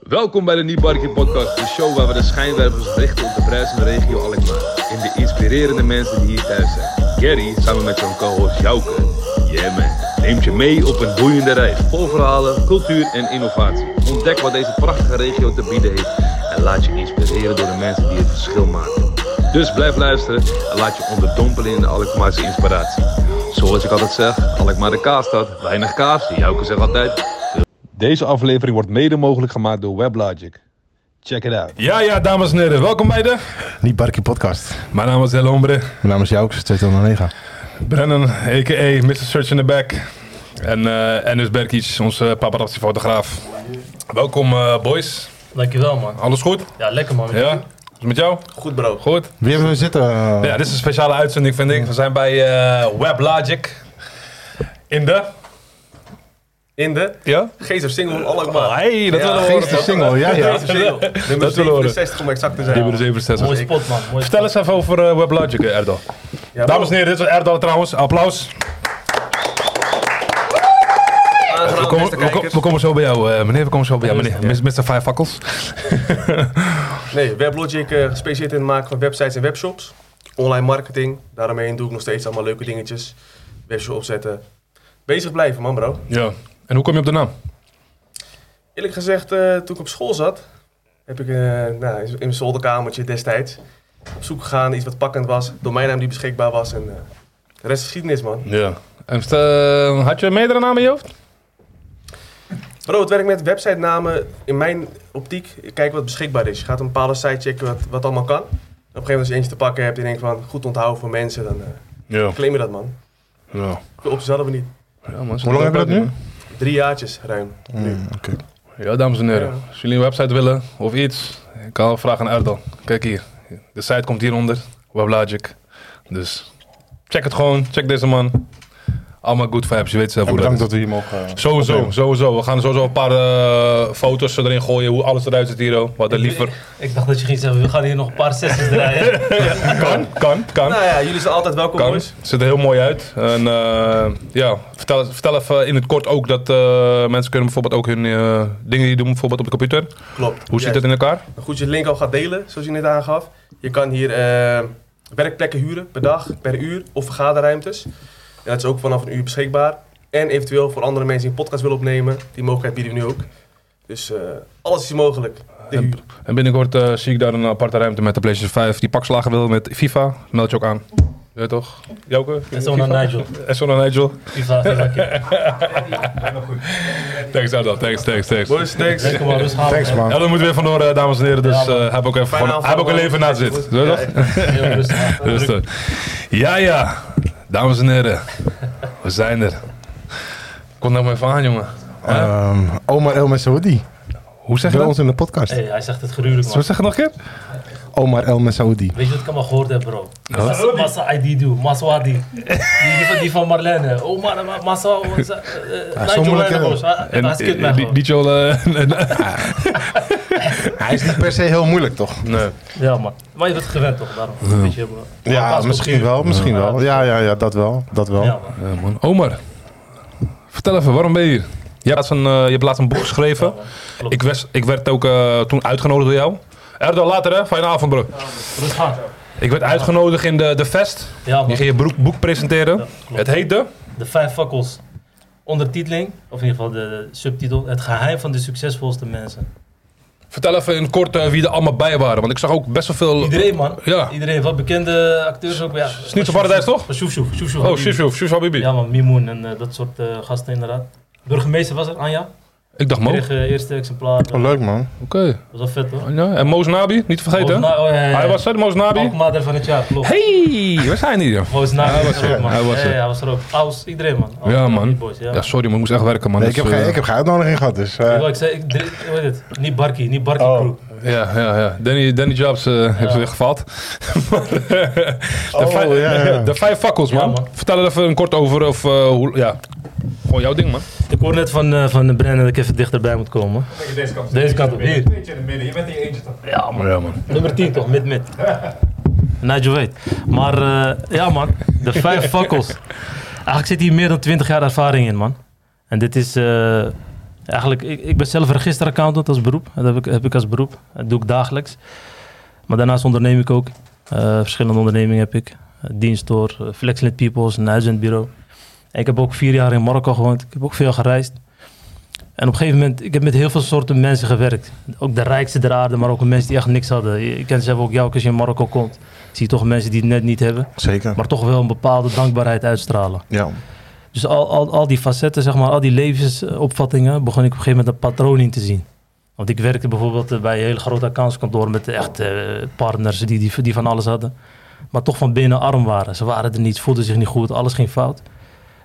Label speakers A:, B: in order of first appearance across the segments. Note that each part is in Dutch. A: Welkom bij de Niet Barkie Podcast, de show waar we de schijnwerpers richten op de bruisende regio Alkmaar. En de inspirerende mensen die hier thuis zijn. Gary, samen met zijn co-host Jouke, yeah man, neemt je mee op een boeiende reis. Vol verhalen, cultuur en innovatie. Ontdek wat deze prachtige regio te bieden heeft. En laat je inspireren door de mensen die het verschil maken. Dus blijf luisteren en laat je onderdompelen in de Alkmaarse inspiratie. Zoals ik altijd zeg, Alkmaar de kaasstad, weinig kaas. Jouke zegt altijd, deze aflevering wordt mede mogelijk gemaakt door WebLogic. Check it out.
B: Ja, ja, dames en heren, welkom bij de.
C: Niet Barkie Podcast.
B: Mijn naam is El Hombre,
C: Mijn naam is Jouks, 209.
B: Brennan, a.k.a. Mr. Search in the Back. En, eh en dus Berkic, onze paparazzi-fotograaf. Welkom, eh, boys.
D: Dankjewel man.
B: Alles goed?
D: Ja, lekker man.
B: Ja? Is het met jou?
D: Goed bro.
B: Goed?
C: Wie hebben we zitten?
B: Ja, dit is een speciale uitzending, vind ik. We zijn bij eh WebLogic. In de.
D: In de
B: Ja?
D: Geest of Single Alkmaar.
B: hey, dat
D: Ja,
B: willen we horen.
C: Geest is single, ja, ja.
D: Geest of Single. Nummer
B: Dat willen we horen.
D: 67 om exact te zijn.
B: Nummer 67.
D: Mooi spot man. Mooi
B: Vertel eens even over eh, WebLogic, eh, Erdal.
D: Ja,
B: Dames en heren, dit was Erdal trouwens. Applaus.
D: heren.
B: We
D: Aangenaam
B: komen,
D: beste
B: we, komen,
D: kijkers.
B: we komen zo bij jou, eh, meneer. We komen zo bij jou, meneer. Mis- Mr. Five Fakkels.
E: Nee, Weblogic eh, gespecialiseerd in het maken van websites en webshops. Online marketing, daaromheen doe ik nog steeds allemaal leuke dingetjes. Webshop opzetten. Bezig blijven, man, bro.
B: Ja. En hoe kom je op de naam?
E: Eerlijk gezegd, eh, toen ik op school zat, heb ik eh, nou, in mijn zolderkamertje destijds op zoek gegaan iets wat pakkend was. Domeinnaam die beschikbaar was en eh, de rest is geschiedenis, man.
B: Ja. En eh, had je meerdere namen in je hoofd?
E: Bro, het werkt met websitenamen in mijn optiek. Kijk wat beschikbaar is. Je gaat een bepaalde site checken wat, wat allemaal kan. Op een gegeven moment als je eentje te pakken hebt en je denkt van goed onthouden voor mensen, dan eh
B: Ja.
E: claim je dat, man.
B: ja.
E: Op ze hadden we niet.
C: Hoe lang hebben we dat nu?
E: Drie jaartjes ruim.
B: Ja, dames en heren. Als jullie een website willen of iets, ik kan een vraag aan Erdal. Kijk hier. De site komt hieronder. WebLogic. Dus check het gewoon. Check deze man. Allemaal good vibes. Je weet zelf
C: En
B: hoe dat
C: bedankt
B: is.
C: dat we hier mogen. eh,
B: Sowieso, sowieso. We gaan sowieso een paar eh, foto's erin gooien. Hoe alles eruit ziet hier. oh. Wat er liever.
D: Ik dacht dat je ging zeggen, we gaan hier nog een paar sessies draaien.
B: Kan, kan, kan.
E: Nou ja, jullie zijn altijd welkom,
B: Kan.
E: boys.
B: Het ziet er heel mooi uit. En eh, ja, vertel, vertel even in het kort ook dat eh, mensen kunnen bijvoorbeeld ook hun eh, dingen die doen bijvoorbeeld op de computer.
E: Klopt.
B: Hoe zit dat
E: Juist.
B: in elkaar?
E: Goed, je link al gaat delen, zoals je net aangaf. Je kan hier eh, werkplekken huren per dag, per uur of vergaderruimtes. En dat is ook vanaf een uur beschikbaar. En eventueel voor andere mensen die een podcast willen opnemen, die mogelijkheid bieden we nu ook. Dus eh, alles is mogelijk. De huur.
B: En binnenkort eh, zie ik daar een aparte ruimte met de PlayStation 5 die pakslagen wil met FIFA. Meld je ook aan. Ja, toch? Joke?
D: En zo naar Nigel.
B: SO naar Nigel.
D: FIFA, FIFA keer.
B: Thanks, Adel. Thanks, thanks, thanks.
E: Boys, thanks.
D: Lekker man, rustig houden.
C: Thanks man.
B: Ja, dat moet weer vandoor, eh, dames en heren. Dus
D: Ja, man.
B: eh, heb ook even
E: Fijne
B: gewoon-
E: avond,
B: heb ook een
E: man.
B: leven naast dit. Zo
E: Ja,
B: toch?
E: echt.
D: Heel rustig houden.
B: Dus, eh, ja, ja. Dames en heren. We zijn er. Kom nou maar even aan, jongen.
C: Ehm, Omar El Messaoudi.
B: Hoe zeg je
C: Bij
B: dat?
C: ons in de podcast.
D: Hey, hij zegt het gruwelijk
B: Zo
D: man.
B: zeg het nog een keer?
C: Omar El Messaoudi.
D: Weet je wat ik allemaal gehoord heb bro? Massa- Massa ID do, Maswadi. Die, die, van, die van Marlene. Oh man, ma- Massa, eh, eh, Nigel
C: sommige
D: Lenne
C: kennen.
D: boos. Hij- Hij skipt mij
B: eh, die,
D: gewoon.
B: die Joel, eh,
C: Hij is niet per se heel moeilijk toch?
B: nee.
D: Ja man. Maar je bent gewend toch daarom. Weet je, maar-
C: Ja,
D: Podcast
C: misschien
D: cultuur.
C: wel, misschien wel. Ja, ja, ja, dat wel. Dat wel.
D: Ja man.
B: Ja, Eh, man. Omar, vertel even, waarom ben je hier? Je hebt laatst een, eh, je hebt laatst een boek geschreven.
D: klopt.
B: ik, was, ik werd ook eh, toen uitgenodigd door jou. Erdo, later hè? Fijne avond, bro.
D: Rustig aan.
B: Ik werd uitgenodigd in de, de Vest.
D: Ja
B: Je
D: man.
B: ging je broek, boek presenteren.
D: klopt.
B: het heette...
D: De vijf fakkels. Ondertiteling, of in ieder geval de subtitel, het geheim van de succesvolste mensen.
B: Vertel even in kort eh, wie er allemaal bij waren. Want ik zag ook best wel veel...
D: Iedereen man,
B: Ja.
D: iedereen, wat bekende acteurs ook. Ja,
B: Sneeuw van Paradijs, toch?
D: Shoef Shoef, Shoef Shoef.
B: Oh, Shushu, Shushu Habibi.
D: Ja man, Mimoen en eh, dat soort eh, gasten inderdaad. Burgemeester was er, Anja.
B: Oh. Ik dacht
D: Ik
B: Mo.
D: kreeg
B: Oké.
D: eh, eerste exemplaar. Dat
C: Oh, leuk man.
D: was wel vet hoor.
B: Ja, en Moos Nabi, niet vergeten.
D: Moos Na- oh, ja, ja, ja.
B: Hij was er, Moos Nabi.
D: Alkmaar van het jaar, klopt.
B: Hey, we zijn hier.
D: Moos Na- hij was er ook man.
B: hij was
D: Ja,
B: er.
D: ja, hij was er ook. Aus, iedereen man. Aus,
B: Ja,
D: die
B: man.
D: Boys, ja.
B: Ja, sorry, maar ik moest echt werken, man.
C: Nee, ik,
B: Dus,
C: heb geen,
B: eh,
C: ik heb geen uitnodiging gehad, dus... eh,
D: Ik wou- ik zei, ik drink, hoe heet het? Niet Barkie, niet Barkie
C: Oh.
D: crew.
B: Ja, ja, ja. Danny, Danny Jobs eh heeft ze weer gevat. Maar, eh, de,
C: Oh,
B: vijf,
C: ja, ja.
B: de vijf fakkels, man.
D: Ja, man.
B: Vertel er even een kort over. Of, eh, hoe, ja. Gewoon jouw ding, man.
D: Ik hoor net van, eh, van Brennan dat ik even dichterbij moet komen.
F: Deze kant.
D: Deze kant op, hier.
F: Eentje in het midden. Je bent hier eentje toch?
D: Ja, man.
B: Ja, man.
D: Nummer 10 toch, mid-mid. Nigel weet. Maar eh, ja, man. De vijf fakkels. Eigenlijk zit hier meer dan 20 jaar ervaring in, man. En dit is eh, Eigenlijk, ik, ik ben zelf registeraccountant als beroep. Dat heb ik, heb ik als beroep. Dat doe ik dagelijks. Maar daarnaast onderneem ik ook. Eh, verschillende ondernemingen heb ik. Eh, dienstdoor, eh, Flexlit Peoples, een uitzendbureau. En ik heb ook vier jaar in Marokko gewoond. Ik heb ook veel gereisd. En op een gegeven moment, ik heb met heel veel soorten mensen gewerkt. Ook de rijkste der aarde, maar ook mensen die echt niks hadden. Je- Ik ken zelf ook jou als je in Marokko komt. Zie je toch mensen die het net niet hebben,
C: Zeker.
D: maar toch wel een bepaalde dankbaarheid uitstralen.
C: Ja.
D: Dus al, al, al die facetten, zeg maar, al die levensopvattingen, begon ik op een gegeven moment een patroon in te zien. Want ik werkte bijvoorbeeld eh, bij een hele grote accountskantoor met echt eh, partners die, die, die van alles hadden. Maar toch van binnen arm waren. Ze waren er niet, voelden zich niet goed, alles ging fout.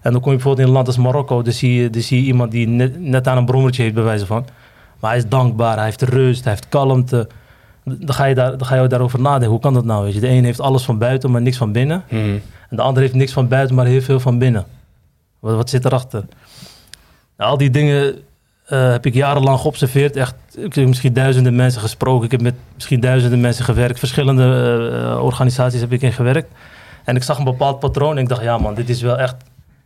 D: En dan kom je bijvoorbeeld in een land als Marokko, dan zie je, dan zie je iemand die net, net aan een brommertje heeft, bij wijze van. Maar hij is dankbaar, hij heeft rust, hij heeft kalmte. Dan ga je, daar, dan ga je daarover nadenken, hoe kan dat nou? Weet je? De een heeft alles van buiten, maar niks van binnen. En de ander heeft niks van buiten, maar heel veel van binnen. Wat, wat zit erachter? Nou, al die dingen eh, heb ik jarenlang geobserveerd. Echt, ik heb misschien duizenden mensen gesproken. Ik heb met misschien duizenden mensen gewerkt. Verschillende eh, organisaties heb ik in gewerkt. En ik zag een bepaald patroon. En ik dacht, ja man, dit is wel echt...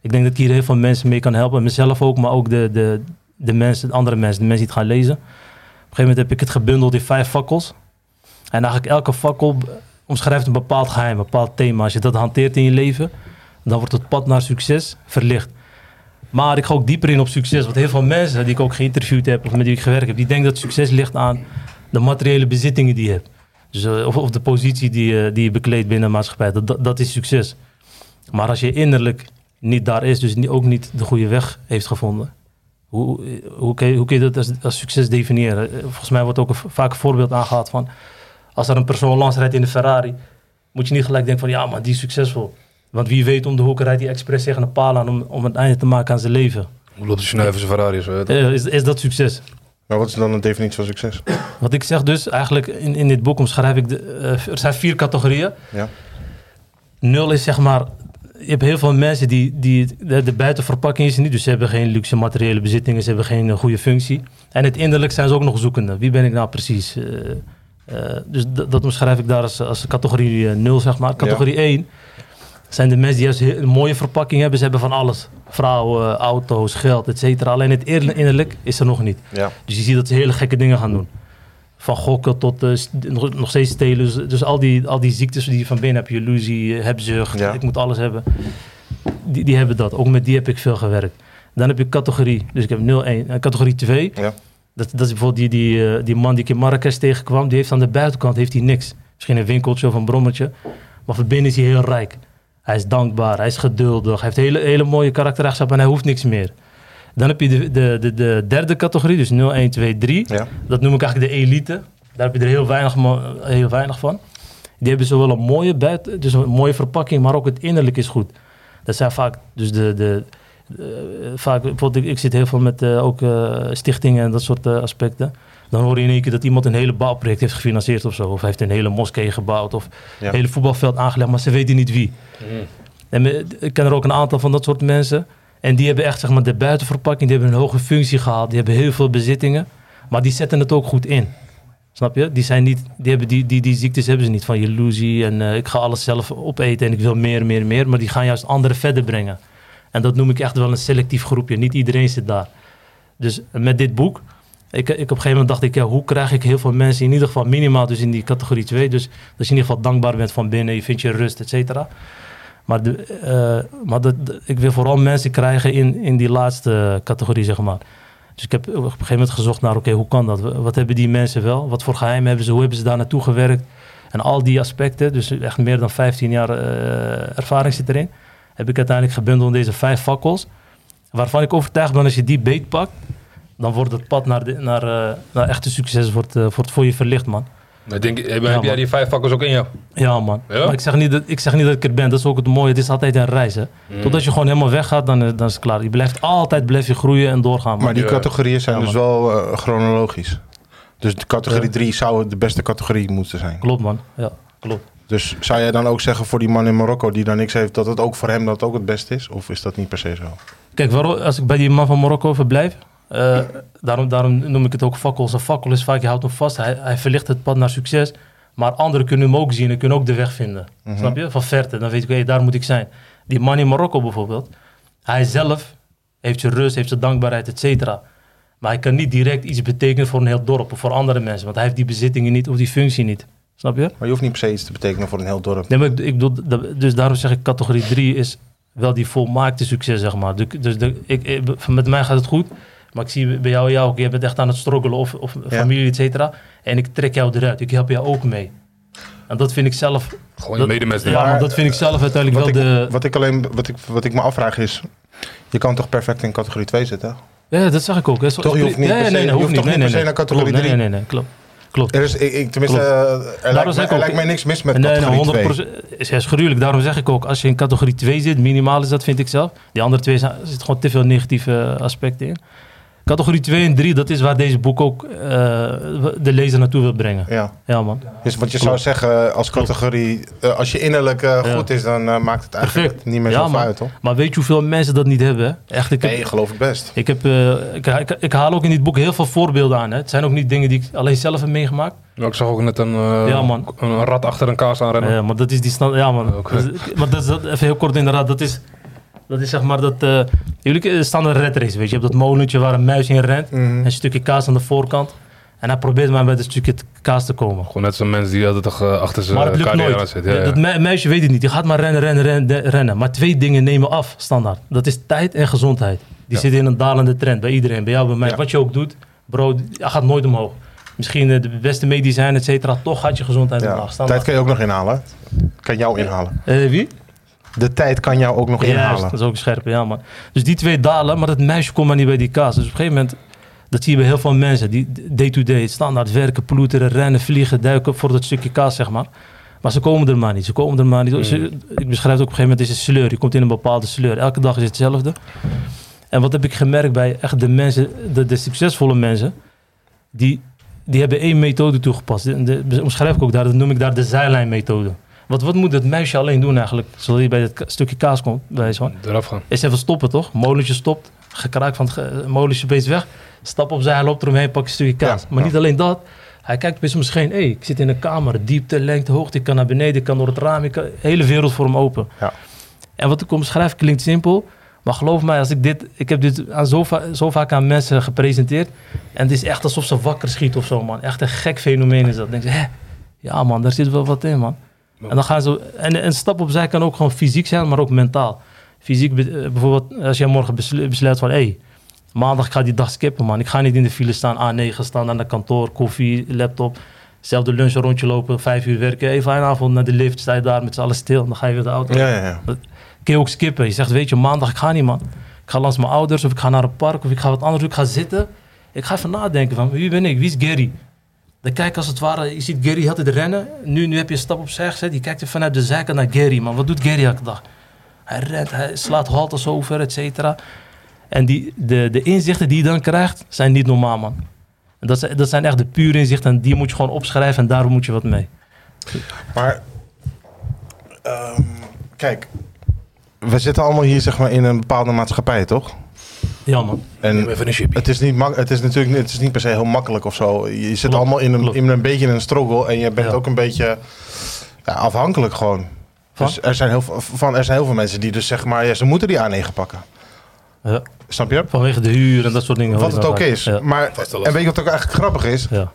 D: Ik denk dat ik hier heel veel mensen mee kan helpen. Mezelf ook, maar ook de, de, de mensen, de andere mensen. De mensen die het gaan lezen. Op een gegeven moment heb ik het gebundeld in vijf vakkels. En eigenlijk elke fakkel omschrijft een bepaald geheim, een bepaald thema. Als je dat hanteert in je leven, dan wordt het pad naar succes verlicht. Maar ik ga ook dieper in op succes. Want heel veel mensen die ik ook geïnterviewd heb of met wie ik gewerkt heb, die denken dat succes ligt aan de materiële bezittingen die je hebt. Dus, eh, of, of de positie die, je- die je bekleedt binnen de maatschappij. Dat, dat, dat is succes. Maar als je innerlijk niet daar is, dus ni- ook niet de goede weg heeft gevonden. Hoe, hoe, kun, je, hoe kun je dat als, als succes definiëren? Eh, Volgens mij wordt ook een, vaak een voorbeeld aangehaald van als er een persoon langs rijdt in de Ferrari, moet je niet gelijk denken van ja, maar die is succesvol. Want wie weet om de hoek rijdt hij expres tegen een paal aan om, om een einde te maken aan zijn leven.
B: Loopt de Geneve zijn Ferrari zo. weet je.
D: Eh, Is, is dat succes?
C: Maar wat is dan een definitie van succes?
D: Wat ik zeg dus, eigenlijk in, in dit boek omschrijf ik, de, eh, er zijn vier categorieën.
C: Ja.
D: Nul is zeg maar, je hebt heel veel mensen die, die het- de, de buitenverpakking is er niet. Dus ze hebben geen luxe materiële bezittingen, ze hebben geen eh, goede functie. En het innerlijk zijn ze ook nog zoekende. Wie ben ik nou precies? Eh, eh, dus d- dat omschrijf ik daar als, als categorie eh, nul, zeg maar. Categorie 1 zijn de mensen die juist heel- een mooie verpakking hebben. Ze hebben van alles. Vrouwen, auto's, geld, et cetera. Alleen het eerl- innerlijk is er nog niet.
C: Ja.
D: Dus je ziet dat ze hele gekke dingen gaan doen. Van gokken tot eh, st- nog nog steeds stelen. Dus, dus al, die, al die ziektes die je van binnen hebt. Jaloezie, eh, hebzucht,
C: Ja.
D: ik moet alles hebben. Die, die hebben dat. Ook met die heb ik veel gewerkt. Dan heb je categorie. Dus ik heb 0-1. En categorie 2.
C: Ja.
D: Dat, dat is bijvoorbeeld die, die, eh, die man die ik in Marrakesh tegenkwam. Die heeft aan de buitenkant heeft hij niks. Misschien een winkeltje of een brommetje. Maar van binnen is hij heel rijk. Hij is dankbaar, hij is geduldig. Hij heeft hele, hele mooie karaktereigenschappen en hij hoeft niks meer. Dan heb je de, de, de, de derde categorie, dus 0, 1, 2, 3.
C: Ja.
D: Dat noem ik eigenlijk de elite. Daar heb je er heel weinig, ma- heel weinig van. Die hebben zowel een mooie buiten, dus een mooie verpakking, maar ook het innerlijk is goed. Dat zijn vaak, dus de, de, eh, vaak bijvoorbeeld, ik, ik zit heel veel met eh, ook eh, stichtingen en dat soort eh, aspecten. Dan hoor je in één keer dat iemand een hele bouwproject heeft gefinancierd of zo. Of heeft een hele moskee gebouwd of
C: Ja.
D: een hele voetbalveld aangelegd, maar ze weten niet wie. En me- ik ken er ook een aantal van dat soort mensen. En die hebben echt zeg maar, de buitenverpakking, die hebben een hoge functie gehaald, die hebben heel veel bezittingen. Maar die zetten het ook goed in. Snap je? Die, zijn niet, die, hebben die, die, die ziektes hebben ze niet van jaloezie en eh, ik ga alles zelf opeten en ik wil meer, meer, meer. Maar die gaan juist anderen verder brengen. En dat noem ik echt wel een selectief groepje. Niet iedereen zit daar. Dus met dit boek, ik, ik op een gegeven moment dacht ik, ja, hoe krijg ik heel veel mensen, in ieder geval minimaal dus in die categorie 2. Dus dat je in ieder geval dankbaar bent van binnen, je vindt je rust, et cetera. Maar, de, eh, maar dat, de- ik wil vooral mensen krijgen in, in die laatste categorie, zeg maar. Dus ik heb op een gegeven moment gezocht naar, oké, hoe kan dat? Wat hebben die mensen wel? Wat voor geheimen hebben ze? Hoe hebben ze daar naartoe gewerkt? En al die aspecten, dus echt meer dan 15 jaar eh, ervaring zit erin, heb ik uiteindelijk gebundeld in deze vijf fakkels. Waarvan ik overtuigd ben, als je die beet pakt, dan wordt het pad naar, de, naar, eh, naar echte succes wordt, eh, wordt voor je verlicht, man.
B: Ik denk, heb,
D: Ja,
B: heb jij
D: man.
B: die vijf vakkers ook in jou?
D: Ja, man.
B: Ja?
D: Maar ik zeg, niet dat, ik zeg niet dat ik er ben. Dat is ook het mooie. Het is altijd een reis, hè. Totdat je gewoon helemaal weggaat, dan, eh, dan is het klaar. Je blijft altijd blijf je groeien en doorgaan, man.
C: Maar die
B: Ja.
C: categorieën zijn
D: Ja,
C: dus wel eh, chronologisch. Dus de categorie
D: Ja.
C: 3 zou de beste categorie moeten zijn.
D: Klopt, man. Ja, klopt.
C: Dus zou jij dan ook zeggen voor die man in Marokko die dan niks heeft, dat het ook voor hem dat ook het beste is? Of is dat niet per se zo?
D: Kijk, waarom, als ik bij die man van Marokko verblijf, eh, daarom, daarom noem ik het ook fakkels. Een fakkel is vaak, je houdt hem vast, hij, hij verlicht het pad naar succes. Maar anderen kunnen hem ook zien en kunnen ook de weg vinden. Snap je? Van verte, dan weet ik, hé, daar moet ik zijn. Die man in Marokko bijvoorbeeld, hij zelf heeft zijn rust, heeft zijn dankbaarheid, et cetera. Maar hij kan niet direct iets betekenen voor een heel dorp of voor andere mensen. Want hij heeft die bezittingen niet of die functie niet. Snap je?
C: Maar je hoeft niet per se iets te betekenen voor een heel dorp.
D: Nee, maar ik, ik bedoel, dat- dus daarom zeg ik categorie 3 is wel die volmaakte succes, zeg maar. Du- Dus de, ik, ik- met mij gaat het goed, maar ik zie bij jou, jou ook, je bent echt aan het struggelen of, of familie, et cetera. En ik trek jou eruit, ik help jou ook mee. En dat vind ik zelf,
B: Gewoon je
D: Dat-
B: medemens
D: ja,
B: nemen.
D: maar dat vind ik zelf uiteindelijk
C: eh, Wat
D: wel
C: ik,
D: de...
C: wat, ik alleen, wat, ik, wat ik me afvraag is, je kan toch perfect in categorie 2 zitten?
D: Ja, dat zag ik ook. Hè. Zo-
C: Toch, je hoeft niet
D: Ja,
C: per
D: nee,
C: se-
D: nee,
C: je
D: hoeft
C: hoeft
D: niet.
C: toch
D: Nee,
C: niet
D: nee,
C: per se
D: nee.
C: naar categorie
D: Klopt, nee,
C: drie?
D: Nee, nee, nee, klopt. Klopt.
C: Er is, ik, ik- tenminste,
D: Klopt.
C: eh, er, lijkt,
D: zeg
C: mij,
D: ik
C: er
D: ook-
C: lijkt mij niks mis met
D: Nee,
C: Eh, categorie 2.
D: nee, 100% nou, is, is gruwelijk. Daarom zeg ik ook, als je in categorie 2 zit, minimaal is dat, vind ik zelf. Die andere twee zijn- er zitten gewoon te veel negatieve eh, aspecten in. Categorie 2 en 3, dat is waar deze boek ook eh, de lezer naartoe wil brengen.
C: Ja.
D: Ja, man.
C: Dus wat je zou zeggen als categorie, eh, als je innerlijk eh,
D: Ja.
C: goed is, dan eh, maakt het eigenlijk
D: Perfect.
C: niet meer
D: Ja,
C: zo zoveel
D: man.
C: uit, hoor.
D: Maar weet je hoeveel mensen dat niet hebben? hè? Echt, ik heb,
C: Nee, geloof ik best.
D: Ik, heb, eh, ik, ik, ik haal ook in dit boek heel veel voorbeelden aan. Hè. Het zijn ook niet dingen die ik alleen zelf heb meegemaakt.
B: Ja, Ik zag ook net een, eh,
D: Ja, man.
B: een rat achter een kaas aanrennen.
D: Ja, Eh, maar dat is die stand. Ja, man.
B: Oké.
D: Dat is- maar dat is dat, even heel kort inderdaad. Dat is, dat is zeg maar dat. eh jullie eh, staan een red race, weet je. Je hebt dat molentje waar een muis in rent. en Een stukje kaas aan de voorkant. En hij probeert maar met een stukje t- kaas te komen.
B: Gewoon net zo'n mensen die altijd toch, eh, achter zijn
D: Maar het lukt
B: carrière
D: nooit.
B: zit. Ja, ja.
D: Dat mu- muisje weet het niet. Die gaat maar rennen, rennen, rennen, rennen. Maar twee dingen nemen af, standaard. Dat is tijd en gezondheid. Die zitten in een dalende trend bij iedereen. Bij jou, bij mij.
C: Ja.
D: Wat je ook doet, bro, die- hij gaat nooit omhoog. Misschien eh, de beste medicijn, et cetera. Toch gaat je gezondheid
C: Ja.
D: omlaag.
C: Tijd
D: Standaard.
C: kan je ook nog inhalen. Kan jou inhalen.
D: Eh, wie?
C: De tijd kan jou ook nog
D: Juist,
C: inhalen.
D: dat is ook een scherpe, ja man. Dus die twee dalen, maar dat meisje komt maar niet bij die kaas. Dus op een gegeven moment, dat zie je bij heel veel mensen. Die day-to-day standaard werken, ploeteren, rennen, vliegen, duiken voor dat stukje kaas, zeg maar. Maar ze komen er maar niet, ze komen er maar niet. Ze-
C: Hmm.
D: ik beschrijf het ook op een gegeven moment, het is een sleur. Je komt in een bepaalde sleur. Elke dag is hetzelfde. En wat heb ik gemerkt bij echt de mensen, de, de succesvolle mensen, die, die hebben één methode toegepast. De, de- omschrijf ik ook daar, dat noem ik daar de zijlijnmethode. Wat, wat moet dat meisje alleen doen eigenlijk, zodat je bij dat ka- stukje kaas komt? Bij wijze van?
B: Eraf gaan.
D: is even stoppen, toch? Molentje stopt, gekraak van het ge- eh, molentje beest weg. Stap opzij, hij loopt eromheen, pakt een stukje kaas.
C: Ja,
D: maar
C: ja.
D: niet alleen dat. Hij kijkt bij om zich heen. Hey, ik zit in een kamer, diepte, lengte, hoogte. Ik kan naar beneden, ik kan door het raam. Ik kan, hele wereld voor hem open.
C: Ja.
D: En wat ik omschrijf klinkt simpel. Maar geloof mij, als ik, dit, ik heb dit aan zo, va- zo vaak aan mensen gepresenteerd. En het is echt alsof ze wakker schiet of zo, man. Echt een gek fenomeen is dat. Dan denk je, hè? Ja, man, daar zit wel wat in, man. En dan gaan ze. En een stap opzij kan ook gewoon fysiek zijn, maar ook mentaal. Fysiek, be- eh, bijvoorbeeld, als jij morgen beslu- besluit van hé, hey, maandag ga ik die dag skippen, man. Ik ga niet in de file staan, A9 staan aan de kantoor, koffie, laptop. Zelfde lunch een rondje lopen, vijf uur werken. Even een avond naar de lift, sta je daar met z'n allen stil. Dan ga je weer de auto.
C: Ja, ja, ja.
D: Kun je ook skippen. Je zegt, weet je, maandag, ik ga niet, man. Ik ga langs mijn ouders, of ik ga naar een park, of ik ga wat anders doen. Ik ga zitten. Ik ga even nadenken van, wie ben ik? Wie is Gary? Dan kijk als het ware, je ziet Gary altijd rennen. Nu, nu heb je een stap opzij gezet. Je kijkt er vanuit de zijkant naar Gary, man. Wat doet Gary elke dag? Hij rent, hij slaat haltes over, et cetera. En die, de, de inzichten die je dan krijgt, zijn niet normaal, man. En Dat zijn, dat zijn echt de pure inzichten. En die moet je gewoon opschrijven en daar moet je wat mee.
C: Maar ehm, kijk, we zitten allemaal hier zeg maar in een bepaalde maatschappij, toch?
D: Ja, man.
C: En het is, niet mak- het is natuurlijk niet- het is niet per se heel makkelijk of zo. Je zit
D: Klopt,
C: allemaal in een,
D: klopt.
C: in een beetje in een struggle en je bent
D: Ja.
C: ook een beetje ja, afhankelijk gewoon.
D: Van?
C: Dus er zijn, heel, veel- van, er zijn heel veel mensen die dus zeg maar, ja, ze moeten die A9 pakken.
D: Ja,
C: Snap je?
D: vanwege de huur en dat soort dingen.
C: Wat het ook is.
D: Ja.
C: Maar,
B: is wel
C: en weet je wat ook eigenlijk grappig is?
D: Ja.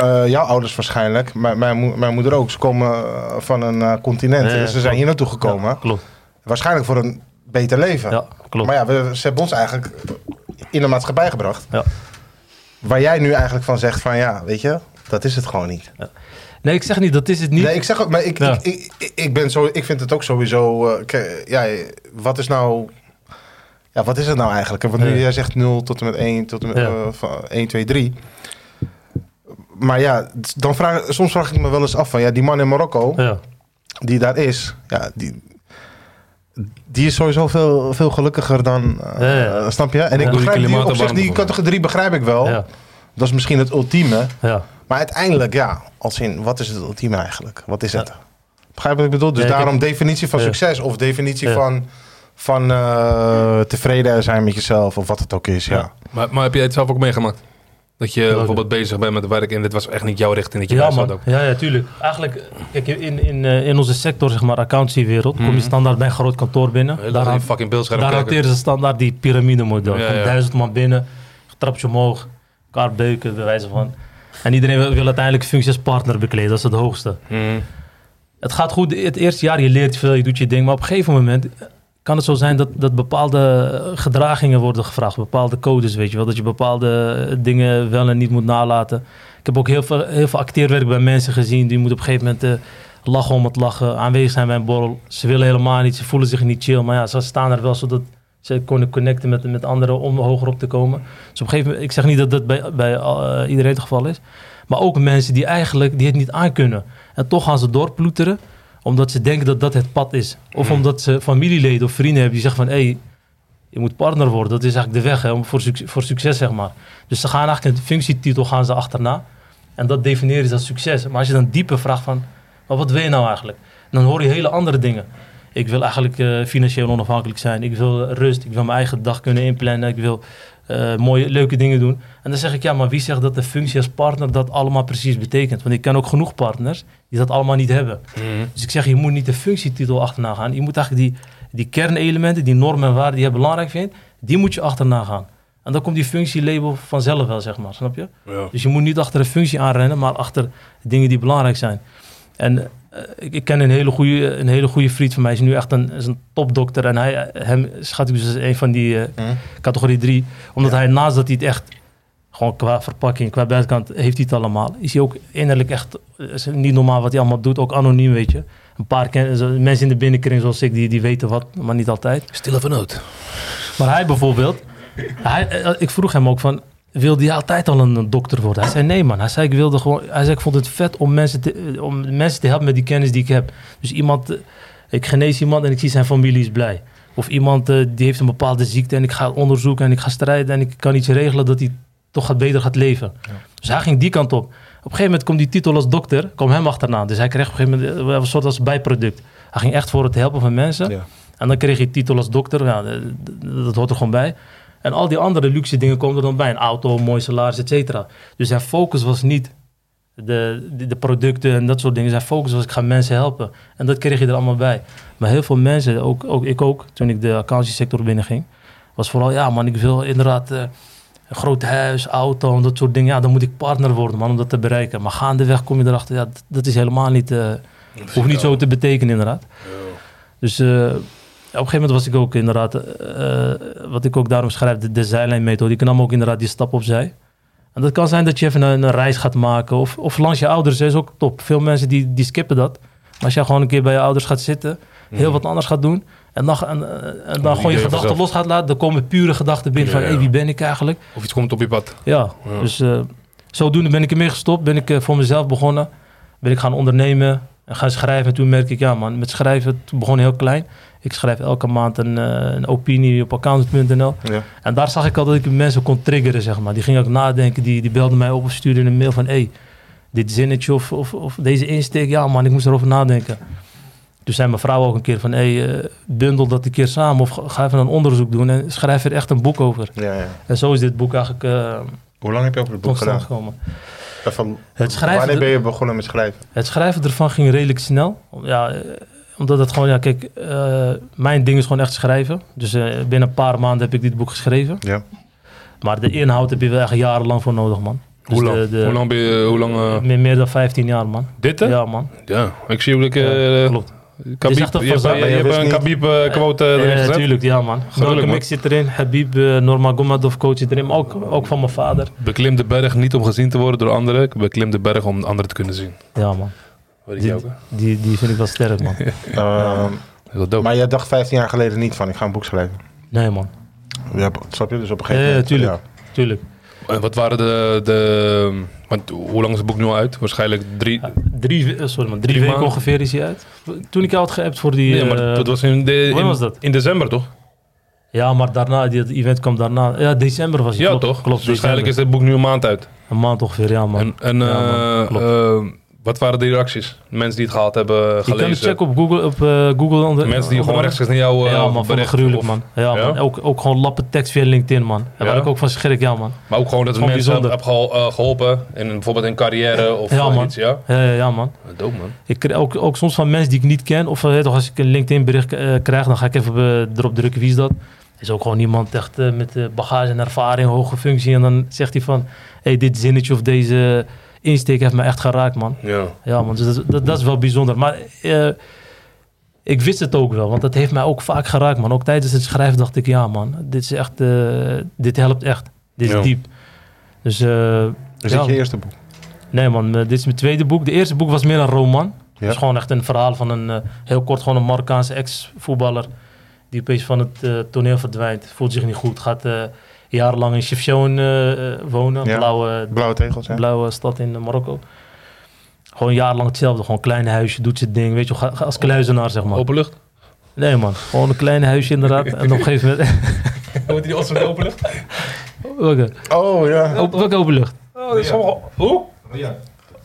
C: Eh, jouw ouders waarschijnlijk, mijn, mijn, moe- mijn moeder ook. Ze komen eh, van een eh, continent.
D: Ja, ja,
C: en ze zijn hier naartoe gekomen.
D: Ja, klopt.
C: Waarschijnlijk voor een beter leven.
D: Ja, klopt.
C: Maar ja, we, ze hebben ons eigenlijk in de maatschappij gebracht.
D: Ja.
C: Waar jij nu eigenlijk van zegt van ja, weet je, dat is het gewoon niet.
D: Nee, ik zeg niet, dat is het niet.
C: Nee, ik zeg ook, maar ik,
D: Ja.
C: ik, ik, ik- ik ben zo, ik vind het ook sowieso, eh, ke- ja, wat is nou, ja, wat is het nou eigenlijk? Want nu
D: Ja.
C: jij zegt 0 tot en met 1, tot en met
D: Ja.
C: eh, van 1, 2, 3. Maar ja, t- dan vraag, soms vraag ik me wel eens af van, ja, die man in Marokko,
D: Ja,
C: die daar is, ja, die, die is sowieso veel, veel gelukkiger dan, eh,
D: Ja, ja.
C: snap je? En ik
D: Door
C: begrijp die,
D: die
C: op zich,
B: klimaatopwarming
C: die
B: bijvoorbeeld.
C: categorie begrijp ik wel.
D: ja,
C: Dat is misschien het ultieme.
D: ja.
C: Maar uiteindelijk, ja, als in, wat is het ultieme eigenlijk? Wat is het?
D: Ja.
C: Begrijp je wat ik bedoel? Dus
D: Ja, ik
C: daarom definitie van
D: Ja.
C: succes of definitie
D: Ja.
C: van, van eh, tevreden zijn met jezelf of wat het ook is, ja.
D: Ja.
B: Maar, maar heb jij het zelf ook meegemaakt? Dat je bijvoorbeeld bezig bent met werk en dit was echt niet jouw richting. Dat je
D: Ja,
B: daar zat
D: man.
B: ook.
D: Ja, ja, tuurlijk. Eigenlijk, kijk, in, in, eh, in onze sector, zeg maar, accountancywereld, kom je standaard bij een groot kantoor binnen.
B: Heel
D: Daar,
B: Daar
D: han-
B: fucking beeldscherm
D: daar
B: kijken.
D: hanteren ze standaard die piramidemodel.
B: Ja,
D: Van
B: ja.
D: duizend man binnen, trapje omhoog, elkaar beuken, bij wijze van. En iedereen wil, wil uiteindelijk functie als partner bekleden, dat is het hoogste.
B: Mhm.
D: Het gaat goed, het eerste jaar, je leert veel, je doet je ding, maar op een gegeven moment kan het zo zijn dat, dat bepaalde eh, gedragingen worden gevraagd, bepaalde codes, weet je wel, dat je bepaalde eh, dingen wel en niet moet nalaten. Ik heb ook heel veel, heel veel acteerwerk bij mensen gezien, die moeten op een gegeven moment... eh, lachen om het lachen, aanwezig zijn bij een borrel. Ze willen helemaal niet, ze voelen zich niet chill. Maar ja, ze staan er wel zodat ze kunnen connecten met, met anderen om hoger op te komen. Dus op een gegeven moment, ik zeg niet dat dat bij, bij eh, iedereen het geval is. Maar ook mensen die eigenlijk die het niet aankunnen. En toch gaan ze doorploeteren, omdat ze denken dat dat het pad is. Of omdat ze familieleden of vrienden hebben die zeggen van... Hey, je moet partner worden, dat is eigenlijk de weg hè, om voor, suc- voor succes, zeg maar. Dus ze gaan eigenlijk een functietitel gaan ze achterna. En dat definiëren ze als succes. Maar als je dan dieper vraagt van, maar wat wil je nou eigenlijk? Dan hoor je hele andere dingen. Ik wil eigenlijk eh, financieel onafhankelijk zijn. Ik wil rust. Ik wil mijn eigen dag kunnen inplannen. Ik wil eh, mooie, leuke dingen doen. En dan zeg ik, ja, maar wie zegt dat de functie als partner dat allemaal precies betekent? Want ik ken ook genoeg partners die dat allemaal niet hebben. Dus ik zeg, je moet niet de functietitel achterna gaan. Je moet eigenlijk die, die kernelementen, die normen en waarden die je belangrijk vindt, die moet je achterna gaan. En dan komt die functielabel vanzelf wel, zeg maar. Snap je?
B: Ja.
D: Dus je moet niet achter een functie aanrennen, maar achter dingen die belangrijk zijn. En eh, ik, ik ken een hele, goede, een hele goede vriend van mij. Hij is nu echt een, is een topdokter. En hij, hem schat ik dus als een van die eh, categorie 3. Omdat hij naast dat hij het echt, gewoon qua verpakking, qua buitenkant, heeft hij het allemaal. Is hij ook innerlijk echt, eh, is niet normaal wat hij allemaal doet. Ook anoniem, weet je. Een paar ken- zo- mensen in de binnenkring zoals ik, die, die weten wat, maar niet altijd.
B: Stille vernoot.
D: Maar hij bijvoorbeeld, hij, eh, ik vroeg hem ook van, wilde hij altijd al een een dokter worden? Hij zei nee man, hij zei ik wilde gewoon, hij zei ik vond het vet om mensen te, eh, om mensen te helpen met die kennis die ik heb. Dus iemand, eh, ik genees iemand en ik zie zijn familie is blij. Of iemand eh, die heeft een bepaalde ziekte en ik ga onderzoeken en ik ga strijden en ik kan iets regelen dat hij toch gaat beter gaat leven. Dus hij ging die kant op. Op een gegeven moment komt die titel als dokter, kwam hem achterna. Dus hij kreeg op een gegeven moment eh, wel een soort als bijproduct. Hij ging echt voor het helpen van mensen.
C: Ja.
D: En dan kreeg je titel als dokter. Ja, eh, d- d- dat hoort er gewoon bij. En al die andere luxe dingen komen er dan bij. Een auto, een mooi salaris, et cetera. Dus zijn focus was niet de, de, de producten en dat soort dingen. Zijn focus was ik ga mensen helpen. En dat kreeg je er allemaal bij. Maar heel veel mensen, ook, ook ik ook, toen ik de accountiesector binnenging... was vooral, ja man, ik wil inderdaad... eh, een groot huis, auto en dat soort dingen. Ja, dan moet ik partner worden, man, om dat te bereiken. Maar gaandeweg kom je erachter, ja, d- dat is helemaal niet... eh hoeft niet zo te betekenen, inderdaad. Dus eh, op een gegeven moment was ik ook inderdaad, eh, wat ik ook daarom schrijf, de, de zijlijnmethode. Ik nam ook inderdaad die stap opzij. En dat kan zijn dat je even een, een reis gaat maken of, of langs je ouders. hè, is ook top. Veel mensen die, die skippen dat. Maar als jij gewoon een keer bij je ouders gaat zitten, heel wat anders gaat doen. En dan, en, eh, en dan gewoon je
B: ideeën
D: gedachten
B: vanzelf.
D: los gaat laten. Dan komen pure gedachten binnen
B: Ja,
D: van, hé,
B: ja.
D: wie ben ik eigenlijk?
B: Of iets komt op je pad.
D: Ja,
B: Ja.
D: dus eh, zodoende ben ik ermee gestopt. Ben ik eh, voor mezelf begonnen. Ben ik gaan ondernemen en gaan schrijven. En toen merk ik, ja man, met schrijven, toen begon heel klein. Ik schrijf elke maand een, eh, een opinie op accountant.nl.
C: Ja.
D: En daar zag ik al dat ik mensen kon triggeren, zeg maar. Die gingen ook nadenken, die, die belden mij op of stuurden een mail van... hey, dit zinnetje of, of, of deze insteek, ja man, ik moest erover nadenken. Toen zei mijn vrouw ook een keer van... hey, eh, bundel dat een keer samen of ga- ga even een onderzoek doen... en schrijf er echt een boek over.
C: Ja, ja.
D: En zo is dit boek eigenlijk eh
C: Hoe lang heb je over het boek
D: tot stand
C: gedaan?
D: gekomen.
C: Van,
D: Het schrijven-
C: wanneer ben je begonnen met schrijven?
D: Het schrijven ervan ging redelijk snel. Ja, eh, omdat het gewoon, ja, kijk, eh, mijn ding is gewoon echt schrijven. Dus eh, binnen een paar maanden heb ik dit boek geschreven.
C: Ja.
D: Maar de inhoud heb je wel echt jarenlang voor nodig, man. Dus
B: Hoe lang?
D: de- de-
B: Hoe lang ben je... Hoe lang, eh,
D: meer, meer dan 15 jaar, man.
B: dit hè? Ja.
D: Ja, man.
B: Ik zie hoe ik... eh,
D: Ja, klopt.
B: Khabib-
D: is echt een
B: je hebt, je
D: verzameling.
B: hebt
C: Je wist
B: een
C: niet-
B: Khabib-quote eh, erin gezet.
D: Natuurlijk, Eh, ja, man. Welke
B: man.
D: mix zit erin? Habib, eh, Norma Gomadov coach zit erin. Maar ook, ook van mijn vader.
B: Beklim de berg niet om gezien te worden door anderen. Ik beklim de berg om anderen te kunnen zien.
D: Ja, man.
B: Weet ik
D: Die,
B: jou ook, hè?
D: die, die vind ik wel sterk, man.
C: Ehm,
B: Dat is wel dope.
C: maar jij dacht 15 jaar geleden niet van, ik ga een boek schrijven.
D: Nee, man.
C: Ja, snap je? Dus op een
D: Ja,
C: gegeven
D: ja,
C: moment...
D: tuurlijk. Tuurlijk.
B: En wat waren de... de want hoe lang is het boek nu al uit? Waarschijnlijk drie...
D: Drie, we- eh, sorry, man. Drie,
B: Drie
D: weken
B: maanden.
D: ongeveer is hij uit. Toen ik jou had geappt voor die...
B: Nee, maar
D: eh,
B: dat was in, de, in,
D: wanneer was dat?
B: in december, toch?
D: Ja, maar daarna, die- het event kwam daarna. Ja, december was het.
B: Ja,
D: klopt,
B: toch?
D: Klopt,
B: Dus waarschijnlijk is
D: december.
B: dit boek nu een maand uit.
D: Een maand ongeveer, ja man.
B: En, en
D: Ja, man,
B: eh,
D: klopt.
B: eh, wat waren de reacties? Mensen die het gehaald hebben,
D: je kan het
B: gelezen?
D: checken op Google. Op, eh, Google
B: Mensen
D: onder,
B: die
D: onder
B: gewoon
D: andere.
B: rechtstreeks naar jou eh,
D: Ja man, vond ik
B: berichten
D: gruwelijk
B: of-
D: man. Ja,
B: Ja?
D: man. Ook, ook gewoon lappen tekst via LinkedIn man. En waar
B: Ja?
D: ik ook van schrik, ja man.
B: Maar ook gewoon dat we
D: Gewoon
B: mensen hebben
D: bijzonder.
B: hebben gehol- eh, geholpen. In, bijvoorbeeld in carrière of
D: Ja,
B: eh,
D: man.
B: iets, ja?
D: Ja, ja, ja, man.
B: Dope, man.
D: Ik krijg ook, ook soms van mensen die ik niet ken. Of eh, toch, als ik een LinkedIn bericht eh, krijg, dan ga ik even eh, erop drukken wie is dat. is ook gewoon iemand echt eh, met eh, bagage en ervaring, hoge functie. En dan zegt hij van, hey, dit zinnetje of deze insteek heeft me echt geraakt, man.
B: Ja.
D: Ja, man, dus dat, dat, dat is wel bijzonder. Maar eh, ik wist het ook wel, want dat heeft mij ook vaak geraakt, man. Ook tijdens het schrijven dacht ik, ja, man, dit is echt, eh, dit helpt echt. Dit is
B: Ja.
D: diep. Dus, eh,
C: Is
D: ja,
C: dit je eerste boek?
D: nee, man, eh, dit is mijn tweede boek. De eerste boek was meer een roman.
C: Ja.
D: Het is gewoon echt een verhaal van een, eh, heel kort, gewoon een Marokkaanse ex-voetballer. Die opeens van het eh, toneel verdwijnt. Voelt zich niet goed. Gaat eh, jarenlang in Chefchaouen eh, eh, wonen.
C: Ja.
D: Blauwe
C: Blauwe tegels, hè?
D: blauwe stad in eh, Marokko. Gewoon jarenlang hetzelfde. Gewoon een klein huisje, doet zijn ding. Weet je, ga- ga als kluizenaar, zeg maar.
B: Open lucht.
D: Nee, man. Gewoon een klein huisje, inderdaad. En op een gegeven moment...
B: Wordt die Ossen open lucht?
D: welke,
C: Oh, ja.
D: op, welke openlucht?
B: Oh, dat is gewoon... Hoe?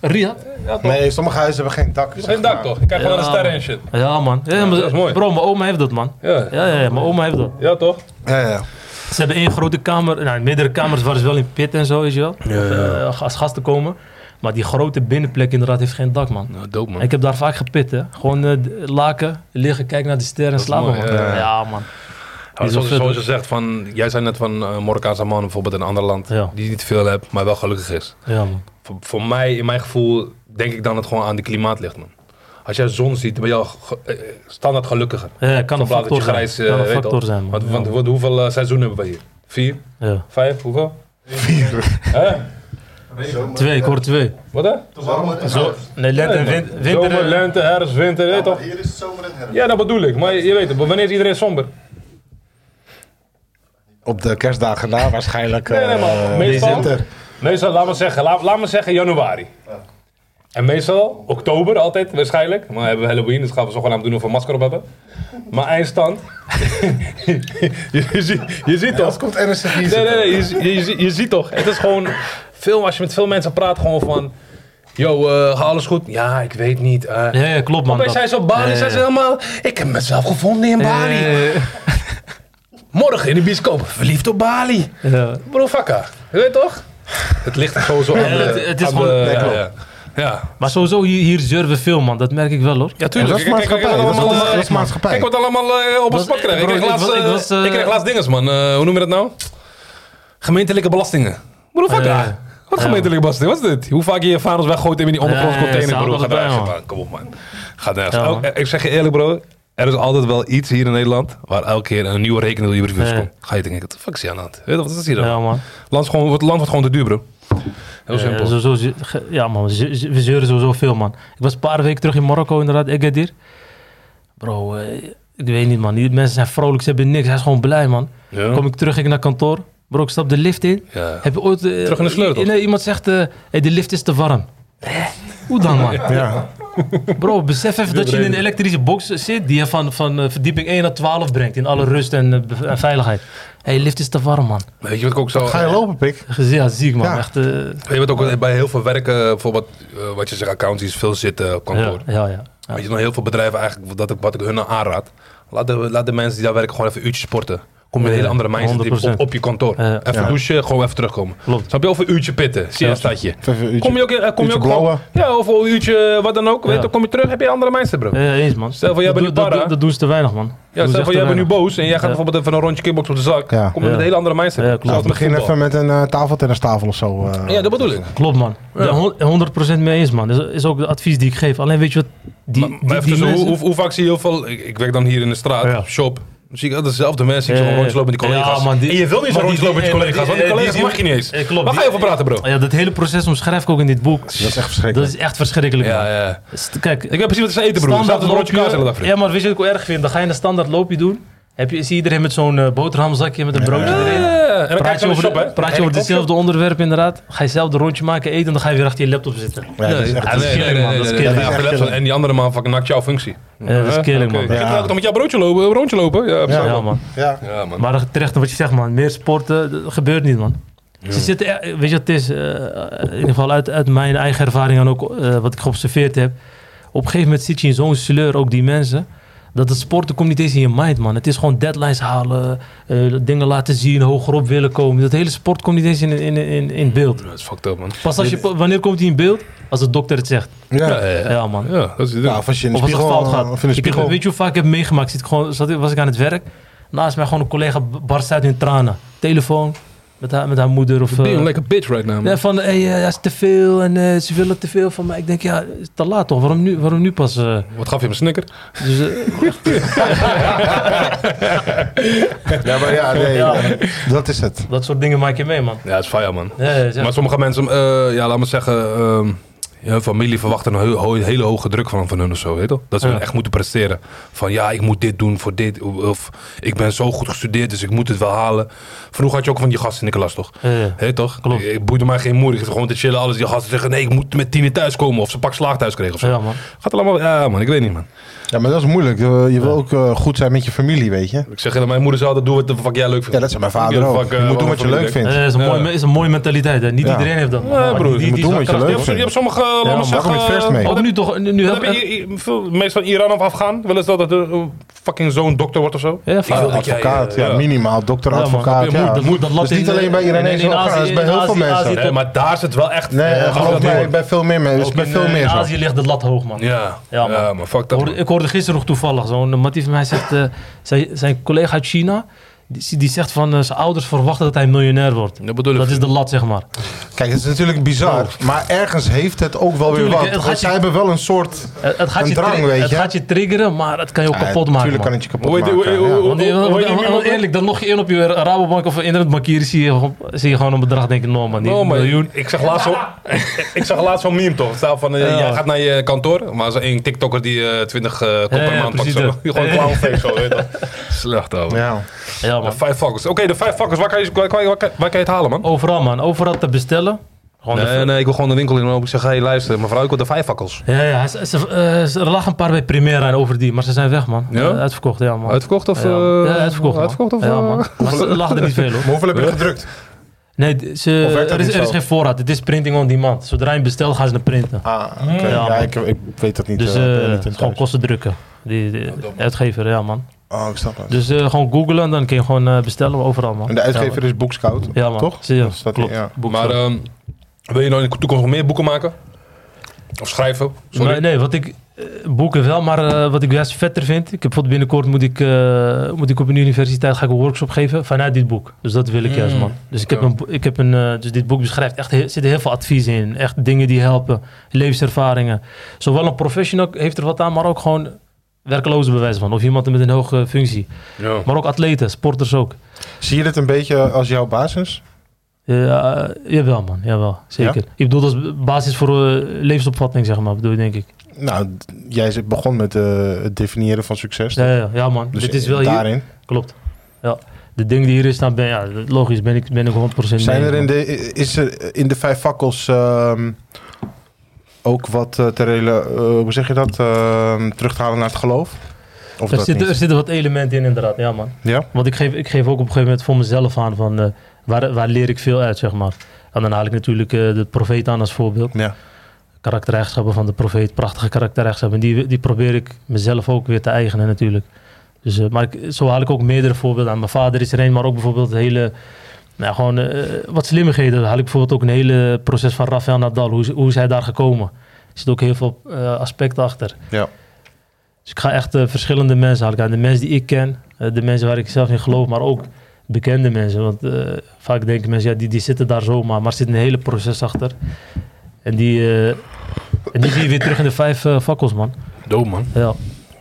D: Ria?
C: Nee, sommige huizen hebben geen dak.
B: Geen dak toch? Ik kijk gewoon naar de sterren en shit.
D: Ja, man. Ja, maar-
B: dat is mooi.
D: Bro, mijn oma heeft dat, man.
B: Ja.
D: Ja, ja, ja, mijn oma heeft dat.
B: Ja, toch?
C: Ja, ja.
D: Ze hebben één grote kamer. Nou, meerdere kamers waren ze wel in pit en zo, weet je wel. Eh, als gasten komen. Maar die grote binnenplek inderdaad heeft geen dak, man.
B: Nou, dope man.
D: Ik heb daar vaak gepit, hè. Gewoon eh, d- laken, liggen, kijken naar de sterren en
B: is
D: slapen,
B: mooi,
D: man.
B: ja, ja.
D: Ja, man.
B: Ja,
D: Die
B: Ah,
D: is
B: zoals,
D: wel vet,
B: zoals je zegt, van, jij zei net van eh, Marokkaanse man bijvoorbeeld in een ander land.
D: Ja.
B: Die niet veel hebt, maar wel gelukkig is.
D: Ja, man.
B: Voor, voor mij, in mijn gevoel, denk ik dan dat het gewoon aan de klimaat ligt man. Als jij zon ziet, dan ben je al ge- eh, standaard gelukkiger.
D: Ja, kan een
B: In plaats dat
D: factor
B: je
D: zijn.
B: grijs, eh,
D: kan een
B: weet
D: factor
B: al.
D: zijn, man.
B: Want,
D: Ja,
B: want,
D: man.
B: want hoeveel eh, seizoenen hebben we hier? Vier?
D: Ja.
B: Vijf? Hoeveel?
C: Vier.
B: Hè?
D: Twee, ik hoor twee.
B: Wat hè?
D: Zo, nee, lente en win- winter.
B: Zomer,
D: eh,
B: lente, herfst, winter, weet je toch?
G: Hier is het zomer en herfst.
B: Ja, dat bedoel ik. Maar je, je weet het, wanneer is iedereen somber?
C: Op de kerstdagen na waarschijnlijk.
B: Nee, nee, maar
C: eh,
B: meestal-
C: winter.
B: Meestal, laat maar zeggen, laat, laat maar zeggen januari. En meestal, oktober altijd waarschijnlijk. Maar hebben we Halloween, dus gaan we zogenaamd doen of we een masker op hebben. Maar eindstand. je, je, ziet- je ziet toch?
C: Dat komt NSC hier
B: Nee, nee,
C: zitten.
B: nee, je, je, je, je ziet toch. Het is gewoon, veel, als je met veel mensen praat, gewoon van... Yo, eh gaat alles goed? Ja, ik weet niet. eh
D: Ja, ja, klopt, man.
B: Opeens
D: dat-
B: zijn ze op Bali,
D: Ja,
B: zijn ze helemaal... Ik heb mezelf gevonden in Bali. Morgen in de bioscoop, verliefd op Bali.
D: ja, ja.
B: Bro, fakka. Je weet toch? Het ligt er gewoon zo aan de-
D: het- het is
B: aan
D: gewoon-
B: de-
D: Nee,
B: ja,
C: klopt.
B: ja. Ja.
D: Maar sowieso, hier, hier zeuren veel, man. Dat merk ik wel, hoor.
B: Ja,
C: tuurlijk.
B: tuurlijk.
C: Dat is maatschappij, dat
B: eh,
C: is allemaal- dat is maatschappij.
B: Kijk wat allemaal eh, op het
D: Was-
B: spot krijgen. Ik
D: bro,
B: kreeg
D: ik
B: laatst,
D: was- ik
B: eh,
D: was, eh,
B: ik kreeg laatst dinges, man. Eh, hoe noem je dat nou? Gemeentelijke belastingen. Bro, fuck
D: Oh, Ja,
B: daar.
D: ja.
B: Wat
D: Ja,
B: gemeentelijke belasting? Wat is dit? Hoe vaak je je vaders weggooit in die ondergrondse
D: Ja, ja, ja,
B: container,
D: ze
B: bro. Ga
D: houden
B: daar,
D: het bij,
B: zeg maar. Kom op, man. Gaat nergens.
D: Ja,
B: Elk-
D: man.
B: eh, ik zeg je eerlijk, bro. Er is altijd wel iets hier in Nederland waar elke keer een nieuwe rekening door je brievenbus
D: Ja.
B: komt. Ga je denken, wat de fuck is hier aan de hand? Weet je, Wat is hier dan?
D: Ja, man.
B: Land, is gewoon, het land wordt gewoon te duur, bro. Heel
D: Ja,
B: simpel.
D: sowieso ze- ge- ja, man. ze- ze- We zeuren sowieso veel, man. Ik was een paar weken terug in Marokko, inderdaad, Egadir. Bro, eh, ik weet niet, man. Die mensen zijn vrolijk, ze hebben niks. Hij is gewoon blij, man.
B: Ja.
D: Kom ik terug, ik naar kantoor. Bro, ik stap de lift in.
B: Ja.
D: Heb je ooit... eh,
B: Terug in de sleutel.
D: Nee, iemand zegt, eh, hey, de lift is te warm. Hè? Hoe dan, man?
C: Ja.
D: Bro, besef even dat je in een elektrische box zit die je van, van eh, verdieping 1 naar 12 brengt. In alle rust en, eh, be- en veiligheid. Hé, hey, lift is te warm, man.
B: Weet je wat ik ook zo...
C: Ga je lopen, pik?
D: Ja, ziek, man.
C: Ja.
D: Echt, eh,
B: Weet je wat ook bij heel veel werken, bijvoorbeeld eh, wat je zegt, accountancies, veel zitten op kantoor.
D: ja, ja, ja.
B: Weet je, dan heel veel bedrijven eigenlijk, dat ik, wat ik hun aanraad, laat de, laat de mensen die daar werken gewoon even een uurtje sporten. Kom je in een
D: Ja,
B: hele andere mindset
D: 100%.
B: op, op je kantoor.
D: Ja.
B: Even douchen, gewoon even terugkomen.
D: Klopt.
B: Snap je? Of een uurtje pitten, zie je een stadje.
C: Even een uurtje-
B: Kom je ook, eh, kom je
C: uurtje
B: ook gewoon,
C: blowen.
B: Ja, of een uurtje eh, wat dan ook. Weet je,
D: Ja.
B: dan kom je terug, heb je een andere mindset, bro.
D: Ja, ja, Eh, eens, man.
B: Stel voor, jij
D: Dat
B: bent
D: doe-
B: nu
D: dat,
B: para.
D: dat doen ze te weinig, man.
B: Ja,
D: Doen ze
B: stel
D: echt
B: voor,
D: te
B: jij bent nu
D: weinig.
B: boos en jij gaat
D: Ja.
B: bijvoorbeeld even een rondje kickbox op de zak.
C: Ja.
B: Kom je met
D: Ja.
B: een hele andere mindset.
D: Ja, klopt.
B: Zelfs
C: Nou,
B: met
C: begin
B: voetbal.
C: even met een eh, tafeltennistafel of zo. eh.
B: Ja, dat bedoel ik.
D: Klopt, man. Ja, hon- 100% mee eens, man. Dat is, is ook het advies die ik geef. Alleen weet je wat... Die,
B: Maar- maar even
D: die,
B: tussen, hoe,
D: mensen-
B: hoe, hoe vaak zie je heel veel... Ik, ik werk dan hier in de straat,
D: Ja.
B: shop. Dan zie ik altijd dezelfde mensen. Ik zie
D: Ja,
B: gewoon
D: ja,
B: rondlopen met die
D: Eh, ja.
B: collega's.
D: Ja, man, die-
B: en je wil niet zo
D: maar die-
B: rondlopen met je
D: eh,
B: collega's, want die
D: eh, die-
B: collega's mag je niet eens.
D: eh, klopt.
B: Waar ga je over praten, bro?
D: Ja, dat hele proces omschrijf ik ook in dit boek.
C: Dat is echt
D: Dat
C: verschrikkelijk.
D: is echt verschrikkelijk,
B: Ja,
D: man.
B: ja.
D: St- Kijk,
B: Ik weet precies wat ze eten, broer. Zelfs een
D: loopje-
B: broodje kaas hele dag, vriend.
D: Ja, maar weet je wat ik ook erg vind? Dan ga je een standaard loopje doen. Heb je, zie iedereen met zo'n eh, boterhamzakje met een broodje erin.
B: Ja, En dan kijk
D: Praat
B: je
D: je
B: naar de
D: over,
B: shop, hè.
D: de, praat je over hetzelfde onderwerp inderdaad. Ga je zelf een rondje maken, eten en dan ga je weer achter je laptop zitten.
C: Ja, dat is echt-
D: dat is
B: Nee, nee,
D: killing, man.
B: nee,
D: Dat is
B: nee, nee, nee,
D: killing.
C: Dat is echt
B: nee. En die andere man fucking nakt jouw functie.
D: Ja, Eh, dat is killing,
B: Oké,
D: man.
B: Ik ga
D: Ja,
C: Ja.
B: elke dag met jouw broodje lopen, eh, rondje lopen. Ja, precies.
D: ja, man.
C: Ja.
B: Ja, man.
D: Maar terecht wat je zegt, man. Meer sporten dat gebeurt niet, man. Ze zitten, e- weet je wat het is? eh, in ieder geval uit, uit mijn eigen ervaring en ook eh, wat ik geobserveerd heb. Op een gegeven moment zit je in zo'n sleur, ook die mensen. Dat het sporten komt niet eens in je mind, man. Het is gewoon deadlines halen, eh, dingen laten zien, hogerop willen komen. Dat hele sport komt niet eens in, in, in, in beeld.
B: Dat is fucked up, man.
D: Pas als je, wanneer komt hij in beeld? Als de dokter het zegt.
C: Ja.
D: Ja, man.
B: Ja, dat is het ding.
C: Nou, of als je in de
D: Of als het
C: spiegel...
D: fout
C: eh,
D: gaat.
C: Of in de
D: Ik heb-
C: spiegel.
D: weet je hoe vaak ik heb meegemaakt? Zit gewoon, zat, was ik aan het werk. Naast mij gewoon een collega b- barst uit in tranen. Telefoon met haar, met haar moeder of... eh,
B: Being like a bitch right now, man.
D: ja, van, hey, eh, dat is te veel en eh, ze willen te veel van mij. Ik denk, ja, het is te laat toch? Waarom nu, waarom nu pas? eh?
B: Wat gaf je hem, snicker?
D: dus, eh,
C: Ja, maar ja, nee. Dat is het.
D: dat soort dingen maak je mee, man.
B: Ja, is fire, man.
D: Ja, ja, ja.
B: Maar sommige mensen, eh, ja, laat maar zeggen, ehm, hun familie verwacht een heel- ho- hele hoge druk van, van hun of zo, weet je toch? Dat ze
D: Ja.
B: echt moeten presteren. Van ja, ik moet dit doen voor dit, of, of ik ben zo goed gestudeerd, dus ik moet het wel halen. Vroeger had je ook van die gasten in de klas, toch?
D: Ja, ja.
B: Hé, toch?
D: Klopt.
B: Ik, ik boeide mij geen moer. Ik zat gewoon te chillen, alles. Die gasten zeggen, nee, ik moet met tien thuis komen. Of ze pak slaag thuis kregen of zo.
D: Ja, man.
B: Gaat allemaal, ja man, ik weet niet man.
C: Ja, maar dat is moeilijk. Eh, Je wil ook eh, goed zijn met je familie, weet je.
B: Ik zeg tegen mijn moeder altijd, doe wat de fuck jij leuk vindt.
C: Ja, dat is mijn vader
B: Ja,
C: ook.
B: fuck,
C: Je
B: eh,
C: moet doen wat je
B: familie
C: leuk
B: denkt.
C: vindt.
D: Eh, is, een
B: Ja.
D: mooie, is een mooie mentaliteit, hè. Niet
C: Ja.
D: iedereen heeft dat.
B: Ja,
D: Maar
B: broer, je
D: die- die-
C: moet
D: die
C: doen
D: is
C: wat je
D: wel
B: Je
C: leuk
B: hebt,
C: vindt.
B: je hebt sommige, eh, laat
D: maar
B: maar
D: daar
C: kom
B: zeggen...
C: ik vers mee.
B: eh,
D: Ook nu toch, nu, nu
B: Dan heb je i- i- veel- meestal in Iran of Afghaan willen ze dat er een fucking zoon dokter wordt of zo.
D: Ja,
B: Ik wil dat jij,
C: Advocaat,
B: eh,
C: ja, minimaal. Dokter,
D: Ja, man.
C: advocaat,
B: Je
C: ja.
B: moet-
D: moet dat lat
C: Dus niet
D: in,
C: alleen bij
D: eh, in-
C: Iranese
D: in
C: afgaan, dat is
D: Azië-
C: bij
D: in
C: heel veel
D: Azië-
C: mensen.
D: Azië-
B: Nee, maar daar zit wel echt...
C: Nee,
B: eh,
C: eh, geloof
B: dat
C: mij,
B: door.
C: bij veel meer mensen. Is
D: Ook
C: bij
D: in,
C: Dus veel
D: eh,
C: meer zo.
D: Azië ligt het lat hoog, man.
B: Ja, ja,
D: Ja,
B: maar,
D: man.
B: fuck
D: Ik
B: dat.
D: hoorde,
B: man.
D: ik hoorde gisteren nog toevallig zo'n mattie van mij zegt, eh, zijn, zijn collega uit China, die, die zegt van eh, zijn ouders verwachten dat hij miljonair wordt.
B: Dat bedoel ik.
D: Dat is de lat, zeg maar.
C: Kijk, het is natuurlijk bizar. Maar ergens heeft het ook wel weer
D: Tuurlijk,
C: wat.
D: het gaat
C: Want
D: je-
C: Zij hebben wel een soort...
D: Het, het gaat,
C: Een
D: je
C: drang,
D: tri-
C: weet
D: het
C: je.
D: gaat je triggeren, maar het kan je ook kapot maken.
C: Natuurlijk
D: man.
C: kan het je kapot
B: Hoe heet die-
C: maken.
B: hoe-
C: ja.
B: hoe-
D: Want, die-
B: Hoor je
D: want-
B: die
D: want-
B: iemand, hè?
D: eerlijk, dan log je in op je eh, Rabobank of internetbankier, zie je, zie je gewoon een bedrag denken, no man, die
B: Oh, maar
D: miljoen.
B: Ik zag laatst zo- ik zag laatst zo'n meme toch. Het staat van, eh,
D: Ja.
B: jij gaat naar je kantoor, maar zo'n één TikToker die eh 20 eh kop
D: Ja,
B: per
D: ja,
B: maand pakt.
D: precies
B: Zo.
D: dat.
B: Gewoon
D: Ja.
B: clownface zo, weet je wel. Slecht, ouwe.
C: Ja.
D: Ja,
B: De
D: man.
B: vijf fuckers. Oké, de vijf fuckers. Waar kan, je, waar, kan je, waar kan je- waar kan je het halen, man?
D: Overal, man. Overal te bestellen. Gewoon de-
B: Nee, nee, ik wil gewoon de winkel in lopen. Ik zeg, hey, luister, mevrouw, ik wil de vijf fakkels.
D: Ja, ja ze, ze, eh, ze- er lag een paar bij Primera en over die, maar ze zijn weg, man.
B: Ja?
D: Eh, uitverkocht, ja, man.
B: Uitverkocht of...
D: ja, man.
B: eh,
D: Ja, uitverkocht, man.
B: Uitverkocht of...
D: Ja,
B: eh,
D: man. Maar ze er lagen er niet veel, hoor.
C: Maar hoeveel heb je gedrukt?
D: Nee, d- ze,
C: Of werd dat
D: er, is,
C: niet
D: er is
C: zo?
D: geen voorraad. Het is printing on demand. Zodra je hem bestelt, gaan ze hem printen.
C: Ah, oké.
D: Ja,
C: Ja,
D: man.
C: ik, ik weet dat niet.
D: Dus
C: eh,
D: eh,
C: ik ben niet in
D: het is gewoon
C: thuis.
D: kosten drukken. Die, die-
B: dom.
D: uitgever, ja, man.
C: Oh, ik snap het.
D: Dus eh, gewoon googlen en dan kun je gewoon eh, bestellen overal, man.
C: en de
D: Ja,
C: uitgever
D: man.
C: is Bookscout,
D: Ja, man.
C: toch?
D: Zie je,
C: Dus dat-
D: klopt.
C: ja.
B: Maar ehm, wil je nou in de toekomst nog meer boeken maken? Of schrijven? Sorry.
D: Nee, nee, wat ik eh, boeken wel, maar eh, wat ik juist vetter vind. Ik heb bijvoorbeeld binnenkort moet ik, eh, moet ik op een universiteit ga ik een workshop geven vanuit dit boek. Dus dat wil ik juist,
B: Mm,
D: man. Dus ik
B: oké.
D: heb een, bo- ik heb een eh, dus dit boek beschrijft echt heel, zitten heel veel advies in, echt dingen die helpen, levenservaringen. Zowel een professional heeft er wat aan, maar ook gewoon werkloze bewijs van of iemand met een hoge functie.
B: Ja.
D: Maar ook atleten, sporters ook.
C: Zie je dit een beetje als jouw basis?
D: Ja, Eh, jawel man, jawel, zeker. Ik bedoel, dat is basis voor eh, levensopvatting, zeg maar, bedoel je, denk ik.
C: Nou, d- jij zit- begon met eh, het definiëren van succes.
D: Ja, ja, ja man,
C: Dus
D: dit is wel hier,
C: daarin.
D: Klopt. Ja. De dingen die hierin staan, ben, ja, logisch, ben ik, ben ik 100%
C: Zijn
D: mee,
C: er in
D: man.
C: de, is er in de vijf fakkels ehm, ook wat eh, te rela- eh, hoe zeg je dat, Ehm, terug te halen naar het geloof? Of
D: er
C: dat
D: zitten, er
C: niet?
D: zitten wat elementen in, inderdaad. Ja, man.
C: Ja?
D: Want ik geef, ik geef ook op een gegeven moment voor mezelf aan van eh, waar, waar leer ik veel uit, zeg maar. En dan haal ik natuurlijk eh, de profeet aan als voorbeeld.
C: Ja.
D: Karaktereigenschappen van de profeet, prachtige karaktereigenschappen. En die, die probeer ik mezelf ook weer te eigenen, natuurlijk. Dus, eh, maar ik, zo haal ik ook meerdere voorbeelden aan. Mijn vader is er een, maar ook bijvoorbeeld hele. Nou, gewoon eh, wat slimmigheden. Dan haal ik bijvoorbeeld ook een hele proces van Rafael Nadal. Hoe, is- hoe is hij daar gekomen? Er zit ook heel veel eh, aspecten achter.
C: Ja.
D: Dus ik ga echt eh, verschillende mensen halen. De mensen die ik ken, eh, de mensen waar ik zelf in geloof, maar ook bekende mensen. Want eh, vaak denken mensen, ja, die, die zitten daar zomaar, maar er zit een hele proces achter. En die, eh, en die zie je weer terug in de vijf eh, fakkels, man.
B: Doe, man.
D: Ja,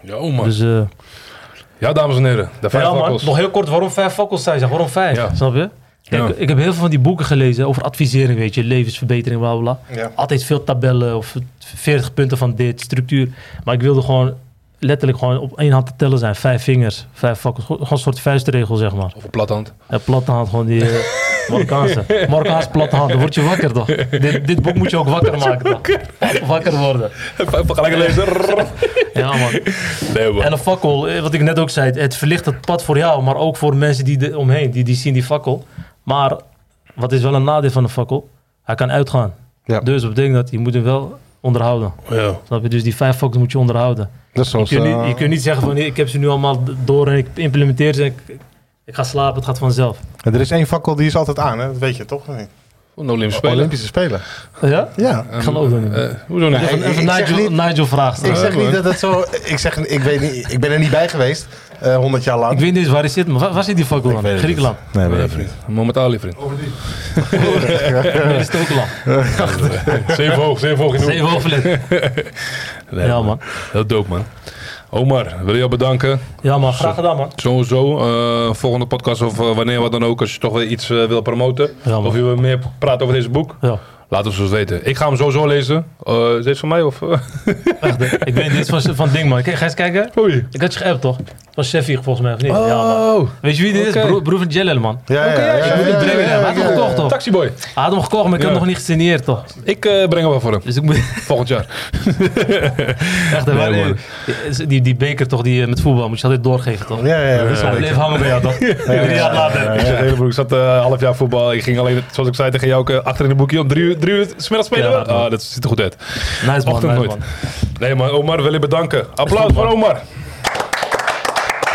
B: Ja, oh, man.
D: dus, eh,
B: Ja, dames en heren. De vijf
D: ja, man.
B: fakkels.
D: Nog heel kort, waarom vijf fakkels zijn? Zeg, waarom vijf?
B: Ja.
D: Snap je? Kijk,
B: Ja.
D: Ik heb heel veel van die boeken gelezen over advisering, weet je, levensverbetering, bla bla. bla.
C: Ja.
D: Altijd veel tabellen of 40 punten van dit, structuur. Maar ik wilde gewoon letterlijk gewoon op één hand te tellen zijn. Vijf vingers, vijf fakkels. Gewoon een soort vuistregel, zeg maar.
B: Of een plathand.
D: Ja, platte hand, gewoon die eh, Marokkaanse. Marokkaanse platte hand, dan word je wakker toch? Dit, dit boek moet je ook wakker maken toch? Wakker worden.
B: Vergelijk lezen.
D: Ja man.
B: Nee, man.
D: En een fakkel, eh, wat ik net ook zei, het verlicht het pad voor jou, maar ook voor mensen die er omheen, die, die zien die fakkel. Maar wat is wel een nadeel van een fakkel? Hij kan uitgaan.
C: Ja.
D: Dus dat betekent dat je moet hem wel onderhouden.
B: Ja.
D: Snap je? Dus die vijf fakkels moet je onderhouden.
C: Dat is zoals...
D: Je kunt, niet,
C: eh,
D: je kunt niet zeggen van nee, ik heb ze nu allemaal door en ik implementeer ze en ik, ik ga slapen, het gaat vanzelf.
C: er is één fakkel die is altijd aan, hè? dat weet je toch? of niet?
B: Voor de nou, Olympische Spelen.
C: Olympische Spelen.
D: Ja?
C: Ja.
D: Ik geloof dat niet.
B: Eh, hoezo niet?
C: Nee.
D: Even, even
C: ik zeg
D: Nigel,
C: niet-
D: Nigel vraagt.
C: Ik zeg
B: man.
C: niet dat het zo... Ik, zeg, ik, weet niet, ik ben er niet bij geweest, eh 100 jaar lang.
D: Ik weet niet eens waar hij zit, maar waar, waar zit die fakkel aan? Griekenland.
C: Nee,
B: Nee, vriend. Momentali, vriend.
D: Nee, dat is Tokeland.
B: Zeven hoog, zeven hoog in de hoek.
D: Zeven hoofdlid.
B: Nee,
D: Ja,
B: man.
D: man.
B: Heel dope, man. Omar, wil je jou bedanken.
D: Ja, man. Graag gedaan, man.
B: Sowieso, eh, volgende podcast of eh, wanneer wat dan ook, als je toch weer iets eh, wil promoten.
D: Ja, man.
B: of je wil meer praten over deze boek,
D: Ja,
B: laat ons het weten. Ik ga hem sowieso lezen. Eh is deze van mij of...
D: echt. hè. Ik weet niets van, van ding, man. Kijk, ga eens kijken.
B: Oei.
D: Ik had je geappt, toch? Van Sheffield, volgens mij, of niet?
B: Oh,
D: Ja, man. Weet je wie dit
B: Oké.
D: is? Broer, broer van Jellel, man.
C: Ja, ja, ja,
B: Oké,
C: ja,
D: Je moet
C: ja,
D: het brengen.
C: ja,
D: Hij had
C: ja,
D: hem
C: ja.
D: gekocht, toch?
B: Taxiboy.
D: Hij had hem gekocht, maar ik heb
B: Ja.
D: hem nog niet gesineerd, toch?
B: Ik eh, breng hem wel voor hem.
D: Dus ik moet...
B: Volgend jaar.
D: Echt, hè,
B: Nee,
D: waar-
B: man.
D: eh, die, die beker, toch? Die eh, met voetbal moet je altijd doorgeven, toch?
C: Ja, ja, ja. dat is
D: Hij
C: wel-
D: bleef hangen bij jou, toch? Drie jaar later.
B: Ik zeg hele broer, ik zat eh, half jaar voetbal. Ik ging alleen, zoals ik zei tegen jou, ook, eh, achter in een boekje om drie uur, drie uur 's middags spelen.
D: Ja,
B: we?
D: man.
B: Ah, dat ziet er goed uit.
D: Nice, man.
B: Ochtend
D: Nice,
B: nooit.
D: man.
B: Nee man, Omar wil je bedanken. Applaus
D: goed,
B: voor
D: man.
B: Omar.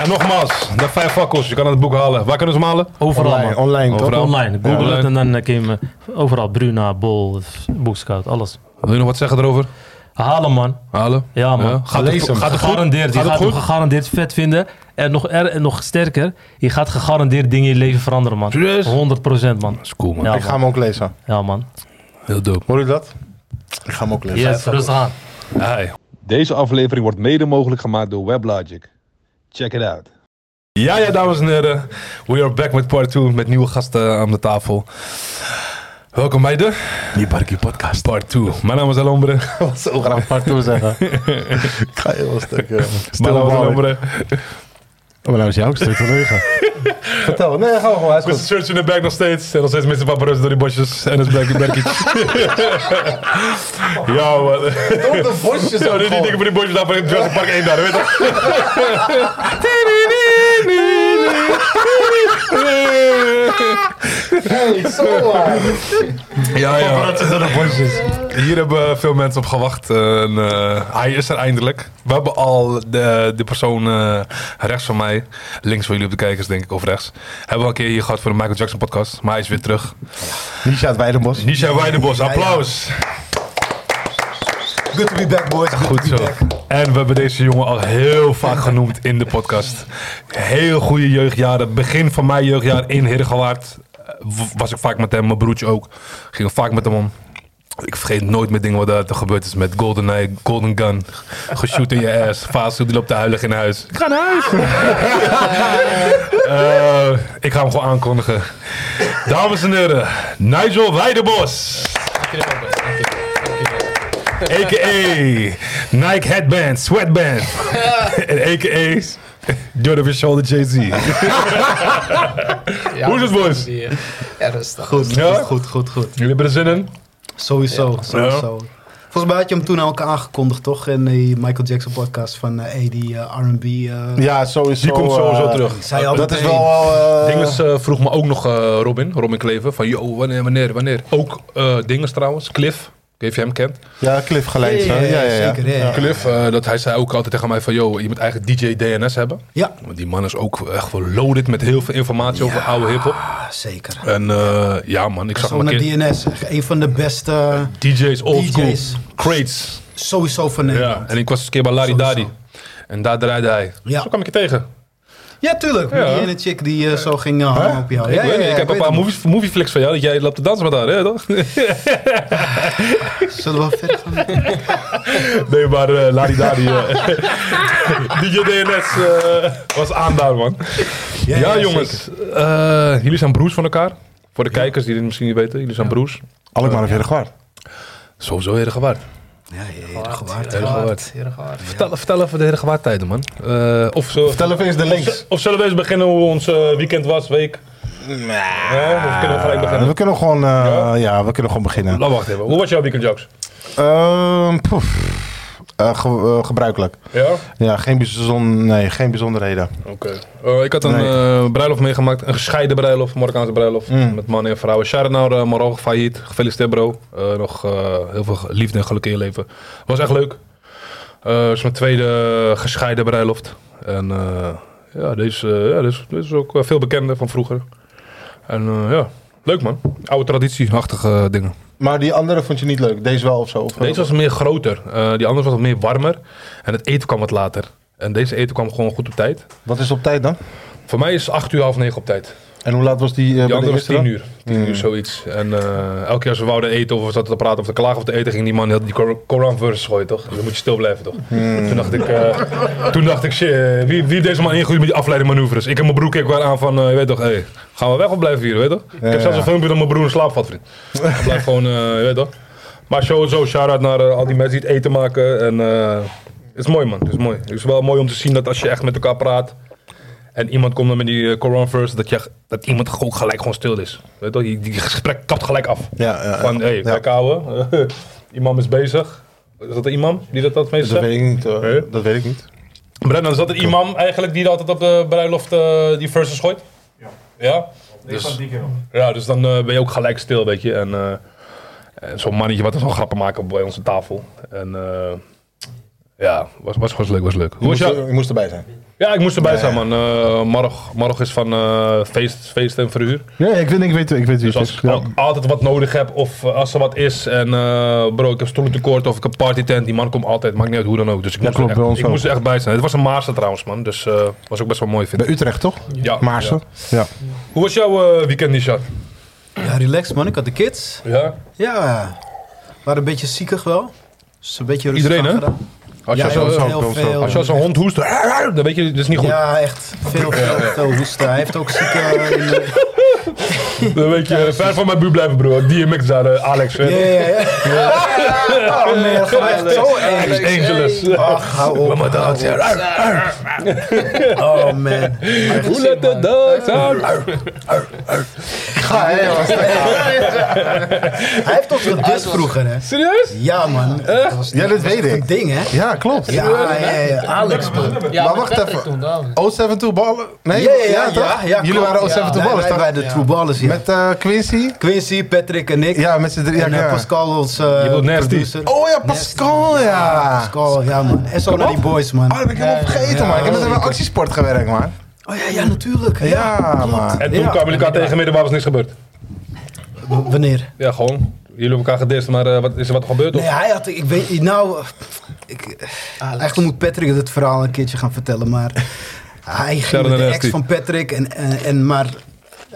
B: En nogmaals, de vijf fakkels. Je kan het boek halen. Waar kunnen ze hem halen?
D: Overal,
C: Online,
D: man.
C: online toch?
B: Overal.
D: Online. Google
B: Online.
D: het en dan eh, kun je me overal. Bruna, Bol, Boekscout, alles.
B: Wil je nog wat zeggen erover?
D: Halen, man.
B: Halen?
D: Ja, man.
B: Gaat
C: Lees
B: het,
C: hem.
B: gaat het goed?
D: gegarandeerd. Je
B: Gaat
D: gaat
B: het
D: hem
B: goed?
D: gegarandeerd vet vinden. En nog, er, en nog sterker, je gaat gegarandeerd dingen in je leven veranderen, man.
B: Serieus?
D: 100% man.
B: Dat is cool man.
D: Ja,
C: Ik ga
D: man.
C: hem ook lezen.
D: Ja, man.
B: Heel dope.
C: Hoor je dat? Ik ga hem ook lezen.
D: Yes, rustig aan.
B: Hey.
A: Deze aflevering wordt mede mogelijk gemaakt door WebLogic. Check it out.
B: Ja, ja, dames en heren. We are back met part 2 met nieuwe gasten aan de tafel. Welkom bij de Nibarki Podcast. Part 2. Mijn naam is Alombre.
C: Ik wil zo graag part toe zeggen. ik ga heel een stuk. eh,
B: Mijn naam is
C: bal.
B: Alombre.
C: Oh, maar nou is jouw stuk verlegen. Vertel, nee, ga gewoon. Hij is
B: Mr.
C: goed.
B: Church in de back nog steeds. En nog steeds Mr. Paparazzi door die bosjes. En dat is Berkie Berkie. ja, man.
C: Door Oh, de bosjes
B: Zo,
C: ook
B: die, die dingen
C: gewoon.
B: van die bosjes daar van het Jurassic Park 1 daar, weet je toch?
C: Hey, zo waar.
B: Ja, ja. Hier hebben veel mensen op gewacht. En, eh, hij is er eindelijk. We hebben al de, de persoon eh, rechts van mij, links van jullie op de kijkers denk ik, of rechts. Hebben we al een keer hier gehad voor de Michael Jackson podcast. Maar hij is weer terug.
C: Nisha uit Weidenbos.
B: Nisha Weidenbos, applaus.
C: Good to be back, boys.
B: Goed zo. En we hebben deze jongen al heel vaak genoemd in de podcast. Heel goede jeugdjaren. Begin van mijn jeugdjaar in Heergewaard eh, was ik vaak met hem, mijn broertje ook. Ging vaak met hem om. Ik vergeet nooit meer dingen wat er gebeurd is met GoldenEye, Golden Gun. Geshoot in je ass. Fasu die loopt te huilen in huis. Ik ga naar huis. Eh, ik ga hem gewoon aankondigen. Dames en heren, Nigel Weidenbos. A.K.A. Nike headband, sweatband. en A.K.A. Jordan van Shoulder Jay-Z. Hoe is het, boys?
G: Ja, rustig.
H: Goed,
B: Ja?
H: goed, goed, goed, goed.
B: Jullie hebben er zin in?
H: Sowieso, sowieso. Volgens mij had je hem toen ook aangekondigd, toch? In die Michael Jackson podcast van eh hey, die eh, R&B. eh,
C: Ja, sowieso.
B: Die komt sowieso
C: eh,
B: terug.
H: ik zei al
C: Dat is
H: meteen,
C: wel... eh,
B: Dinges eh, vroeg me ook nog eh, Robin, Robin Kleven, van yo, wanneer, wanneer, wanneer. Ook eh Dinges trouwens, Cliff, ik weet niet of je hem kent.
C: Ja, Cliff geleid.
H: Ja,
C: hè? Ja,
H: ja,
C: ja, ja.
H: eh, zeker, ja.
B: Cliff, eh, dat hij zei ook altijd tegen mij van yo, je moet eigen DJ DNS hebben.
H: Ja,
B: Want die man is ook echt wel loaded met heel veel informatie over oude hiphop.
H: ah, zeker.
B: En eh, ja man, ik zag hem
H: Zonder
B: een keer
H: DNS, echt een van de beste
B: DJ's, old
H: DJ's.
B: school, crates.
H: sowieso van
B: Ja,
H: Nederland.
B: en ik was dus een keer bij Larry
H: Sowieso.
B: Daddy. En daar draaide hij.
H: Ja.
B: Zo kwam ik je tegen.
H: Ja, tuurlijk.
B: Ja.
H: met Die ene chick die eh, zo ging eh, hangen op jou. Ja,
B: ik, weet
H: ja,
B: niet,
H: ja,
B: ik heb
H: ik
B: een paar
H: weet
B: movies, movieflix van jou, dat jij loopt te dansen met haar, hè, toch?
H: het. Zullen we verder gaan?
B: Nee, maar eh Larry Daddy, eh, DJ DNS eh, was aan daar, man. Ja,
H: ja,
B: jongens, eh, jullie zijn broers van elkaar. Voor de kijkers die dit misschien niet weten, jullie zijn broers.
C: Alkmaar heeft Heerdegewaard.
B: Sowieso Heren Gewaard.
H: Ja, ja, ja, gewaard.
B: Heren Gewaard. Vertel, vertel even de Heren Gewaard tijden, man. Eh, of, zo-
C: Vertel even eens de links.
B: of zullen we eens beginnen hoe ons eh, weekend was, week? Nee. of kunnen we gelijk beginnen?
C: we kunnen gewoon, eh, ja. we kunnen gewoon beginnen.
B: Nou, wacht even. Hoe was jouw weekend, Jacks?
C: Ehm, poef. Eh, ge- eh, gebruikelijk.
B: Ja?
C: Ja, geen, bijzon, nee, geen bijzonderheden.
B: Oké. Eh, ik had een eh, bruiloft meegemaakt, een gescheiden bruiloft, Marokkaanse bruiloft, met mannen en vrouwen. Shout-out naar eh, Marokko failliet. Gefeliciteerd bro. Eh, nog eh, heel veel liefde en geluk in je leven. Was echt leuk. Eh, Het is mijn tweede gescheiden bruiloft. En eh, ja, deze, eh, ja, deze, deze is ook eh, veel bekender van vroeger. En eh, ja, Leuk man. Oude traditieachtige dingen.
C: Maar die andere vond je niet leuk? Deze wel of zo? Of
B: Deze was meer groter. Eh, die andere was wat meer warmer. En het eten kwam wat later. En deze eten kwam gewoon goed op tijd.
C: Wat is op tijd dan?
B: Voor mij is 8 uur half 9 op tijd.
C: En hoe laat was die? eh, bij
B: Die
C: de
B: andere was
C: eerste Hmm.
B: 10
C: dan?
B: uur. 10 uur zoiets. En eh, elke keer als we wouden eten of we zaten te praten of te klagen of te eten, ging die man heel die Kor- Koran verse gooien toch? Dus dan moet je stil blijven toch?
C: Hmm.
B: Toen dacht ik, eh, toen dacht ik shit, eh, wie, wie heeft deze man ingegroeid met die afleidingmanoeuvres? Ik en mijn broer keken elkaar aan van, eh, je weet toch, hey, gaan we weg of blijven hier, weet toch? ik heb zelfs een filmpje dat mijn broer in slaap valt, vriend. Ik blijf gewoon, eh, je weet toch? Maar sowieso, shout-out naar eh, al die mensen die het eten maken. En eh, het is mooi, man. Het is mooi. Het is wel mooi om te zien dat als je echt met elkaar praat en iemand komt dan met die eh, Koran verse, dat, je, dat iemand gewoon gelijk gewoon stil is. Weet je wel? Die, die gesprek kapt gelijk af.
C: Ja, ja, ja.
B: Van, hé, hey,
C: Ja.
B: kijk ouwe, imam is bezig. Is dat de imam die dat dat meest
C: Dat
B: zegt?
C: weet ik niet. hoor.
B: Hè?
C: Dat weet ik niet.
B: Brennan, is dat de imam eigenlijk die altijd op de bruiloft eh, die verses gooit? Ja. Ja? Dus, ja, dus dan eh, ben je ook gelijk stil, weet je. En eh, en zo'n mannetje wat er zo'n grappen maken bij onze tafel. En eh, ja, was, was, was leuk, was leuk. Hoe
C: Je
B: was
C: moest,
B: jou?
C: er- je moest erbij zijn.
B: Ja, ik moest erbij zijn, man. Eh morgen, morgen is van eh, feest, feest en verhuur.
C: Ja, ik weet, ik weet, ik weet wie
B: Dus als ik al- altijd wat nodig heb, of eh, als er wat is en eh, bro, ik heb stoelentekort of ik heb partytent, die man komt altijd, maakt niet uit hoe dan ook. Dus ik,
C: Ja,
B: moest,
C: klopt,
B: er
C: bij
B: echt,
C: ons
B: ik
C: ook.
B: moest er echt bij zijn. Het was een Maarse trouwens, man, dus eh, was ook best wel mooi, vind
C: Bij
B: ik.
C: Utrecht toch?
B: Ja,
C: Maarsen.
B: ja.
C: Ja.
B: Hoe was jouw eh, weekend, Nisha?
H: Ja, relax man. Ik had de kids.
B: Ja?
H: Ja, waren een beetje ziekig wel. Dus een beetje rustig
B: Iedereen,
H: aan
B: hè?
H: gedaan.
B: Als je
H: Ja,
B: als zo'n
H: heel-
C: zo-
H: heel
C: zo-
H: veel.
B: als je als een hond hoest, dan weet je, dat is niet goed.
H: Ja, echt veel, veel, veel hoesten. Hij heeft ook eh, zieke...
B: Dan weet je, eh, ver van mijn buurt blijven, bro. DMX daar, eh, Alex.
H: Ja,
B: Yeah.
H: ja, ja. Oh man, dat gaat echt zo erg.
B: Angeles.
H: Ach, hou op.
B: Maar dat, ja.
H: Oh man.
B: Hoe let the dogs out?
H: Ga, hè, jongens. Hij heeft ons gedust vroeger, hè.
B: Serieus?
H: Ja, man. Dat was
C: Ja, dat weet
H: een
C: ik.
H: ding, hè.
C: Ja, klopt.
H: Ja, ja, ja. Alex, bro.
G: Ja,
C: Maar
G: met
C: wacht
G: Patrick
C: even.
G: Toen, daar.
C: o 72 ballen? Nee,
H: Ja, ja, ja,
C: toch?
H: ja, ja,
C: Jullie
H: klopt.
C: waren o 72
H: Wij
C: ballen.
H: wij
C: toch?
H: waren de true ballers, ja.
C: Met eh, Quincy.
H: Quincy, Patrick en ik.
C: Ja, met z'n drieën.
H: en eh,
C: ja.
H: Pascal, ons eh,
B: bedoelt Nasty.
H: producer.
C: Oh ja, Pascal, ja.
H: Pascal, ja, man. En zo naar die boys, man.
C: Oh, dat ben ik helemaal vergeten, man. Ik heb net in een actiesport gewerkt, man.
H: Oh ja, ja, natuurlijk.
C: Ja, man.
B: En toen
H: Ja. dus-
B: kwamen jullie elkaar tegen midden, waar was niks gebeurd?
H: W- wanneer?
B: Ja, gewoon. Jullie hebben elkaar gedist, maar eh, wat, is er wat gebeurd?
H: Nee,
B: of?
H: hij had, ik weet niet, nou, ik, eigenlijk moet Patrick het verhaal een keertje gaan vertellen, maar hij ging
B: Shout-out
H: met de
B: naar
H: ex
B: Nasty.
H: van Patrick en, en, en maar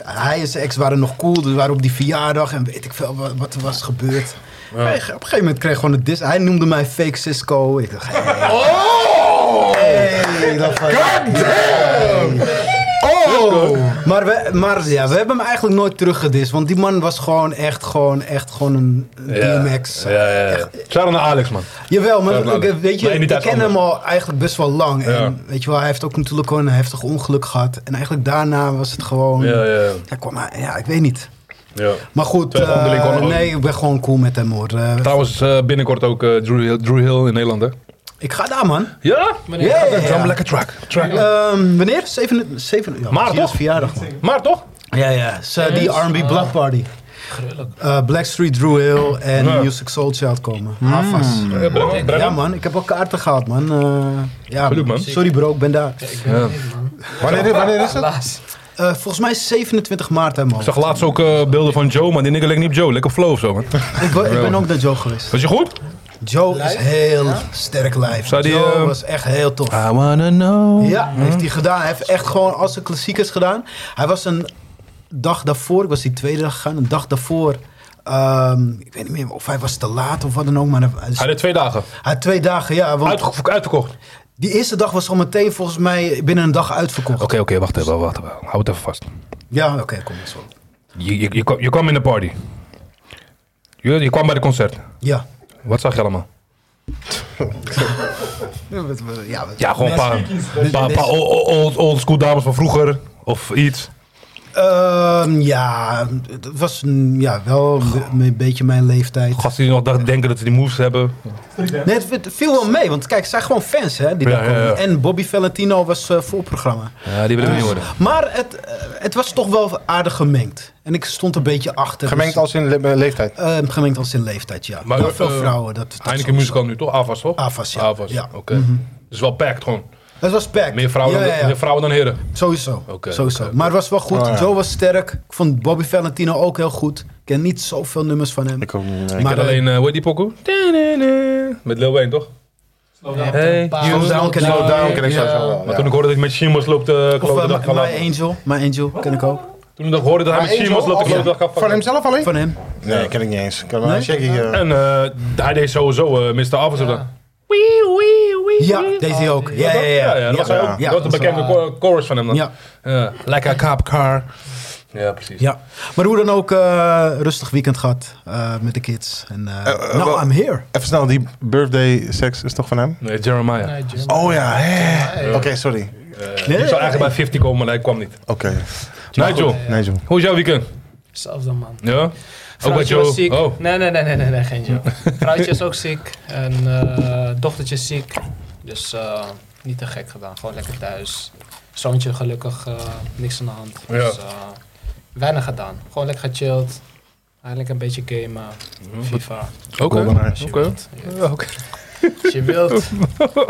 H: hij en zijn ex waren nog cool, dus waren op die verjaardag en weet ik veel wat, wat er was gebeurd. Hij- op een gegeven moment kreeg gewoon een dis. Hij noemde mij fake Cisco. Ik dacht, hey,
C: Oh!
H: hey, ik dacht van-
C: Oh!
H: Maar, we, maar ja, we hebben hem eigenlijk nooit teruggedist, want die man was gewoon echt, gewoon, echt gewoon een een DMX.
B: Ja, ja, ja. ja. Shout-out naar Alex, man.
H: Jawel, maar
B: Ja, dat
H: ik-
B: laat ik.
H: weet je,
B: Nee,
H: ik
B: niet
H: ken
B: uit anders.
H: hem al eigenlijk best wel lang.
B: Ja.
H: En weet je wel, hij heeft ook natuurlijk gewoon een heftig ongeluk gehad. En eigenlijk daarna was het gewoon...
B: Ja, ja,
H: Hij kwam, maar- ja ik weet niet.
B: ja.
H: Maar goed,
B: Twee onderling
H: eh,
B: gewoon-
H: nee, ik ben gewoon cool met hem hoor. Eh,
B: Trouwens, eh, binnenkort ook eh, Drew, Hill, Drew Hill in Nederland, hè?
H: ik ga daar man.
B: Ja?
G: Wanneer?
H: Ja, ja,
B: Dat
H: ja.
B: is een lekker track. track.
H: Ehm, wanneer? 7, 7, ja,
B: Maar
H: Zia's
B: toch?
H: verjaardag man.
B: Maar toch?
H: Ja, ja. is, eh, die
G: Yes. Ah.
H: R&B Block Party.
G: Gruwelijk.
H: Eh, Blackstreet, Drew Hill en
B: Ja.
H: Music Soul Child komen. Havas.
B: Ja, Brennan?
H: Ja
B: Brennan?
H: man, ik heb al kaarten gehad man. Eh, ja,
B: Geluk, man.
H: Sorry bro, ik ben daar.
G: Ja, ik ben
B: Ja.
G: er niet, man.
C: Wanneer, wanneer is het?
G: Helaas.
H: Eh, volgens mij 27 maart hè man.
B: Ik zag laatst ook eh, beelden van Joe, maar die nigger lijkt niet op Joe. Lekker flow of zo, man.
H: Ik, ben- ik ben ook naar Joe geweest.
B: Was je goed?
H: Joe is heel sterk lijf.
B: Zou die,
H: Joe
B: eh,
H: was echt heel tof.
B: I wanna know. Hm?
H: Ja, heeft hij gedaan. Hij heeft echt gewoon als een klassiekers gedaan. Hij was een dag daarvoor, ik was die tweede dag gegaan, een dag daarvoor. ehm, ik weet niet meer of hij was te laat of wat dan ook, maar hij,
B: Hij deed twee dagen.
H: hij had twee dagen, ja. Want
B: Uitge- uitverkocht. Oké,
H: die eerste dag was al meteen volgens mij binnen een dag uitverkocht.
B: oké, wacht even, wacht even. Hou het even vast.
H: Ja, oké, kom eens op.
B: Je, je, je, kwam- je kwam in de party. Je, je kwam bij de concert.
H: Ja.
B: Wat zag je allemaal?
H: Ja, wat- wat- ja, wat-
B: Ja, gewoon een paar, paar,
H: Dit-
B: paar o- o- old, old school dames van vroeger. Of iets.
H: Ehm, ja, het was mm, ja, wel een be- een beetje mijn leeftijd.
B: Gasten die nog dacht- denken dat ze die moves hebben.
H: Nee, het, het viel wel mee, want kijk, het zijn gewoon fans hè, die
B: Ja,
H: daar komen.
B: ja, ja.
H: En Bobby Valentino was eh voorprogramma.
B: Ja, die willen we niet horen.
H: Maar het, eh, het was toch wel aardig gemengd. En ik stond een beetje achter.
C: Gemengd
H: dus-
C: als in le- leeftijd.
H: Eh, gemengd als in leeftijd, ja.
B: Maar,
H: Maar veel
B: eh,
H: vrouwen. Dat, dat
B: Heineken
H: sowieso.
B: Musical nu toch? Avas toch?
H: Avas, ja.
B: Avas,
H: Ja.
B: oké. Dus wel packed gewoon.
H: Het was packed.
B: Meer vrouwen,
H: Ja,
B: dan,
H: ja, ja.
B: meer vrouwen dan heren.
H: Sowieso.
B: Oké,
H: sowieso.
B: oké.
H: Maar het was wel goed.
C: Oh, ja.
H: Joe was sterk. Ik vond Bobby Valentino ook heel goed. Ik ken niet zoveel nummers van hem.
C: Ik ook niet.
B: Ik
H: Maar,
B: had alleen, eh, hoe heet die pokoe? Met Lil Wayne, toch? Hey,
H: Slow
B: you.
H: Down ken ik
C: Slow
H: ook.
C: down ken ik
H: Ja.
C: sowieso wel.
B: Maar
C: ja.
B: toen ik hoorde dat hij met Shimos loopt te
H: Of eh,
B: kloten, dacht ik
H: My,
B: van,
H: My
B: laat-
H: Angel. My Angel ken ik ook.
B: toen ik hoorde dat hij
C: Maar
B: met
C: Angel,
B: Shimos loopt te
C: of-
B: kloten, dacht ik
C: Van hemzelf alleen?
H: Van hem.
C: Nee, ken ik niet eens. Ik kan wel
H: Nee?
C: een checkie, eh.
B: En eh, hij deed sowieso eh Mr. Officer dan.
H: Ja, deze hier ook. Ja, ja,
B: Ja,
H: ja.
B: ja, dat was,
H: Ja.
B: hij ook,
H: Ja.
B: dat was een bekende cho- chorus van hem dan.
H: Ja.
B: Ja. Like a cop car. Ja, precies.
H: Ja, maar hoe dan ook, eh, rustig weekend gehad eh, met de kids. En, eh
C: eh,
H: now
C: wel-
H: I'm here.
C: Even snel, die birthday sex is toch van hem?
B: Nee, Jeremiah.
G: Nee, Jim.
C: Oh ja, hè. Oké, sorry.
B: Die zou
H: eh,
B: eigenlijk bij 50 Eh, komen, maar hij kwam niet.
C: Oké.
B: Nigel,
C: Nee, John.
B: hoe is jouw weekend?
G: Hetzelfde man.
B: Ja? Ook bij
G: Vrouwtje was
B: Joe?
G: ziek.
B: Oh,
G: Nee, nee, nee, nee, nee, nee, geen Joe. Vrouwtje is ook ziek. En eh, dochtertje is ziek. Dus eh, niet te gek gedaan. Gewoon lekker thuis. Zoontje gelukkig eh, niks aan de hand. Dus eh, weinig gedaan. Gewoon lekker gechilled. Eigenlijk een beetje gamen. FIFA.
B: oké.
C: GoldenEye.
G: Als je
B: Oké.
G: wilt.
B: Ja, oké.
G: Als je wilt.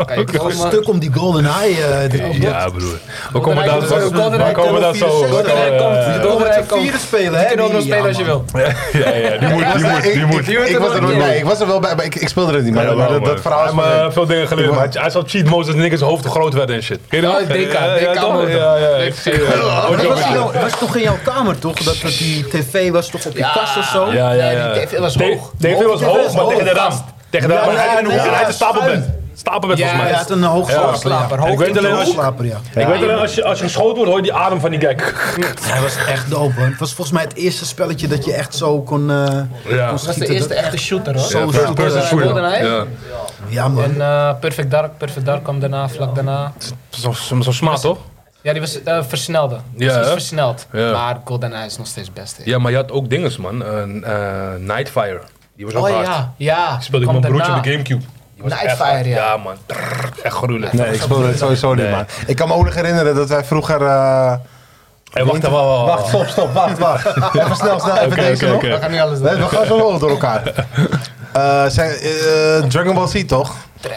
G: Kan je komen.
H: Een stuk om die golden eye. eh, dit-
B: Ja, broer. We komen
G: Goldeneye
B: daar
G: komt-
B: zo.
G: Goldeneye
B: We komen daar zo.
A: eh,
H: komt-
B: We
G: Goldeneye komt-
B: komen-
H: Golden
G: Goldeneye
H: Eye
G: komt.
H: vieren spelen,
G: Je
H: hè?
G: kunt ook nog
H: die-
G: spelen als je
H: ja, man.
G: wilt.
B: Ja, ja, die moet, die moet, die moet.
C: Ik was er nooit bij. Ik was er wel bij, maar ik, ik speelde er niet. Maar,
B: Ja,
C: maar
B: wel,
C: dat, dat
B: man.
C: verhaal is
B: Hij heeft,
C: van-
B: eh, veel dingen geleerd. maar Hij hij zat cheat modes dat niggas hoofd te groot werden en shit. Ken je dat?
G: Ja, DK,
B: Ja, ja,
G: DK
B: toch?
G: mode.
B: Ja, ja.
G: Ik
B: ik
G: zie
B: zie
G: het.
B: je. Oh,
H: Dat
B: Joe,
H: was, in
B: ja.
H: jou- was toch in jouw kamer, toch? Dat, dat die tv was toch op je kast of zo?
B: Ja, ja, ja.
G: Nee, die TV was
B: Te-
G: hoog.
B: TV was
H: Hoog,
B: hoog, maar
H: hoog.
B: tegen de raam. Tegen de
H: Ja,
B: raam.
H: ja,
B: En hoe
H: ja,
B: hij te
H: ja,
B: stapelbed. Stapelbed
G: Ja,
B: volgens
H: Hij
B: mij.
H: had een hoogslaper.
G: Hoogslaper.
H: Ja.
B: Ik weet alleen ook-
H: Hoogslaper, ja.
B: Ik weet alleen, als je, als je geschoten wordt, hoor je die adem van die gek.
H: Hij was echt dope, hoor. Het was volgens mij het eerste spelletje dat je echt zo kon, eh
B: Ja.
H: kon
G: Dat was
H: schieten.
G: de eerste
H: Dat-
G: echte shooter hoor.
H: Zo
G: Ja,
H: first person
G: Golden
H: shooter.
G: Eye.
B: Ja.
H: Ja, man.
G: En eh, Perfect Dark, Perfect Dark kwam daarna, vlak daarna.
B: Zo'n zo, zo smaak, toch?
G: Ja, die was eh, versnelde. Die
B: Ja,
G: was iets
B: hè?
G: versneld.
B: Ja.
G: Maar GoldenEye is nog steeds het beste.
B: Ja, maar je had ook dinges, man. Een eh, Nightfire. Die was ook
G: Oh
B: hard.
G: ja, ja.
B: Ik speelde ik
G: kwam
B: met mijn broertje op de
G: daarna.
B: Gamecube. Die was echt
G: Nightfire,
B: hard.
G: ja.
B: Ja, man. Trrr, echt gruwelijk.
C: Nee, ik speelde het sowieso niet,
B: Nee.
C: maar ik kan me ook nog herinneren dat wij vroeger... eh,
B: Hey, wacht, wacht, wacht,
C: Wacht, stop, stop, wacht, wacht. Even snel, snel, even
B: Oh. Oké,
C: deze
B: oké,
C: nog.
B: oké.
G: We gaan nu alles
C: Nee,
G: doen.
C: we gaan zo wel door elkaar. Eh, zijn, eh, Dragon Ball Z, toch?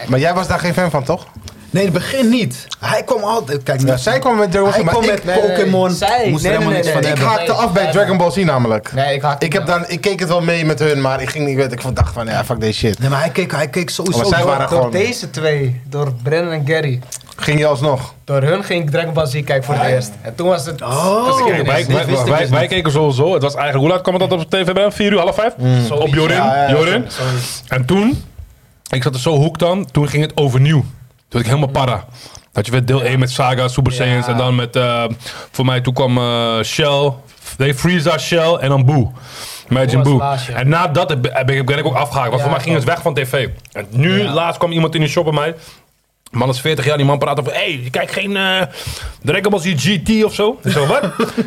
C: Maar jij was daar geen fan van, toch?
H: Nee, in het begin niet. Hij kwam altijd... Kijk,
C: Ja,
H: niet-
C: zij kwam met Dragon Ball
H: Hij
C: Z, maar
H: kwam
C: Ah, ik,
H: met
G: nee, nee,
H: Pokémon.
G: zij-
H: Moest er
G: nee,
H: helemaal
G: nee,
H: niks van
G: nee,
H: hebben.
C: ik haakte
G: Nee,
C: af bij
G: zij-
C: Dragon Ball Z namelijk.
G: Nee, ik haak
C: Ik, heb dan, ik keek het wel mee met hun, maar ik ging niet weten. Ik dacht van, ja, fuck deze shit.
H: Nee, maar hij keek, hij keek sowieso...
C: Maar zij
H: door.
C: waren
G: Door
C: gewoon...
G: deze twee, door Brennan en Gary,
C: Ging je alsnog?
G: door hun ging ik Dragon Ball Z kijken voor het eerst. En toen was het...
H: Oh,
B: Kijk, wij, wij, wij, wij, keken sowieso. Het was eigenlijk, hoe laat kwam dat op de tv bij? 4 uur, half 5? Op Jorin.
C: Ja, ja, ja.
B: Jorin.
G: Sorry.
B: En toen, ik zat er zo hoek dan, toen ging het overnieuw. Toen werd ik helemaal para. Dat je werd deel 1 met Saga, Super Saiyans en dan met, eh, voor mij toen kwam eh, Shell, nee, Frieza, Shell en dan Boo. Imagine
G: Boo was
B: Boo.
G: laatst, ja.
B: En nadat heb, heb ik, ben ik ook afgehaakt, want
G: Ja,
B: voor mij ging het weg van tv. En nu, laatst kwam iemand in de shop bij mij. Die Man is 40 jaar, die man praat over, hé, hey, je kijkt geen eh Dragon Ball Z GT of zo. Ik zeg, wat?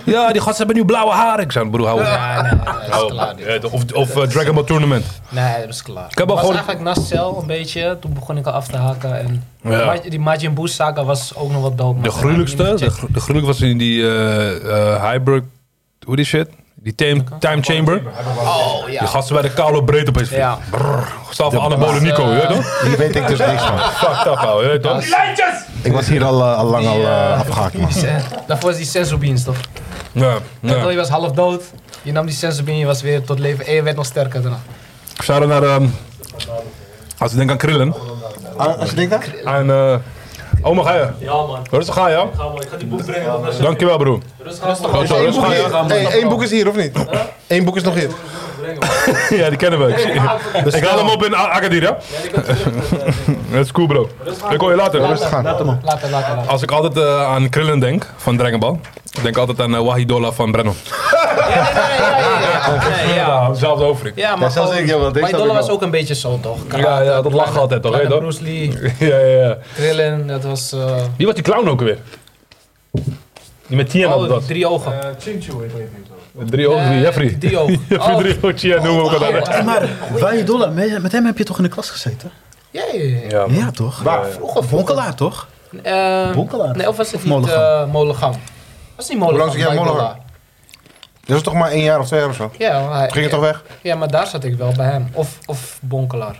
B: ja, die gasten hebben nu blauwe haren. Ik zei, broer, hou op.
G: Ja, Ah, nee, nee, dat is
B: Hou op.
G: klaar. dit.
B: Ja, Of, of eh, Dragon Ball Tournament.
G: Nee, dat was klaar. Ik
B: heb al
G: was
B: gewoon-
G: eigenlijk na Cell een beetje, toen begon ik al af te haken. En
B: Ja.
G: Ma- die Majin Buu saga was ook nog wat dope. maar
B: De
G: dat heb ik niet
B: gruwelijkste,
G: meer
B: de,
G: gecheckt.
B: gru- de gruwelijk was in die eh eh Hyberg, hoe die shit? Die time, time Chamber.
G: Oh, ja.
B: Die gasten bij de koude breed opeens.
G: Ja.
B: Ja. Stel van Anabole Nico, je weet toch?
C: Hier weet ik dus niks van.
B: Fuck dat ouwe, je weet toch?
C: Ik was hier al, eh, al lang al eh,
G: eh,
C: afgehaakt, man.
G: Eh, Daarvoor is die sensorbeans toch?
B: Ja,
G: Je
B: ja.
G: was half dood, je nam die sensorbean, je was weer tot leven en je werd nog sterker daarna.
B: Shout-out naar, ehm, als ik denk aan Krillen.
C: Ah, Als je denkt dat?
B: En, eh oma ga je?
D: Ja, man.
B: Rustig ga je, ja?
D: Ga maar, ik ga die boek brengen. anders-
B: Dankjewel broer.
D: Rustig
B: Goed zo,
C: Eén
B: rustig
C: boek,
B: ga je.
C: hier. Hey, één boek is hier, of niet? Eén boek is nog hier.
B: Ja, die kennen we. Ik,
C: Dus-
B: ik haal hem op in A- Agadir, ja? Dat is cool bro. Ik hoor je later.
C: Gaan.
G: Later, later, later.
B: Als ik altijd eh, aan Krillin denk van Dragon Ball, ik denk altijd aan eh, Wahidola van Brennan.
G: Ja, nee, nee, nee, ja, ja, ja, ja.
B: Ja, hetzelfde overig.
G: Ja, maar
C: Dat zal
G: gewoon-
C: ik, ja, wel, deze
G: maar
C: zal
G: Dollar
C: ik
G: was
C: wel.
G: ook een beetje zo toch?
B: Ja, ja, dat lachen altijd toch, hè,
G: Kleine
B: toch?
G: Bruce Lee,
B: Ja, ja, ja.
G: Krillin, dat was... eh,
B: Wie was die clown ook weer? Die met Tien
G: oh,
B: had
G: die
B: dat.
G: drie ogen.
B: Drie ogen,
G: Eh,
B: Jeffrey.
G: Drie ogen.
B: Jeffrey
G: Oh,
B: drie ogen, ja, noemen we ook altijd.
H: Hey, maar Wajidullah, met, met hem heb je toch in de klas gezeten?
G: Ja, ja, ja.
B: Ja, man.
H: Ja, toch? Waar? Vroeger. Vonkelaar, toch?
G: Eh,
H: Bonkelaar?
G: Nee, of was het
H: Of
G: niet
H: Molengang?
G: eh, Molengang? Was het niet Molengang?
C: lang zit jij in
G: bij
C: Molengang?
G: Dollar?
C: Dat is toch maar één jaar of twee jaar of zo?
G: eh, Ja, maar hij-
C: Ging het
G: ja,
C: toch weg?
G: Ja, maar daar zat ik wel bij hem. Of, of Bonkelaar.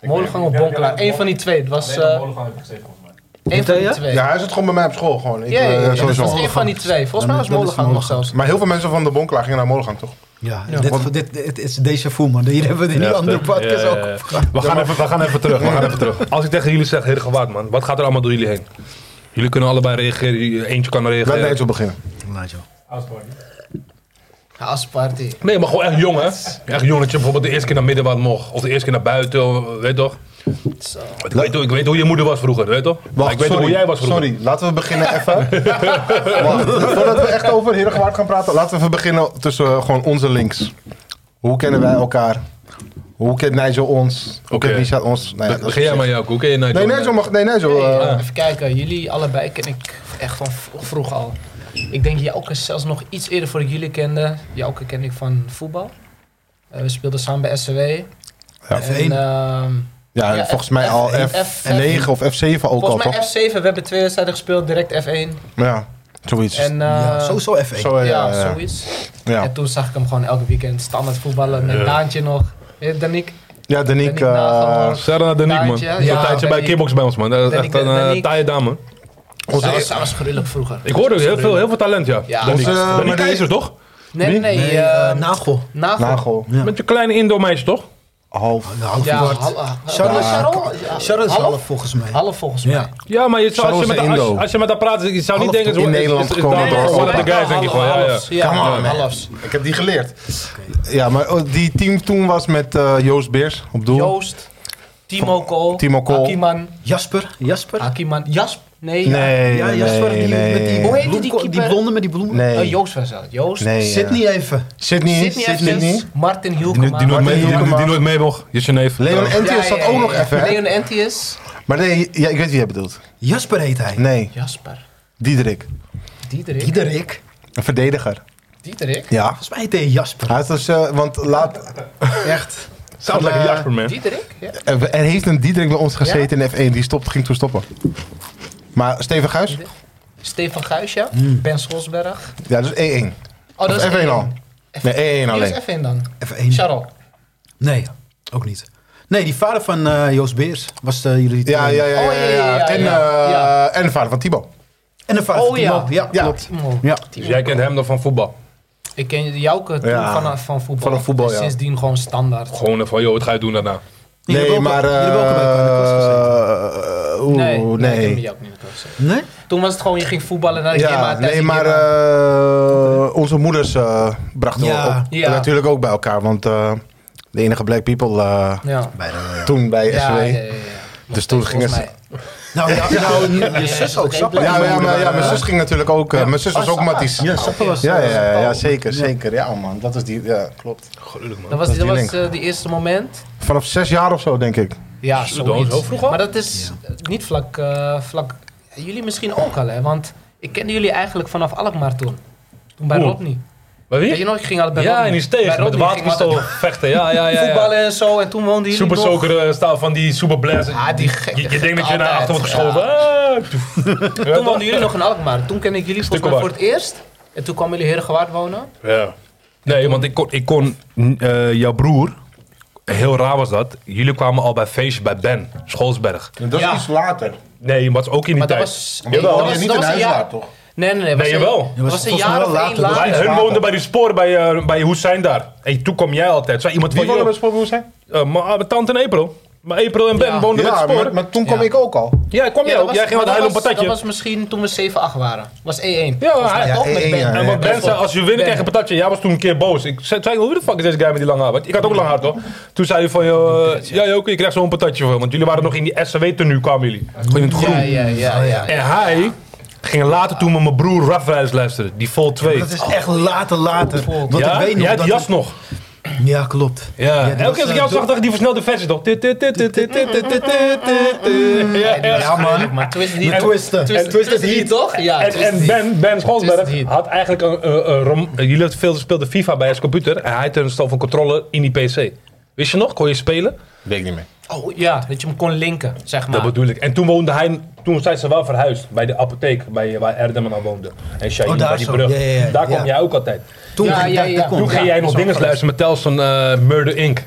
G: Molengang of Bonkelaar. Eén van die twee. Het was... eh, Eén van die
H: Vertel
G: twee.
C: Ja, hij zit gewoon bij mij op school. Gewoon. Ik,
G: Ja, ja,
C: eh,
G: ja, ja, dat
C: sowieso.
G: was één van die twee. Volgens mij was
H: Ja, dat is
G: Molengang nog
H: Molengang.
G: zelfs.
C: Maar heel veel mensen van de Bonkelaar gingen naar Molengang, toch?
H: Ja, dit, dit, dit is déjà vu, man. Hier hebben we die
B: Ja,
H: andere
B: sterk.
H: podcast
B: Ja, ja,
H: ook
B: ja.
H: op gehad.
B: We gaan, even, we gaan even terug. We gaan even terug. Als ik tegen jullie zeg, hele gewaard man, wat gaat er allemaal door jullie heen? Jullie kunnen allebei reageren, jullie- eentje kan
C: Laat
B: reageren.
C: ja. Nijntje beginnen.
H: Laat Nou, joh.
G: Ja, als party.
B: Nee, maar gewoon echt jong, hè? Echt jong dat je bijvoorbeeld de eerste keer naar middenwaard mocht. Of de eerste keer naar buiten, weet toch?
G: Zo.
B: Ik weet, toch- ik weet hoe je moeder was vroeger, weet toch? Maar ik weet
C: sorry,
B: hoe jij was vroeger.
C: Sorry, laten we beginnen even. Wacht, voordat we echt over Herengewaard gaan praten, laten we even beginnen tussen eh, gewoon onze links. Hoe kennen wij elkaar? Hoe kent Nigel ons? Hoe
B: Oké.
C: kent Richard ons? Nou ja, dat is
B: Begin jij
C: op
B: maar, nou, Ah. Jaco.
C: zich-
B: Hoe ken je Nigel?
C: Nee, Nigel mag. Nee, Nigel.
G: Hey,
C: eh,
G: eh, even kijken, jullie allebei ken ik echt van v- vroeg al. Ik denk Jouke zelfs nog iets eerder voor ik jullie kende. Jouke kende ik van voetbal. Eh, we speelden samen bij SCW. En,
H: F1.
G: ehm,
C: ja,
G: ja,
C: volgens mij
G: F-
C: al
G: F-
C: F9 of F7 ook al,
G: volgens mij
C: toch?
G: F7, we hebben twee wedstrijden gespeeld, direct F1.
C: Ja, zoiets.
G: En, eh,
H: ja, sowieso F1.
C: Zo, eh, ja,
G: ja,
C: ja, ja.
G: zoiets.
C: ja.
G: En toen zag ik hem gewoon elke weekend standaard voetballen met
B: Ja.
G: Daantje nog. Weet je, Daniek?
C: Ja, Daniek.
G: Daniek Nagel.
C: eh
B: Sarah naar Danique, man.
G: Taartje,
B: Ja,
G: ja,
B: een tijdje bij
G: Danique.
B: Kickbox bij ons, man. Dat is
G: Danique,
B: echt een eh,
G: Danique.
B: taaie dame.
G: Zij was, zij was gruwelijk vroeger.
B: Ik hoorde heel veel, heel veel talent, ja.
G: Ja.
B: Danique.
C: Onze, eh,
B: Danique
C: meneer-
B: IJzer, toch?
G: Nee, nee, nee.
H: Nee,
G: eh,
H: eh, Nagel.
G: Nagel.
C: Nagel.
H: Ja.
B: Met je kleine Indo-meisje, toch?
C: Half.
H: Ja, Nou, half
G: Ja,
H: ja,
G: hal- eh,
H: Charlotte-
G: Charlotte- ja,
H: Charlotte is
G: half?
H: half volgens mij.
G: Half volgens mij.
H: Ja.
B: Ja, maar je zou, als, je
C: Charles
B: met haar,
C: en
B: als,
C: Indo.
B: als je met haar praat, je zou niet
H: Half
B: denken...
C: in Nederland gekomen
B: gekomen
C: door
B: door de
C: Europa.
B: guys, denk ik gewoon. Ja, ja.
G: Halfs, Ja,
C: Come on, man.
G: halfs.
C: Ik heb die geleerd. Ja, maar oh, die team toen was met eh, Joost Beers op doel.
G: Joost, Timo Kool,
C: Timo Kool.
G: Hakiman,
H: Jasper, Jasper.
G: Hakiman, Jasp, Ah, nee,
C: Nee,
H: ja,
C: nee,
H: Jasper,
C: nee,
H: die, met die,
C: nee.
G: Hoe heette die
H: bloemko-
G: keeper?
H: blonde met die bloemen.
C: Nee.
G: eh, Joost was dat, Joost,
C: Nee, eh,
H: Zit niet even.
C: Sydney.
G: Sidney Evans, Martin
B: Die,
G: Hielkema,
B: die, nooit
C: Martin
B: mee, die,
C: Hielkema.
B: die nooit mee mocht. Je is je neef.
C: Leon
B: Trouwens.
C: Entius
G: Ja,
C: zat
G: ja,
C: ook
G: ja,
C: nog
G: ja.
C: even, hè?
G: Leon Entius,
C: Maar nee, ja, ik weet wie jij bedoelt.
H: Jasper heet hij.
C: Nee,
G: Jasper,
C: Diederik.
G: Diederik,
H: Diederik.
C: Een verdediger.
G: Diederik,
C: Ja.
H: Ah, Volgens mij heet hij Jasper.
C: Hij is dus, eh, want laat, Eh,
H: Echt.
B: Sounds like a Jasper, man.
G: Diederik, ja.
C: er er heeft een Diederik bij ons gezeten in F1. Die stopt, ging toen stoppen. Maar Steven Guis?
G: Stefan Guisje, Ben Scholsberg,
C: Ja, dus E dat is 1-1.
G: oh dat
C: Hmm. Of
G: is
C: F1 al.
G: F1.
C: Nee, 1-1
G: Wie
C: alleen.
G: is F1 dan?
H: F1.
G: Charles,
H: Nee, ook niet. Nee, die vader van eh, Joost Beers was eh, jullie...
C: Ja, ja, ja. ja,
G: Oh, ja, ja,
C: ja.
G: ja,
C: En,
G: ja.
C: eh,
G: Ja.
C: en de vader van Thibaut.
H: En de vader
G: Oh,
H: van Timo.
G: ja.
H: Ja,
C: Ja.
H: klopt.
G: Timo.
H: Ja.
B: Dus jij kent hem dan van voetbal.
G: Ik ken Jouke toen
C: Ja.
G: vanaf van voetbal,
C: Vanaf voetbal,
G: En
C: ja.
G: sindsdien gewoon standaard.
B: Gewoon van, joh, wat ga je doen daarna?
H: Jullie hebben
C: Nee,
H: ook-
C: maar...
H: jullie hebben ook
C: eh,
H: allebei bij de klas
C: eh, oeh,
G: Nee, nee, ik
C: nee.
G: heb Jouke niet in de klas gezeten.
H: Nee?
G: Toen was het gewoon, je ging voetballen naar de
C: Ja, nee, maar
G: Ja,
C: eh, onze moeders eh, brachten
H: Ja.
C: we op.
G: Ja.
C: En natuurlijk ook bij elkaar, want eh, de enige black people eh,
G: ja,
H: Bij de,
C: toen bij SW.
G: ja, ja, ja.
C: Dus toen gingen ze-
H: Nou, ja, nou, je zus ook. Sapper.
C: Ja, ja, maar, ja, mijn zus ging natuurlijk ook. eh, mijn zus was
G: Oh,
C: ook
G: Sappa.
C: Matties.
H: Ja, Sapper was...
C: Ja, ja, ja, ja, zeker, zeker. Ja, man, dat is die. Ja, klopt.
G: Dat was,
C: Dat
G: dat
C: is die
G: was eh, die eerste moment.
C: Vanaf zes jaar of zo, denk ik.
G: Ja,
B: dat was
G: zoiets.
B: heel vroeg al?
G: Maar dat is niet vlak, eh, vlak... Jullie misschien ook al, hè? Want ik kende jullie eigenlijk vanaf Alkmaar toen. Toen bij
B: Oeh.
G: Rodney.
B: Bij
G: Weet
B: wie?
G: je nog, ik ging al bij
B: Ja,
G: Rodney.
B: en die
G: Bij
B: steeg met
G: Rodney ging ik altijd
B: waterpistool vechten. Ja, ja, ja. ja.
G: Voetballen en zo. En toen woonden jullie
B: Super
G: nog...
B: Soaker eh, staal van die Super Blazer.
G: Ah, die gekke,
B: je, je denkt dat je
G: gekke
B: naar achter wordt
G: altijd,
B: geschoven. Ah, pff. Ja,
G: Toen
B: toch?
G: woonden jullie nog in Alkmaar. Toen kende ik jullie volgens mij voor
B: Stukkenwaard.
G: het eerst. En toen kwamen jullie Herengewaard wonen.
B: Ja. Nee, want ik kon, ik kon eh, jouw broer, heel raar was dat, jullie kwamen al bij feestje bij Ben, Scholsberg.
C: Dat is
G: Ja.
C: iets later.
B: Nee, was ook in die
G: Maar dat
B: tijd.
G: was...
C: Jawel,
G: dat
C: je
G: was-
C: niet
G: dat
C: in
G: was
C: huis
G: jaar-
C: laat, toch?
G: Nee, nee, nee.
B: Nee,
G: was
B: jawel.
G: Een, was een
H: volgens mij
G: jaar
H: wel
G: of één
H: later. Dat was
B: Wij,
G: later.
B: hun woonden bij die sporen bij, eh, bij Hoesijn daar. En toen kwam jij altijd. Zei iemand
C: Wie
B: van,
C: woonde bij
B: joh,
C: Sportboer zijn?
B: eh, maar met tante en April. Maar April en Ben
G: Ja.
B: woonden
C: Ja,
B: met het spoor.
C: maar, maar toen kwam
G: Ja.
C: ik ook al.
B: Ja, kwam jij
G: dat
B: ook.
G: was-
B: jij ging
G: maar
B: met
G: dat
B: een een
G: was-
B: patatje.
G: Dat was misschien toen we 7-8 waren. was 1-1.
B: Ja,
G: Volgens mij
B: hij-
G: ook
C: ja,
G: met
C: 1-1, ja,
G: Ben.
C: ja,
B: en
C: ja.
B: wat Ben zei,
G: Bijvoorbeeld.
B: als je wint, krijg je een patatje. Jij was toen een keer boos. Ik zei, zei, hoe de fuck is deze guy met die lange haar? Want ik had ook lang haar, toch? Toen zei hij van, joh, eh, ja, Joke, je krijgt zo'n patatje voor. Want jullie waren nog in die SCW-tenue, kwamen jullie. Gewoon in het groen.
G: Ja, ja, ja. Oh, ja.
B: En hij ging later toen met mijn broer Rafrijs luisteren. Die vol 2. Ja,
H: Dat is echt later, later. Want ik weet nog
B: jij had
H: dat
B: die jas
H: het-
B: nog.
H: Ja, klopt.
B: Ja. Elke
H: die was,
B: keer als ik
H: eh,
B: jou zag,
H: door-
B: dacht ik die versnelde versie toch? Dit, dit, dit, dit, dit, dit, dit, dit, dit, dit. Ja, ja.
H: Ja, man.
G: Maar Twisted Heat.
H: Maar twisten.
G: Twisted, Twisted Heat, toch? Ja,
B: En,
G: Twisted
B: en
G: Heat.
B: Ben, ben
G: Twisted
B: Scholsberg
G: Heat.
B: had eigenlijk een, een, een rom- jullie veel speelden FIFA bij zijn computer en hij had een stof van controle in die PC. Wist je nog? Kon je spelen?
C: Weet ik niet meer.
G: Oh ja, dat je hem kon linken, zeg maar.
B: Dat bedoel ik. En toen woonde hij, toen zijn ze wel verhuisd bij de apotheek bij, waar Erdem aan woonde. En Shaheen
H: Oh, daar
B: bij die
H: zo.
B: brug.
H: Ja, ja, ja.
B: Daar kwam
H: Ja.
B: jij ook altijd.
H: Toen
G: Ja,
H: ging
G: ja,
H: dat-
G: ja.
H: dat kon.
B: Toen ging jij nog
G: zo'n
B: dingen
G: groot.
B: luisteren met Telson eh Murder Inc.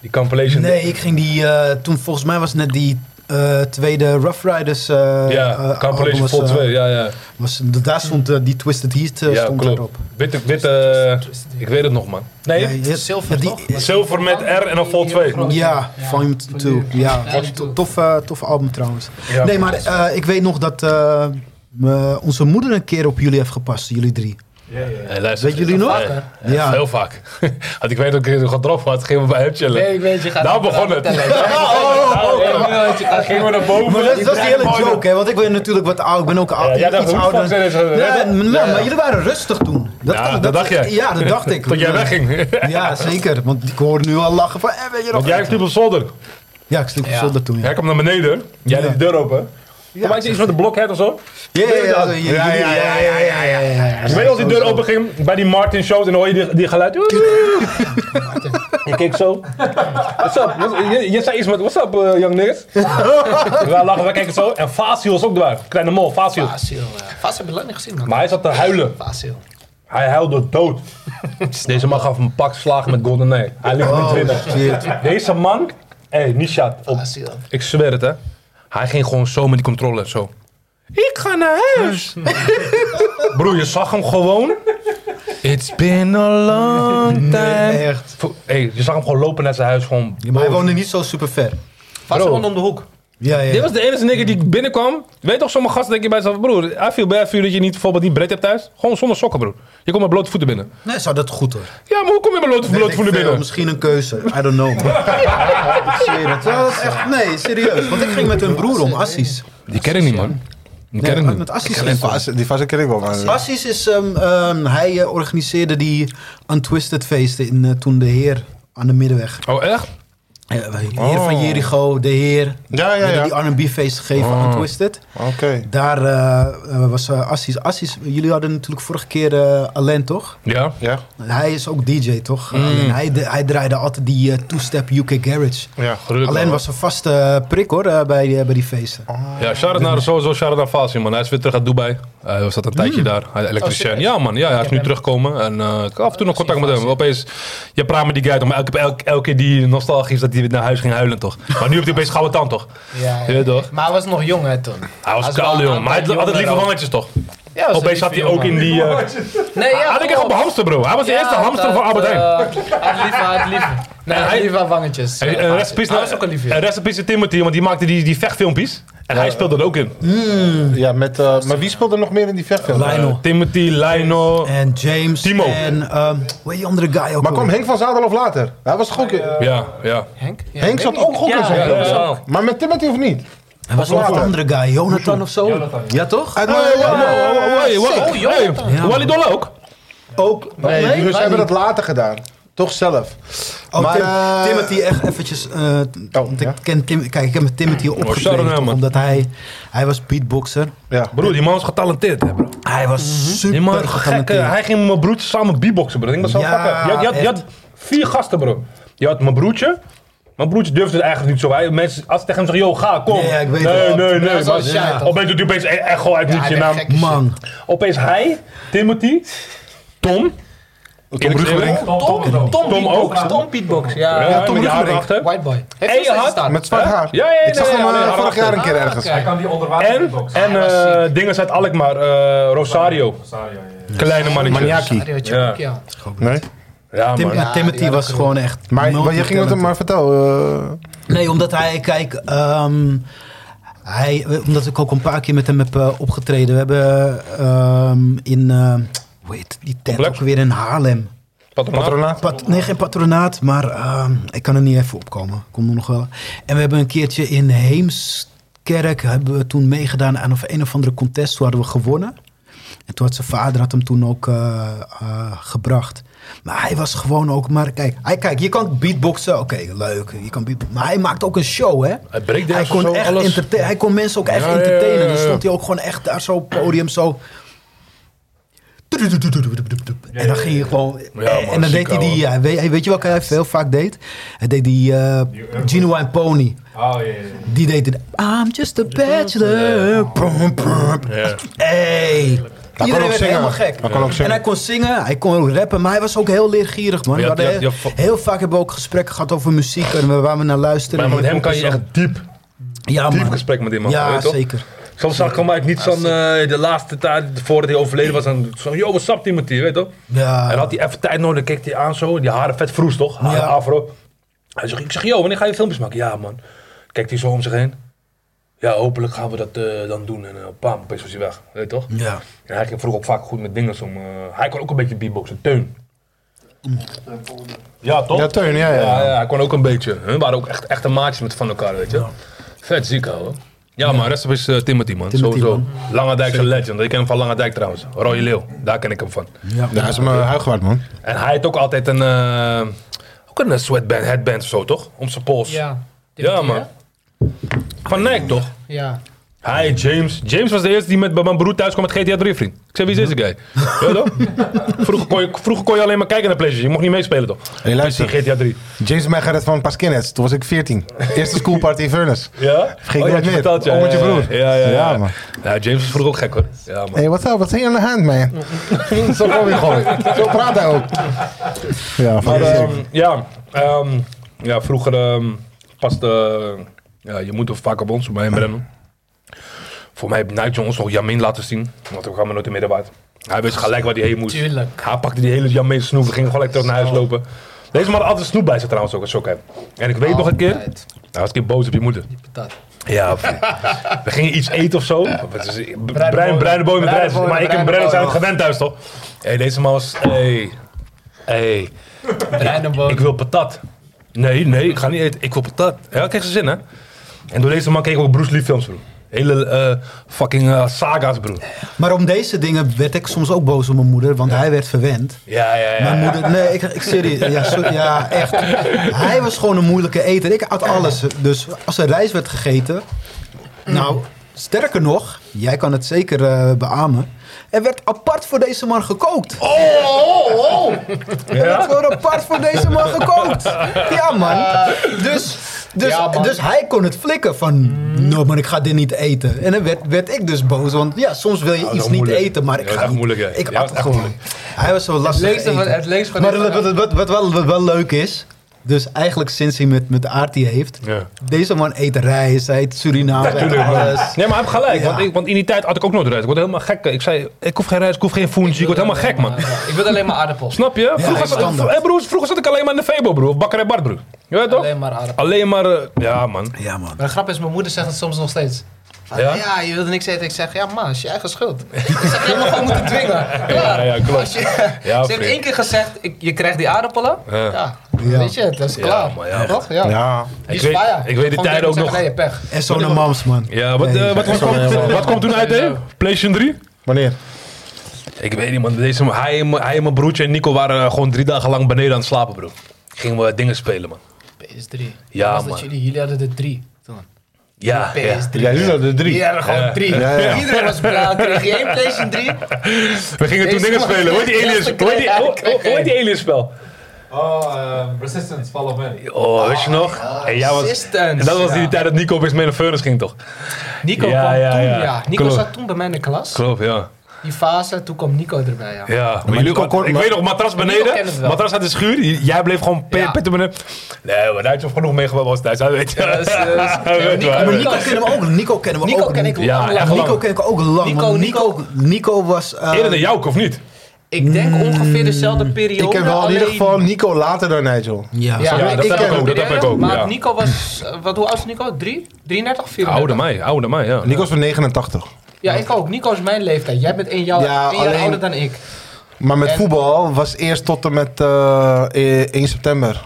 B: Die compilation.
H: Nee, ik ging die... eh, toen volgens mij was net die eh, tweede Rough Riders eh eh,
B: ja,
H: album
B: Compilation
H: was,
B: Vol
H: eh,
B: 2, ja, ja.
H: was, daar stond eh, die Twisted Heat eh,
B: Ja,
H: stond
B: klopt.
H: erop.
B: Witte, witte, ik weet het nog, man.
H: Ja,
B: Nee,
H: je hebt-
G: Zilver,
H: die-
G: toch?
B: zilver met R en dan vol twee.
H: Ja, Volume 2. Ja,
G: Volume two.
H: tof, eh, tof album trouwens.
B: Ja.
H: nee, maar eh, ik weet nog dat eh, me- onze moeder een keer op jullie heeft gepast, jullie drie.
B: Hey, luister,
H: Weet jullie
B: eh,
H: nog?
B: eh,
H: Ja.
B: Heel vaak. Had ik weet dat ik er gewoon erop had, gingen we bij hem chillen.
G: Nee, ik weet, je gaat...
B: Daar Nou begon het.
G: het.
B: Gingen we naar boven.
H: Maar dat,
B: die
H: dat is de
B: kleine
H: hele
B: boy-
H: joke, hè? Want ik ben natuurlijk wat oud. Ik ben ook
B: Ja,
H: oud,
B: jij dacht,
H: iets
B: hoe de fuck
H: ouder.
B: zijn deze-
H: Nee,
B: hè?
H: maar-
B: Ja, ja.
H: Maar jullie waren rustig toen. Dat,
B: Ja, dat dacht jij.
H: Ja, dat dacht ik.
B: Tot jij wegging.
H: Ja, zeker. Want ik hoorde nu al lachen van, eh, weet je nog?
B: Want jij sliep op zolder.
H: Ja, ik sliep op
G: Ja.
H: zolder toen. Ja,
B: Jij kwam naar beneden. Jij deed de deur open. Ja, maar iets met een blokhead of zo.
H: ja, ja, ja,
B: dat.
H: ja, ja, ja, ja, ja, ja, ja, ja.
B: Ik weet als die deur open ging bij die Martin Show en dan hoor je die, die geluid. Ik keek zo. What's up? What's- Je, je zei iets met what's up, eh, young niggas? we lachen, we kijken zo. En Faciel was ook daar. Kleine mol, Faciel.
G: Fasil. Fasil heb ik lang niet gezien, man.
B: Maar hij zat te huilen.
G: Fasil.
B: Hij huilde dood. Dus Deze man gaf een pak slaag met Golden Eye. Hij
H: Oh.
B: liep niet winnen.
H: Shit.
B: Deze man, hé, hey, Nishat, op
G: Fasil.
B: Ik zweer het, hè. Hij ging gewoon zo met die controle en zo. Ik ga naar huis. Broer, je zag hem gewoon. It's been a long time.
H: Echt.
B: Vo- Hey, je zag hem gewoon lopen naar zijn huis. Gewoon
H: Maar hij woonde niet zo super ver.
G: Fasil
B: Bro.
G: gewoon om de hoek.
H: Ja,
B: Dit
H: ja.
B: was de enige nigger die binnenkwam. Je weet toch, sommige gasten denken bij zichzelf... Broer, hij viel bij, hij viel dat je niet bijvoorbeeld die breed hebt thuis. Gewoon zonder sokken, broer. Je komt met blote voeten binnen.
H: Nee, zou dat goed hoor.
B: Ja, maar hoe kom je met blote, blote
H: Weet ik
B: voeten
H: veel,
B: binnen?
H: Misschien een keuze. I don't know. Ik zweer het. Ja, dat is echt, nee, serieus. Want ik ging met hun broer om, Assis.
B: Die ken ik niet, man. Die ken Hm. ik
H: Nee,
B: niet.
H: met Assis
C: Die
H: ging ik om.
C: fase- Die fase ken ik wel, maar...
H: Assis is, ehm, ehm, hij eh, organiseerde die Untwisted feesten in, eh, toen de heer aan de middenweg.
B: Oh, echt?
H: Eh, de heer van Jericho, de heer.
C: Ja, ja,
H: hebben
C: ja.
H: Die R&B feest gegeven, Untwisted.
C: Oké.
H: Daar eh, eh, was eh, Assis. Assis, jullie hadden natuurlijk vorige keer eh Alain, toch?
B: Ja.
C: Ja,
H: Hij is ook DJ, toch? Alleen hij, de- hij draaide altijd die eh, two-step UK Garage.
C: ja.
B: Gelukkig
H: Alain
B: wel.
H: was een vaste eh, prik hoor, eh, bij, die- bij die feesten.
G: Oh.
B: Ja, shout-out naar, sowieso shout-out naar Fasi, man. Hij is weer terug uit Dubai. Hij was dat een tijdje
G: Mm.
B: daar, hij
G: Oh,
B: elektricien. ja, man. Ja, hij is nu teruggekomen. En eh, ik had af en toe nog contact met hem. Opeens, je praat met die guy toch. Maar elke, elke, elke keer die nostalgisch dat hij naar huis ging huilen, toch. Maar nu heeft hij opeens gouden tand, toch.
G: Ja,
B: Je weet toch?
G: Maar hij was nog jong, hè, toen.
B: Hij was
G: wel
B: kaal,
G: een
B: jong. Maar hij had
G: aantal
B: altijd lieve
G: jonger
B: wangetjes, toch.
G: ook. Ja, was
B: Opeens
G: een
B: zat hij
G: lieve
B: ook in
G: jongen.
B: die... eh,
G: Nee, ja,
B: hij had ik echt op
G: klopt.
B: hamster, bro. Hij was de
G: Ja,
B: eerste hamster
G: dat,
B: van Albert Heijn.
G: eh, Hij had liever, hij had liever. Nee, hij
B: hij-
G: had liever wangetjes.
B: Hey,
G: Ja,
B: eh, rest
G: Fasil.
B: in peace
G: Hij
B: naar-
G: was ook een liefje.
B: eh, rest in peace to Timothy, want die maakte die, die vechtfilmpjes. En hij speelde er ook in.
C: ja met, eh, maar wie speelde er nog meer in die vechtfilm?
H: Lionel.
B: Eh, Timothy, Lionel.
H: En James.
B: Timo.
H: En ehm hoe heet die andere guy ook
C: Maar kwam
H: alweer?
C: Henk van Zadel of later? Hij was toch ook... in-
B: Ja, ja.
G: Henk? Ja,
C: Henk
G: weet
C: zat
G: ik
C: ook
G: niet.
C: goed in
G: Ja,
C: zijn
G: ja,
C: film.
G: ja.
C: Maar met Timothy of niet?
H: Er was nog een
C: later.
H: andere guy, Jonathan of zo. Ja toch?
C: Uit- Nee,
B: Oh,
C: nee,
B: oh, oh, hey, wa-
G: Oh, joh.
B: hey,
H: Ja.
B: Wally Dolla ook?
H: Ook.
C: nee,
G: nee,
C: dus
G: wij
C: ze hebben
G: niet.
C: dat later gedaan. Toch zelf.
H: Oh,
C: Maar,
H: Tim-
C: eh,
H: Timothy echt eventjes... eh, want ik
C: ja.
H: ken Tim, kijk, ik heb met Timothy
B: shout out
H: opgetreden.
B: naar hem, man.
H: omdat hij, hij was beatboxer.
C: Ja.
B: Broer, die man is getalenteerd, hè, bro.
H: Hij was
B: Die
H: super
B: man is gek. hè.
H: getalenteerd.
B: Hij ging met mijn broertje samen beatboxen, bro. Ik denk dat zo
H: Ja,
B: fucking... Je had, je, had, je had vier gasten, bro. Je had mijn broertje. Mijn broertje durfde het eigenlijk niet zo. Hij, mensen, als ze tegen hem zeggen, yo, ga, kom.
H: Ja, ja, ik weet
B: nee,
H: het.
B: nee, nee,
G: Ja,
B: maar-
G: zoals jij, toch?
B: Opeens doet hij opeens e- echo uit
G: Ja,
B: niet
G: hij
B: je
G: werd
B: naam.
G: gek.
H: Man.
B: Opeens hij, Timothy, Tom. Tom
C: Bruggerink.
G: Tom, Tom,
B: Tom
G: beatbox.
B: ook.
G: Tom beatbox, ja.
B: Ja, Tom
C: Tom Bruggerink.
B: achter.
G: White boy. Heeft
B: En
G: hij
B: je
G: steeds
B: had-
G: staan? Ah,
C: Met zwart haar.
B: Ja, ja, ja,
C: ik zag
B: ja,
C: hem
B: ja,
C: eh,
B: ja, ja,
C: vorig
B: ja.
C: jaar een keer ergens.
G: Hij kan die
B: En, en
G: Hij was
B: eh dingen uit Alkmaar, eh, Rosario. Kleine mannetje.
C: Maniaki.
B: Ja.
G: ook, ja.
C: Nee.
B: Ja,
H: Tim,
B: man.
H: ja, Timothy
G: die
H: was
G: had
H: gewoon echt...
C: Maar, maar je ging het hem
H: multi-talented.
C: maar vertellen. eh.
H: Nee, omdat hij, kijk, ehm, hij, omdat ik ook een paar keer met hem heb eh, opgetreden. We hebben ehm, in, eh, hoe heet die tent ook
B: Complex?
H: weer in Haarlem.
B: Patronaat.
C: patronaat.
H: Pat, nee, geen patronaat, maar ehm, ik kan er niet even opkomen. Komt er nog wel. En we hebben een keertje in Heemskerk hebben we toen meegedaan aan of een of andere contest. Toen hadden we gewonnen. En toen had zijn vader had hem toen ook eh, eh, gebracht. Maar hij was gewoon ook maar... Kijk, hij, kijk je kan beatboxen. Oké, leuk. Je kan beatboxen. Maar hij maakt ook een show, hè?
B: Hij breakdance
H: hij kon,
B: of zo,
H: echt
B: alles.
H: entertain- hij kon mensen ook echt
B: Ja, ja, ja,
H: entertainen.
B: ja,
H: Dan
B: ja.
H: stond hij ook gewoon echt daar zo op het podium zo... En dan ging je gewoon...
B: man,
H: en dan
B: ziek,
H: deed hij die...
B: ouwe.
H: Ja, weet, weet je wat hij heel vaak deed? Hij deed die eh, Genuine Pony.
B: Oh, ja, ja,
H: Die deed het. I'm just a bachelor. Brum, brum.
B: ja.
H: Hey. Iedereen
C: ook
H: werd
C: zingen.
H: helemaal gek.
C: Hij kon ook zingen.
H: En hij kon zingen, hij kon ook rappen, maar hij was ook heel leergierig, man.
B: Ja,
H: We hadden
B: ja,
H: heel-
B: ja, vo-
H: heel vaak hebben we ook gesprekken gehad over muziek en waar we naar
B: Maar
H: luisteren.
B: met
H: Hip-hop
B: hem kan je
H: en zo.
B: echt diep.
H: Ja,
B: diep
H: man.
B: gesprek met die man.
H: Ja,
B: weet je toch?
H: zeker.
B: Soms zag ik hem eigenlijk niet zo'n, eh, de laatste tijd, voordat hij overleden was, dan zo'n, yo, wat sapt iemand hier, weet je toch?
H: Ja.
B: En had hij even tijd nodig, keek hij aan zo, die haren vet vroes toch? Haren
H: Ja.
B: afro. Hij zegt, ik zeg, yo, wanneer ga je filmpjes maken? Ja man. Kijkt hij zo om zich heen. Ja, hopelijk gaan we dat eh, dan doen. En eh bam, opeens was hij weg, weet je toch?
H: Ja.
B: En hij ging vroeger ook vaak goed met dingen om. eh, hij kon ook een beetje beatboxen, Teun. Ja, toch?
C: Ja, Teun, ja, ja.
B: Ja, ja, hij kon ook een beetje. Hun waren ook echt echte maatjes met van elkaar, weet je. Vet ziek, ouwe. Ja, maar rest is eh, Timothy, man.
H: Timothy,
B: Sowieso.
H: man.
B: Langendijk is een legend. Ik ken hem van Langendijk trouwens. Rode Leeuw, daar ken ik hem van.
H: Ja.
C: Daar is mijn huigwaard, man.
B: En hij had ook altijd een, eh, ook een sweatband, headband of zo, toch? Om zijn pols.
G: Ja.
B: Ja, man. Van Nike, toch?
G: Ja.
B: Hij, James. James was de eerste die met bij mijn broer thuis kwam met GTA 3, vriend. Ik zei, wie is deze guy? Ja, toch? vroeger, kon je, vroeger kon je alleen maar kijken naar PlayStation. Je mocht niet meespelen, toch?
C: Hey, luister.
B: Dus die GTA 3.
C: James en mij gaat het van een paar skinheads. Toen was ik 14. Eerste schoolparty in Furnace.
B: Ja?
C: Vergeet
B: Oh, je had
C: nooit
B: je
C: meer.
B: verteld, ja,
C: Om met je
B: ja, ja.
C: broer.
B: Ja, ja, ja.
C: Ja, man.
B: Ja, James was vroeger ook gek, hoor. Ja, man.
C: Hey, what's up? Wat is hier aan de hand, man? Zo kom je gewoon. Zo praat hij ook. Ja, van
B: Maar
C: die
B: ehm, ja, ehm, ja, vroeger ehm, paste... ja, je moet er vaak op ons, bij hem rennen. Voor mij heeft Nigel ons nog Jamin laten zien. Want we kwamen nooit in middenwaard. Hij wist gelijk waar hij heen moest.
G: Tuurlijk.
B: Hij pakte die hele Jamin snoep. We gingen gewoon lekker terug naar huis lopen. Deze man had altijd snoep bij zich trouwens ook, als sok En ik weet nog een keer, hij
G: Altijd.
B: was een keer boos op je moeder.
G: Dat.
B: Ja, vriend. we gingen iets eten of zo. Het is- b- Bruin, bruine boom met
G: Bruine
B: rijst.
G: boom
B: Maar
G: met
B: ik en
G: bruine
B: Brennan zijn het
G: boom.
B: gewend thuis, toch? Hé, hey, deze man was... Hé, hey,
G: Breinenboom.
B: ik wil patat. Nee, nee, ik ga niet eten. Ik wil patat. Ja, ik kreeg zijn zin, hè? En door deze man keek ik ook Bruce Lee films, broer. Hele eh, fucking eh, saga's, broer.
H: Maar om deze dingen werd ik soms ook boos op mijn moeder, want hij werd verwend.
B: Ja, ja, ja.
H: Mijn moeder, nee, ik, ik serieus, ja, sorry, ja, echt. Hij was gewoon een moeilijke eter. Ik at alles. Dus als er rijst werd gegeten, nou, sterker nog, jij kan het zeker eh, beamen. Er werd apart voor deze man gekookt. Oh, Er werd gewoon apart voor deze man gekookt. Ja, man. Dus, dus,
G: Ja, man.
H: dus hij kon het flikken van, no, maar ik ga dit niet eten. En dan werd, werd ik dus boos, want ja, soms wil je
B: Nou, dat is
H: iets
B: wel
H: niet
B: moeilijk.
H: eten, maar ik
B: Ja, dat is
H: ga
B: echt
H: niet-
B: moeilijk, hè.
H: Ik
B: Ja, dat is
H: at
B: echt
H: gewoon.
B: moeilijk.
H: Hij was zo lastig
G: leukste van-
H: eten.
G: het leukste van
H: Maar
G: dit-
H: wat, wat, wat wel, wat wel leuk is, dus eigenlijk sinds hij met, met Aartie heeft,
B: Ja.
H: deze man eet rijst, hij eet Suriname, hij eet
B: Tuurlijk, man.
H: alles.
B: Nee, maar hij heeft gelijk.
H: Ja.
B: Want, ik, want in die tijd had ik ook nooit rijst. Ik word helemaal gek. Ik zei, ik hoef geen rijst, ik hoef geen foentje. Ik word helemaal gek, man.
G: Ik wil alleen maar aardappels.
B: Snap je? Vroeger, zat,
H: standaard.
B: eh, broer, vroeger zat ik alleen maar in de Febo, broer. Of Bakker en Bart, broer. Je weet toch?
G: Alleen maar aardappels.
B: Alleen maar... eh, ja, man.
H: Ja man.
G: Maar de grap is, mijn moeder zegt het soms nog steeds. Van,
B: Ja?
G: ja? je wilde niks eten. Ik zeg, ja ma, is je eigen schuld. Ik zeg, je hebt me gewoon moeten dwingen. Klaar.
B: ja, klopt.
G: Als je,
B: Ja,
G: ze heeft
B: vriend.
G: één keer gezegd, ik, je krijgt die aardappelen.
B: Ja.
G: Ja.
H: Ja.
G: Weet je, het dat is klaar.
B: maar ja,
G: Toch? Ja.
C: Ja.
B: Ik
G: Die is
B: weet-
G: fire.
B: ik weet die
G: Gewoon
B: tijden
G: tegen
B: ook
G: zeggen,
B: nog.
G: Nee, je pech.
H: En zo'n mams man.
B: Ja, wat, eh,
H: Nee,
B: wat, wat, komt, wat komt toen uit, hè? PlayStation 3?
C: Wanneer?
B: nou- Ik weet niet, man. Deze, hij, en mijn- hij en mijn broertje en Nico waren eh, gewoon drie dagen lang beneden aan het slapen, bro. Gingen we dingen spelen, man.
G: PS3.
B: Ja,
G: was
B: man.
G: Dat jullie, jullie hadden er drie. Toen.
B: Ja, ja.
G: PS3.
C: Jij doet dat, de drie.
G: Jullie hadden gewoon drie.
C: Ja, ja.
G: Iedereen was blauw. Kreeg je één PlayStation 3?
B: We gingen toen
G: Deze
B: dingen
G: man-
B: spelen. Hoor die aliens, hoor die,
G: Ja,
B: hoor,
G: ik weet
B: hoor- hoor die aliens spel.
I: Oh, um, Resistance, Fall of Man.
B: Oh, weet je nog? en jij was,
G: Resistance,
B: en dat was in die
G: ja.
B: tijd dat Nico opeens mee naar Furnace ging, toch?
G: Nico
B: Ja,
G: kwam
B: ja,
G: toen,
B: ja.
G: ja. Nico
B: Klopt.
G: zat toen bij mij in de klas.
B: Klopt, ja.
G: Die fase, toen kwam Nico erbij, ja.
B: Ja, maar, jullie
C: Nico
B: ook-
C: kon-
B: ik
C: maar-
B: weet nog, matras
G: Nico kent het
B: beneden,
G: wel.
B: matras uit de schuur, j- jij bleef gewoon pe-
G: Ja.
B: pitten beneden. Nee, maar daar had je genoeg meegemaakt als thuis, hij weet je.
G: Ja, dat is- dat is-
B: Hij
G: Nee,
B: weet
G: Nico-
B: waar.
H: Maar Nico kennen we ook. Nico kennen we
G: Nico
H: ook.
G: ken ik
B: Ja,
G: lang,
B: echt
G: lang.
H: Nico ken ik ook lang.
G: Nico-
H: want
G: Nico-
H: Nico, Nico was. eh,
B: Eerder dan Jouk, of niet?
G: Ik denk ongeveer dezelfde periode.
C: Mm. Ik heb wel in ieder
G: alleen-
C: geval Nico later dan Nigel.
H: ja.
G: Ja,
B: Ja, dat
C: ik
B: heb
C: ken
B: ik ook, dat heb ik ook.
G: Maar
B: ja.
G: Nico was, eh, wat, hoe oud is Nico? 3? 33, 34?
B: Oude mij, oude mij, ja.
C: Nico is van 89.
G: Ja, ik ook. Nico is mijn leeftijd. Jij bent één jaar,
C: Ja,
G: één jaar
C: alleen-
G: ouder dan ik.
C: Maar met
G: En-
C: voetbal was eerst tot en met eh, eh, 1 september.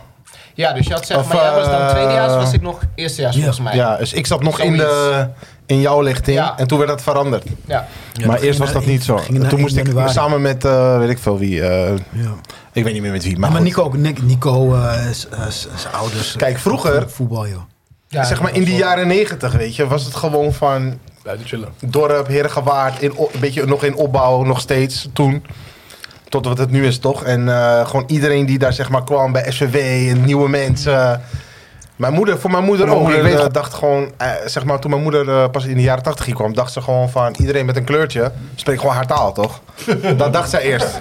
G: Ja, dus je had zeg
C: Of,
G: maar, jij was dan
C: eh,
G: tweedejaars, was ik nog eerstejaars
H: Ja.
G: volgens mij.
C: Ja, dus ik zat nog in,
G: Zoiets.
C: de, in jouw lichting
G: Ja.
C: en toen werd dat veranderd.
G: Ja.
C: maar
H: ging
C: eerst was
H: naar
C: dat
H: één-
C: niet zo.
H: ging naar
C: Toen
H: één
C: moest ik
H: januari.
C: samen met, eh, weet ik veel wie, eh,
H: Ja.
C: ik weet niet meer met wie, Ah, maar,
H: Maar
C: goed.
H: Nico, ook- Nic- Nico eh, z- eh, z- zijn ouders. eh,
C: Kijk, vroeger-
H: Voetbal, joh.
G: Ja,
C: zeg maar
G: dat
C: in
G: was
C: die
G: wel-
C: jaren 90, weet je, was het gewoon van
B: Buiten chillen.
C: dorp, Herengewaard, in, o- een beetje nog in opbouw, nog steeds toen. Tot wat het nu is, toch? En eh, gewoon iedereen die daar zeg maar kwam bij SVW en nieuwe mensen. Mijn moeder, voor mijn moeder
J: Mijn
C: ook.
J: moeder,
C: ik weet,
J: eh,
C: het, dacht gewoon, eh, zeg maar, toen mijn moeder eh, pas in de jaren tachtig kwam, dacht ze gewoon van iedereen met een kleurtje spreekt gewoon haar taal, toch? dat dacht zij eerst.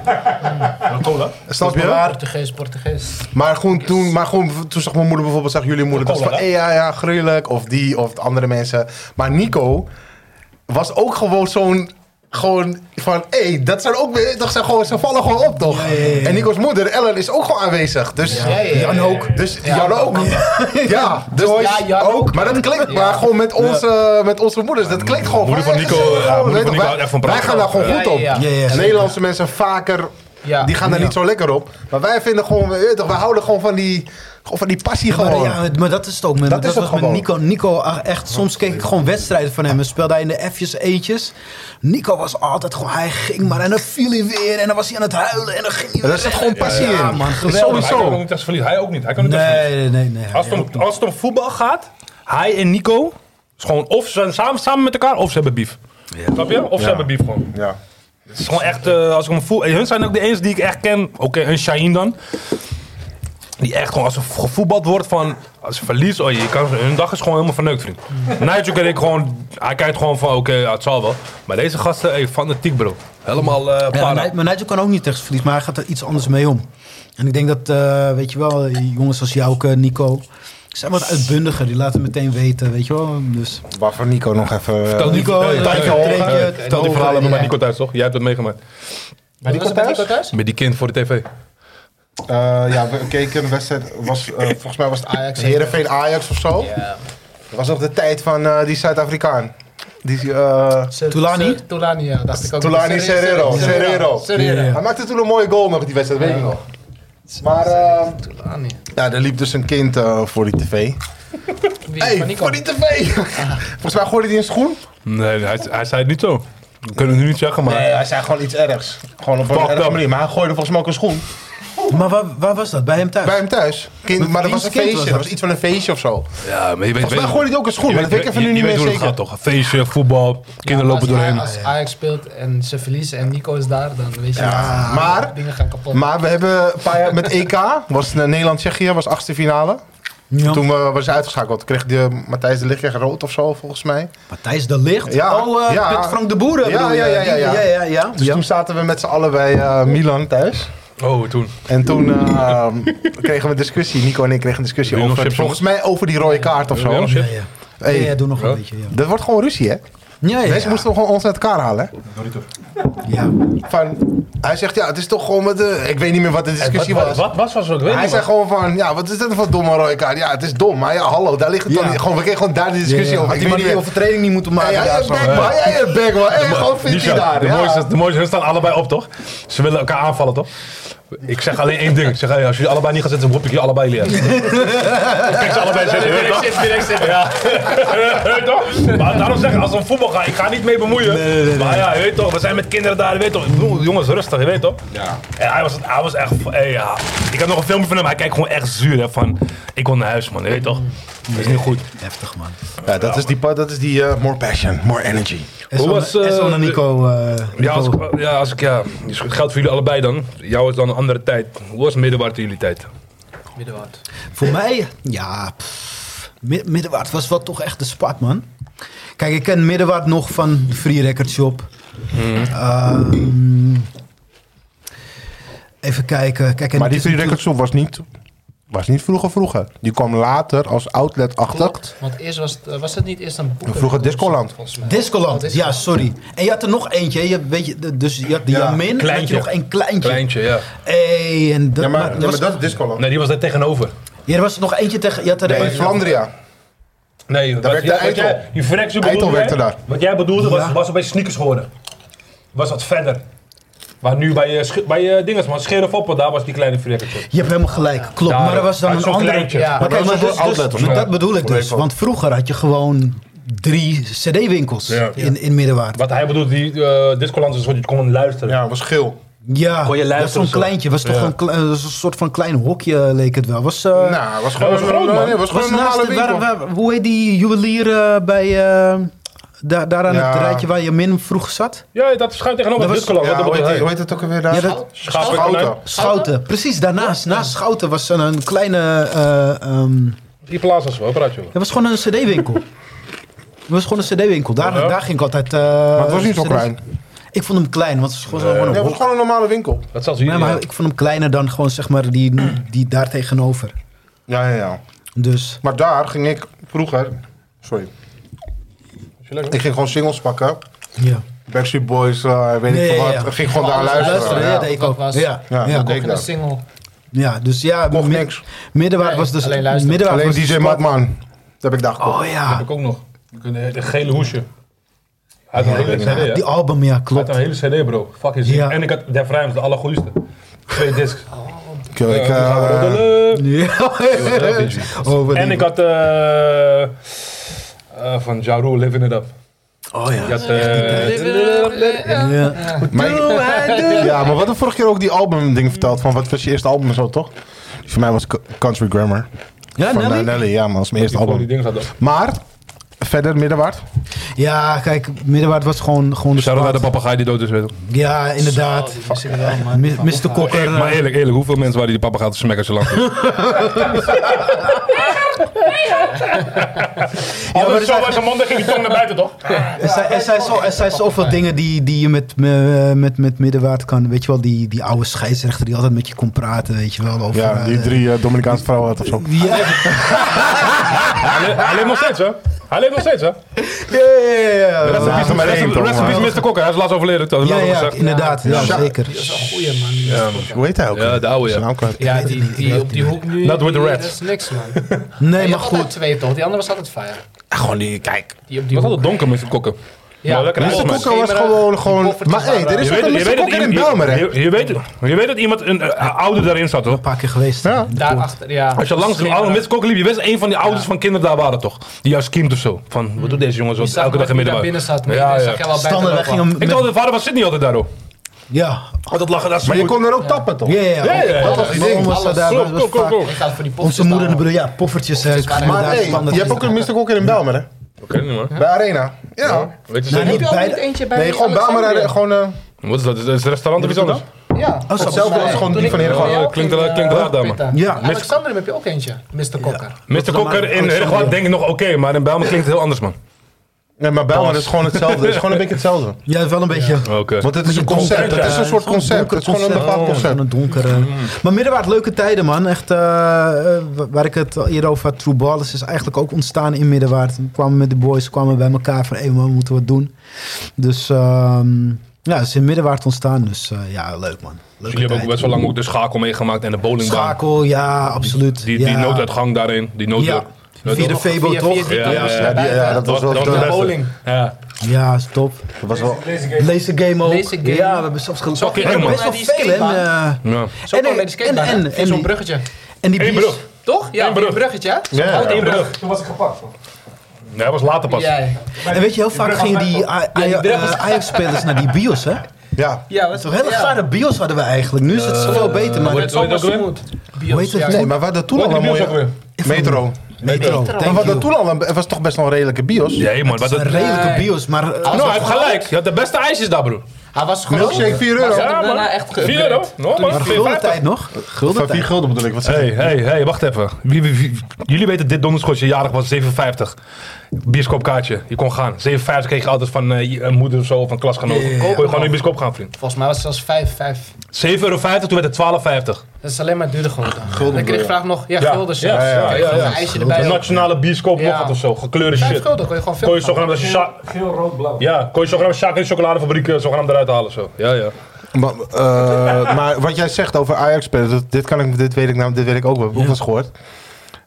B: Cola?
C: Snap je?
G: Portugees, Portugees.
C: Maar gewoon toen, maar gewoon, toen zag mijn moeder bijvoorbeeld, zag jullie moeder, dacht van, hey, ja, ja, gruwelijk, of die, of de andere mensen. Maar Nico was ook gewoon zo'n, gewoon van, hé, hey, dat zijn ook, weer- dat zijn gewoon, ze vallen gewoon op, toch?
H: Ja, ja, ja, ja.
C: En Nico's moeder, Ellen, is ook gewoon aanwezig, dus...
G: Ja, ja, ja, ja,
H: Jan
G: ja.
H: ook.
C: Dus
G: Ja.
C: Jan ook. Ja, dus
G: Ja, Jan ook.
C: Maar dat klinkt
G: Ja.
C: maar gewoon met onze, met onze moeders. Dat klinkt gewoon.
B: Moeder van
C: wij-
B: Nico,
C: gewoon,
B: ja, moeder van
C: weet je,
B: Nico
C: wij,
B: houdt echt van
C: wij
B: praten.
C: gaan daar gewoon
G: Ja,
C: goed
G: ja,
C: op.
G: ja.
H: Ja, ja,
C: En
H: zeker.
C: Nederlandse mensen vaker,
G: Ja.
C: die gaan daar niet zo lekker op. Maar wij vinden gewoon, weet je toch, wij houden gewoon van die, gewoon van die passie
H: Maar,
C: gewoon.
H: ja, het- maar dat is het ook.
C: Dat
H: Met, dat
C: is het
H: was met
C: gewoon.
H: Nico. Nico, ah, echt, soms keek ik gewoon wedstrijden van hem. En speelde hij in de F'jes, eentjes. Nico was altijd gewoon, hij ging maar. En dan viel hij weer. En dan was hij aan het huilen. En dan ging hij
C: Daar
H: weer.
C: zit gewoon passie
H: ja,
C: in.
H: man,
C: Is
H: geweldig.
B: Hij
C: Sowieso.
B: kan ook niet als verliezen. Hij ook niet. Hij kan niet als verliezen.
H: Nee, nee, nee. nee.
B: Als het, om, als het om voetbal gaat, hij en Nico, is gewoon of ze zijn samen, samen met elkaar of ze hebben beef. Snap je? Of ze hebben beef gewoon.
C: Ja.
B: Het is gewoon echt, eh, als ik hem voel. en hun zijn ook de eens die ik echt ken. Oké, een Shaheen dan. Die echt gewoon, als er gevoetbald wordt van. Als ze verliest, oh, je kan, hun dag is gewoon helemaal verneukt, vriend. Nigel kan ik gewoon. Hij kijkt gewoon van, oké, ja, het zal wel. Maar deze gasten, hey, fanatiek, bro. Helemaal eh
H: Ja,
B: para.
H: Nij- maar Nigel kan ook niet tegen zijn verlies, maar hij gaat er iets anders mee om. En ik denk dat, eh, weet je wel, jongens als Jouke, Nico, zijn wat uitbundiger. Die laten meteen weten, weet je wel. Dus
C: Waarvan Nico nog even.
B: Vertel die-
H: Nico,
B: hey,
H: eh,
B: hey,
H: tijdje
B: hey,
H: horen.
B: hey,
H: Het
B: Vertel die
H: horen,
B: verhalen met
H: ja.
B: mijn Nico thuis, toch? Jij hebt het meegemaakt.
G: Maar die was het met Nico thuis?
B: Met die kind voor de tv.
C: Eh, ja, we keken een wedstrijd. Was, eh, volgens mij was het Ajax, Herenveen Ajax of zo.
G: Ja.
C: Dat was nog de tijd van eh, die Zuid-Afrikaan. Die, eh,
G: Ser-
H: Tulani?
G: Ser- Tulani, ja, dacht ik ook.
C: Tulani
G: Ser-
C: Serrero.
G: Ser-
C: Serrero.
G: Serrero.
H: Ja.
C: Hij maakte toen een mooie goal nog, die wedstrijd, weet ik nog. Maar eh,
G: Tulani.
C: ja, er liep dus een kind eh, voor die tv.
G: Wie?
C: Hé,
G: Van
C: hey,
G: Nico?
C: voor die tv! Volgens mij gooide hij een schoen.
B: Nee, hij, hij zei het niet zo. We kunnen het nu niet zeggen, maar.
C: Nee, hij zei gewoon iets ergs. Gewoon op een
B: Fucked
C: erge
B: up.
C: manier. Maar hij gooide volgens mij ook een schoen.
H: Maar waar, waar was dat? Bij hem thuis?
C: Bij hem thuis. Kind,
H: Met
C: maar dat was een
H: wiens kind
C: feestje. dat?
H: was dat?
C: was iets van een feestje of zo.
B: Ja, Ah, maar je weet,
C: Volgens mij gooide hij ook een schoen,
B: je
C: maar dat weet ik even
B: je-
C: nu niet
B: je
C: meer
B: weet hoe
C: zeker.
B: het gaat toch? Een Feestje, voetbal, kinderen
G: als
B: lopen doorheen.
G: Ajax- Als Ajax speelt en ze verliezen en Nico is daar, dan weet je
C: Ja,
G: dat
C: maar-
G: dingen gaan kapot.
C: Maar we hebben een paar jaar met EK, was eh, Nederland-Tsjechië, was achtste finale.
H: Ja.
C: Toen we was uitgeschakeld, kreeg de Matthijs de Lichtweg rood of zo, volgens mij.
H: Matthijs de Licht.
C: Ja,
H: oh, eh,
C: ja.
H: met Frank de Boeren.
C: Ja,
H: bedoel je?
C: ja, ja, ja, ja.
H: ja, ja, ja.
C: Dus
H: Ja.
C: toen zaten we met z'n allen bij eh, Milan thuis.
B: Oh, toen.
C: En toen eh, kregen we een discussie, Nico en ik kregen een discussie
B: Wil je nog
C: over,
B: chips,
C: volgens mij over die rode kaart of zo.
B: Wil je nog
H: Ja, ja.
C: Hey.
H: Ja, ja, doe nog
B: Ja.
H: een beetje. Ja.
C: Dat wordt gewoon ruzie, hè?
H: Ja, ja,
C: Mensen
H: ja.
C: moesten gewoon ons uit elkaar halen. hè?
H: Ja.
C: Van, hij zegt, ja, het is toch gewoon met de... Ik weet niet meer wat de discussie
B: Eh, wat,
C: was.
B: Wat, wat was het?
C: Hij zei gewoon van, ja, wat is dit voor domme rode kaart? Ja, het is dom, maar ja, hallo, daar ligt het
H: Ja.
C: dan niet. Gewoon, we kregen gewoon daar de discussie
H: Had
C: over. Ik
H: die man
C: weet niet
H: die
C: meer.
H: overtreding niet moeten maken.
C: Hey, jij
H: daar
C: je
H: zo.
C: bek, man. Jij je bek, man. Hey, gewoon vindt hij daar.
B: de,
C: ja.
B: mooiste, de mooiste, hun staan allebei op, toch? Ze willen elkaar aanvallen, toch? Ik zeg alleen één ding. Ik zeg, hey, als jullie allebei niet gaan zitten, dan roep ik jullie allebei leren. Ik kijk ze allebei zitten. weet je toch? Ja. Weet je toch? Maar daarom zeg ik, als we om voetbal gaan, ik ga niet mee bemoeien. Maar ja, je weet toch, we zijn met kinderen daar, je weet toch. Ik bedoel, jongens, rustig, je weet toch. En hij was, hij was echt, hey, ja. Ik heb nog een filmpje van hem, hij kijkt gewoon echt zuur, hè, van, ik wil naar huis, man, je weet toch. Dat is niet goed.
H: Heftig, man.
C: Ja, dat is die, pa- dat is die eh, more passion, more energy.
H: Hoe
B: was, eh, de-
H: Nico. eh,
B: Ja, als ik,
H: Nico.
B: ja, als ik, ja, dus het geldt voor jullie allebei dan. Jou is dan een andere tijd. Hoe was middenwaard in jullie tijd?
G: Middenwaard.
H: Voor mij, ja, pff, Mi- Middenwaard was wel toch echt de spat, man. Kijk, ik ken Middenwaard nog van de Free Record Shop.
B: Hmm.
H: Ehm, even kijken. Kijk, en
C: Maar
H: het
C: die
H: is
C: Free Record
H: natuurlijk-
C: Shop was niet, was niet vroeger vroeger. Die kwam later als outlet-achtig.
G: Klopt, want eerst was het, eh, was het niet eerst een boek.
C: Vroeger Discoland.
G: Volgens mij.
H: Discoland,
G: Oh,
H: ja, sorry. En je had er nog eentje, hè. je, weet je, de- dus je had de
C: Ja,
H: Jamin, en dan had je
B: kleintje.
H: nog een kleintje.
B: Kleintje, ja.
H: Hey, en dat,
C: Ja, maar,
H: maar,
C: ja,
H: er was,
C: maar dat is Discoland.
B: Nee, die was daar tegenover.
H: ja, er was er nog eentje tegen, je had er
C: Nee,
H: een-
C: Flandria.
B: Nee, wat,
C: werkte
B: jij- wat
C: Eitel.
B: jij, je Frenxie
C: Eitel
B: bedoelde,
C: werkte
B: hè?
C: daar.
B: Wat jij bedoelde was,
H: Ja.
B: was bij sneakers horen. Was wat verder. Maar nu bij je, sche- bij eh, je dinges man, Scherenfoppen, daar was die kleine vrekkertje.
H: Je hebt helemaal gelijk, klopt.
B: Daar,
H: maar er was dan
B: uit
H: een
B: zo'n
H: andere...
B: kleintje.
H: Ja,
B: Maar
H: maar
C: dat
H: kijk,
C: is
H: maar
C: wel
H: dus,
C: outlet
H: dus-
C: of zo.
H: dat bedoel ik dus. Want vroeger had je gewoon drie cd-winkels
B: Ja.
H: in, in Middenwaard.
B: Wat hij bedoelt, die eh discoland is wat je kon luisteren.
C: Ja, was geel.
H: Ja,
B: Kon je
H: dat was
B: luisteren
H: zo'n
B: of zo?
H: kleintje. was toch
B: Ja.
H: een, kle- eh, was een soort van klein hokje, leek het wel. Was, eh,
C: Nou, was gewoon
B: was
C: een
B: groot, man.
C: nee, was gewoon
H: was
C: een
H: naast
C: normale
H: de, waar,
C: winkel.
H: waar- hoe heet die juwelier eh, bij... eh, daar, daar aan
C: Ja.
H: het rijtje waar je min vroeg zat?
B: Ja, dat schuilt tegenover
H: Dat
B: het
H: was-
B: discoland.
C: Ja,
B: wat
C: hoe
B: bedoelt
C: heet, die-
B: hij?
C: hoe heet het ook alweer daar?
H: Ja, dat-
B: Schapen-
C: Schouten.
B: konijn.
H: Schouten. Precies, daarnaast, naast Schouten was er een kleine... eh, ehm,
B: Die plaats was wel, praat je over?
H: Dat was gewoon een cd-winkel. Dat was gewoon een cd-winkel. Daar,
B: Ja.
H: daar ging ik altijd... eh,
C: Maar het was niet zo
H: CD's.
C: klein.
H: Ik vond hem klein, want het is gewoon zo- gewoon
C: Nee,
H: een
C: het was gewoon een normale winkel.
B: Dat zelfs hier.
H: Nee, maar ik vond hem kleiner dan gewoon zeg maar die, die daar tegenover.
C: Ja, ja, ja.
H: Dus
C: Maar daar ging ik vroeger... Sorry. Ik ging gewoon singles pakken.
H: ja.
C: Backstreet Boys, eh, weet
H: Nee,
C: ik veel
H: ja,
C: wat.
H: ja.
C: Ik ging gewoon daar
G: Gewoon
C: luisteren.
G: luisteren,
C: Ja.
H: dat deed ik ook.
G: was-
H: Ja,
C: Ja,
H: ja.
C: dat deed
G: Ook
C: ik
G: in een
C: daar.
G: single.
H: ja, dus ja,
C: Mocht
H: mi-
C: niks.
H: middenwaard
G: Nee,
H: was dus.
G: alleen luisteren.
H: middenwaard
C: Alleen
H: was dus
C: DJ
H: sport-
C: Madman. Dat heb ik daar gekocht.
H: Oh ja.
B: heb ik ook nog. De gele hoesje. Uit een hele
H: Ja,
B: cd,
H: die
B: hè?
H: album, ja,
B: Uit
H: klopt.
B: een hele cd, bro. Fuck is
H: Ja.
B: En ik had Def Rhymes, de allergoedste. Twee discs.
C: Ik, ik, eh,
H: Ja. Oh, wat
B: en
H: die-
B: ik had eh, eh, van Ja Rule, Living It Up.
H: Oh ja.
B: Ik had, eh,
H: Ja.
C: maar ik- ja, maar wat de vorige keer ook die albumding verteld. Van wat was je eerste album en zo, toch? Die Voor mij was C- Country Grammar.
H: Ja,
C: van eh,
H: Nelly?
C: Nelly, ja, man. Dat is mijn eerste
B: die, die
C: album.
B: dingen hadden.
C: Maar, verder middenwaard.
H: ja, kijk, middenwaard was gewoon, gewoon de
B: Shout-out naar de
H: sport.
B: papegaai die dood is, weet je.
H: Ja, inderdaad. Mi- Mr. Kokker. eh,
B: Maar eerlijk, eerlijk, hoeveel mensen waren die papa gaat smekken als je lang
H: maar er zijn-
B: uit zijn mond, dan ging die tong naar buiten, toch?
H: Er zijn, er zijn, zo, er zijn zoveel dingen die, die je met, me- met, met middenwaard kan. Weet je wel, die, die oude scheidsrechter die altijd met je kon praten, weet je wel. Over,
C: Ja, die
H: eh,
C: drie eh, Dominicaanse vrouwen had of zo.
H: Ja, ja,
B: Hij, le- hij leeft nog steeds, hè? Hij leeft nog steeds, hè?
H: ja, ja, ja.
C: Laat
B: Rest
C: hem
B: in
C: maar
B: peace,
C: één,
B: rest in
C: toch, man.
B: peace, Mr. Kokker. Hij is laatst overleden, dat
H: Ja,
B: hebben we
H: ja,
B: gezegd.
H: inderdaad. Ja,
C: Ja.
H: zeker.
G: Dat is een goeie man. die is goed.
C: Hoe heet hij ook?
B: Ja, de oude,
C: Zijn
B: ja.
C: naam kwijt.
G: Ja, die, die op die hoek nu.
B: Not with the
G: die-
B: rats.
G: Dat is niks man.
H: Nee,
G: Je
H: maar
G: had altijd
H: goed.
G: twee toch? Die andere was altijd fire.
H: Gewoon die, kijk.
G: Die op
B: Die
G: die
B: was
G: hoek.
B: altijd donker, Mr. Kokker.
G: Ja.
B: Maar lekker
G: Mr.
C: Mr.
B: uitgesmeerd.
G: Kokker
C: Kokker was
G: Schemeren,
C: gewoon...
G: die
C: gewoon
G: koffertjes
C: maar hé,
G: waren
C: er is
G: daar.
C: ook een Mr. Kokker in Belmer, hè?
B: je, je weet, je weet dat iemand een eh, ouder daarin zat, hoor.
H: Een paar keer geweest.
C: Ja.
H: in de poort.
G: Daarachter, ja.
B: Als je langs de
G: Slimmer.
B: oude Mr. Kokker liep, je wist een van die ouders van kinderen daar waren, toch? Die juist kiemt of zo. Van, wat doet deze jongens wat
G: Je zag
B: elke dag in
G: wie daar
B: middenbouw?
G: binnen zat. maar
B: Ja,
G: die
B: ja.
G: zag jij wel bij
H: Standaard,
G: te
H: wij
G: lopen.
H: gingen
B: Ik
H: met-
B: dacht dat de vader was Sydney altijd daar, hoor.
H: Ja.
B: Altijd lachen, dat is
C: Maar je kon er ook tappen, toch?
H: Ja, ja,
B: Ja, ja, ja.
H: Wat
B: Dat
H: was
B: is
H: die
B: ding.
H: Was daar,
B: Alles.
H: dat was
B: Go, go,
H: vaak-
B: go, go.
G: Ik had voor die
H: Onze moeder en de
G: de
H: broer, ja, poffertjes. eh,
G: waren
H: maar
C: Maar
H: daar
C: hé,
H: standaard
C: je hebt ook een Mr. Kokker in Belmer, hè?
B: Oké, niet man.
C: Bij Arena. Ja.
B: Weet je
H: Nou,
B: zeker?
H: niet bij de-
G: eentje bij
C: Nee,
G: die
C: gewoon Belmer. eh,
G: Alexandria?
C: Gewoon... eh,
B: Wat is dat? Is dat een restaurant of iets anders?
G: Ja.
H: zo.
C: Hetzelfde als gewoon die van Heerenveen.
B: Ja, klinkt wel- klinkt wel raar, dame.
H: Ja.
G: Ja. Alexander heb je ook eentje. Mr. Kokker.
B: Mr. Kokker in Herengewaard denk ik nog oké, maar in Bijlmer klinkt het heel anders, man.
C: Nee, maar Belmer is gewoon hetzelfde. Het is gewoon een beetje hetzelfde.
H: Ja, wel een beetje.
B: Oh, Oké.
C: Want het is een concept. Het is een soort concept. Het is gewoon een bepaald concept.
H: Een Oh, donkere.
B: Mm.
H: Maar middenwaard, leuke tijden, man. Echt, eh, eh, waar ik het al eerder over had, True Ballers is eigenlijk ook ontstaan in middenwaard. We kwamen met de boys, kwamen bij elkaar van, hé man, we moeten wat doen. Dus, ehm, ja, het is in middenwaard ontstaan. Dus, eh, ja, leuk,
B: Dus
H: man. Leuke
B: jullie hebben ook
H: tijd.
B: best wel lang ook de schakel meegemaakt en de bowlingbaan.
H: Schakel, ja, absoluut.
B: Die, die
H: ja.
B: nooduitgang daarin, die nood.
H: Ja. Via de Febo,
G: Via- via
H: toch?
G: die
B: Ja,
G: kant.
B: ja,
C: Ja, die- ja, dat was wel...
B: Dat was
C: dat-
B: de beste.
G: Bowling.
B: Ja.
H: Ja, is top.
C: Dat was wel...
H: Laser game ook.
G: Laser game.
H: Ja, we hebben zelfs gelukkig.
B: Zo ging het, man.
H: best wel
G: Die
H: veel, hè.
G: skatebaan.
H: eh,
B: ja.
G: Zo
H: En-
G: kwam bij de skatebaan.
H: en- en-
G: hè? Via
H: en
G: Zo'n
H: die-
G: bruggetje.
H: En die
B: Eén
H: bier-
B: brug.
G: Toch? Ja,
B: Eén
G: een
B: brug.
G: bruggetje. hè? Zo'n
C: Ja, ja,
G: grote
B: Eén brug.
I: Toen was ik gepakt. hoor.
B: Nee, hij was later pas.
G: Ja,
B: Ja,
G: ja.
H: En weet je, heel vaak gingen die A- A-
G: die brug was-
H: eh, Ajax-spelers naar die bios, hè?
C: Ja.
G: ja. wat-
H: Toch hele
G: ja.
H: gare bios hadden we eigenlijk. Nu is het zoveel beter, maar...
G: Maar het is
B: Hoe heet
G: allemaal
B: dat ook
G: smooth.
H: Hoe heet
G: Bios.
H: het?
G: ja.
C: Nee, maar we hadden toen al een mooie... Metro.
H: Metro,
G: Metro.
C: Maar
H: thank
C: we hadden
H: you.
C: toen al een... Het was toch best wel een redelijke bios.
B: nee, man. Wat
H: Een
B: dat...
H: redelijke
G: Nee.
H: bios, maar... eh,
B: Nou, hij heeft gelijk. Je had de beste ijsjes daar, broer.
G: Hij was groot.
C: Milkshake 4 euro.
G: Ja,
B: Ja,
G: daarna
B: man.
G: echt ge-
B: 4 euro? No, man.
H: maar gulden
B: 4,50.
H: tijd nog. Gulden
C: Van 4
H: tijd.
C: gulden bedoel ik. Wat zeg
B: Hey,
C: je?
B: hey, hey, wacht even. Wie, wie- wie- jullie weten dit donderschotje jarig was 7,50. Bioscoopkaartje. Je kon gaan. 7,50 kreeg je altijd van eh, je- een moeder of zo, van klasgenoten.
H: Ja, ja, ja.
B: Kon je gewoon naar de bioscoop gaan, vriend.
G: Volgens mij was het zelfs 5, 5.
B: 7,50 euro, toen werd het 12,50.
G: Dat is alleen maar duurder geworden. dan kreeg ik vraag nog, ja,
B: Ja.
G: gulden.
B: Ja, ja, ja,
G: Kreeg je
B: ja,
G: nog
B: ja.
G: Een ijsje
B: De
G: erbij.
B: nationale bioscoop
G: Ja.
B: nog wat of zo. Gekleurde
G: 5
B: shit.
G: gulden, kon je gewoon veel
B: Kon je zogenaamd als je sha-
I: Geel, rood, blauw.
B: ja, kon je zogenaamd Sjaak in de chocoladefabriek eh, zogenaamd eruit halen zo. Ja, ja.
C: Maar, eh, maar wat jij zegt over Ajax-spelers, dat- dit, kan ik, dit weet ik nou, dit weet ik ook wel, heb ik ook wel eens gehoord.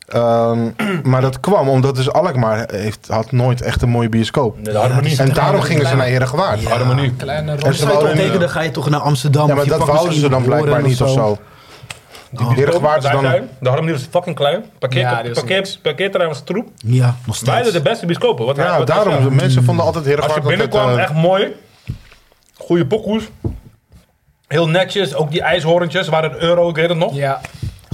C: Ehm, maar dat kwam omdat dus Alkmaar heeft, had nooit echt een mooie bioscoop.
B: Nee, de harmonie.
C: en daarom gingen ze naar Herengewaard.
H: Ja.
B: harmonie.
G: Kleine
C: En
G: rondjes.
C: ze
H: Als je toch
C: wouden-
H: tegen, dan ga je toch naar Amsterdam.
C: Ja,
H: of
C: maar
H: je
C: dat
H: pakt
C: wouden ze
H: misschien
C: dan
H: Horen
C: blijkbaar niet of zo. Herengewaard is
B: Daar
C: dan...
B: zijn. De harmonie was fucking klein. Parkeer,
G: Ja, die was
B: parkeer, parkeerterrein was troep.
H: Ja, nog
B: Wij hadden
H: steeds.
B: de beste bioscopen. Wat
C: Ja,
B: wat-
C: daarom.
B: ja.
C: Mensen vonden altijd eh,
B: Als je
C: Herengewaard
B: binnenkwam, echt mooi. Goede pokoes. Heel netjes. Ook die ijshorentjes waren een euro, ik weet het nog.
G: Ja.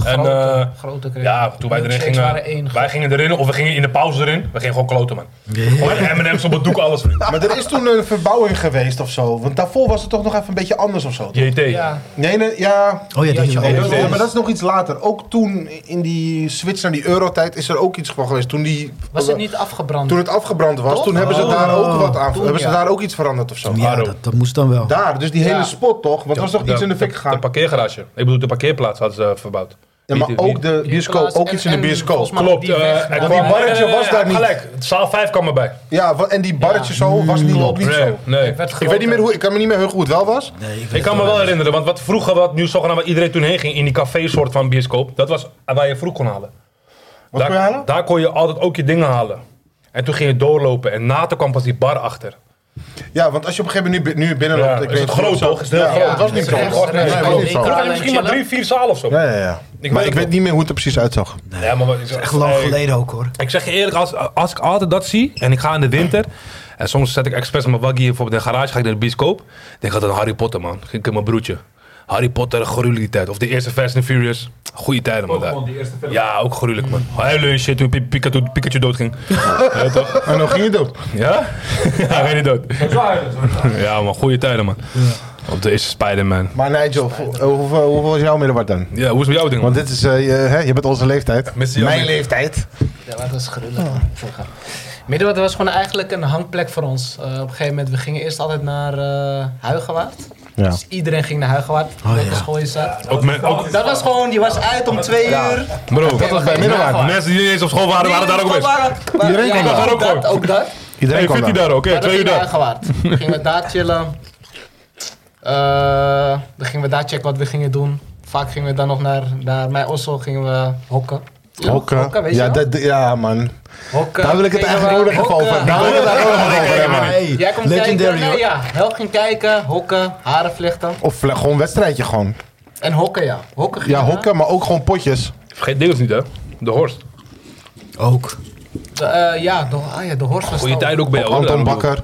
B: En,
G: Grote,
B: eh,
G: grote kreeg.
B: ja, toen wij erin
G: Milkshakes
B: gingen,
G: waren één.
B: wij gingen erin, of we gingen in de pauze erin. We gingen gewoon kloten, man. Gewoon M&M's op het doek, alles, vriend.
C: Maar er is toen een verbouwing geweest of zo. Want daarvoor was het toch nog even een beetje anders of zo.
B: JT.
G: Ja,
C: Nee, nee, ja.
H: Oh ja,
G: Ja,
H: dat je
G: ja,
H: ook.
C: Nee,
B: Oh,
C: dat-
B: dit
C: ja,
B: is-
C: maar dat is nog iets later. Ook toen in die switch naar die eurotijd is er ook iets van geweest. Toen, die,
G: was het niet afgebrand?
C: toen het afgebrand was,
G: Toch?
C: toen hebben ze
G: Oh.
C: daar ook wat aan.
G: Toen,
C: hebben ze
G: ja.
C: daar ook iets veranderd of zo?
H: Ja,
B: Aro.
H: dat, dat moest dan wel.
C: Daar, dus die
G: Ja.
C: hele spot toch? Want er was toch iets in de fik
B: De
C: gegaan?
B: parkeergarage. Ik bedoel, de parkeerplaats hadden ze eh, verbouwd.
C: Ja, maar
B: Niet-
C: ook
B: niet-
C: de bioscoop, ook iets in de bioscoop.
B: Klopt, eh,
G: weg,
B: er
G: want
B: kwam-
G: die
C: barretje
B: Nee, nee,
C: was
B: nee,
C: daar niet.
B: Gelijk, zaal 5 kwam erbij.
C: Ja, wa- en die barretje zo was niet, ook niet
B: Nee,
C: zo.
B: nee.
G: werd
C: Ik weet niet meer hoe, ik kan me niet meer heugen hoe het wel was.
H: Nee, ik
B: Ik
H: weet
B: kan me wel herinneren, want wat vroeger, wat nu zogenaamd waar iedereen toen heen ging, in die café-soort van bioscoop, dat was waar je vroeg kon halen.
C: Wat
B: daar,
C: kon je halen?
B: Daar kon je altijd ook je dingen halen. En toen ging je doorlopen en nater kwam pas die bar
C: Oh.
B: achter.
C: Ja, want als je op een gegeven moment nu, bi- nu binnen
B: Ja,
C: loopt, ik
B: is
C: weet
B: het groot
C: zo-
B: toch? Is het heel
C: Ja,
B: groot?
C: Het was niet
B: Is
C: zo.
B: het
C: Nee,
B: echt groot?
C: het was niet
G: Nee,
C: zo.
B: Vroeger
G: alleen
B: was je misschien maar
G: chillen.
B: drie, vier zalen of zo.
C: Ja, ja, ja.
B: Ik
C: Maar
B: weet
C: ik
B: het
C: weet niet meer hoe het er precies uitzag.
B: Ja, maar wat-
H: Echt lang
B: Nee,
H: geleden ook hoor.
B: Ik zeg je eerlijk, als, als ik altijd dat zie en ik ga in de winter. En soms zet ik expres mijn waggie bijvoorbeeld in de garage, ga ik naar de bioscoop. Denk altijd aan Harry Potter, man. Ging ik in mijn broertje. Harry Potter, gruwelijk die tijd. Of de eerste Fast and Furious. Goeie tijden, man. daar.
I: Pokémon, die eerste film.
B: Ja, ook gruwelijk, man. Huilen en shit toen Pi- Pikachu, Pikachu doodging. ja, toch?
C: En dan ging je dood.
B: Ja? ja, hij ging niet dood.
I: Zo huilen, zo huilen.
B: Ja, man. Goeie tijden, man. Op de eerste Spider-Man.
C: Maar Nigel, hoe- hoeveel, hoeveel was jouw middelbaar dan?
B: Ja, hoe is het met jouw ding,
C: Want
B: man?
C: dit is, eh, je, hè, je bent onze leeftijd.
B: Missie
C: Mijn
B: Jammer.
C: leeftijd.
G: Ja, dat was gruwelijk. man, vroeger. Middenwater was gewoon eigenlijk een hangplek voor ons. Eh, op een gegeven moment, we gingen eerst altijd naar eh Huigewaard.
C: Ja. Oh,
G: Dus iedereen ging naar Huigewaard, welke school je zat.
B: Ook men- ook,
G: Dat was gewoon, die was uit om twee uur.
B: bro,
G: Dat was bij
C: middelbaar.
B: de mensen die niet eens op school waren, waren daar ook
G: Nee,
B: best.
G: waren- waren-
C: Iedereen kwam
B: daar.
G: ook dat, ook dat.
C: Iedereen
B: Hey,
C: kwam
B: vindt hij
C: daar.
B: daar ook? Oké,
G: Maar dan
B: twee uur
G: gingen we
B: daar.
G: Huigewaard. Dan gingen we daar chillen. Eh, dan gingen we daar checken wat we gingen doen. Vaak gingen we dan nog naar, naar mijn Ossel, gingen we hokken. Ja,
C: Hokken.
G: weet je
C: Ja,
G: wel?
C: dat, ja, man.
G: Hokken,
C: Daar wil ik het
G: gingen
C: eigenlijk
G: we
C: ook nog even
G: hokken.
C: over hebben. Daar wil ik het eigenlijk ook nog over hebben.
H: Maar hey,
G: Jij komt
H: legendary
G: kijken, nee,
H: hoor.
G: ja. Help ging kijken, hokken, haren vlechten.
C: Of vle- gewoon een wedstrijdje gewoon.
G: En hokken, ja. Hokken
C: Ja,
G: gingen we.
C: hokken, maar ook gewoon potjes.
B: Vergeet Deels niet, hè? De Horst.
H: Ook.
G: De, eh, ja, de, ah, ja, de horst was
I: Oh.
B: Goeie
G: het ook.
B: tijd ook bij jou. hoor,
C: Anton
B: daar
C: Bakker.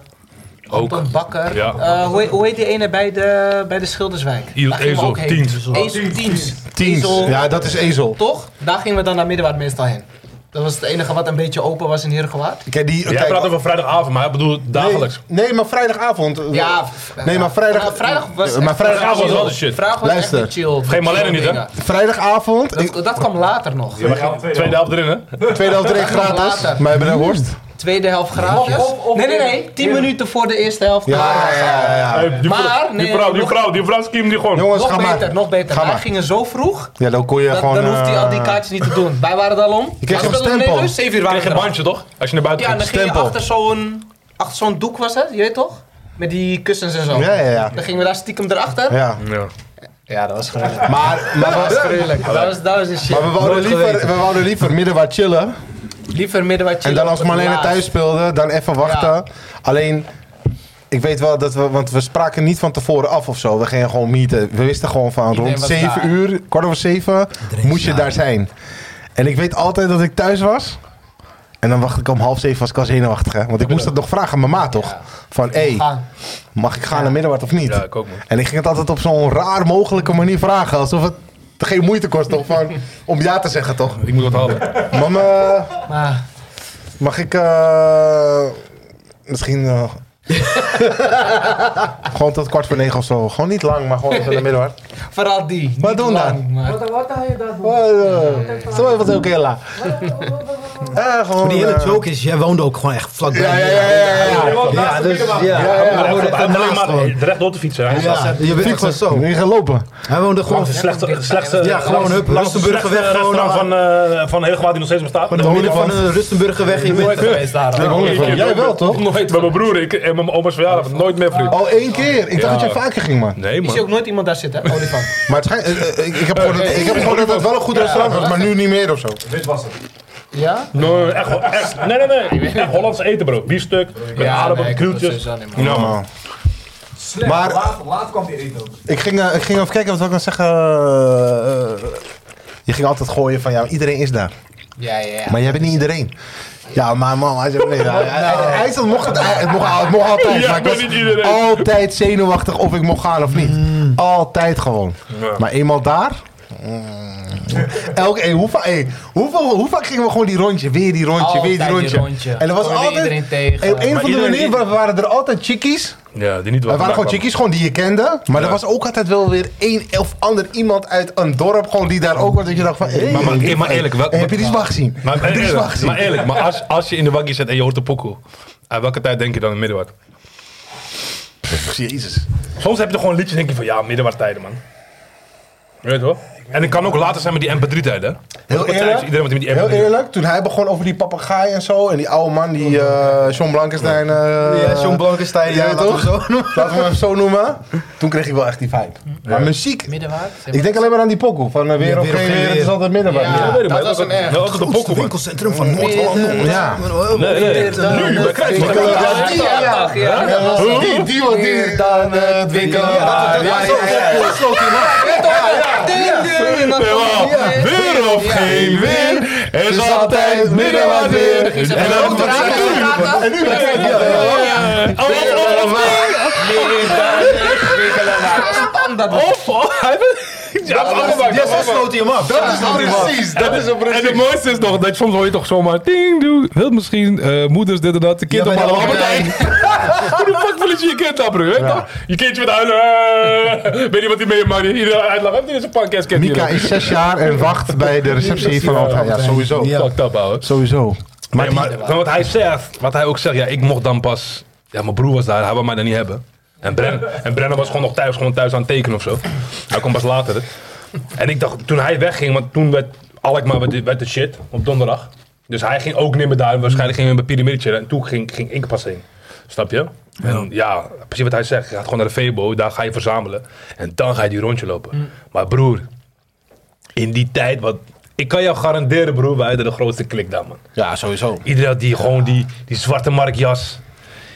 B: Ook.
G: Anton Bakker.
B: Ja.
G: Eh, hoe, heet- hoe heet die ene bij de, bij de Schilderswijk?
B: Iel-
G: Daar gingen we
B: Ezel,
G: ook heen.
B: Tiens.
G: Ezel, Tiens.
C: Teams.
G: Ezel,
C: Ja, dat is ezel.
G: Toch? Daar gingen we dan naar Middenwaard meestal heen. Dat was het enige wat een beetje open was in Heergewaard.
C: Kijk, die,
B: Jij
C: kijk,
B: praat over vrijdagavond, maar ik bedoel dagelijks.
C: Nee, nee, maar vrijdagavond. eh,
G: Ja.
C: Nee, maar vrijdag-
G: Maar vrijdag was
C: Maar
G: echt-
C: vrijdagavond
B: was wel de shit.
G: Vrijdag was
C: Luister.
G: echt de chill.
B: Vergeet Marlene niet, hè?
G: dingen.
C: Vrijdagavond. Ik,
G: Dat, dat kwam later nog.
B: Ja, maar geen- tweede helft erin, hè?
C: tweede helft erin gratis.
G: Later.
C: Maar bij de Horst.
G: Tweede helft gratis.
I: Of- of- of-
G: nee, nee, nee. Tien minuten voor de eerste helft.
C: Ja,
G: gratis.
C: ja, ja, ja, ja.
B: Hey, die
G: Maar,
B: vrouw, die
G: nee,
B: vrouw, die
G: nog-
B: vrouw, die vrouw schiemt die gewoon.
C: Jongens,
G: Nog
C: ga maar.
G: beter, nog beter.
C: Ga
G: Wij
C: maar.
G: gingen zo vroeg.
C: Ja, dan kon je
G: dat-
C: gewoon...
G: dan hoeft hij
C: eh,
G: al die kaartjes niet te doen. Wij waren daar om.
C: kreeg
G: Wij
C: zo'n
G: speelden
C: stempel.
G: om 7 uur
B: Je
G: waren
B: kreeg
G: we
B: een
G: er al.
B: bandje, toch? Als je naar buiten
G: Ja, en
B: ging.
G: dan ging je
C: Stempel.
G: achter zo'n... Achter zo'n doek was het, je weet toch? Met die kussens en zo.
C: Ja, ja, ja.
G: Dan gingen we daar stiekem erachter. Ja,
C: Ja.
B: Ja.
G: dat was gruwelijk.
C: Maar, maar,
G: Dat was
C: we,
G: gruwelijk. Dat was, dat was de shit.
C: maar we, wouden liever, we wouden liever midden waar chillen.
G: Liever midden wat je...
C: En dan als Marlene
G: laatst.
C: thuis speelde, dan even wachten. Alleen, ik weet wel dat we, want we spraken niet van tevoren af of zo. We gingen gewoon meeten. We wisten gewoon van
G: Iedereen
C: rond
G: was
C: 7
G: daar.
C: uur, kwart over 7,
H: Iedereen
C: moest je
H: was
C: daar zijn. En ik weet altijd dat ik thuis was. En dan wacht ik om half zeven, was ik al zenuwachtig. Hè? Want ik moest dat nog vragen aan mijn ma, toch? Van, hé, hey,
G: Gaan.
C: mag ik gaan naar middenwaard of niet?
B: Ja, ik ook, man.
C: En ik ging het altijd op zo'n raar mogelijke manier vragen. Alsof het geen moeite kost toch, van, om ja te zeggen, toch?
B: Ik moet wat halen.
C: Mama,
G: Maar
C: Mag ik eh, misschien eh, gewoon tot kwart voor negen of zo. Gewoon niet lang, maar gewoon even in de midden hoor.
G: vooral die.
C: Wat
G: Niet
C: doen
G: lang,
C: dan?
G: maar-
I: Wat, wat ga je daar doen?
C: Oh, eh, Zo even heel kela. Eh, gewoon.
H: Maar die hele
C: eh,
H: joke is, jij woonde ook gewoon echt vlakbij.
C: Ja, ja, ja, ja, ja.
I: Je woont naast de
H: dus, ja.
I: Middelbaar.
H: Hij woonde echt
B: Alleen
H: ernaast
B: maar
H: gewoon.
B: recht door te fietsen. Hij
H: Ja, je weet
C: Fietsen.
H: het
C: Zo,
H: zo.
C: nu gaan lopen.
H: Hij woonde gewoon...
B: is slechtste, slechtste,
H: Ja, gewoon hup, Luxemburgerweg gewoon
B: restaurant
H: aan.
B: van, eh van Heelgewaard die nog steeds bestaat.
H: Van de
C: woonde
H: van de Rustenburgerweg. Je bent
G: Wees daar.
C: Ik hoor ervan. Jij wel toch?
B: Nooit. Oh. Bij mijn broer ik, en mijn oma's verjaardag. Nooit meer vriend.
C: Al Oh, één keer. Ik dacht
B: Ja.
C: dat je vaker ging, man.
B: Nee,
G: Ik zie ook nooit iemand daar zitten, hè, olifant.
C: Maar het schijnt, eh, eh, ik, ik heb gewoon, dat- ik heb gewoon dat het wel een goed restaurant was, maar nu niet meer of zo.
I: Dit was het.
G: Ja?
B: Nee, echt, wel, echt. Nee, nee, nee. Echt Hollands eten, bro. Biefstuk, met aardappelen,
G: nee, ik doe
B: krieltjes.
G: sowieso niet, man.
B: Ja, man.
I: Slecht.
C: Oh. Maar-
I: laat, laat kwam die eten.
C: Ik ging, eh, ik ging even kijken wat wil ik nou zeggen. Eh, eh, je ging altijd gooien van ja, iedereen is daar.
G: Ja, ja, ja.
C: Maar jij bent niet iedereen. Ja, maar man, hij zei, nee,
G: Nou.
C: hij, hij, hij- hij zei, mocht het, hij- het, mocht, het mocht altijd.
B: Ja, ik
C: maar ik
B: ben
C: was
B: niet iedereen.
C: altijd
G: Mm.
C: zenuwachtig of ik mocht gaan of niet. Altijd gewoon. Maar eenmaal daar, mm, Elke, hey, hoe, va- hey, hoeveel, hoe vaak gingen we gewoon die rondje, weer die rondje, weer die
G: Altijd
C: rondje.
G: die rondje.
C: En er was
G: Komen we
C: altijd,
G: iedereen tegen.
C: Hey, op een
G: Maar
C: of andere
K: iedereen-
C: manier wa- waren er altijd chickies.
B: Ja, die niet
C: Er waren gewoon
B: chickies.
C: chickies gewoon die je kende. Maar er was ook altijd wel weer één of ander iemand uit een dorp gewoon die daar ook was. Dat je dacht van, hey,
B: Maar- maar- maar eerlijk, wel-
C: hey, heb je die zwag gezien?
B: Maar,
C: heb je die zwag
B: eerlijk,
C: gezien?
B: maar eerlijk, maar als, als je in de waggie zit en je hoort de pokoe, aan welke tijd denk je dan in middenwaard?
C: Jezus.
B: Soms heb je er gewoon liedjes denk je van ja, middenwaard tijden man. Weet je wel? En het kan ook later zijn met die MP3-tijden.
C: Heel eerlijk,
B: Iedereen met die MP3.
C: heel eerlijk, toen hij begon over die papegaai en zo. En die oude man, die eh John Blankenstein. eh,
J: Ja, John Blankenstein, ja,
C: ja,
J: laten we
C: toch?
J: zo
C: Laten we hem zo noemen. Toen kreeg ik wel echt die vibe. Maar muziek,
G: Middenwaard? Zeg maar.
C: ik denk alleen maar aan die pokoe. Van eh, weer
H: Ja,
C: of
H: weer
C: geen
H: of geen
C: weer, het
H: weer.
C: is altijd middenwaar.
G: Ja,
B: Ja, weet je, maar
G: dat was
B: ook-
G: een echt.
B: ja, ook de pokoe,
H: Het
B: man.
H: winkelcentrum van Noord-Holland.
C: Ja.
B: Nee, nee, nee. Nu, bij Kruidvat.
G: Ja, die, ja, ja, ja.
C: Die, die was die dan het winkelen. Ja, ja,
B: Weer of geen weer, er is altijd middenwaard weer. En dan ook dat
C: En nu ben ik ja.
B: Of, of, hij heeft- Ja, afgemaakt,
J: Ja, zo
B: afgemaakt.
J: sloot hij hem af.
C: Dat is nou precies. Dat is
B: En het mooiste is nog, dat je- soms hoor je toch zomaar ding, doe. Wilt misschien, eh, moeders, dit en dat, de kind
J: Ja,
B: op
J: bij de
B: allemaal.
J: Albert
B: Hoe de fuck verlies je je kind aan, broer? Weet je toch? Je kindje met huilen, eh, weet niet wat hij mee mag, iedereen uitlachen. Heb je eens een pankijskindje?
C: Mika is zes jaar en wacht bij de receptie van Alta. Ja, sowieso.
B: Ja. Fucked up, ouwe.
C: Sowieso.
B: Maar, maar van wat hij zegt, wat hij ook zegt, ja, ik mocht dan pas... Ja, mijn broer was daar, hij wou mij dan niet hebben. En, Bren, en Brennan was gewoon nog thuis, gewoon thuis aan het tekenen of zo. Hij kwam pas later. hè. En ik dacht, toen hij wegging, want toen werd Alkmaar werd, werd de shit op donderdag. Dus hij ging ook niet meer daar, waarschijnlijk ging hij bij Pyramide chillen. En toen ging, ging ik pas heen. Snap je? En ja, precies wat hij zegt. Je gaat gewoon naar de Febo, daar ga je verzamelen. En dan ga je die rondje lopen. Maar broer, in die tijd, wat, ik kan jou garanderen broer, wij hadden de grootste klik daar man.
J: Ja, sowieso.
B: Iedereen had die, gewoon die, die zwarte markjas.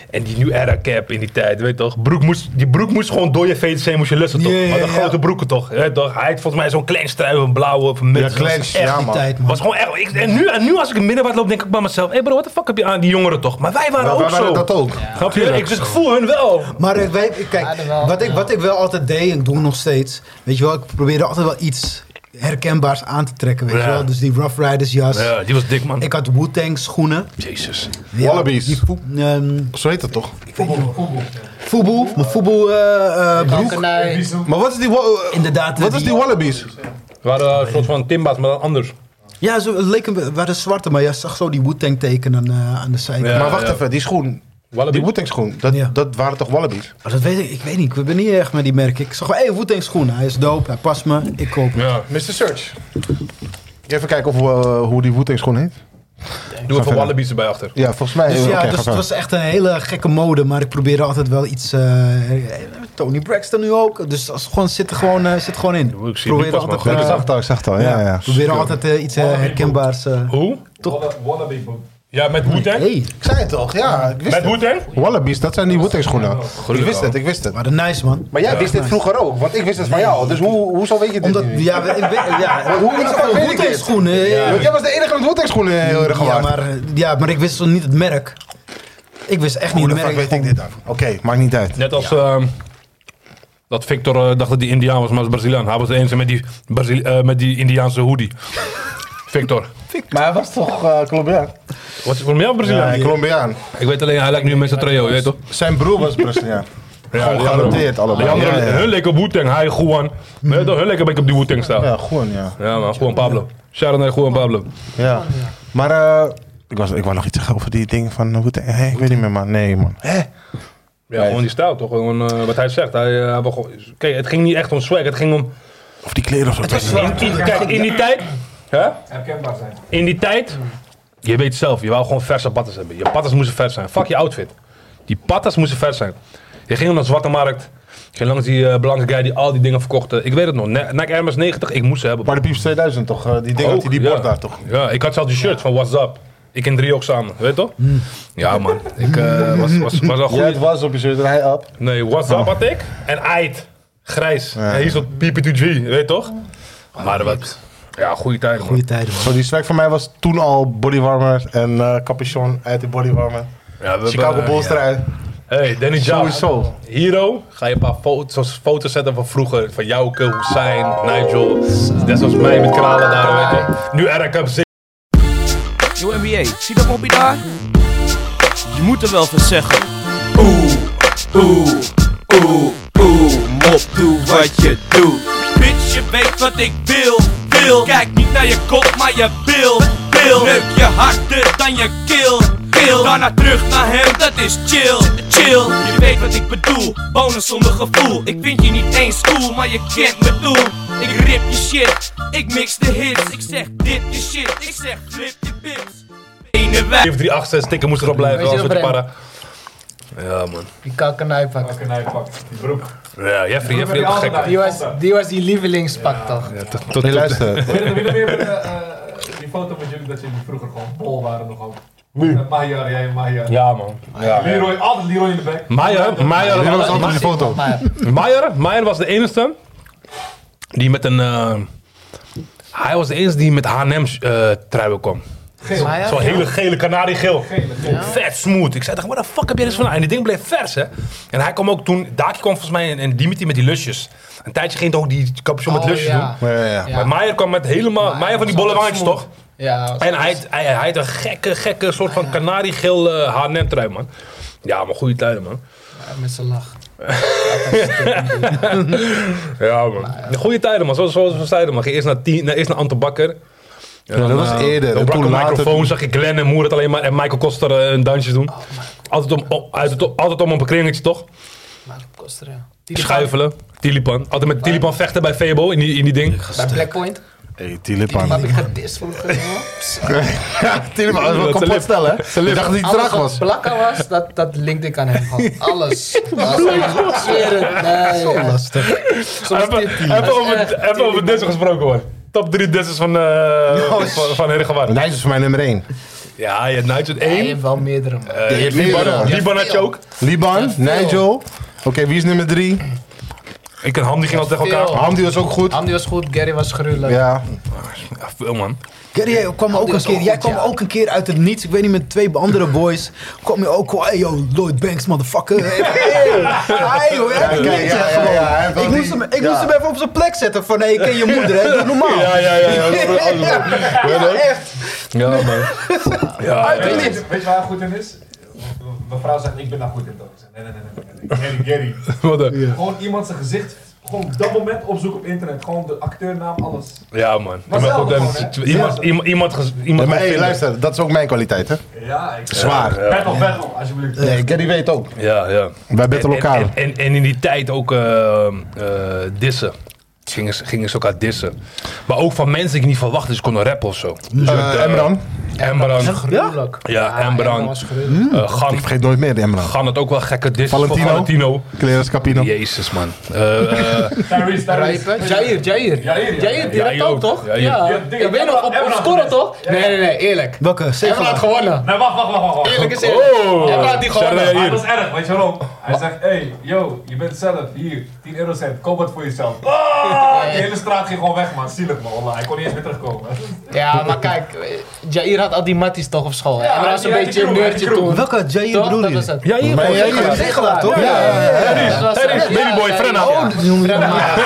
B: En die nu era cap in die tijd, weet je toch? Broek moest, die broek moest gewoon door je VTC moest je lussen, toch?
H: Ja, ja,
B: Maar de
H: ja.
B: grote broeken, toch? Weet je toch? Hij had volgens mij zo'n klein strui, een blauwe of een
C: Ja,
B: mid.
C: Clench.
B: Echt
C: Ja,
H: Die
C: man.
H: tijd, man.
B: was gewoon echt, ik- en, nu, en nu als ik in middenwaard loop, denk ik bij mezelf... Hé hey bro, what the fuck heb je aan die jongeren toch? Maar wij waren
C: Maar
B: ook
C: wij waren
B: zo.
C: dat ook.
B: Snap je? Ik, dus ik voel hun wel.
H: Maar ik weet, ik- kijk, wat, ik, wat ik wel altijd deed, en ik doe nog steeds, weet je wel, ik probeerde altijd wel iets herkenbaars aan te trekken, weet
B: Ja.
H: je wel. Dus die Rough Riders jas.
B: Ja, die was dik, man.
H: Ik had Wu-Tang schoenen.
B: Jezus.
H: Ja,
C: Wallabies.
H: Die voe- ehm,
C: Zo heet dat toch?
H: Fubu, mijn Fubu eh, eh, broek.
G: Kankerlei.
C: Maar wat is die, wa-
H: Inderdaad.
C: wat is die Wallabies?
B: We waren eh, een soort van Timbas, maar dan anders.
H: Ja, ze leken, we waren zwarte, maar je zag zo die Wu-Tang tekenen eh, aan de zijkant.
B: Ja,
C: Maar wacht
B: ja.
C: even, die schoen.
B: Wallaby.
C: Die Wu-Tang schoen, dat,
H: Ja.
C: dat waren toch Wallabies?
H: Maar dat weet ik, ik weet niet, ik ben niet erg met die merk. Ik zag wel, hé, hey, Wu-Tang schoenen, hij is dope, hij past me, ik koop hem.
B: Ja.
C: Mr. Search. Even kijken of, eh, hoe die Wu-Tang schoen heet.
B: Doe even
C: verder.
B: Wallabies erbij achter.
C: Ja, volgens mij.
H: Dus
C: Eh, oké,
H: ja,
C: ga
H: dus het
C: verder.
H: was echt een hele gekke mode, maar ik probeerde altijd wel iets. eh, eh, Tony Braxton nu ook, dus als gewoon zit er gewoon, eh, zit er gewoon in.
B: Ik zie
H: Probeer
B: Lucas, man.
H: altijd,
B: Lekker
H: eh,
C: Ik zag het al, ik zag het al. Ja, ja.
H: probeer altijd eh, iets eh, herkenbaars. eh.
B: Hoe?
A: Toch? Wallaby boek.
B: Ja, met Wu-Tang?
H: Hey,
C: Ik zei het toch? Ja, ik wist
B: Met
C: het.
B: Wu-Tang?
C: Wallabies, dat zijn die Wu-Tang schoenen. Ik wist
B: wel.
C: het, ik wist het.
H: waren nice man.
C: Maar jij wist dit vroeger ook, want ik wist het van jou. Dus hoe, hoezo weet je dit
H: Omdat,
C: nu?
H: ja, we- ik ben, ja,
C: Hoe- hoe- hoe-
H: hoe
C: hoe-
H: schoenen? eh,
C: Want jij was de enige met Wu-Tang schoenen heel erg
H: Ja
C: gewaard.
H: maar, eh, ja, maar ik wist zo niet het merk. Ik wist echt
C: Hoe
H: niet
C: de
H: het merk.
C: fuck weet ik
H: gewoon-
C: dit dan? Oké, maakt niet uit.
B: Net als ehm, dat Victor eh, dacht dat hij Indiaan was, maar hij is Braziliaan. Hij was de enige met die, Brazili- eh, met die Indiaanse hoodie. Victor.
C: Maar hij was toch uh, Colombiaan?
B: Wat is voor mij
C: Ja,
B: Braziliaan?
C: ja, Colombiaan.
B: Ik weet alleen, hij lijkt nu met zijn trio, je weet toch?
C: Zijn broer was Braziliaan.
B: Ja,
C: Gewoon geroteerd
B: Die
C: allebei.
B: andere,
C: Ja, ja.
B: hun leek op Wu-Tang, hij Juan. Weet je toch, hun leek een beetje op die Wu-Tang staan. Ja.
C: Ja, gewoon ja.
B: man, Juan Pablo. Sharon en Juan Pablo.
C: ja. Maar eh, ik, was, ik wou nog iets zeggen over die dingen van eh, Wu-Tang. Hé, ik weet niet meer man. Nee man. Hé?
B: Ja, gewoon die stijl toch? Gewoon, eh, wat hij zegt. Hij, eh, hij wil gewoon- kijk, het ging niet echt om swag, het ging om...
C: Of die kleren of zo.
B: In, in- kijk, in die tijd... Hè?
I: Herkenbaar zijn.
B: In die tijd, je weet zelf, je wou gewoon verse patas hebben. Je patas moesten vers zijn. Fuck je outfit. Die patas moesten vers zijn. Je ging naar de zwarte markt. Je ging langs die eh blanke guy die al die dingen verkocht. eh, Ik weet het nog. Ne- Nike Air Max 90, ik moest ze hebben.
C: Maar de Pieps 2000 toch? eh, die dingen had hij die
B: Ook,
C: bord
B: ja.
C: daar toch?
B: Ja, ik had zelf die shirt van What's Up. Ik en drie ook samen, weet je toch? Ja man, ik eh, was, was, was wel
C: Jij
B: goed.
C: het was op je shirt en hij op.
B: Nee, What's Up had ik. En Ait, grijs. En hier stond PP2G, weet je toch? Maar wat. Ja, goede tijd man.
H: Goeie tijden man.
C: Zo, die swag van mij was toen al bodywarmer en eh capuchon uit de bodywarmer.
B: Ja, we hebben,
C: Chicago
B: eh,
C: Bulls
B: ja.
C: eruit.
B: Hey, Danny Jao.
C: Sowieso.
B: Hero, ga je een paar foto's, foto's zetten van vroeger. Van Jouke, Hussein, Nigel. Net zoals mij met kralen daar, weet je. Nu Eric zit.
J: Yo NBA, zie dat moppie daar? Je moet er wel van zeggen. Oeh, oeh, oeh, oeh. Mop, doe wat je doet. Bitch, je weet wat ik wil, wil. Kijk niet naar je kop, maar je bil, bil. Neuk je harder dan je keel, keel. Daarna terug naar hem, dat is chill, chill. Je weet wat ik bedoel, bonus zonder gevoel. Ik vind je niet eens cool, maar je kent me doel. Ik rip je shit, ik mix de hits. Ik zeg dit je shit, ik zeg flip je bips. Ene wij.
B: 738, sticker moest erop blijven.
G: Weet je
B: Als we te
G: wat,
B: para. Ja, man.
G: Die kakkernuip pak.
B: Ja, Jeffrey, Jeffrey ook gek.
G: Die was die, was die lievelingspak toch?
B: Ja, tot, tot,
C: Hey,
B: tot-
C: luister.
I: Weet je weet je weer eh, eh, die foto met jullie dat jullie vroeger gewoon bol waren nog ook? Met Mahiar, jij en Mahiar.
B: Ja, man. Ja.
I: Leroy, altijd Leroy in de bek.
B: Maier, Maier,
C: Dit was altijd
B: Ma-
C: een foto.
G: Maar
B: Maier, Maier was de enige die met een... eh, hij was de enige die met H&M's eh truien kwam.
G: Maya?
B: Zo'n hele gele kanariegeel. Vet smooth. Ik zei tegen hem, waar de fuck heb je dit van? En die ding bleef vers, hè. En hij kwam ook toen... Daakje kwam volgens mij en, en Dimitri met die lusjes. Een tijdje ging toch ook die capuchon
G: Oh,
B: met lusjes
G: ja.
B: doen.
C: Ja, ja, ja.
G: Ja.
B: Maar Maier kwam met helemaal...
G: Maier
B: Maier van die
G: was
B: bolle
G: altijd
B: waantjes, toch?
G: Ja,
B: En hij, had- hij, hij had een gekke, gekke soort van kanariegeel eh, H&M trui, man. Ja, maar goede tijden, man.
G: met zijn lach.
B: Ja, man. De goede tijden, man. Zoals, zoals we zeiden, man. Ging eerst naar, tien, naar, eerst naar Anton Bakker. En
C: Oh, nou, dat was
B: eh,
C: eerder.
B: Dan
C: En
B: brak
C: toen
B: een
C: later-
B: microfoon, zag ik Glenn en Moerat alleen maar en Michael Koster eh, een dansje doen. altijd, om, om- uit het- altijd om een bekringetje, toch?
G: Maar dat kost er ja. Die
B: Die schuifelen. Tilipan. Altijd met Tilipan vechten bij Febo in die, in die ding.
G: Bij Blackpoint.
C: Hey,
G: Die heb
C: Tilipan.
G: ik gedist vroeger. joh. Pss,
C: Ja, Tilipan. Dat
B: Zijn
C: was kapot
B: lip.
C: stellen, hè? Ik dacht dat hij
G: Alles
C: traag
G: wat
C: was.
G: blakker was, dat, dat linkte ik aan hem. gewoon. Alles. Ik zweer het. Nee, ja.
H: Lastig.
G: Soms
B: Even,
G: dit-
B: even
G: dat is
B: over,
G: echt
B: even over
G: Tilipan.
B: dissen gesproken, hoor. Top 3 disses van, eh van, van Heergewaard.
C: Nijs is voor mij nummer 1.
B: Ja, je hebt Nigel
G: Ja, je
B: 1.
G: hebt wel meerdere. man.
C: je hebt meerdere.
B: Liban had je ook.
C: Liban, Nigel. Oké, wie is nummer 3?
B: Ik en Ham die gingen altijd tegen
G: Veel.
B: elkaar.
C: Hamdi was ook goed.
G: Andy was goed, Gary was gruwelijk.
C: Ja.
B: Ja, veel, Ah, oh, man.
H: Gary, jij kwam ook
G: die
H: een
G: was
H: keer,
G: ook
H: jij
G: goed,
H: kwam
G: ja.
H: ook een keer uit het niets. Ik weet niet, met twee andere boys. Kwam je ook, hey yo, Lloyd Banks, motherfucker. Hey, hey, hey, hoe heb je
C: Ja,
H: dit,
C: ja,
H: zeg
C: ja,
H: gewoon.
C: ja, hij heeft wel
H: Ik moest
C: die-
H: hem- Ik
C: ja.
H: moest hem even op zijn plek zetten van, hey, ik ken je moeder, hè, doe normaal.
B: Ja, ja, ja. ja.
H: Ja, echt.
B: Ja, man. Ja, ja.
I: Weet je, weet je waar hij goed in is? M- Mevrouw zegt, ik ben daar goed in. toch? Ik zeg, Nee, nee, nee, nee. nee, nee. Gary, Gary.
B: Wat een-
I: Gewoon iemand zijn gezicht, gewoon dat moment opzoeken op internet. Gewoon de acteurnaam, alles.
B: Ja, man.
I: Maar
B: Iemand-
I: zelf gewoon,
B: iemand-
I: hè?
B: Iemand,
I: Ja.
B: iemand, iemand, ges-
C: Ja,
B: iemand
C: maar hey,
B: vinden.
C: luister, dat is ook mijn kwaliteit, hè?
I: Ja, ik...
C: Zwaar.
I: Battle, battle, alsjeblieft.
C: Nee, Gary weet ook.
B: Ja, ja.
C: Wij betten
B: En,
C: elkaar.
B: en, en, en in die tijd ook eh, eh, dissen. Gingen ze, gingen ze elkaar dissen. Maar ook van mensen die ik niet verwachtte. Ze konden rappen of zo.
C: Eh, Emran.
B: Emran.
G: Gruwelijk.
B: Ja, Emran.
G: was gruwelijk.
B: eh, Gan.
C: Ik vergeet nooit meer Emran.
B: Gan had ook wel gekke dissen. van
C: Valentino.
B: Valentino.
C: Clearance Capino.
B: Jezus, man. Eh, eh,
I: Tyrese, Tyrese.
G: Rijpen. Jair, Jair.
I: Jair, ja.
G: Jair, die
B: Ja,
G: had ook
B: ook.
G: toch?
B: Jair.
G: Ja.
I: Ja,
G: Ik
I: die-
G: weet je nog, op,
I: Emran
G: op
I: had
G: scoren
I: gewonnen.
G: toch? Nee, nee, nee, eerlijk.
H: Welke?
G: Emran had
H: Zegelaar.
G: gewonnen.
I: Nee, wacht, wacht, wacht, wacht, wacht.
G: Eerlijk is eerlijk.
B: Oh.
G: Emran had
B: Shout-out
G: die gewonnen.
B: Jair.
I: Maar het was erg, weet je waarom? Hij zegt, hey, yo, je bent zelf, hier, 10 eurocent, koop wat voor jezelf. Ah, de hele straat ging gewoon weg, man. Zielig, man. wallah. Hij kon niet eens meer terugkomen.
G: Ja, maar kijk, eh, Jair had al die matties toch op school. hè?
I: Ja,
G: Emran was
I: die
G: een
I: had
G: beetje
I: die
G: een
I: crew,
G: nerdje
I: die crew.
G: toen.
H: Welke? Jay
G: Toch?
H: bedoel
G: Dat was
H: je?
G: het.
B: ja, hier, man.
C: ja, ja.
H: Zegelaar, toch? Ja, ja, ja.
G: Dat was
B: Tijdens
G: het. Ja,
B: Babyboy
G: ja,
B: Frenna.
G: ja.
H: Oh, die noemen we hem maar.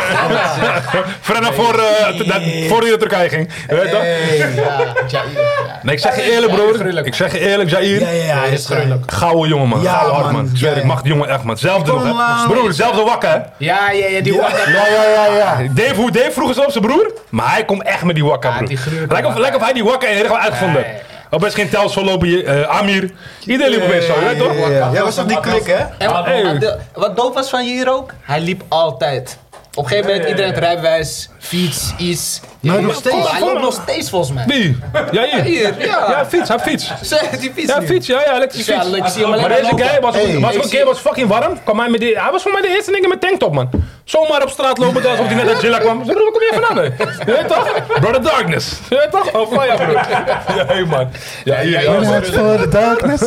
B: Frenna voor, eh, te- dat- voor die naar Turkije ging. Je Weet dat?
G: Ja, Jair. ja.
B: Nee, ik zeg je eerlijk,
G: Jair,
B: broer.
G: gruwelijk.
B: Ik zeg je eerlijk, Jair.
H: Ja, ja, ja, hij is gruwelijk.
B: Gouden jongen, man.
H: Ja,
B: Gouden hard,
H: man.
B: man. Ik zweer,
H: Ja,
B: ik mag die jongen echt, man. Zelfde
H: Ik
B: nog,
H: kom
B: hè.
H: wel.
B: Broer, zelfde wakker, hè.
G: Ja, ja, ja, die wakker.
C: Ja, ja, ja, ja.
B: Dave, hoe Dave vroeg eens op zijn broer, maar hij komt echt met die wakka,
G: Ja,
B: broer.
G: die gruwelijke
B: lijkt, of,
G: wakka.
B: lijkt of hij die wakka in Erdogan uitgevonden.
G: Ja, ja, ja.
B: Al best geen tels voorlopen, je- eh, Amir. Iedereen liep opeens zo, hè, toch?
H: Ja, ja. Jij was op die klik, hè?
G: En wat-
B: Hey.
G: wat de- wat dope was van hier ook, hij liep altijd. Op een gegeven moment, iedereen het rijbewijs, fiets, iets.
H: Maar
G: Ja,
H: nog steeds.
G: Hij loopt nog steeds volgens mij.
B: Wie? Ja, hier.
G: Hier, ja.
B: Ja, fiets, hij fiets.
G: Zeg, die fiets
B: Ja,
G: nu.
B: fiets, ja, ja,
G: Dus
B: elektrische
G: ja,
B: fiets.
G: ik zie
B: Maar
G: hem alleen maar
B: deze
G: lopen.
B: guy was,
C: Hey.
B: was
G: Ik
B: een
G: zie-
B: keer was fucking warm. Kwam hij, met die, hij was voor mij de eerste ding met tanktop, man. Zomaar op straat lopen, alsof hij net uit Gilla kwam. Zeg, waar kom je vandaan, hè? Je weet toch? Brother Darkness. Je weet toch? Oh, fire, bro. Ja, hey, man. Ja, hier, ja, man.
C: voor de darkness.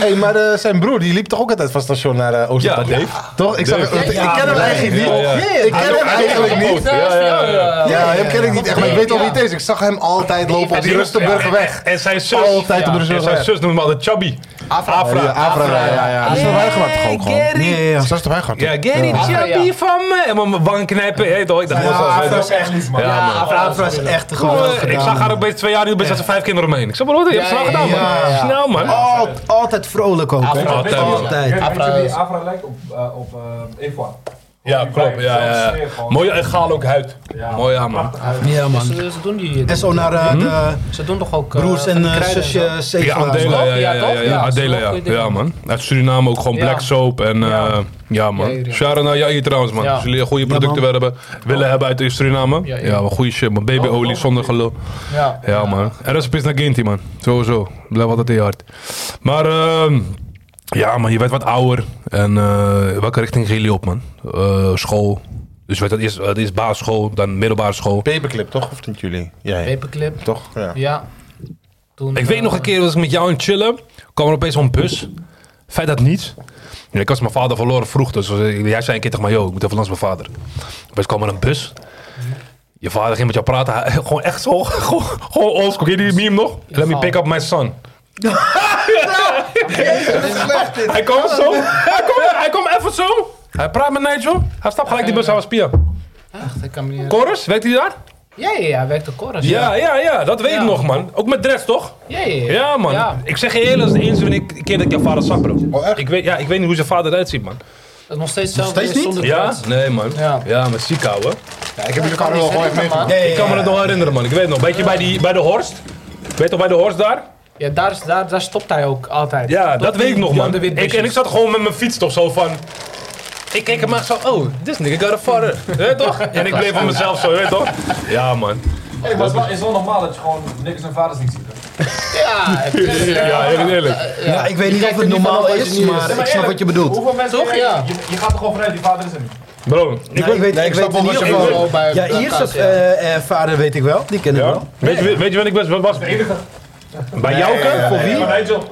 C: hey, maar eh, zijn broer die liep toch ook altijd van station naar eh
B: Ja,
C: Oosterpark?
B: Dave.
C: Toch? Ik, zag,
B: Dave.
C: ik ken hem eigenlijk niet.
B: Ja, ja.
C: Ik ken hem eigenlijk niet.
G: Ja, ja, ja, ja.
C: Ja, hem ken ik niet echt, maar ik weet al wie het is. Ik zag hem altijd lopen op die
B: Ja,
C: Rustenburgerweg.
B: En, en zijn zus.
C: Altijd op de
B: En zijn
C: Rustenburgerweg.
B: zus noemde hem altijd Chubby.
C: Afra. Afra. Ja, Afra. ja, ja, ja. Dat is toch hij gehad toch ook gewoon?
B: Gary.
H: Nee, ja.
C: Zo is toch hij gehad?
B: Ja, Gary,
H: Ja.
B: chappie
G: ja.
B: van me. En mijn wang knijpen. Hé, toch? Ik dacht,
H: Ja,
B: wat zal
H: Afra
B: het
H: is echt
I: niet,
H: niet,
I: man.
H: man.
B: Ja, man.
H: Afra is echt een
B: Kom,
H: geweldig
B: eh, Ik
H: gedaan,
B: zag haar
H: man.
B: ook bij twee jaar, nu ben ze vijf kinderen omheen. Ik zei, broer, je hebt het
G: Ja,
B: snel gedaan,
G: ja,
H: ja,
B: man.
H: ja.
B: Snel, man.
H: Al- altijd vrolijk ook. hè?
B: Altijd.
H: Altijd.
I: Weet
G: Afra
I: je
G: is-
I: wie Afra lijkt op, eh, op eh, Evoa?
B: Ja, klopt. Ja, ja, ja. Mooie en gaal ook huid. Mooi, ja, man.
H: Ja, man.
G: Ze, ze doen die.
H: En zo naar eh, de
G: Ze doen toch ook. eh,
H: broers
G: van
H: en
G: die
H: eh,
G: kruiden en zo?
H: zusje
B: Ja,
H: Zeven.
B: Adela, ja, ja,
G: Ja,
B: ja,
G: toch?
B: ja, ja,
G: Ja,
B: Adela,
G: zo
B: ja.
G: goeie dingen.
B: Ja, man. Uit Suriname ook gewoon
G: Ja.
B: black soap en, eh, ja, man.
G: Jair, ja.
B: Shout-out naar Jair trouwens, man.
G: Ja.
B: Als jullie goede producten
H: man.
B: willen hebben, willen hebben uit Suriname.
G: Ja, ja.
B: Ja, maar goede shit, man. Babyolie zonder geloof.
G: Ja.
B: Ja, man. En dat is pis naar Ginty, man. Sowieso. Blijf altijd in je hart. Maar, ehm, ja, man. Je werd wat ouder. En eh, welke richting gingen jullie op, man? Eh, school. Dus je werd dat eerst, eh, eerst basisschool, dan middelbare school.
C: Paperclip, toch? Of niet jullie? Ja, ja.
G: Paperclip.
C: toch? Ja.
G: Ja. Toen,
B: Ik weet
G: eh,
B: nog een keer was ik met jou aan het chillen. kwam er opeens zo'n bus. Feit dat niet. Ja, ik was mijn vader verloren vroeg. Dus was- jij zei een keer tegen mij, yo, ik moet even langs mijn vader. Opeens kwam er een bus. Je vader ging met jou praten. Hij- gewoon echt zo. Gewoon, gewoon oldschool. Ken je die meme nog? Let me pick up my son. Hij kwam zo. Hij kwam, hij kwam even zo. Hij praat met Nigel. Hij stapt gelijk die bus. Hij was Pia.
G: Echt, ik kan me niet.
B: Chorus, weet hij daar?
G: Ja, ja, ja, hij werkte Chorus.
B: Ja, ja, ja. Dat weet
G: Ja.
B: ik nog, man. Ook met dress, toch?
G: Ja, ja, ja.
B: Ja, man.
G: Ja.
B: Ik zeg je eerlijk, dat is de eerste wanneer ik- keer dat ik jouw vader zag, bro. Ik weet, ja, ik weet niet hoe zijn vader eruit ziet, man.
G: Dat is nog steeds hetzelfde
H: steeds
G: is
H: niet?
G: zonder
B: Ja?
G: dreads.
B: Nee, man. Ja,
G: Ja.
B: maar ziek, ouwe.
C: Ik heb jullie elkaar wel gewoon even meegemaakt.
H: Ja, ja,
B: Ik kan me
H: ja.
B: dat nog herinneren, man. Ik weet nog. Beetje bij, die, bij de Horst. Weet je toch bij de Horst daar?
G: Ja, daar, is- daar, daar stopt hij ook altijd.
B: Ja,
G: Tot
B: dat
G: die-
B: weet ik nog,
G: die
B: man.
G: andere
B: Ik,
G: witbusjes.
B: en ik zat gewoon met mijn fiets toch zo van... Ik keek hem aan zo, oh, this nigga got a father. Weet je toch? En ik bleef van mezelf zo, weet je toch? Ja, man.
I: Hey, maar het is wel- is wel normaal dat je gewoon niks en vaders niet ziet. hè?
G: Ja, het is-
B: Ja, heel eerlijk.
H: Ja, ik weet niet
G: kijkt
H: of
G: er
H: het
G: niet
H: normaal
G: vanaf als je
H: is,
G: niet
H: maar
G: is.
H: ik snap wat je bedoelt.
I: Hoeveel mensen...
G: Toch, ja.
I: Je, je gaat er gewoon vanuit, die vader is er niet.
B: Bro, ik
H: Nou, ik weet, ik weet
C: snap wel
H: in
C: wat
H: ieder
C: je
H: geval...
G: bedoelt. Bij-
H: Ja,
G: bij
H: Ierse
G: elkaar, ja.
H: eh, eh, vader weet ik wel. Die ken ik
B: Ja?
H: wel.
B: Weet, je, weet je wat ik best wat was? Bij Jouke? Voor wie?
I: Maar Nigel...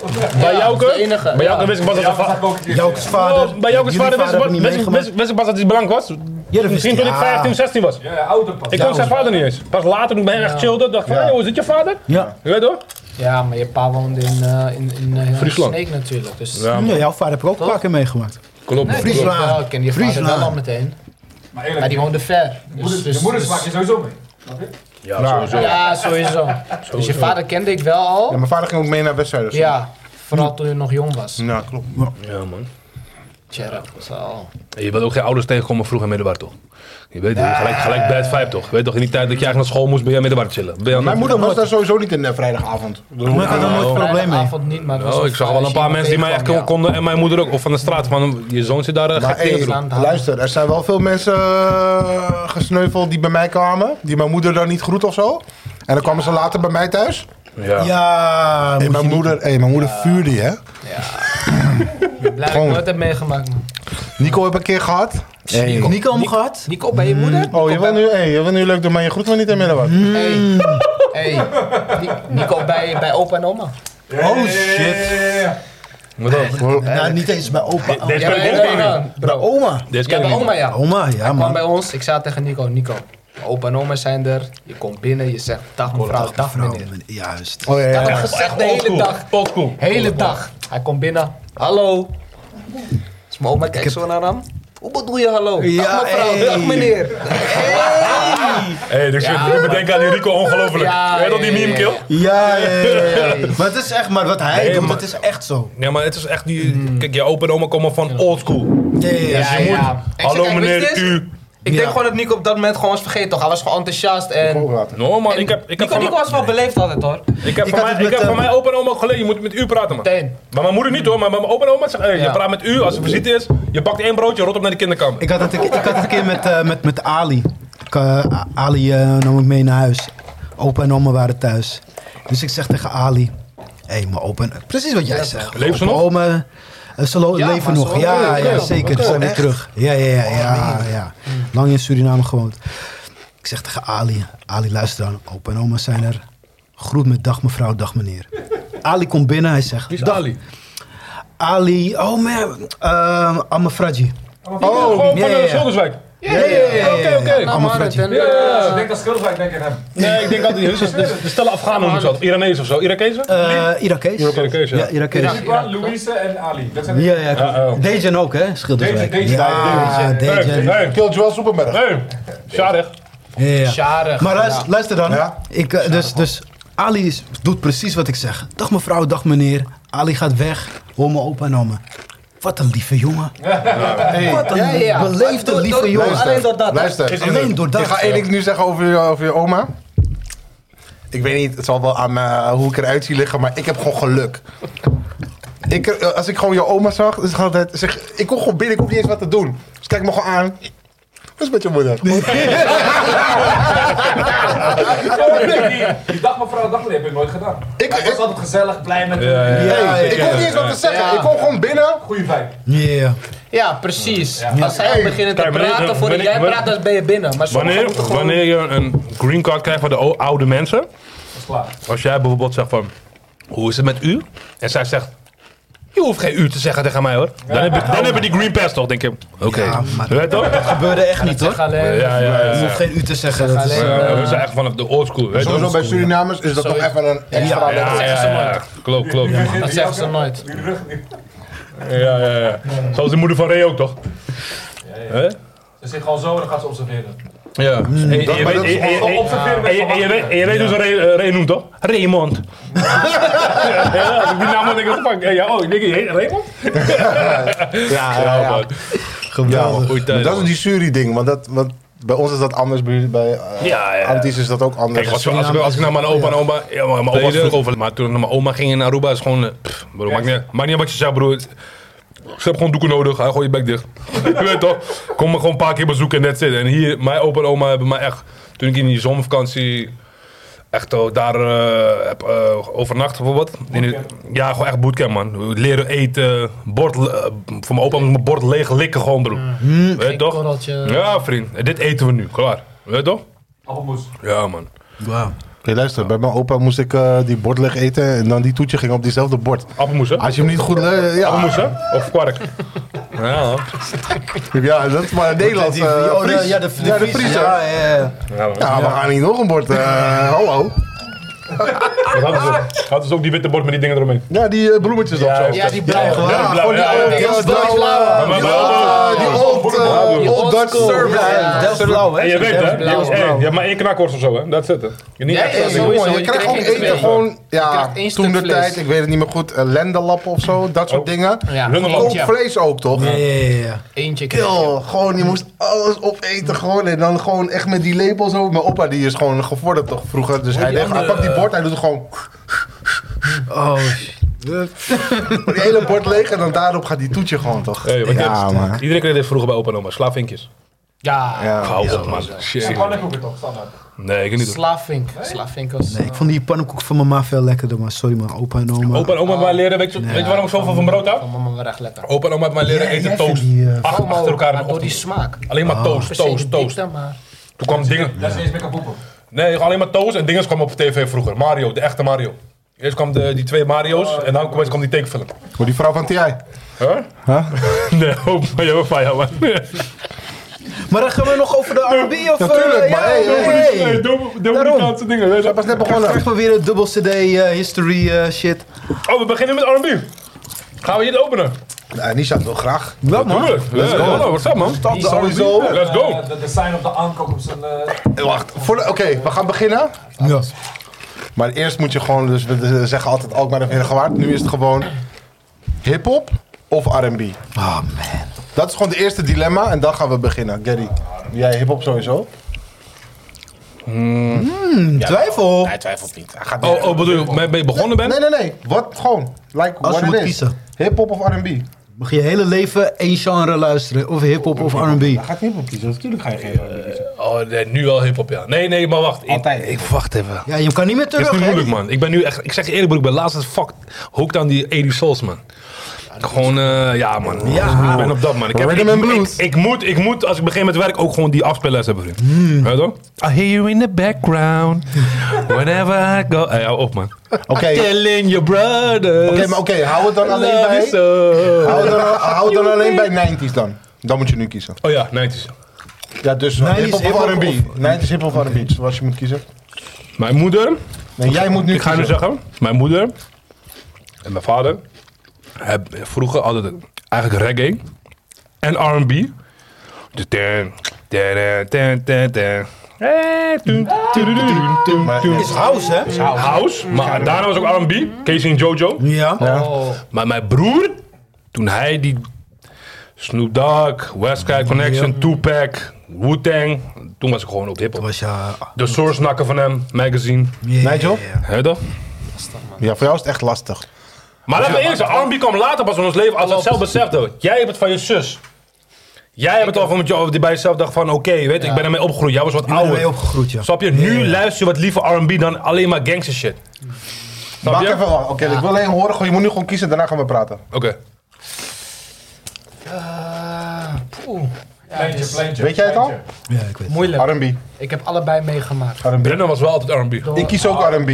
B: Bij
G: Ja,
B: Jouke?
G: dat is de enige,
B: Bij Jouke
G: ja.
B: wist ik pas dat
I: Ja,
B: de
I: dat
B: va-
I: zag ik ook een keer.
H: Joukes vader.
B: Oh, Bij Jouke's
H: Jullie
B: vader wist ik
H: heb
B: pas-
H: ik niet
B: wist ik-
H: meegemaakt.
B: wist ik- wist ik pas dat hij blank was.
H: Ja, dat wist
B: Misschien toen ik
H: ja.
B: 15, 16 was.
I: Ja, ja, ouder pas.
B: Ik
I: Ja.
B: kon zijn vader niet eens. Pas later toen ik bij hem echt chillde, dacht ik van, hey, is dit je vader?
H: Ja.
B: Je weet toch?
G: Ja, maar je pa woonde in, eh, in, in eh,
B: Friesland.
G: Sneek natuurlijk. Dus
B: Ja.
H: Ja, jouw vader heb ik ook een paar keer meegemaakt.
B: Klopt.
G: Nee,
B: klopt.
H: Friesland.
G: Ja, ik ken je vader
H: Friesland.
G: wel al meteen.
I: Maar
G: Maar
I: eerlijk,
G: die
I: je
G: woonde ver. Dus,
I: moeders-
G: dus,
I: je moeders
G: dus-
I: maak je sowieso mee.
B: Ja, sowieso.
G: Ja, sowieso. Dus je vader kende ik wel
C: Ja,
G: al.
C: mijn vader ging ook mee naar wedstrijden. dus-
G: Ja, vooral toen je nog jong was.
C: Ja, klopt.
B: Ja, man.
G: Cherub, zo.
B: En je wilt ook geen ouders tegenkomen vroeg en middelbaar, toch? Je weet het, gelijk, gelijk bad vibe, toch? Je weet toch, in die tijd dat je eigenlijk naar school moest, ben jij middelbaar chillen. Ben je aan
C: Mijn
B: het-
C: moeder was daar sowieso niet in eh, vrijdagavond.
H: Maar ik had er nooit probleem mee.
G: Vrijdagavond niet, maar het was
B: Oh, ik zag wel een paar mensen die mij echt
G: kon
B: konden en mijn moeder ook. Of van de straat, van je zoon zit daar eh,
C: Maar
B: gek dingen
C: hey,
B: te doen.
C: luister, er zijn wel veel mensen eh, gesneuveld die bij mij kwamen. Die mijn moeder dan niet groet of zo. En dan kwamen ze later bij mij thuis.
B: Ja.
H: Ja,
C: Hey,
H: moet
C: mijn,
H: je-
C: moeder, hey, mijn moeder vuurde je, hè?
G: Blij dat ik
C: Gewoon.
G: nooit heb meegemaakt, man.
C: Nico heb ik een keer gehad.
H: Nico. Nico hem gehad?
G: Nico, bij je
H: Mm,
G: moeder?
C: Oh, je wil nu, hey, je wil nu leuk doen, maar je groet me niet in middenwaard.
H: Hmm.
G: Hey, hey. Ni- Nico bij, bij opa en oma.
H: Oh shit.
B: Wat dan?
H: Nou, niet eens bij opa.
B: Deze kan ik
G: bij,
B: niet meer.
G: bij,
H: Bij oma.
B: Deze
G: ja,
B: kan ik
G: bij
B: niet
G: oma, ja.
H: Oma, ja
G: kwam bij
H: man.
G: ons, ik zei tegen Nico, Nico, mijn opa en oma zijn er. Je komt binnen, je zegt dag mevrouw, dag, meneer.
H: Juist.
C: Oh, ja, ja,
G: Dat heb
C: ja.
G: ik gezegd de hele dag.
B: Oldschool.
G: Hele dag. Hij komt binnen, hallo. Dus mijn oma kijkt zo naar hem. Hoe bedoel je hallo?
H: Ja,
G: dag mevrouw,
H: hey.
G: dag meneer.
B: Hé, hey, dus
G: Ja.
B: je moet denken aan die Rico ongelooflijk.
G: Ja,
B: Weet je dat die
G: ja,
B: meme
G: ja,
B: kill?
H: Ja, ja, ja, ja. Maar het is echt, maar wat hij doet, het is echt zo.
B: Ja, maar het is echt die... Kijk, je opa en oma komen van oldschool.
H: Ja, ja, ja.
B: moet-
G: Ik zeg,
B: Hallo
G: kijk, weet je
B: meneer,
G: dit?
B: u.
G: Ik
H: Ja.
G: denk gewoon dat Nico op dat moment gewoon was vergeten toch. Hij was gewoon enthousiast en...
B: No man, ik heb, ik heb
G: Nico,
B: van,
G: Nico was wel beleefd altijd hoor.
B: mijn- ik heb
H: Ik
B: van,
H: had
B: mijn,
H: het
B: ik heb
H: met,
B: van
H: eh,
B: mijn opa en oma geleerd, je moet met u praten man.
G: Meteen.
B: Maar mijn moeder niet hoor, maar mijn opa en oma zeggen, hey, je
G: Ja.
B: praat met u als er visite is. Je bakt één broodje, rot op naar de kinderkamer.
H: Ik had het, ik had het een keer met, eh, met, met Ali. Ik, eh, Ali eh, nam ik mee naar huis. Opa en oma waren thuis. Dus ik zeg tegen Ali... Hé, maar opa en- Precies wat jij zegt.
B: Leven ze
H: Opa,
B: nog?
H: Oma, eh, ze lo-
G: Ja,
H: leven
G: maar ze oh,
H: nog.
G: wonen
H: Ja, ja,
G: weer terug.
H: zeker. Ze zijn weer terug. Ja, ja, ja,
G: Oh,
H: ja, ja. Lang in Suriname gewoond. Ik zeg tegen Ali... Ali, luister dan. Opa en oma zijn er. Groet met dag mevrouw, dag meneer. Ali komt binnen. Hij zegt... "Dag,
B: Dali.
H: Ali, oh man, uh, Amafraji.
B: Gewoon
H: Ja,
B: van
H: ja,
B: de
H: Oh, ja.
B: Schilderswijk.
G: Ja, ja, ja.
B: Oké, oké.
G: Nou,
H: Allemaal
G: maar het
H: frietje.
G: en,
I: Ja, ik
G: eh,
I: denk dat Skulva, ik denk aan hem.
B: Nee, ik denk dat die heus dus de, de stellen Afghanen noemen ze dat. Iranees of zo. Irakezen?
H: Eh, Irakees.
B: Irakees, ja.
H: Ja, Irakees. Ja,
I: Skulva, Louise en Ali. Dat zijn de-
H: ja. ja.
B: Ah, oh.
H: Dejan ook, hè? Schilderswijk.
I: Dejan, Dejan,
H: ja,
I: Dejan.
B: Hey,
H: Dejan. Ja,
B: hey,
C: Kill Joel Superberg.
B: hey. Sharig.
H: ja.
G: Sjarig.
H: Maar
G: Ja.
H: luister, luister dan.
C: Ja.
H: Ik, eh, dus, dus Ali is- doet precies wat ik zeg. Dag mevrouw, dag meneer. Ali gaat weg. Hoor mijn opa en oma. Wat een lieve jongen. Wat een
C: ja, ja.
H: beleefde, lieve jongen.
C: Luister, Luister.
H: Alleen door dat.
C: Ik ga één ding nu zeggen over je, over je oma. Ik weet niet, het zal wel aan eh, hoe ik eruit zie liggen, maar ik heb gewoon geluk. Ik, eh, als ik gewoon je oma zag, dus altijd, zeg, ik kon gewoon binnen, ik hoef niet eens wat te doen. Dus kijk me gewoon aan. Wat is het met je moeder?
I: Die, die dag mevrouw, dag meneer, heb ik nooit gedaan.
C: Ik-
I: Ik was altijd gezellig, blij met
B: Ja, ja,
H: Ja,
C: Hey,
H: ja,
C: ik kon niet eens wat te zeggen. Ik kon gewoon binnen.
I: goede vibe.
H: Ja.
G: Ja, precies. Als zij
C: Hey.
G: al beginnen te
B: Kijk, wanneer-
G: praten voordat
B: wanneer-
G: jij praat, dan ben je binnen. Maar sommigen
B: Wanneer,
G: moeten gewoon-
B: wanneer je een green card krijgt van de o- oude mensen,
I: Dat is klaar.
B: als jij bijvoorbeeld zegt van, hoe is het met u? En zij zegt, je hoeft geen u te zeggen tegen mij hoor. Dan hebben dan heb je die green pass toch, denk ik. Oké.
H: Ja, maar-
B: Weet je toch?
H: Dat gebeurde echt niet,
G: Zeg
H: hoor.
G: alleen.
B: Ja, ja, ja.
H: Je hoeft geen u te zeggen. Dat is,
G: Alleen,
B: Ja,
G: eh,
B: we zijn echt van de old school, weet je
C: Sowieso
B: toch?
C: bij Surinamers is dat toch even een extra
B: Ja, ja,
C: level.
B: ja, ja. Klopt, klopt. Ja,
G: Dat zeggen ze nooit.
I: Die rug nu.
B: ja, ja, ja. Zoals de moeder van Ray ook toch? Hè?
I: Ze zit gewoon zo en dan gaat ze observeren.
B: Ja. En je weet-
C: Hmm. dat- maar dat is
B: en- en-
I: gewoon observeren met
B: en je-
I: z'n
B: en je weet- en je weet hoe ze Ray, eh, Ray noemt, toch? Raymond. ja, als ik die naam had, denk ik, fuck. eh, Ja, oh, ik denk, je heet Raymond?
C: Ja, ja,
B: Ja,
C: ja.
B: man.
C: Ja,
B: Geweldig. Goeie tijd,
C: maar dat is
B: man.
C: die Suri-ding, want, dat- want bij ons is dat anders, bij, bij eh,
B: Ja, ja.
C: Antilles is dat ook anders.
B: Kijk, als, als, als, ik naar mijn opa en oma... Ja, maar mijn opa was vroeg over... Maar toen ik naar mijn oma ging in Aruba, is gewoon... eh, Pff, bro, maakt niet, maakt niet uit wat je zegt, broer. Ze hebben gewoon doeken nodig. Hij gooi je bek dicht. Je weet toch? Kom me gewoon een paar keer bezoeken en net zitten. En hier, mijn opa en oma hebben mij echt... Toen ik in die zomervakantie... Echt oh, daar eh, heb eh, overnacht bijvoorbeeld. In de- ja, gewoon echt bootcamp, man. Leren eten, bord... le- eh, voor mijn opa moest mijn bord leeg likken gewoon, broer. Weet je
G: Geen
B: toch?
G: korreltje.
B: Ja, vriend. En dit eten we nu, klaar. Weet je toch?
I: Appelmoes.
B: Ja, man.
H: Wauw.
C: Hey, luister, bij mijn opa moest ik eh, die bord leeg eten en dan die toetje ging op diezelfde bord.
B: Appelmoes, hè?
C: Als je hem niet goed... le- Ah, ja,
B: Appelmoes, hè? Of kwark. ja,
C: ja, dat is maar een Nederlands. eh,
H: Oh,
C: Fries.
H: de- ja, de
C: Ja, de
H: Fries.
C: Fries,
H: Ja,
C: ja.
H: ja, ja.
C: Ja, we gaan niet nog een bord. eh, hallo.
B: Dat hadden ze. Hadden ze ook die witte bord met die dingen eromheen.
C: Ja, die eh, bloemetjes of zo.
G: Ja, die blauwe.
C: Ja,
B: Ja,
C: gewoon die
B: ja,
C: old,
B: ja, ja.
C: eh, blauwe,
B: Ja, maar
C: die
B: blauwe.
C: old, eh, die old, eh,
B: Die
C: old Dutch service.
H: Ja, Delft Blauw, hè?
B: En je weet, hè?
H: Delft Blauw.
B: Je, hey, je hebt maar één knakworst of zo, hè? Dat zit het. Je niet
G: Ja,
B: echt eh,
G: ja,
B: dat
G: ja,
B: ding.
G: sowieso.
C: Jongen, je
G: Je
C: krijgt
G: krijgt
C: gewoon
G: één
C: eten
G: stuk.
C: gewoon, ja,
G: krijgt één
C: toen de
G: stuk vlees.
C: tijd, ik weet het niet meer goed, eh, lendenlap of zo, dat soort
B: Oh.
C: dingen.
G: Ja,
B: Lunderland.
C: Ook
G: eentje.
C: vlees ook, toch?
H: Ja, ja, ja.
G: Eentje
C: Kill,
G: kreeg je.
C: gewoon, je moest alles opeten gewoon. En dan gewoon echt met die lepels zo. Mijn opa die is gewoon gevorderd toch vroeger. Dus hij, denkt, hij pakt
B: eh,
C: die bord, hij doet het gewoon
H: Oh, shit.
C: het hele bord leeg. En dan daarop gaat die toetje gewoon toch.
B: Hey, wat
C: ja,
B: je-
C: man.
B: Iedereen kreeg dit vroeger bij opa en oma. Slaafinkjes.
G: Ja,
C: Ja.
B: Hou op, man. Shit.
I: En pannenkoeken toch, standaard.
B: Nee, ik kan niet doen.
G: Slavink. Slavink was... eh,
H: Nee, ik vond die pannenkoek van mama veel lekkerder, maar sorry, man. Opa en oma.
B: Opa en oma hebben mij leren, weet je, weet je waarom ik zoveel van brood hou?
G: Van mama wel echt lekker.
B: Opa en oma hebben mij leren eten
H: jij vindt
B: toast.
H: die, eh,
B: Ach-
G: Allemaal
B: Achter elkaar in de
G: maar door die
B: ochtend.
G: smaak.
B: Alleen maar toast,
G: Per se
B: toast,
G: niet dik
B: toast.
G: dan maar.
B: Toen kwam dingen.
I: Dat is niet eens meer kan poepen.
B: Nee, alleen maar Toos en dingen kwam op tv vroeger. Mario, de echte Mario. Eerst kwam de, die twee Mario's en dan kwam, kwam die tekenfilm.
C: Maar die vrouw van TI.
B: Huh?
C: Huh?
B: Nee, hoop maar joh, van jou man.
H: Maar dan gaan we nog over de R&B of...
C: Natuurlijk,
H: eh,
C: maar
H: ja,
C: hey,
H: ja,
C: hey,
H: hey.
B: Nee, doe Dominicaanse dingen. weet je.
C: Dat was net begonnen.
H: Krijg maar weer een dubbel CD eh, history eh, shit.
B: Oh, we beginnen met R&B. Gaan we dit openen?
C: Nou, Nisha wil graag.
H: Wel, man.
B: Tuurlijk. Let's go. Hallo, what's up man?
C: Stop sowieso.
B: Let's go.
I: Eh, De de sign op de aankoop op zijn... eh,
C: Eh, Wacht, voor de- oké, we gaan beginnen.
H: Ja.
C: Maar eerst moet je gewoon, dus we eh, zeggen altijd ook maar een gewaard. Nu is het gewoon hip-hop of RB.
H: Oh, man.
C: Dat is gewoon de eerste dilemma en dan gaan we beginnen. Gary, jij hip-hop sowieso?
H: Twijfel.
G: Hij twijfelt niet.
C: Hij gaat
B: Oh, oh bedoel je, mee mee begonnen bent?
C: Nee, nee, nee. Wat gewoon. Like
H: Als
C: what
H: je
C: it
H: moet
C: is.
H: kiezen.
C: Hip-hop of RB?
H: Mag je je hele leven één genre luisteren. Of hip-hop of R&B.
C: Hij gaat hip-hop kiezen, natuurlijk ga je geen RB kiezen.
B: Oh, nee, nu wel hip-hop ja. Nee, nee, maar wacht. Ik,
C: Altijd.
B: ik wacht even.
H: Ja, je kan niet meer
B: Het
H: terug,
B: is nu
H: hè?
B: moeilijk man. Ik ben nu echt, ik zeg je eerlijk broer, ik ben laatst als fuck hooked aan die 80 Souls man. Gewoon, eh, ja man.
H: Ja.
B: Ik ben op dat man. Ik, heb,
C: Rhythm
B: ik,
C: and blues.
B: Ik, ik moet, ik moet, als ik begin met werk, ook gewoon die afspeellijst hebben vriend. Weet je toch? Hmm. I hear you in the background, whenever I go. Hey, hou op man.
C: Oké, oké,
B: Telling your brothers.
C: maar oké, hou het dan alleen
B: Love
C: bij...
B: is all.
C: Hou het dan, hou het dan alleen bij 90s dan. Dan moet je nu kiezen.
B: Oh ja, 90s.
C: Ja, dus
H: Nijntjes
C: hip-hop
H: hip-hop
C: of R&B.
H: of-
C: Nee, het is hip-hop of R&B, zoals je moet kiezen.
B: Mijn moeder,
C: Nee, jij moet nu
B: ik ga nu
C: kiezen.
B: zeggen, mijn moeder en mijn vader hebben vroeger altijd eigenlijk reggae en R&B. Dus ten, ten, ten, ten, ten. Hey, toen, tudududu, toen,
C: Maar-
B: toen.
H: Is house, hè?
B: House, maar daarna was ook R&B, Casey en Jojo.
H: Ja.
G: Oh,
B: Maar mijn broer, toen hij die Snoop Dogg, West Side Connection, Tupac, Wu-Tang, toen was ik gewoon op hip-hop.
H: Was ja.
B: De source nakken van hem, magazine.
C: Nigel?
B: Hè toch?
C: Ja, voor jou is het echt lastig.
B: Maar laten we eerlijk zijn, R&B kwam later pas in ons leven als we het zelf beseften. Jij hebt het van je zus. Jij hebt het al van met je, of die bij jezelf dacht van oké, weet je, ik ben ermee opgegroeid. Jij was wat
H: ben ermee
B: ouder.
H: opgegroeid, ja.
B: Snap je? Nu luister je wat liever R&B dan alleen maar gangster shit. Snap
C: Wacht
B: je?
C: even, wacht. Oké, ik wil alleen horen. gewoon- Je moet nu gewoon kiezen, daarna gaan we praten.
B: Oké.
G: eh, poeh. Ja, het
I: Pleintje,
G: is
I: pleintje.
C: Weet jij het al?
I: pleintje.
H: Ja, ik weet het.
G: moeilijk.
C: R&B.
G: Ik heb allebei meegemaakt.
C: R&B.
B: Brennan was wel altijd R&B.
G: Door-
C: Ik kies ook R&B.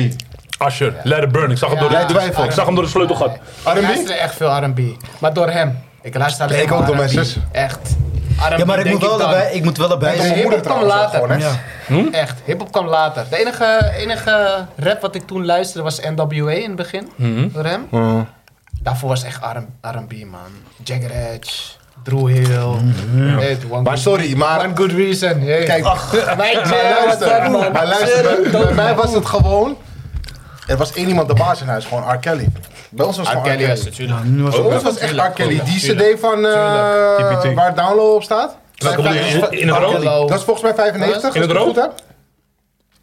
B: Asher, Let It Burn. Ik zag hem
G: Ja.
B: door de,
C: Jij twijfelt.
B: Ik zag hem door de sleutel gaan.
G: Ik
C: R&B?
G: luister echt veel R&B. Maar door hem. Ik luister alleen
C: Nee, ik ook
G: maar
C: door mijn
G: R&B.
C: zus.
G: Echt. R&B
H: Ja, maar ik
G: denk
H: moet, wel
G: dan.
H: erbij, ik moet wel erbij
G: Nee,
C: Mijn
H: zijn.
C: moeder
G: hip-hop kwam
C: trouwens ook
G: later. Hm?
C: gewoon, hè?
H: Ja.
G: Echt, hiphop kwam later. De enige, enige rap wat ik toen luisterde was NWA in het begin,
C: Hm.
G: door hem. Daarvoor was echt R- R&B, man. Jagger Edge, Drew Hill. Hey, one
C: Maar
G: good-
C: sorry, maar-
G: One good reason. Hey.
C: Kijk,
G: Mike
C: Maar
G: Jagger, what's up,
C: luister,
G: man?
C: maar luister, bij, bij mij was het gewoon. Er was één iemand de baas in huis, gewoon R. Kelly. Bij ons was het
G: R.
C: gewoon R.
G: Kelly was
C: Kelly.
G: het, tuurlijk.
H: Nu was
C: Bij
H: het
C: ons was echt R. Kelly. Die CD van
B: Tuurlijk.
C: eh
B: TPT.
C: waar Download op staat.
B: Welke bedoel je? In- in het
C: R.
B: rood?
C: Kelly. Dat is volgens mij 95, als
B: In
C: ik
B: het
C: het goed
B: rood?
C: heb.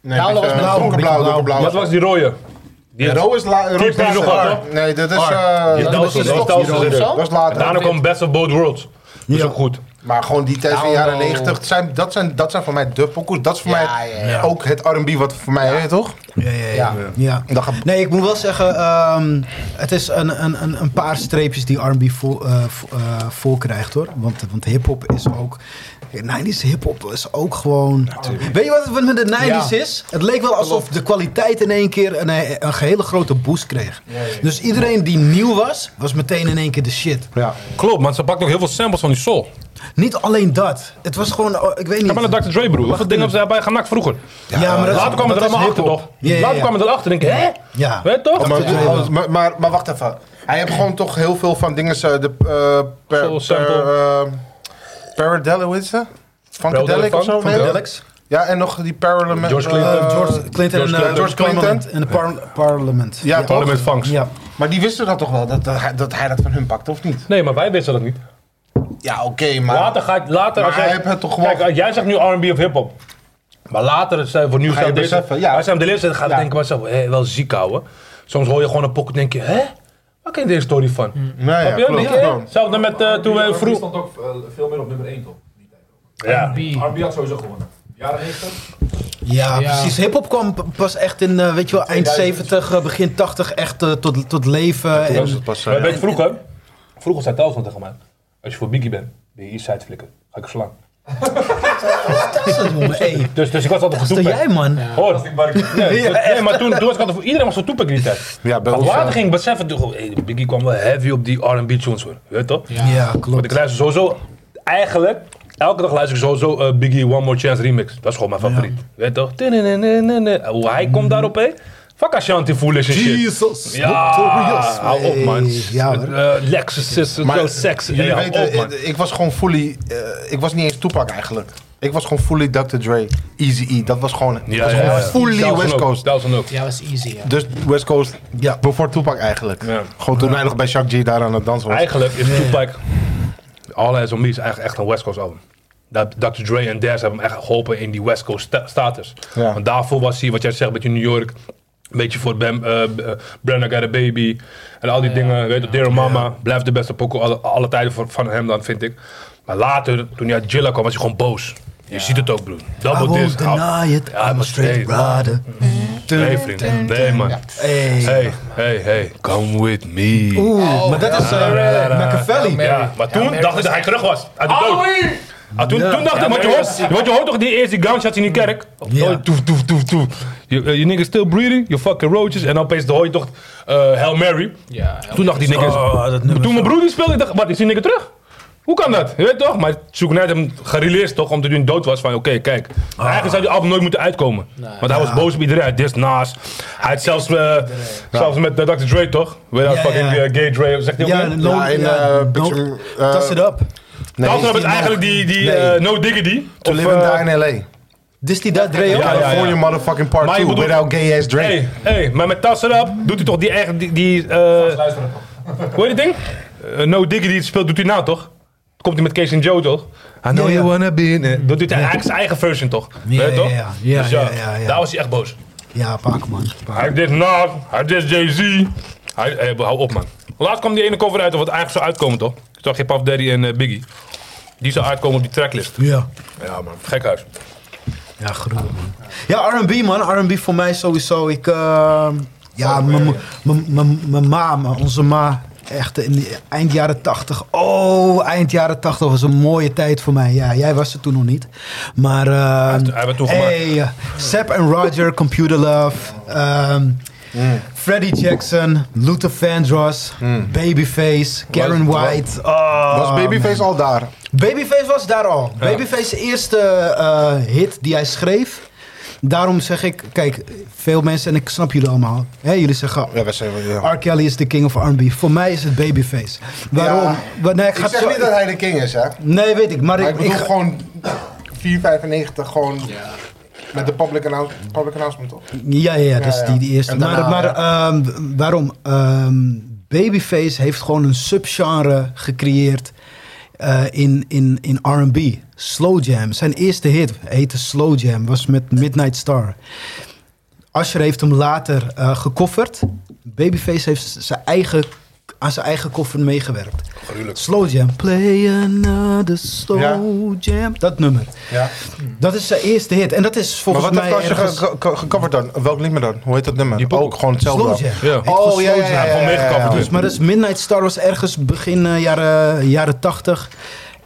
C: Nee,
G: Download was
C: eh,
G: blauw,
C: donkerblauw, donkerblauw.
B: Wat was die rode?
C: Ja, Ro is la- Ro
B: Die
C: is
B: heb je nog
C: later.
B: gehad,
C: Nee, dat is...
B: R.
C: eh,
B: Die
G: dat
B: Telstra,
G: was
B: die
G: dus toch
B: Telstra
G: die
B: erin.
C: Dat
G: rode
C: is
B: En daarna
C: later.
B: kwam Best of Both Worlds. Dat is ook goed.
C: Maar gewoon die tijd van de
G: Download.
C: jaren 90, zijn, dat, zijn, dat zijn voor mij de pokoes. Dat is voor
G: Ja,
C: mij
G: ja, ja.
C: ook het R&B wat voor mij, hè, toch?
H: Ja, ja, ja.
G: Ja.
H: ja.
C: Dan ga-
H: Nee, ik moet wel zeggen, ehm, het is een, een, een, een paar streepjes die R&B vol, eh, vo- eh, vol krijgt hoor. Want, want hip-hop is ook. 90s hip-hop is ook gewoon. Weet je wat het met de 90s is? Het leek wel alsof de kwaliteit in één keer een, een hele grote boost kreeg. Dus iedereen die nieuw was, was meteen in één keer de shit.
C: Ja.
B: Klopt, maar ze pakt ook heel veel samples van die soul.
H: Niet alleen dat. Het was gewoon, oh, ik weet niet.
B: Ga maar naar Dr. Dre, broer. Hoeveel dingen hebben ze daarbij genakt vroeger?
H: Ja, maar dat-
B: Later kwamen we
H: dat
B: er allemaal
H: is
B: achter,
H: hiphop.
B: toch?
H: Ja, ja,
B: Later
H: ja.
B: kwamen we erachter en denk ik, hè?
H: Ja.
B: Weet je toch?
C: Maar,
H: Dr. Dre wel.
C: als- maar, maar, maar wacht even. Hij heeft gewoon toch heel veel van dingen. eh, De, eh per,
B: Soul
C: per,
B: sample.
C: eh, Paradelo, hoe is ze? Funkadelic of zo?
B: Funk-
C: Nee?
B: Funkadelics.
C: Ja, en nog die Parliament.
B: George
C: eh,
B: Clinton.
H: Eh, George Clinton en
B: George
H: eh,
B: Clinton.
H: George Clinton en de par- parlement.
C: ja, toch?
B: Parlement Funks.
H: Ja.
C: Maar die wisten dat toch wel, dat, dat, hij- dat hij dat van hun pakte, of niet?
B: Nee, maar wij wisten dat niet.
C: Ja, oké, maar...
B: Later ga ik, later...
C: Ah. Maar
B: als jij-
C: hij heeft het toch gewoon-
B: Kijk, als jij zegt nu R&B of hiphop. Maar later, als jij voor nieuws
C: Ga je
B: aan deze...
C: beseffen, ja.
B: Als je hem de leeftijd gaat
C: Ja.
B: denken, maar zo, hé, wel ziek houden. Soms hoor je gewoon een pocket en denk je, hè? Waar ken je deze story van?
C: Nee, ja,
B: Heb je ook
C: klopt.
B: niet, hè?
C: Ja.
B: Hetzelfde met eh, toen we
I: R&B
B: vroeg...
I: stond ook eh, veel meer op nummer 1 toch? Die tijd ook.
B: Ja.
G: R&B.
I: R&B had sowieso gewonnen. Jaren 90?
H: Ja,
G: Ja.
H: precies. Hip-hop kwam p- pas echt in, eh, weet je wel, eind 70, eh, begin 80 echt eh, tot, tot leven. En,
C: Dat was,
B: Maar
C: eh,
B: weet je, vroeger, vroeger zei Telsman tegen mij, als je voor Biggie bent, ben je Eastside flikken. Ga ik je slaan.
H: dat is het, jongen. Hey,
B: Dus, dus ik was altijd
H: dat is
B: voor
H: toch
B: Tupac.
H: jij, man?
B: Hoor,
I: Dat is die Barkie.
B: nee,
H: Ja,
B: dus- nee,
H: echt.
B: maar toen, toen was ik altijd voor iedereen was voor Tupac die tijd.
C: Ja, bij
B: Maar
C: ons,
B: later
C: eh,
B: ging ik beseffen, toen gewoon, hey, Biggie kwam wel heavy op die R&B tunes hoor. Weet je toch?
H: Ja,
B: Want ik
H: klopt.
B: luister sowieso, eigenlijk, elke dag luister ik sowieso eh, Biggie One More Chance remix. Dat is gewoon mijn favoriet. Weet je toch? Tinenenenenen. Hoe hij komt daarop, hé. Fuck Ashanti Foolish en shit.
H: Jesus,
B: Ja, hou op man.
H: Ja, hoor.
B: Eh, Lexus is zo sexy.
C: Jullie
B: Ja, hou
C: weten,
B: op, man.
C: ik, ik was gewoon fully. eh, ik was niet eens Tupac eigenlijk. Ik was gewoon fully Dr. Dre, Easy E. Dat was gewoon, dat was gewoon fully
B: Delson
C: West
B: ook,
C: Coast.
B: Delson ook.
G: Ja, was easy, ja.
C: Dus West Coast, ja, before Tupac eigenlijk.
B: Ja.
C: Gewoon toen hij nog bij Shaq G daar aan het dansen was.
B: Eigenlijk is Tupac, All Eyes on Me is eigenlijk echt een West Coast album. Dat Dr. Dre en Daz hebben hem echt geholpen in die West Coast sta- status.
C: Ja.
B: Want daarvoor was hij, wat jij zegt, met je New York. Een beetje voor Bam, eh, eh, Brenna Got a Baby. En al die dingen. Weet je, Dear Mama. Blijft de beste pokoe alle, alle tijden voor- van hem dan, vind ik. Maar later, toen hij uit Jilla kwam, was hij gewoon boos. Je ziet het ook, broer.
H: I
B: Double
H: won't
B: disc.
H: deny it,
B: Ja,
H: I'm a
B: maar
H: straight
B: nee, man.
H: brother.
B: Nee, vriend. Nee, man.
H: Hey.
B: Hey, Oh, hey, hey. Come with me.
H: Oeh, maar dat is eh, Machiavelli.
B: Ja, maar toen dacht ik dat hij terug was. Uit de dood. Ah, toen, toen dacht ik, want je, hoort, want je hoort toch die eerste gunshots in die kerk? Of
H: Ja.
B: oh, Toef, toef, toef, toef. Je eh, je niggas still breathing, je fucking roaches. En dan opeens hoor je toch eh Hail Mary.
G: Ja,
B: Toen dacht die niggas...
H: Oh, dat nummer
B: toen mijn broer die speelde, ik dacht, wat, is die nigger terug? Hoe kan dat? Je weet toch? Maar Sugar Knight hem gereleased toch, omdat hij een dood was van oké, kijk.
C: Ah.
B: Eigenlijk zou die album nooit moeten uitkomen. Want hij was boos op iedereen. Hij dist Nas. Hij had zelfs, eh, zelfs met eh, Dr. Dre toch? Without
H: Ja,
B: fucking
H: ja.
B: eh, gay Dre. Zegt hij ook
H: Ja,
B: niet?
H: no-
C: Ja, in,
H: ja,
C: eh,
H: no-
C: Picture- eh,
H: Toss it up.
C: Nee,
B: Daarom hebben
C: die
B: het eigenlijk
C: man-
B: die, die
C: Nee.
B: eh, No Diggity.
C: To
B: of,
C: live
B: eh,
C: and die in L.A.
H: Dis die dat, Dre? ook?
B: ja, ja.
C: California motherfucking part
B: Maar je
C: 2
B: bedoelt-
C: without gay ass Drake.
B: Hey, hey, maar met Toss It Up doet hij toch die eigen, die, die eh,
I: Luister even.
B: hoe heet dat ding? Eh, no Diggity het speelt, doet hij nou toch? Komt hij met Kees en Joe toch? I know
H: Ja,
B: you
H: ja.
B: wanna be in it. Doet hij eigenlijk zijn eigen version toch?
H: Ja,
B: Weet je
H: ja,
B: toch?
H: ja. Ja,
B: Dus
H: ja, ja, ja.
B: Daar was hij echt boos.
H: Ja, pak man.
B: Hij dit Nas, hij dit Jay-Z. Hij, eh, hou op man. Laatst kwam die ene cover uit of het eigenlijk zou uitkomen toch? Ik zag je Puff Daddy en eh, Biggie. Die zou uitkomen op die tracklist.
H: Ja.
B: Ja man, gekhuis.
H: Ja, gruwelijk man. Ja, R&B man. R&B voor mij sowieso. Ik, eh, ja, mijn mo- mijn- mijn- mijn ma, man, onze ma. Echt in die- eind jaren tachtig. Oh, eind jaren tachtig was een mooie tijd voor mij. Ja, jij was er toen nog niet. Maar... eh,
B: heeft- hij heeft het toen
H: hey, eh, Sepp en Roger, Computer Love. ehm, Freddie Jackson, Luther Vandross, Babyface, Karen
C: Was-
H: White. Oh,
B: ah.
C: Was
H: man.
C: Babyface al daar?
H: Babyface was daar al. Babyface's eerste eh, hit die hij schreef. Daarom zeg ik, kijk, veel mensen, en ik snap jullie allemaal. Hè, jullie zeggen,
C: Ja, we zijn... Ja.
H: R. Kelly is de king of R&B. Voor mij is het Babyface. Waarom? Wa- nee, ik
C: Ik
H: ga
C: zeg
H: zo-
C: niet dat hij de king is, hè. Maar
H: Nee, weet ik. Maar,
C: ik,
H: ik,
C: bedoel
H: ik ga-
C: gewoon 495 gewoon met de public, announce, public announcement, toch?
H: Ja, ja, ja, dat is
C: Ja, ja.
H: die, die eerste.
C: En daarna-
H: maar maar ehm, waarom? Ehm, Babyface heeft gewoon een subgenre gecreëerd eh, in, in, in R&B. Slow Jam. Zijn eerste hit heette Slow Jam. Was met Midnight Star. Asher heeft hem later eh gekofferd. Babyface heeft zijn eigen, aan zijn eigen koffer meegewerkt. Slow Jam. Play another Slow Jam. Dat nummer.
C: Ja.
H: Dat is zijn eerste hit. En dat is
C: Maar
H: volgens
C: wat
H: mij
C: heeft Asher
H: ergens-
C: ge- ge- gecoverd dan? Welk nummer dan? Hoe heet dat nummer?
B: Die
C: Ook gewoon hetzelfde. Oh,
H: Slow
C: dan.
H: Jam.
B: Ja.
H: Echt gewoon slow jam.
B: ja, ja, ja, ja.
H: Dus, maar dus Midnight Star was ergens begin eh, jaren, jaren 80.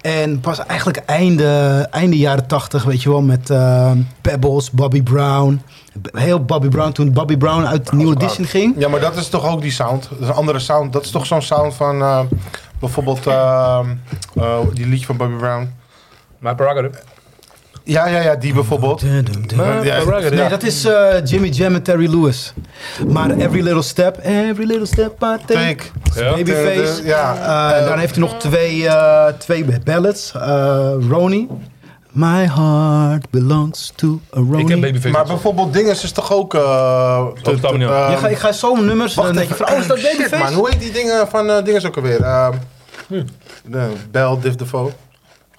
H: En pas eigenlijk einde, einde jaren 80, weet je wel, met eh, Pebbles, Bobby Brown. B- Heel Bobby Brown, toen Bobby Brown uit New Edition ging.
C: Ja, maar dat is toch ook die sound? Dat is een andere sound. Dat is toch zo'n sound van eh, bijvoorbeeld eh, eh, die liedje van Bobby Brown?
B: Maar prerogative.
C: Ja, ja, ja, die bijvoorbeeld.
H: Dun, dun, dun.
C: Ja, ja.
H: Nee, dat is eh, Jimmy Jam en Terry Lewis. Maar Every Little Step, Every Little Step I Take.
C: Take.
B: Ja.
H: Babyface.
C: Eh, ja.
H: Eh, dan heeft hij nog twee, eh, twee ballads. Eh Ronnie. My heart belongs to a
B: Ik heb
H: Ronnie.
B: Babyface.
C: Maar bijvoorbeeld Dinges is toch ook... eh,
B: Tot dan, ja.
C: eh,
H: je ga, ik ga zo nummers, dan denk je van, oh, is dat
C: Shit,
H: Babyface?
C: man, hoe heet die dingen van eh Dinges ook alweer? Ehm de Bell, Div Defoe.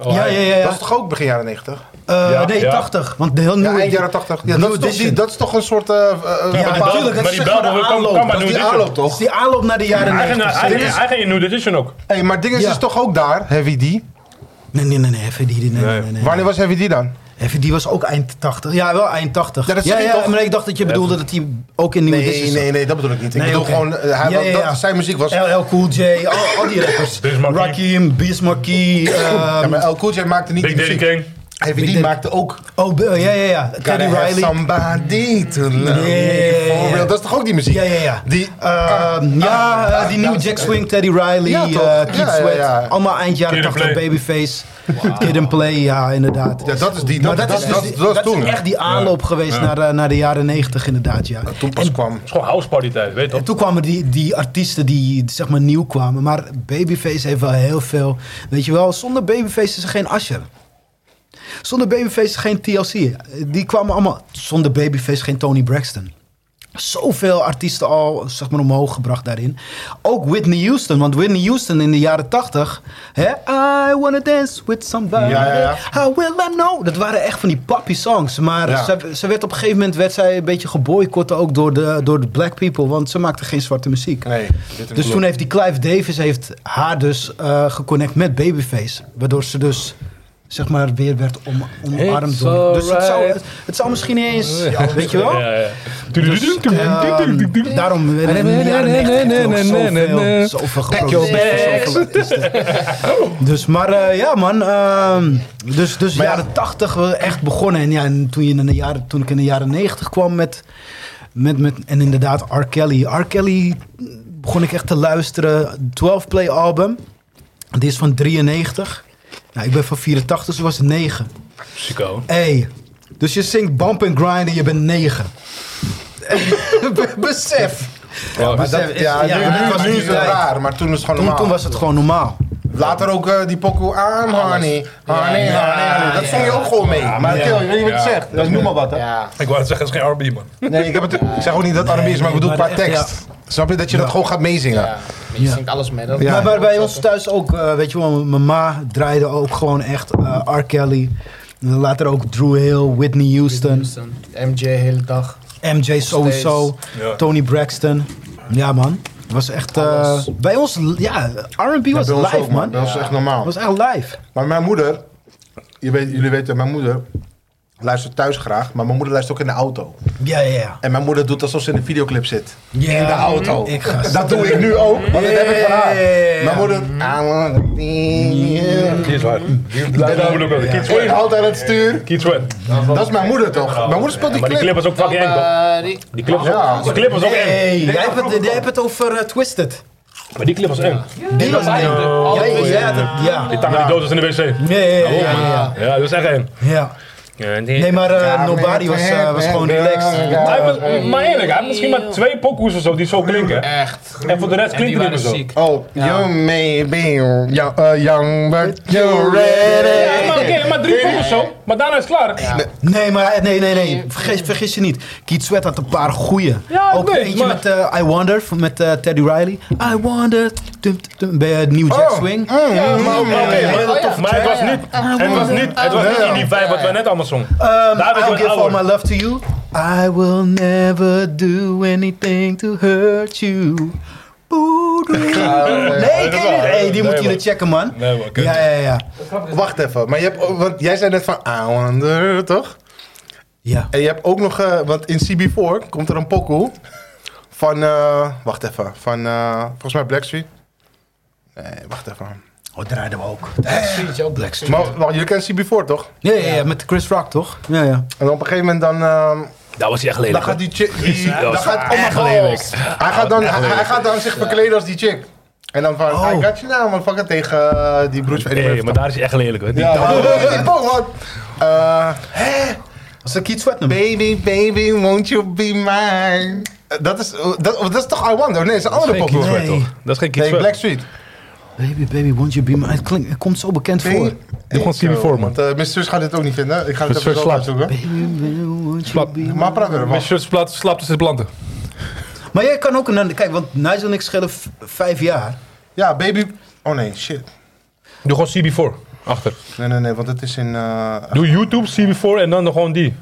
B: Oh,
H: ja,
B: hij-
H: ja, Hm. ja.
C: Dat
H: ja.
C: is toch ook begin jaren 90?
H: Eh,
B: Ja,
H: nee,
B: ja.
H: 80. Want de heel
C: Ja,
H: nieuwe...
C: eind jaren 80. Ja,
H: New
C: dat, is toch die,
H: Edition.
C: dat is toch een soort... eh, eh,
B: maar
C: bepaalde-
B: die Bell-
H: natuurlijk,
B: maar
H: dat is
B: die
H: zeg maar
B: Bell
H: de
B: kan-
H: aanloop.
B: kan maar
C: Dat is
B: New
C: die
B: Edition.
C: aanloop toch?
H: Dat is die aanloop naar de jaren
B: Hij ging
H: 90.
B: naar- Hij ging-
H: Serieus?
B: hij ging in New Edition ook.
C: Hey, maar Dinges
H: Ja.
C: is toch ook daar, Heavy D?
H: Nee, nee, nee, nee, even die, die- nee, nee,
B: Nee.
H: nee,
C: Wanneer was Heavy D dan?
H: Even die was ook eind 80. Ja, wel eind 80.
C: Ja, dat zeg
H: ja,
C: ik toch?
H: maar ik dacht dat je bedoelde dat hij ook in nieuwe
C: Nee,
H: dishes
C: nee, nee, dat bedoel ik niet. Ik
H: Nee,
C: bedoel
H: oké.
C: gewoon, eh, hij,
H: Ja, ja,
C: dat-
H: ja.
C: zijn muziek was... Oh,
H: LL Cool J, al, al die rappers.
B: Bismarck.
H: Rakim, Bismarck.
C: Ja,
H: ehm
C: maar El Cool J maakte niet
B: Big
C: die
B: Daddy
C: muziek.
B: Kane.
C: Heavy
H: Big
C: D
H: Daddy-
C: maakte ook...
H: oh, be- ja, ja, ja. Teddy
C: Gotta have
H: Riley.
C: Somebody to
H: Ja,
C: love
H: ja, ja,
C: me
H: ja,
C: for
H: ja.
C: real. Dat is toch ook die muziek?
H: Ja, ja, ja.
C: Die...
H: Ehm, ja, eh, die nieuwe Jack Swing, Teddy Riley,
C: Ah. Ja,
H: ja,
C: toch?
H: Keith
C: Ja, ja,
H: Sweat.
C: ja.
H: Allemaal eind jaren
B: Kid and
H: 80,
B: Play.
H: Babyface. Kid and Play, ja, inderdaad.
C: Ja, dat is die...
H: maar
C: Dat,
H: dat,
C: dat,
H: is,
C: dat,
H: dus,
C: dat is
H: dat is
C: toen.
H: echt die aanloop geweest Naar, de, naar de jaren 90 inderdaad, ja.
C: eh, Toen pas kwam.
B: Het is gewoon house party tijd, weet je
H: En
B: toch?
H: toen kwamen die, die artiesten die zeg maar nieuw kwamen. Maar Babyface heeft wel heel veel. Weet je wel, zonder Babyface is er geen Asher. Zonder Babyface is er geen TLC. Die kwamen allemaal. Zonder Babyface geen Tony Braxton. Zoveel artiesten al zeg maar, omhoog gebracht daarin. Ook Whitney Houston. Want Whitney Houston in de jaren 80. Hè? I wanna dance with somebody.
C: Ja, ja, ja.
H: How will I know? Dat waren echt van die pappy songs. Maar
C: Ja.
H: ze, Eh, ze werd op een gegeven moment werd zij een beetje geboycott ook door de, door de black people. Want ze maakte geen zwarte muziek.
C: Nee, dit is
H: Dus toen heeft die Clive Davis heeft haar dus eh, geconnect met Babyface. Waardoor ze dus zeg maar weer werd om, omarmd.
B: It's
H: Door. Dus het zou,
B: alright.
H: het zou misschien niet eens, weet je wel?
B: Ja, ja.
H: Dus, ehm, daarom werden in de jaren 90 nog zoveel, zoveel geproduceerd, zoveel artiesten. Dus, maar eh, ja man, ehm, dus, dus
C: Maar ja.
H: jaren 80 we echt begonnen. En, ja, en toen, je in de jaren, toen ik in de jaren 90 kwam met, met, met, en inderdaad R. Kelly. R. Kelly begon ik echt te luisteren, 12 play album. Dit is van 93. Nou, ik ben van 84, dus ik was 9.
B: Chico.
H: Hey, dus je zingt bump and grind en je bent 9. Besef.
C: Ja, maar dat,
H: besef,
C: ja,
H: ja,
C: nu,
H: ja,
C: nu was
H: nu
C: het
H: is
C: wel
H: het
C: raar, maar toen is het gewoon
H: Toen,
C: normaal.
H: toen was het gewoon normaal.
C: Later ook eh, die pokoe aan, honey. Honey,
G: Ja,
C: honey,
G: ja,
C: honey. Dat
G: ja.
C: zong je ook gewoon mee. maar
B: ja.
C: ik weet niet wat je
B: Ja.
C: zegt. Dat is noem maar wat, hè.
G: Ja.
B: Ik wou het zeggen, het is geen R&B, man.
C: Nee, ik, heb het, ik zeg ook niet dat het R&B is, maar ik bedoel
H: maar
C: qua
H: echt, ja.
C: tekst. Snap je dat je dat gewoon gaat meezingen?
G: Ja, maar je zingt alles mee. Dat
C: Ja.
H: Maar bij, bij ons thuis ook, eh, weet je wel, mijn ma draaide ook gewoon echt eh R. Kelly. Later ook Drew Hill, Whitney Houston,
G: MJ hele dag.
H: MJ sowieso,
B: Ja.
H: Tony Braxton. Ja man, het was echt... eh,
G: Alles.
H: bij ons, ja, R&B was
C: bij ons
H: live
C: ook,
H: man.
C: Dat is echt normaal.
H: Het was echt live.
C: Maar mijn moeder, je weet, jullie weten, mijn moeder luistert thuis graag, maar mijn moeder luistert ook in de auto.
H: Ja, ja, ja.
C: En mijn moeder doet alsof ze in de videoclip zit. In de
H: Ja.
C: auto.
H: Ik ga
C: Dat doe ik nu ook, want dat heb ik van haar.
H: Yeah.
C: Mijn moeder...
B: Die is waar.
C: En dan-
B: moeilijk, brother. Kids
C: Eén
B: win.
C: hand aan het stuur.
B: Kids win.
C: Dat is mijn moeder toch? Mijn moeder speelt die
L: Maar die
C: clip.
L: clip was ook fucking eng, toch?
G: Somebody.
L: Die clip was
C: Ja.
L: ook, die clip was ook eng.
H: Hey, jij hebt, het, jij hebt het over eh, Twisted.
L: Maar die clip was eng.
H: Die was hij. Ja, ja, ja, dat-
L: Die
H: ja.
L: tangen die dood was in de wc.
H: Nee, ja, ja, ja.
L: Ja, dat was echt eng.
H: ja. Nee, maar eh, Nobody was, eh, was gewoon relaxed.
L: Hij heeft, maar eerlijk, hij heeft misschien maar twee pokoes of zo die zo klinken.
G: Echt.
L: En voor de rest
G: En die
L: klinkt het
G: waren
L: niet meer zo.
G: ziek.
C: Oh, you may be young, uh, young but you're ready.
L: Ja, maar oké, maar drie pokoes zo. Maar daarna is het klaar. Ja,
H: Nee, maar eh, nee, nee, nee. Vergis, vergis je niet. Keith Sweat had een paar goeie.
L: Ja, ik
H: Ook
L: weet,
H: eentje
L: maar-
H: met eh, I Wonder van- met eh, Teddy Riley. I Wonder. Tum, tum, tum, bij het New Jack Swing.
L: maar oké, maar-
G: Oh, ja.
L: Maar het was niet, het was niet, het was niet in die vijf wat wij net allemaal zongen.
B: Eh,
L: Daar
H: Um,
L: ben ik
H: I'll
L: wat
H: give all
L: ouder.
H: my love to you. I will never do anything to hurt you. Boe, doe. Nee, ik ken niet. Hey, die moeten jullie checken, man.
B: Nee, maar oké.
H: Ja, ja, ja.
C: Wacht even, maar je hebt, ook- want jij zei net van Aanwander, toch?
H: Ja.
C: En je hebt ook nog, eh, want in CB4 komt er een pokoe van, eh, wacht even, van eh, volgens mij Blackstreet. Nee, wacht even.
H: Oh, draaiden we ook.
G: Street, joh, Black Street.
C: Maar wacht, jullie kennen CB4 toch?
H: Ja, ja, ja, met Chris Rock, toch? Ja, ja.
C: En op een gegeven moment dan, ehm,
L: Dat was hij echt
C: dan
L: lelijk.
C: gaat die chick, die, dan gaat, oh my
L: echt
C: god.
L: lelijk.
C: Hij gaat dan, hij, hij gaat dan zich verkleden als die chick. En dan van,
H: Oh.
C: I got you now, motherfucker, tegen eh, die broers van Eddie
L: Nee,
C: Murphy.
L: maar daar is hij echt lelijk, hoor. Die-
C: Ja, maar hoe heet die pokoe, man? Eh,
H: Was dat Keith Sweat nummer?
C: Baby, baby, won't you be mine? Eh, Dat is, eh, dat, of dat is toch I Wonder? Nee, dat is een andere
B: Geen Kids
C: pokoe.
B: Win, toch? Dat is geen Kids
C: Nee,
B: Win.
C: Blackstreet.
H: Baby, baby, won't you be my... Het, klinkt, het komt zo bekend voor.
C: Baby,
B: Doe gewoon CB4, man.
C: Want eh mijn zus gaat dit ook niet vinden. Ik ga het
B: Mijn
C: even
B: zus
C: zo
B: slaapt.
C: uitzoeken.
H: Baby, baby, won't you
B: Slap.
H: be my-
C: Maar praat weer,
B: Mijn
C: man.
B: shirt slaapt slaapt tussen de planten.
H: Maar jij kan ook een... Kijk, want Nigel en ik schelen v- vijf jaar.
C: Ja, baby. Oh nee, shit.
B: Doe gewoon CB4. Achter.
C: Nee, nee, nee, want het is in. eh,
B: Doe YouTube, CB4 en dan gewoon die.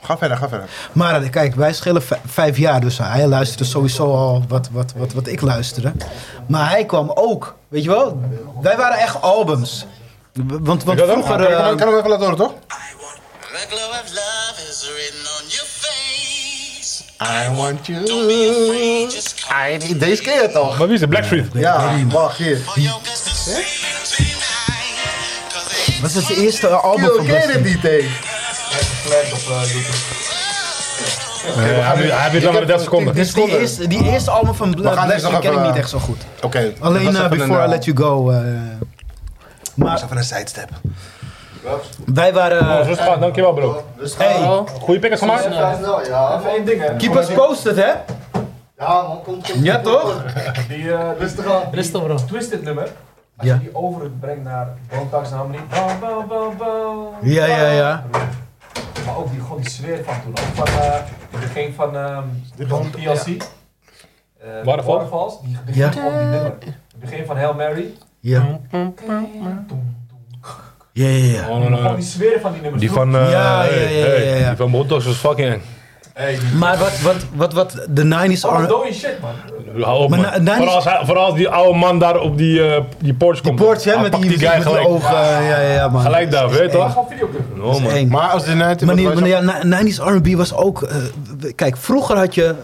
C: Ga verder, ga verder.
H: Maar eh, kijk, wij schelen vij- vijf jaar. Dus hij luisterde sowieso al wat, wat, wat, wat ik luisterde. Maar hij kwam ook. Weet je wel? Wij waren echt albums. W- Want, want
B: dat ook?
H: vroeger...
C: Kan ik,
H: eh,
C: hem- ik kan hem even laten horen, toch?
M: The glow of love is written on your face.
C: I want you.
M: Just come
C: I need- Deze keer toch?
B: Maar wie is de Blackstreet?
C: Ja, wacht hier.
M: for your guts to see tonight. 'Cause it's
H: was het eerste album
C: Yo,
H: van
C: ken je
H: Destiny.
C: dit niet, hé? eh,
B: Eh, Hij heeft- hij heeft nog maar 30 seconden.
H: Dus die eerste, die eerste album van
C: We gaan
H: Black
C: deze nog
H: Destiny ken ik
C: even- eh,
H: niet echt zo goed.
C: Oké.
H: Alleen eh, Before I Let You Go. eh,
C: Dat
H: maar
C: was even een sidestep.
H: wij waren... eh,
B: Oh, Rustig aan, dankjewel bro.
H: hey,
B: Goeie pikkers gemaakt?
I: Even één ding, hè.
H: keep us posted, hè? Ja, toch?
I: Die, eh,
G: Rustig bro.
I: Twisted nummer. Als
H: Ja.
I: je die overbrengt naar Bontax en Harmony. Bam, bam, bam, bam.
H: Ja, ja, ja.
I: Maar ook die, gewoon die sfeer van toen. Ook van eh, het begin van, ehm van PLC. Eh,
B: Waterfall.
I: Waterfalls. Die begint
H: Ja.
I: op die nummer. Het begin van Hail Mary.
H: Ja, ja, ja. ja.
B: Oh, no, no,
I: Gewoon
B: no.
I: die sfeer van die nummers.
B: Die van... eh,
H: Ja, ja,
B: hey,
H: ja, ja,
B: hey,
H: ja.
B: Die van Hot Dogs was fucking eng.
I: Hey, die-
H: Maar wat, wat, wat, wat de 90s
I: Wat een
H: R&B...
I: dode shit, man.
B: Hou op
H: Maar
B: man.
H: na- na-
B: Vooral als, hij- vooral als die oude man daar op die, eh, die porch komt.
H: Ports, hè,
B: Hij
H: met
B: pakt
H: die,
B: die guy
H: met die
B: gelijk.
H: ogen. Ja, ja, ja, man.
B: Gelijk daar, weet je
I: Dat
B: toch?
I: gewoon videoclip.
B: No man.
H: Eng.
C: Maar als de night.
H: Maar, nee, maar ja, na- 90s R&B was ook... eh, w- kijk, vroeger had je...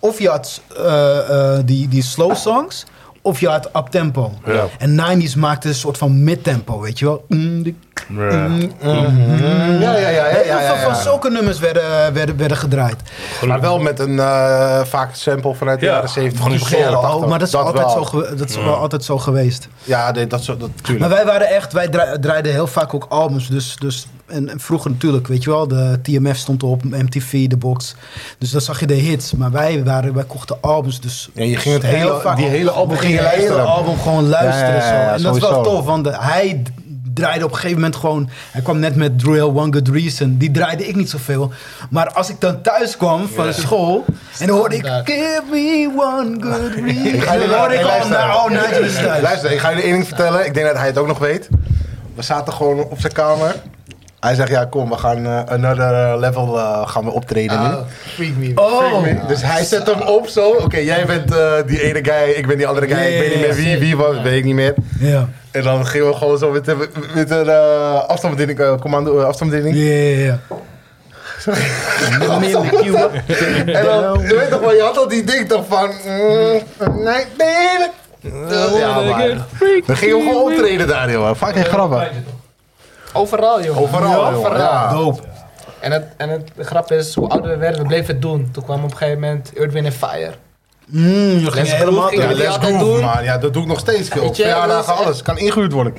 H: Of je had eh, eh, die, die slow songs... Of je had uptempo.
B: Ja.
H: En 90s maakte een soort van midtempo, weet je wel. Mm, die-
C: Ja, ja, ja, ja, ja, ja,
H: Heel veel
C: ja.
H: van zulke nummers werden, werden, werden gedraaid.
C: Maar wel met een eh, vaak sample vanuit de
B: Ja,
C: jaren 70.
B: gewoon die
C: begin jaren
B: soul.
C: 80.
H: Oh, maar dat is, altijd
C: wel.
H: zo, gewe- dat is wel altijd zo geweest.
C: Ja, nee, dat, zo, dat
H: Maar
C: tuurlijk.
H: wij waren echt, wij dra- draaiden heel vaak ook albums. Dus, dus, en, en vroeger natuurlijk, weet je wel, de TMF stond op, MTV, de box. Dus dan zag je de hits. Maar wij, waren, wij kochten albums. Dus
C: Ja, je ging het
H: dus heel
C: hele, die hele album
H: we
C: ging je
H: gingen het hele
C: luisteren.
H: album gewoon luisteren.
C: Ja, ja, ja,
H: zo.
C: ja,
H: en dat is wel
C: sowieso.
H: tof, want de- hij d- draaide op een gegeven moment gewoon... Hij kwam net met Drill, One Good Reason. Die draaide ik niet zoveel. Maar als ik dan thuis kwam van school... En dan hoorde ik...
G: Standaard.
H: Give me one good reason.
C: Ik ga jullie
H: dan hoorde ik
C: hey,
H: al...
C: luisteren.
G: oh,
H: Nou, Nigel is thuis.
C: Luister, ik ga jullie één ding vertellen. Ik denk dat hij het ook nog weet. We zaten gewoon op zijn kamer. Hij zegt, ja kom, we gaan eh, another level eh, gaan we optreden nu.
G: Ah, freak me.
H: Oh,
C: Dus hij zet hem op zo. Oké, jij bent eh, die ene guy, ik ben die andere guy.
H: Ja,
C: ik weet
H: ja,
C: niet
H: ja,
C: meer wie, wie was, weet ik niet meer.
H: ja.
C: En dan gingen we gewoon zo met, de- met een eh, afstandsbediening, eh, commando, eh, afstandsbediening.
H: Ja, ja, ja.
C: En dan, je weet toch wel, je had al die ding toch van... mm, nee, nee, nee. Ja, maar. We gingen gewoon optreden daar, joh. Fucking grappig.
G: Overal, joh.
C: Overal, joh. Ja.
H: Dope.
G: En, het, en het, de grap is, hoe ouder we werden, we bleven het doen. Toen kwam op een gegeven moment Earthwind and Fire.
H: Mm, dat ging
G: Let's
H: helemaal
G: go,
H: terug.
C: Ja,
G: Jullie
C: let's
G: altijd
C: groove,
G: doen.
C: man. Ja, dat doe ik nog steeds veel.
G: Weet je,
C: Verjaardagen,
G: dat is-
C: alles. Kan ingehuurd worden.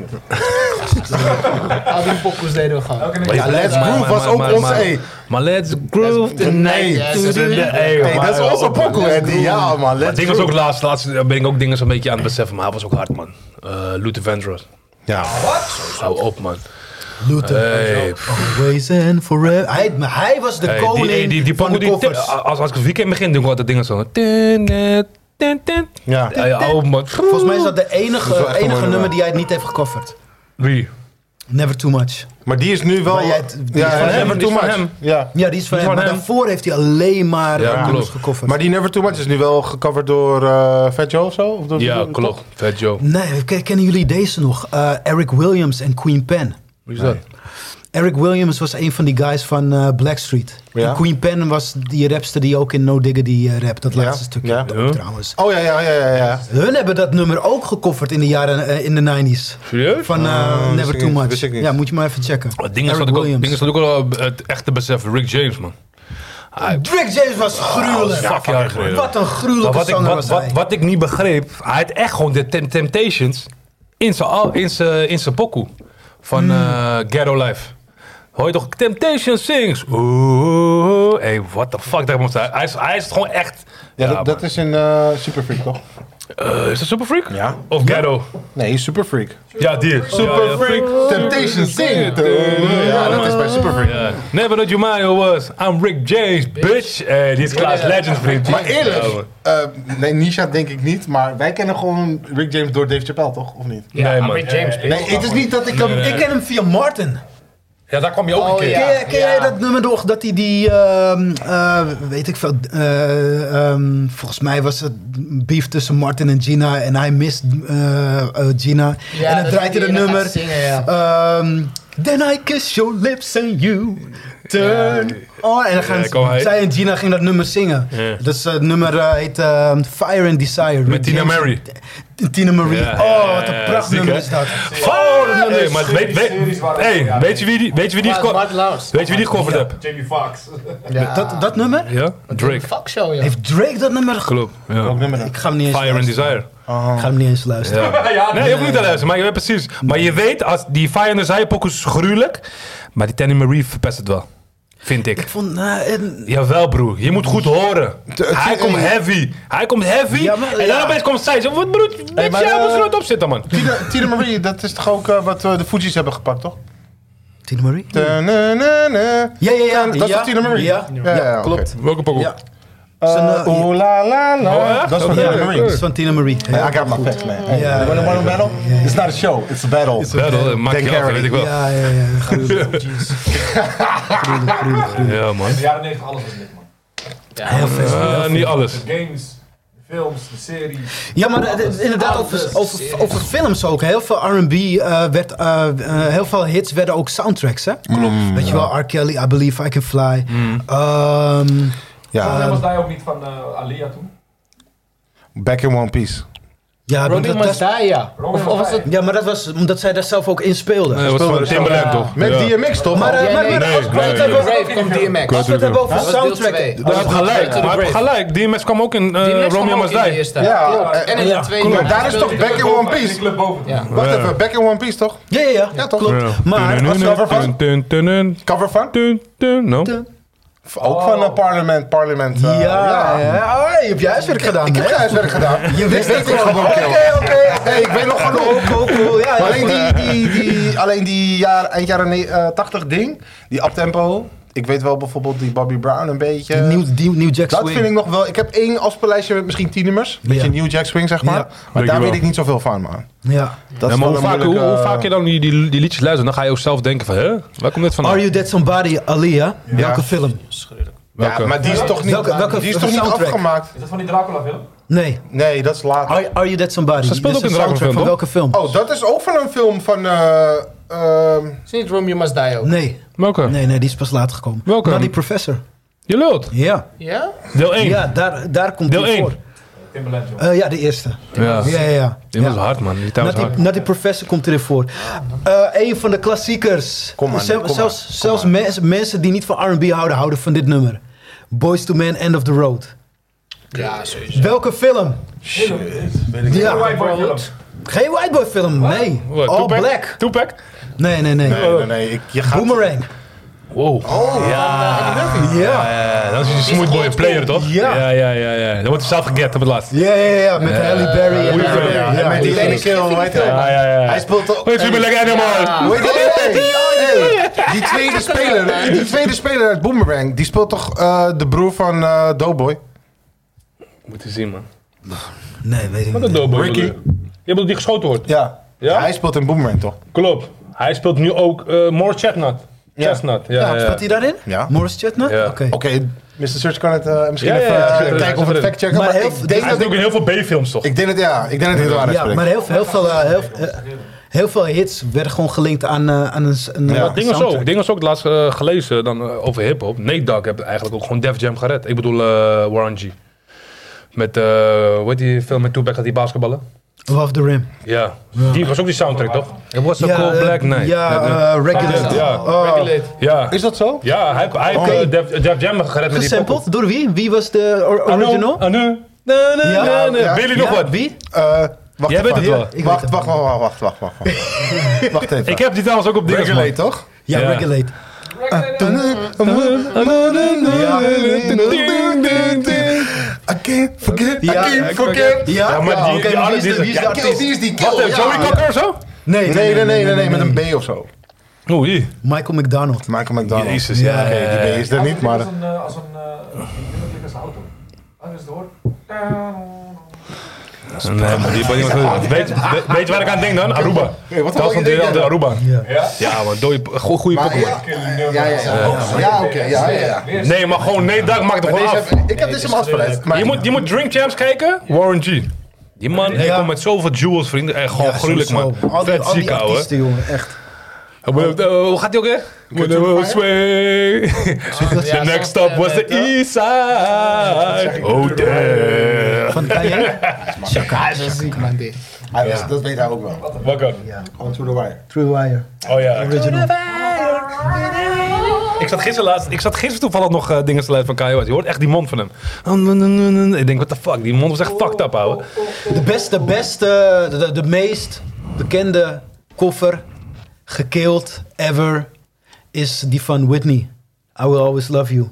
G: Al die pokoes deden we gewoon.
C: Ja, Let's
B: Maar-
C: Groove
B: maar-
C: was
B: maar-
C: ook
B: maar-
C: onze...
B: maar-
C: hey.
B: Maar let's groove
C: Nee,
B: tonight.
G: yes,
B: To
G: yes,
B: the-
G: yes.
B: Hey,
C: Hey,
B: maar-
C: dat is onze pokoe, Eddie. Ja, man.
B: Maar
C: Let's
B: ding was ook
C: Groove.
B: laatst, laatst ben ik ook dingen zo'n beetje aan het beseffen, maar hij was ook hard, man. Eh Luther Vandross.
C: Ja.
B: Hou op, man.
H: Luther.
B: Hey,
H: Always and forever. Hij, maar hij was de
B: Hey, die,
H: koning
B: die, die, die
H: van
B: pokoe
H: de
B: die- Ah.
H: koffers.
B: als, als ik het weekend begin, doe ik altijd dingen zo. Tin, eh, tin, tin.
C: Ja.
B: Ja, ja, oh man.
H: Volgens mij is dat de
C: Dat is
H: enige,
C: wel echt een mooi
H: enige nummer
C: nummer.
H: die hij niet heeft gecoverd.
B: Wie?
H: Never Too Much.
C: Maar die is nu wel...
H: Maar jij het- die
C: Ja,
H: is
C: ja,
H: van hem,
C: Never
B: die
C: Too
B: is van
C: Much.
B: hem.
C: Ja.
H: Ja, die is van
B: Die
H: hem.
B: van hem.
H: Maar daarvoor heeft hij alleen maar
B: Ja,
H: eh, nummers
B: klopt.
H: gecoverd.
C: Maar die Never Too Much is nu wel gecoverd door eh Fat Joe of zo? Of door-
B: Ja,
C: door-
B: klopt. Fat Joe.
H: Nee, k- kennen jullie deze nog? Eh, Eric Williams en Queen Pen.
B: Wie is dat?
H: Eric Williams was een van die guys van eh, Blackstreet.
C: Ja.
H: En Queen Pen was die rapster die ook in No Diggity eh, rapt. Dat
C: Ja.
H: laatste stukje
C: Ja.
H: dope trouwens.
C: Oh ja, ja, ja, ja. ja.
H: Hun hebben dat nummer ook gecoverd in de jaren eh, in de 90s.
B: Serieus?
H: Van eh,
C: Ah, wist
H: Never
C: ik
H: Too
C: niet,
H: Much.
C: wist ik niet.
H: Ja, moet je maar even checken.
B: Het ding is
H: Eric
B: dat ik ook-
H: Williams.
B: ding is dat ik ook al eh, het echte besef. Rick James, man. Hij-
H: Rick James was gruwelijk.
B: fuck jaar geleden.
H: Wat een
B: Maar
H: gruwelijke
B: wat, ik,
H: zanger
B: wat,
H: was
B: wat,
H: hij.
B: wat ik niet begreep, hij had echt gewoon de Tem- Temptations in zijn al- in zijn- in zijn pokoe van eh, Ghetto Life. Hoor je toch Temptations sings? Oeh, hey, what the fuck? Daar moest hij, hij, is, hij is gewoon echt.
C: Ja, dat, dat
B: man.
C: is een eh Super Freak, toch?
B: Eh, is dat Super Freak?
C: Ja.
B: Of Ghetto?
C: Nee, Super Freak.
B: Ja, die.
C: Super
B: Ja, ja,
C: Freak, Temptation Sing. Ja, dat is bij Super Freak.
B: Ja. Never that you mind who was. I'm Rick James, bitch. Eh, die is Klaas Legend, vriend.
C: Maar
B: Ja,
C: eerlijk,
B: man.
C: eh, nee, Nisha denk ik niet, maar wij kennen gewoon Rick James door Dave Chappelle, toch? Of niet?
G: Ja,
B: Nee,
G: maar
B: man.
G: met James, bitch.
C: Nee, het is niet dat ik hem...
H: Ik ken hem via Martin.
B: Ja, daar kwam je ook een
G: Oh,
B: keer.
G: ja.
H: ken jij- ken jij dat nummer nog dat hij die, ehm, eh, weet ik veel, eh, ehm, volgens mij was het beef tussen Martin en Gina en hij mist eh, eh, Gina.
G: Ja,
H: en dan
G: dat
H: draait
G: die
H: hij dat
G: ene
H: nummer.
G: gaat zingen, ja.
H: ehm, Then I kiss your lips and you turn on. En dan gaan
B: Ja, kom maar.
H: zij en Gina gingen dat nummer zingen.
B: Ja.
H: Dat is, eh, het nummer eh, heet ehm, Fire and Desire.
B: Met Tina
H: James-
B: Mary.
H: Tina Marie.
B: Ja, ja,
H: oh, wat
B: ja, ja,
H: een prachtig
B: ziek,
H: nummer
B: hè?
H: is dat.
B: Oh, dat is nee, maar weet, weet,
I: series waren ook-
B: hey,
I: ja.
B: weet je wie die, weet je wie die,
G: Maar-
B: geko-
G: Bart Laus.
B: weet je wie die gecoverd hebt?
I: Jamie Foxx.
G: Ja.
H: dat. Dat nummer?
B: Ja? Drake.
G: Fuck show, joh.
H: Heeft Drake dat nummer ge-
B: Klopt. Ja.
H: Ik ga hem niet eens
B: Fire and
H: luisteren.
B: Desire.
H: Ik ga hem niet eens luisteren.
I: ja,
B: Nee, je hoeft niet te luisteren, maar je weet precies. Maar je weet, als die Fire and Desire pokus is gruwelijk, maar die Tanny Marie verpest het wel. Vind ik.
H: Ik vond, eh, en-
B: Jawel, broer. Je moet goed horen.
C: het-
B: Hij komt heavy. Hij komt heavy.
H: Ja, maar-
B: en dan
H: ja.
B: opeens komt zij. Zo, Wat broer, bitch,
C: maar,
B: jij moet
C: eh,
B: er nooit op zitten, man.
C: Tina, Tina Marie, dat is toch ook eh, wat eh, de Fuji's hebben gepakt, toch?
H: Tina Marie?
C: Da- na- na- na.
H: Ja, ja, ja.
C: Eh, Dat is
H: ja.
C: toch Tina Marie?
H: Ja,
C: Ja, ja, oké.
H: klopt.
B: Welke pokoe?
H: Ja.
C: Eh,
H: Zijn, eh,
C: Oeh la la
B: Oh,
C: la.
B: echt?
C: Dat is van
B: Ja,
C: Tina
B: ja,
C: Marie.
H: Dat is van Tina Marie.
C: Hey, I got my facts, man. Hey,
H: Ja,
C: you wanna-
H: ja,
C: wanna battle? It's not a show, it's a battle.
B: Ja, dat maakt
C: Dan
B: je af, dat
C: Carey.
B: weet ik wel.
H: Ja, ja, ja. gruwelijk. Gruwelijk, gruwelijk, gruwelijk.
B: Ja, man.
I: In de jaren 90 alles was dit, man.
H: Heel vet.
B: Eh, niet alles.
I: De games, de films, de series.
H: Ja, maar eh, eh, inderdaad,
C: dus-
H: over, over, over films ook. Heel veel RB eh, werd. eh, eh, heel veel hits werden ook soundtracks, hè? Klopt. Weet je wel, R. Kelly, I Believe I Can Fly. Ehm,
C: Ja,
I: was daar ook niet van eh, Alia toen?
C: back in one piece.
H: Ja, maar
N: Rolling
H: dat-
N: Must
H: dat-
N: Die, ja. Of, of was het...
H: Ja, maar dat was omdat zij daar zelf ook in speelde.
B: Nee, dat was van Timberland, toch?
C: Met
B: Ja.
C: DMX toch?
H: Maar, eh,
N: Nee,
H: maar,
N: nee,
H: maar
B: nee,
H: als we
B: nee,
H: het
B: nee.
H: hebben over-
N: Brave kwam DMX.
H: als we het hebben over
N: Dat was deel
H: soundtrack.
N: twee.
B: Daar heb je gelijk. Maar hij heeft gelijk. DMS kwam ook in eh,
G: DMX
B: Romeo
G: kwam
B: Must
G: ook in de
B: Die.
G: eerste.
C: Ja,
N: Klopt. En in de
H: Ja,
N: tweede.
C: Maar daar is toch Back in One Piece?
I: Club boven.
N: Ja.
C: Wacht even, Back in One Piece toch?
H: Ja, ja, ja.
C: Ja, toch?
H: Klopt. Maar als we
C: Cover van?
B: Dun, dun, dun,
C: Cover van?
B: dun, dun. No.
C: Ook van eh, Parliament, Parliament. eh,
H: Oh. Ja, ja. Oh, je hebt je huiswerk gedaan.
C: Ik heb
H: hè?
C: geen huiswerk gedaan.
H: Je wist
C: weet
H: het
C: ik
H: gewoon.
C: gewoon,
H: Oké,
C: kerel.
H: oké.
C: Hey, ik weet nog genoeg.
H: Cool, cool, cool. Ja,
C: Maar
H: ja.
C: alleen die, die, die, alleen die jaar, eind jaren ne- eh, 80 ding, die uptempo. Ik weet wel bijvoorbeeld die Bobby Brown een beetje.
H: Die New, die New Jack
C: dat
H: Swing.
C: vind ik nog wel. Ik heb één afspeellijstje met misschien tien nummers. Beetje
H: Ja.
C: New Jack Swing, zeg maar.
H: Ja.
C: Maar daar
B: Dankjewel.
C: weet ik niet zoveel van, man.
H: Ja.
C: Dat
B: Ja, maar
C: wel
B: hoe,
C: een
B: vaak, hoe,
C: moeilijke-
B: hoe vaak je dan die, die, die liedjes luistert, dan ga je ook zelf denken van, hè? Waar komt dit vandaan?
H: Are You Dead Somebody, Alia. Welke film?
B: Welke?
C: Ja, maar die is toch niet,
H: Welke- welke
C: die is toch niet
H: soundtrack? Oh,
C: afgemaakt?
I: Is dat van die Dracula film?
H: Nee.
C: Nee, dat is later.
H: Are, Are You Dead Somebody.
B: Ze speelt
H: Dit
B: ook
H: is
B: in
H: een
B: een
H: soundtrack van welke film?
C: Oh, dat is ook van een film van. eh, ehm,
N: Is niet Romeo Must Die ook?
H: Nee.
B: Welke?
H: Nee, nee, die is pas later gekomen.
B: Welke?
H: Bloody Professor.
B: Je lult.
H: Ja.
N: Ja?
B: Deel 1.
H: Ja, daar, daar komt
B: Deel
H: die
B: één.
H: voor.
I: Timberland, joh.
H: Eh, ja, de eerste.
B: Ja.
H: Ja, ja, ja.
B: Die was
H: Ja.
B: hard, man. Die taal was
H: Natty,
B: hard.
H: Natty Professor komt erin voor. Eh, een van de klassiekers.
C: Kom maar,
H: Zelf-
C: kom maar,
H: zelfs
C: kom
H: zelfs
C: maar.
H: mens- mensen die niet van R&B houden, houden van dit nummer. Boys to Men, End of the Road.
N: Ja, sowieso.
H: Welke film? Ja.
I: White Boy Phillips.
H: Geen white boy film, nee.
B: Wat,
H: All
B: Tupac?
H: black.
B: Tupac?
H: Nee, nee, nee.
C: nee, nee, nee. Ik, je gaat,
H: Boomerang.
B: Wow.
H: Oh, Ja.
B: Eh, dat is die smoothboy player, toch?
H: Ja.
B: Ja, ja, ja. ja. Dan wordt hij zelf geget op het laatst.
H: Ja, ja, ja, met Halle Berry. en-
C: Ja, ja, ja,
H: Ja,
C: met die
H: ja.
C: ene keel, weet je
B: Ja, ja, ja.
C: Hij speelt toch...
B: Weet je, ben lekker animal.
C: Hoe heet die? Hey, hey, Die tweede speler, die tweede speler uit Boomerang, die speelt toch eh, de broer van eh Doughboy?
B: Moet je zien, man.
H: Nee, weet ik
L: Wat een
H: niet.
L: doodboy.
C: Ricky.
L: bedoel Je Je bedoelt die geschoten wordt.
C: Ja.
L: Ja?
C: Hij speelt in Boomerang toch?
L: Klopt. Hij speelt nu ook eh More Chestnut. Chestnut, ja. ja,
H: Ja, Staat hij daarin?
C: Ja.
H: Morris Chestnut?
B: Ja.
H: Oké.
C: Oké, Mr. Search kan het eh, misschien
L: Ja, ja,
C: even
L: ja,
C: eh,
L: zit erin, zit
C: kijken of het
L: erin.
C: fact checken. Maar,
H: Maar heel-
C: ik denk
L: Hij
C: dat
L: doet ook
C: ik,
L: in heel veel B-films, toch?
C: ik denk dat ja, ik denk dat hij de waarheid
H: Ja,
C: spreekt.
H: maar heel veel, heel veel, eh, heel, eh, heel veel hits werden gewoon gelinkt aan, eh, aan een, s- een
C: Ja,
H: eh,
B: Dingen zo.
H: soundtrack.
B: Dingen zo. Ik laatst eh, gelezen dan, eh, over hip-hop. Nate Dogg heeft eigenlijk ook gewoon Def Jam gered. Ik bedoel, eh Warren G. Met, eh hoe heet die film met Tupac, had die basketballen?
H: Above the Rim.
B: Ja. Die was ook die soundtrack, toch? It was a cool
H: eh,
B: black night.
H: Ja,
B: Dat- dat-
H: eh, Regulate.
B: Ja.
N: Regulate.
B: ja.
C: Is dat zo?
B: Ja, hij, hij heeft eh, Def, Def Jam gered met die pokoe.
H: Oh. Gesampled door wie? Wie was de or- original?
B: Anu. Anu. Nee, Ah, nee,
H: Ja.
B: nee, nee.
C: Ja.
B: Wil je
H: Ja,
B: nog wat?
H: Wie?
C: Eh, wacht
B: Jij
C: even.
B: weet het wel.
H: weet
C: Wacht,
H: het
C: wacht, wacht, wacht, wacht, wacht, wacht. Wacht even.
B: Ik heb die trouwens ook op dingen
C: Regulate toch?
H: Ja,
B: Ja.
H: Regulate.
C: I can't forget,
H: Ja,
C: I can't
H: ik
C: forget.
H: Ja,
B: maar die-
H: oké,
B: die
H: maar
B: artist
H: wie is de-
B: is-
H: wie is de
B: ja,
C: Kill,
H: artiest?
C: wie is die kill?
B: Wat, eh,
C: Ja.
B: Joey Cocker of zo?
H: Nee,
C: Nee, nee, nee, nee, nee, met een B of zo.
B: Oei.
H: Michael McDonald.
C: Michael McDonald.
B: Jezus, ja.
C: Oké, die B is er niet, maar...
I: Als een, eh, als een, eh, die nummerklik als een auto. Ah, dus door.
B: Nee, maar die ben ik weet, weet, weet je waar ik aan denk dan? Aruba.
C: Hey, wat
B: Dat was
C: wil
B: van
C: je denken?
B: de Aruba.
H: Ja.
B: Ja, man, dode, goede
C: Maar
B: Pokémon.
C: ja, ja, ja, ja. Ja, oké, ja, ja, ja.
B: Nee, maar gewoon, nee, dat maakt het
C: Maar
B: gewoon
C: deze
B: af.
C: heb- Ik heb deze hem afgeleid. maar-
B: Je moet, je moet Drink Champs kijken. Warren G. Die man, hij
H: Ja.
B: komt met zoveel jewels, vrienden. Echt gewoon gruwelijk, man.
H: sowieso. Al die,
B: Vet
H: al
B: ziek,
H: die
B: ouwe.
H: artiesten, jongen, echt.
B: Oh, Hoe gaat die ook, hè? When I was way. The
N: Ja,
B: next
N: zo-
B: stop was the
N: eh,
B: east side. Oh, damn.
H: Van Kanye?
N: Hij is wel ziek, man, dit.
C: Hij was- Dat weet hij ook wel.
B: Wakker.
C: On to the wire.
H: True Wire.
B: Oh ja.
H: Original.
B: Ik zat gisteren, laatst, ik zat gisteren toevallig nog eh, dingen te luisteren van Kanye West. Je hoort echt die mond van hem. Ik denk, what the fuck? Die mond was echt fucked up, ouwe.
H: De beste, beste, de, de, de meest bekende koffer, gekeeld ever, is die van Whitney. I Will Always Love You.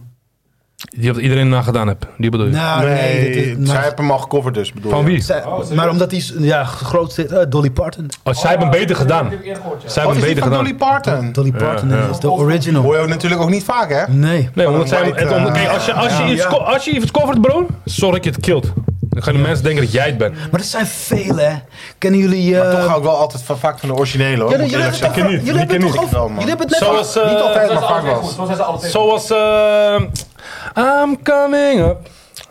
B: Die heeft iedereen nagedaan heb. Die bedoel je?
H: Nou, nee,
C: Nee,
H: dit is,
C: zij
H: maar,
C: hebben hem al gecoverd dus, bedoel
B: Van
C: je?
B: wie?
H: zij- maar omdat hij ja, groot zit, eh, Dolly Parton.
B: Oh, zij hebben hem beter gedaan.
I: Ik heb eerder gehoord, ja.
B: Zij
C: Oh,
B: hebben
C: is
B: hem
C: die
B: beter
C: van
B: gedaan.
C: Dolly Parton?
H: Dolly Parton
B: ja.
H: is de
C: Hoor
H: original.
C: je natuurlijk ook niet vaak, hè?
H: Nee.
B: Nee, omdat zij...
C: White,
B: het om-
C: eh,
B: Kijk, als je, als je,
H: ja.
B: iets, co- als je iets covert, bro, zorg dat je het kilt. Dan gaan de mensen denken dat jij het bent.
H: Maar dat zijn vele, hè. Kennen jullie... eh,
C: Maar toch hou ik wel altijd van- vaak van de originele, hoor.
H: jullie,
C: moet ik
H: jullie
C: eerlijk
H: hebben het
C: zeggen.
H: toch-
B: niet,
H: jullie
B: die
H: hebben
B: ken
H: het toch
B: ik
H: over... Jullie hebben het net
B: Zoals... eh,
C: Niet altijd, maar
I: Zo zijn
C: vaak
I: ze altijd
C: wel.
I: goed, zo zijn ze altijd goed.
B: Zoals... eh, I'm ehm, coming up.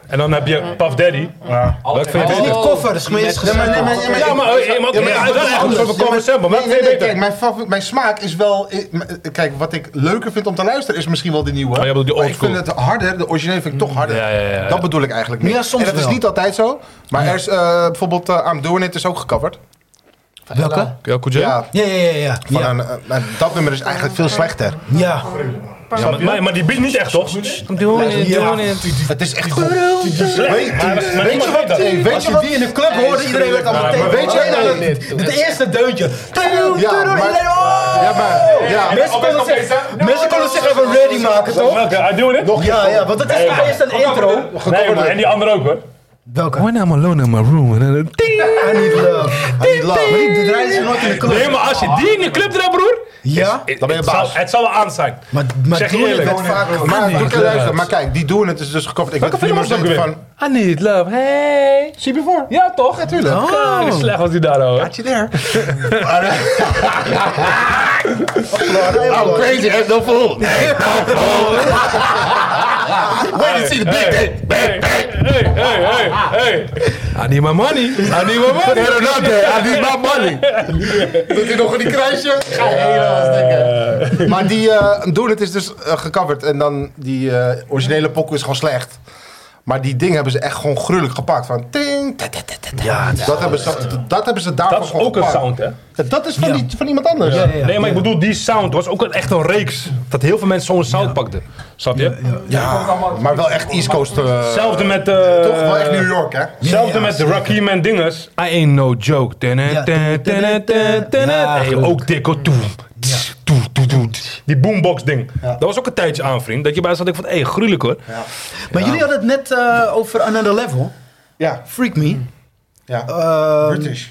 B: En dan heb je Puff Daddy. Welk vind je
H: Het is
B: beter?
H: niet koffer, het is gewoon eerst
C: Nee, maar- nee, maar- nee, maar-
B: Ja, maar
C: ik-
B: hey, maar oké,
C: Ja,
B: ja,
C: maar-
B: dat is echt
C: anders.
B: een soort van common
C: Ja,
B: sample, maar
C: nee,
B: wat vind je
C: nee,
B: beter?
C: Kijk, mijn, favoriet- mijn smaak is wel... eh, m- eh, Kijk, wat ik leuker vind om te luisteren is misschien wel de nieuwe.
B: jij bedoelt die
C: maar ik
B: oldschool.
C: vind het harder, de originele vind ik toch harder.
B: Ja, ja, ja, ja.
C: Dat bedoel ik eigenlijk meer.
H: Ja, soms
C: en dat
H: wel.
C: is niet altijd zo. Maar er is eh, bijvoorbeeld eh, I'm Doing It is ook gecoverd.
H: Welke?
B: Ja, Koejé?
C: Ja,
H: Ja, ja, ja. ja.
C: van een, eh, maar dat nummer is eigenlijk veel slechter.
H: ja.
B: Ja, maar- maar, maar die beat niet echt, toch?
C: Het is echt goed. Weet je- weet je wat? hey, Weet
H: Als
C: je
H: je
C: wat?
H: die in de club hoorde, iedereen werd al meteen...
C: Weet je dat-
H: Het eerste deuntje. Tudu,
C: Ja,
H: tudu,
C: maar-
H: iedereen, oh!
C: Ja, maar... Ja,
H: Mensen konden zeggen- mensen konden zich even ready maken, toch?
L: Welke? I do it?
H: Ja, ja, want dat is toch eerst een intro.
L: Nee, man. En die andere ook, hoor.
H: Welke?
B: When I'm alone in my room. and then- Ding!
H: I need love. I need love. Maar die die draaien ze nooit in de club.
L: Nee, maar als je die in de club draait, broer.
H: Ja?
L: Dan ben je baas. Het zal wel aan zijn.
H: Maar, maar
L: Zeg je
H: doen het
L: eerlijk.
H: werd vaak
C: Maar,
H: gedaan.
C: maar, maar, luister, maar kijk, die doen het is dus gecoverd. Ik weet het
L: film
C: nummer
L: was het
C: zeker
L: ook
C: van.
B: I need love, hey.
C: Zie je voor?
L: Ja, toch?
C: Natuurlijk.
H: Ah,
L: Kijk, Slecht was die daar, hoor.
C: Had je daar? I'm crazy as no fool. Wait and see the big day.
L: Hey, hey, hey, hey, hey.
B: I need my money. I need my money.
C: Better not that. I need my money. Doet hij nog in die kruisje? Ga je
G: eh,
C: denken. Maar die eh doen het is dus eh, gecoverd. En dan die eh, originele pokoe is gewoon slecht. Maar die ding hebben ze echt gewoon gruwelijk gepakt. Van ting, ta, ta, ta, ta, ta. dat, hebben ze, dat hebben ze daarvan
L: Dat is
C: gewoon
L: ook een
C: gepakt.
L: sound, hè?
C: Ja, Dat is van, die, van iemand anders.
H: Ja, ja,
L: Nee,
H: ja.
L: maar ik bedoel, die sound was ook een- echt een reeks. Dat heel veel mensen zo'n sound pakten. Snap je?
C: Maar wel echt East Coast. eh,
L: Hetzelfde met...
C: Toch wel echt New York, hè?
L: Hetzelfde
H: Ja,
L: met Rakim en dinges.
B: I ain't no joke. Tenet, tenet, tenet, tenet,
H: Ja,
B: Hey,
H: geluk.
B: ook dik hoor. Toe, tss, toe, toe, toe, tss. Die boombox ding. Dat was ook een tijdje aan, vriend. Dat je bij zat, ik van, hé, hey, gruwelijk hoor.
H: Maar jullie hadden het net eh, over Another Level.
C: Ja.
H: Freak Me.
C: ja.
H: Ehm,
C: British.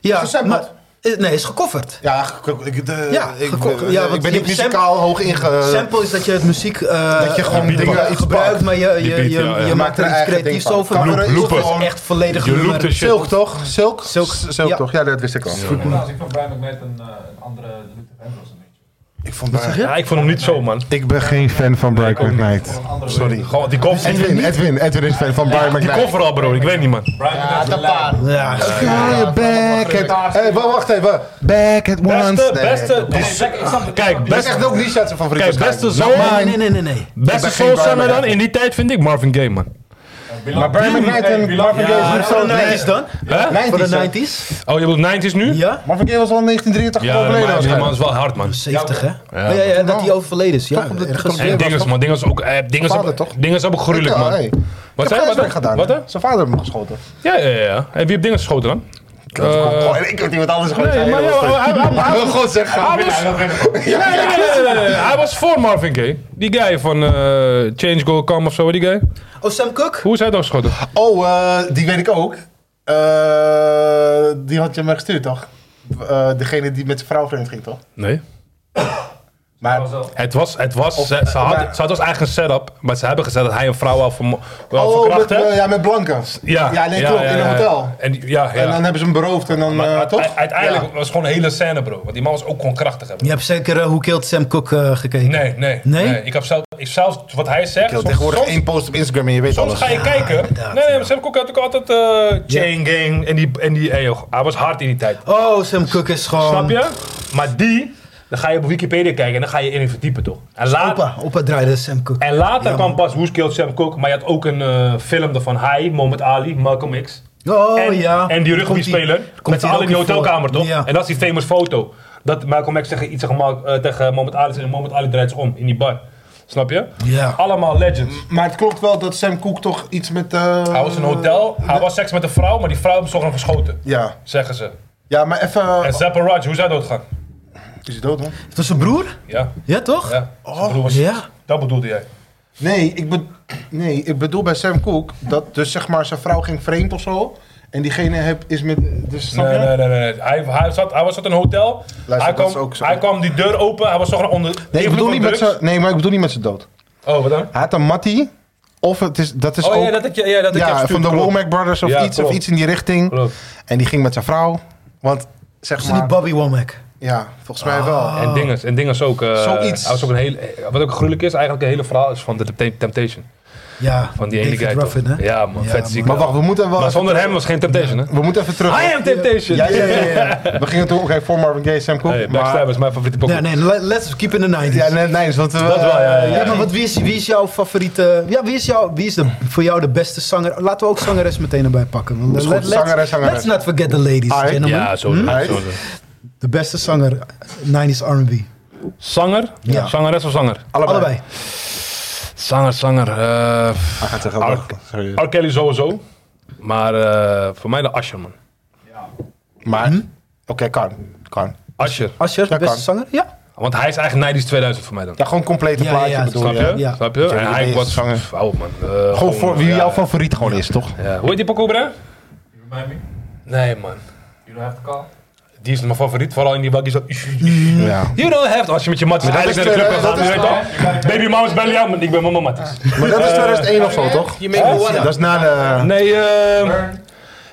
H: Ja,
C: gesampled?
H: maar- eh, nee, is gecoverd.
C: Ja, ge- ik, de,
H: Ja,
C: ik,
H: geko-
C: eh,
H: ja,
C: ik
H: want
C: ben
H: je
C: niet
H: hebt sam-
C: muzikaal hoog inge...
H: Sample is dat je het muziek... eh,
C: Eh, Dat je gewoon
H: eh,
C: dingen iets
H: gebruikt,
C: pakt.
H: maar je, je,
B: beat,
H: je,
B: ja, ja.
H: je
B: Je
H: maakt
C: maakt
H: er
C: er
H: iets
C: eigen
H: creatiefs
C: ding van.
H: over.
C: Loop-
H: Maar
C: loopen.
H: Het is echt volledig
B: Je
H: nummer.
B: loopt de shit.
C: Silk, toch? Silk?
H: Silk.
C: S- Silk,
H: Ja.
C: toch? Ja, dat wist ik al.
I: Trouwens, ik vind Brian McMahon een, eh, een andere Luther Vandross een beetje.
C: Ik, vond daar-
B: Ja, ik vond hem niet zo, man.
C: ik ben geen fan van Brian McKnight. Sorry.
B: Gewoon, die koffer.
C: Edwin, Edwin, Edwin is fan van Brian
B: Die
C: McKnight.
B: koffer al, bro. Ik weet niet, man.
I: Brian McKnight is een
H: Ja,
C: Ga back at... Hey, wa- wacht even. Back at once.
L: Beste,
C: Nee,
L: beste...
C: dat is-
L: Kijk,
C: Dat is
L: beste...
C: echt ook niet zijn favoriet.
B: Kijk, beste
C: waarschijnlijk.
B: zoon-
C: Not
H: nee,
C: mine.
H: nee, nee, nee, nee.
B: Beste
C: ben geen
B: soul zijn we
C: Brian
B: dan. In die tijd vind ik Marvin Gaye, man.
C: Maar Brian McKnight en Marvin Gaye
H: Maar
C: is
H: voor
C: zo...
H: de 90s dan?
B: Hè?
H: Voor de
C: 90s, hè?
H: 90s?
B: Oh, je bedoelt 90s nu?
H: Ja?
C: Marvin Gaye was al in 1983
B: Ja,
C: overleden.
B: maar, maar
C: waarschijnlijk.
B: het is wel hard, man.
H: 70 hè? Ja, ja, ja, dat hij overleden is. Ja,
C: Toch op de-
H: ergens.
C: toch-
B: En dinges, man. Dinges ook... eh, Dinges
C: Vader,
B: hebben-
C: toch?
B: dinges hebben gruwelijk,
C: Ja,
B: man.
C: hey. Wat
B: zei je?
C: heb
B: Wat
C: hij
B: dan?
C: gedaan?
B: Wat dan?
C: Zijn vader heeft hem geschoten.
B: Ja, ja, ja. En wie heeft dingen geschoten dan? Eh,
C: Goh, ik weet niet wat anders gewoon
B: Nee, maar ja, hij- hij- hij-
C: wil God zeggen.
B: Hij was, nee, nee, nee, nee, nee, nee. Hij was voor Marvin Gaye. Die guy van eh, Change Go Come of zo, die guy.
H: Oh, Sam Cooke?
B: Hoe is hij dan geschoten?
C: Oh, eh, die weet ik ook. Eh, die had je me gestuurd, toch? Eh, degene die met zijn vrouw vreemd ging, toch?
B: Nee.
C: Maar
B: Het was, het was, ze, ze had,
C: maar-
B: ze had als eigen setup, maar ze hebben gezegd dat hij een vrouw al vermo- wel
C: oh, met,
B: verkracht heeft.
C: eh, ja, met Blancas.
B: ja,
C: ja, nee, klopt,
B: ja,
C: in een
B: ja.
C: hotel.
B: En, die- ja, ja.
C: En dan hebben ze hem beroofd en dan,
B: Maar
C: eh,
B: uite-
C: toch?
B: uiteindelijk
C: Ja.
B: was het gewoon een hele scène, bro. Want die man was ook gewoon krachtig. Hebben.
H: Je hebt zeker Hoe Killed Sam Cooke eh, gekeken.
B: Nee, nee,
H: Nee?
B: Ik heb zelf, ik, zelfs wat hij zegt.
C: Ik wil
B: soms-
C: tegenwoordig
B: soms-
C: één post op Instagram en je weet
B: Soms
C: alles.
B: ga je kijken. Nee, nee, maar Sam Cooke had ook altijd eh Chain Gang. En die, en die hey, joh, hij was hard in die tijd.
H: Oh, Sam Cooke is gewoon...
B: Snap je? Maar die, dan ga je op Wikipedia kijken en dan ga je erin verdiepen toch? En, la-
H: Opa, opa draaide Sam Cooke.
B: en later kwam pas Who's Killed Sam Cooke, maar je had ook een eh, film ervan. Hij, Mohammed Ali, Malcolm X.
H: Oh
B: en,
H: ja.
B: en die
H: Komt
B: rugbyspeler
H: komt
B: met z'n
H: die
B: allen in die
H: ook voor.
B: hotelkamer toch?
H: Ja.
B: En dat is die famous foto. Dat Malcolm X tegen, iets tegen, Mal- eh, tegen Mohammed Ali zegt en Mohammed Ali draait zich om in die bar. Snap je?
H: Ja.
B: Allemaal legends.
C: Maar het klopt wel dat Sam Cooke toch iets met... eh,
B: Hij was in een hotel, hij was seks met een vrouw, maar die vrouw heeft hem hem geschoten.
C: Ja.
B: Zeggen ze.
C: ja, maar even...
B: En Zappa Raj, hoe is hij doodgaan?
C: Is hij dood, man?
H: Het was zijn broer?
B: Ja,
H: Ja, toch?
B: ja. Zijn broer was-
H: Oh, ja.
B: Dat bedoelde jij.
C: Nee ik, be- nee, ik bedoel bij Sam Cooke dat dus zeg maar zijn vrouw ging vreemd of zo. En diegene heb, is met... Dus, snap
B: Nee,
C: je?
B: nee, nee, nee. nee. Hij, hij, zat, hij was zat in een hotel. hij,
C: dat
B: kwam,
C: is ook zo.
B: hij kwam die deur open, hij was toch onder.
C: Nee, ik bedoel niet met
B: zo.
C: zijn, nee, maar ik bedoel niet met zijn dood.
B: Oh, wat dan?
C: Hij had een mattie. Of het is, dat is
B: Oh
C: ook...
B: ja, dat ik, ja, dat ik
C: ja,
B: heb
C: van
B: gestuurd,
C: de
B: klopt.
C: Womack Brothers of,
B: Ja,
C: iets, of
B: klopt.
C: iets in die richting.
B: Klopt.
C: En die ging met zijn vrouw. Want zeg
H: Is het
C: maar...
H: niet Ah. Bobby Womack?
C: ja, volgens mij wel.
B: En dinges, en dinges ook. eh,
C: Zoiets.
B: Hij was ook een hele, wat ook gruwelijk is, eigenlijk een hele verhaal is van de Tempt- Temptation.
H: Ja,
B: Van die ene
H: David
B: guy toch?
H: Ruffin, hè?
B: Ja man, vet ziek.
C: Maar
B: wel.
C: wacht, we moeten wel...
B: Maar zonder
C: even-
B: hem Ah, was geen Temptation, hè?
C: We moeten even terug.
B: I am Temptation!
C: Ja, ja, ja. ja. we gingen toen... Oké, voor Marvin Gaye, Sam Cooke.
B: Hey, Backstab is mijn favoriete pokoe.
H: Nee, nee, le- let's keep in the 90s.
C: Ja, nee, nee, want we...
B: Dat wel, ja, ja, ja.
H: eh, Ja, maar wat, wie, is, wie is jouw favoriete... Ja, wie is, jou, wie is de, voor jou de beste zanger? Laten we ook zangeres meteen erbij pakken. want eh,
C: Is goed,
H: let's,
C: zangeres, zangeres.
H: let's not forget the ladies,
C: Aight.
H: gentlemen.
B: Ja, zo.
H: Hm?
B: zo- zo.
H: De beste zanger, 90s R&B.
B: Zanger?
H: Ja.
B: Zangeres of zanger?
C: Allebei.
H: Allebei.
B: Zanger, zanger. eh,
C: Hij gaat zeggen...
B: Ar-
C: sorry.
B: R. Kelly sowieso. Maar eh, voor mij de Asher, man.
C: Maar...
H: Hm?
C: Oké, kan. Kan.
B: Asher.
H: Asher, de
C: Dat
H: beste
C: kan.
H: zanger? Ja.
B: Want hij is eigenlijk 90s 2000 voor mij dan.
C: Ja, gewoon complete
H: Ja,
C: plaatje
H: ja,
C: bedoel
B: Snap
C: je?
B: je?
H: Ja.
B: Snap je? En
C: Ja,
B: hij
C: de
B: was
C: zanger.
B: pff, oud, man. Eh,
C: Gewoon voor wie
B: ja,
C: jouw favoriet gewoon is, toch?
B: ja. Eh, Hoe heet die pokoe, bruh?
I: You remind me?
B: Nee, man.
I: You don't have to call?
B: Die is mijn favoriet, vooral in die waggies. dat-
C: Ja.
B: You don't have to. Als je met je matties
C: Maar dat
B: eigenlijk naar de
C: is
B: club
C: de-
B: gaat gaan,
C: dat
B: je
C: is
B: weet toch? Baby mama's bellen jou, maar ik ben mama matties.
C: Maar dat is
B: Eh,
C: 2001 of zo, toch?
G: Je maakt me
C: Ja,
G: wanna.
C: Dat is na de...
B: Nee, ehm...
I: Burn.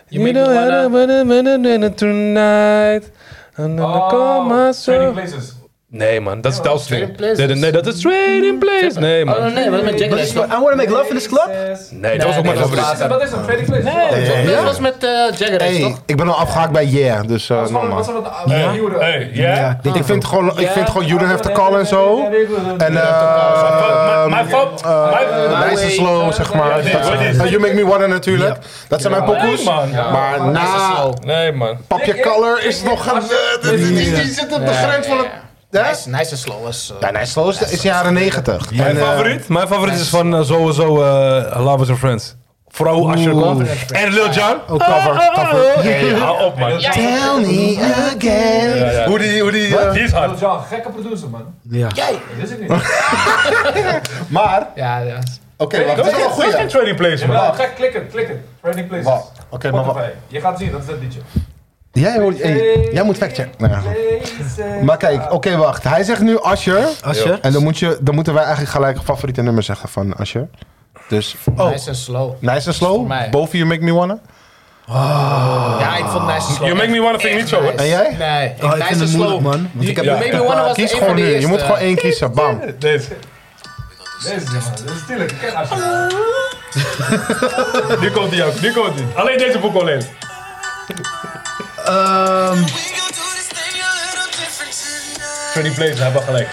G: Je maakt me wanna.
B: tonight. I'm gonna call
I: Oh,
B: myself.
I: Trading Places.
B: Nee man, dat is Doubt
G: Trading
B: Thing.
G: Places.
B: Nee, nee, nee, dat is Trading Place. Nee
G: Oh
B: man.
G: nee, wat met Jack
H: But it's- I
G: Black?
H: Wanna Make Love in This Club?
B: Nee, dat was ook mijn
G: nee, dat is
B: favoriet.
G: later.
I: Dat is een Trading Places.
G: Nee,
I: Wat-
G: Jack Black was met eh, Jagger
C: Hey,
G: toch?
C: ik ben al afgehaakt bij Yeah, dus eh
I: Wat zal
C: normaal.
I: wat zal het eh, nieuwe-
B: Hey,
H: Ja,
B: ja?
H: ik denk
C: Ik vind gewoon, ik vind gewoon You Don't Have To
I: Ja,
C: Call en zo.
I: ja, ja, ja, ja, ja.
C: En
B: Mijn-
C: ehm
B: Mijn fout.
C: eh,
B: Mijn-
C: Nice and Slow, zeg maar.
B: Ja,
C: Dat
B: ja,
C: zijn-
B: ja.
C: You Make Me Wanna natuurlijk. Dat zijn mijn pokoes.
B: Nee man.
C: Maar na
B: Nee man.
C: Papje Color is het nog... gaan- Die die- die zit op de grens van het... Hè?
G: Nice, nice en slow was. eh,
C: Ja, Nice and Slow is, is jaren 90.
B: Mijn
C: En, eh,
B: favoriet? Mijn favoriet is van eh, sowieso eh, Love is a Friends. Vooral hoe Asher kwam. En Lil Jon.
H: Oh, cover. cover.
B: Hey, oh. hou op man.
C: Tell me again.
B: Ja, ja.
C: Hoe die... Hoe die eh,
B: Die is hard.
I: Lil Jon, gekke producer man.
H: Ja.
I: Dat is het niet.
C: maar...
G: Ja, ja.
C: Oké, wacht. Dit is wel een
B: Dat is geen
C: goeie.
B: trading place man.
I: Ja, Gek, klik het, klik het. Trading Places.
C: Wacht, Oké, maar wacht.
I: Spotify. Je gaat zien, dat is dat liedje.
C: Jij, hoort- hey, jij moet factchecken. Ja. Maar kijk, oké, wacht. Hij zegt nu Asher.
H: Asher.
C: En dan, moet je, dan moeten wij eigenlijk gelijk favoriete nummer zeggen van Asher. Dus, oh,
G: Nice en slow.
C: Nice and
G: voor
C: Slow,
G: mij.
C: boven You Make Me Wanna.
G: Ja, ik vond Nice and Slow.
B: You Make Me Wanna vind ik niet zo, hoor.
C: En jij?
G: Nee,
H: Oh, ik
G: Nice
H: vind
G: and
H: het moeilijk,
G: Slow.
H: man. Want
G: Die-
H: ik heb-
G: You Make Me Wanna was
C: Kies
G: een
C: gewoon
G: van de
C: nu. Je
G: eerste.
C: moet gewoon één kiezen. Bam.
B: Deze.
I: Deze man, dat is stille. Ik ken Asje.
B: Nu komt hij ook, nu komt hij. Alleen deze boek alleen.
H: Ehm,
B: Trading place, hij heeft wel gelijk.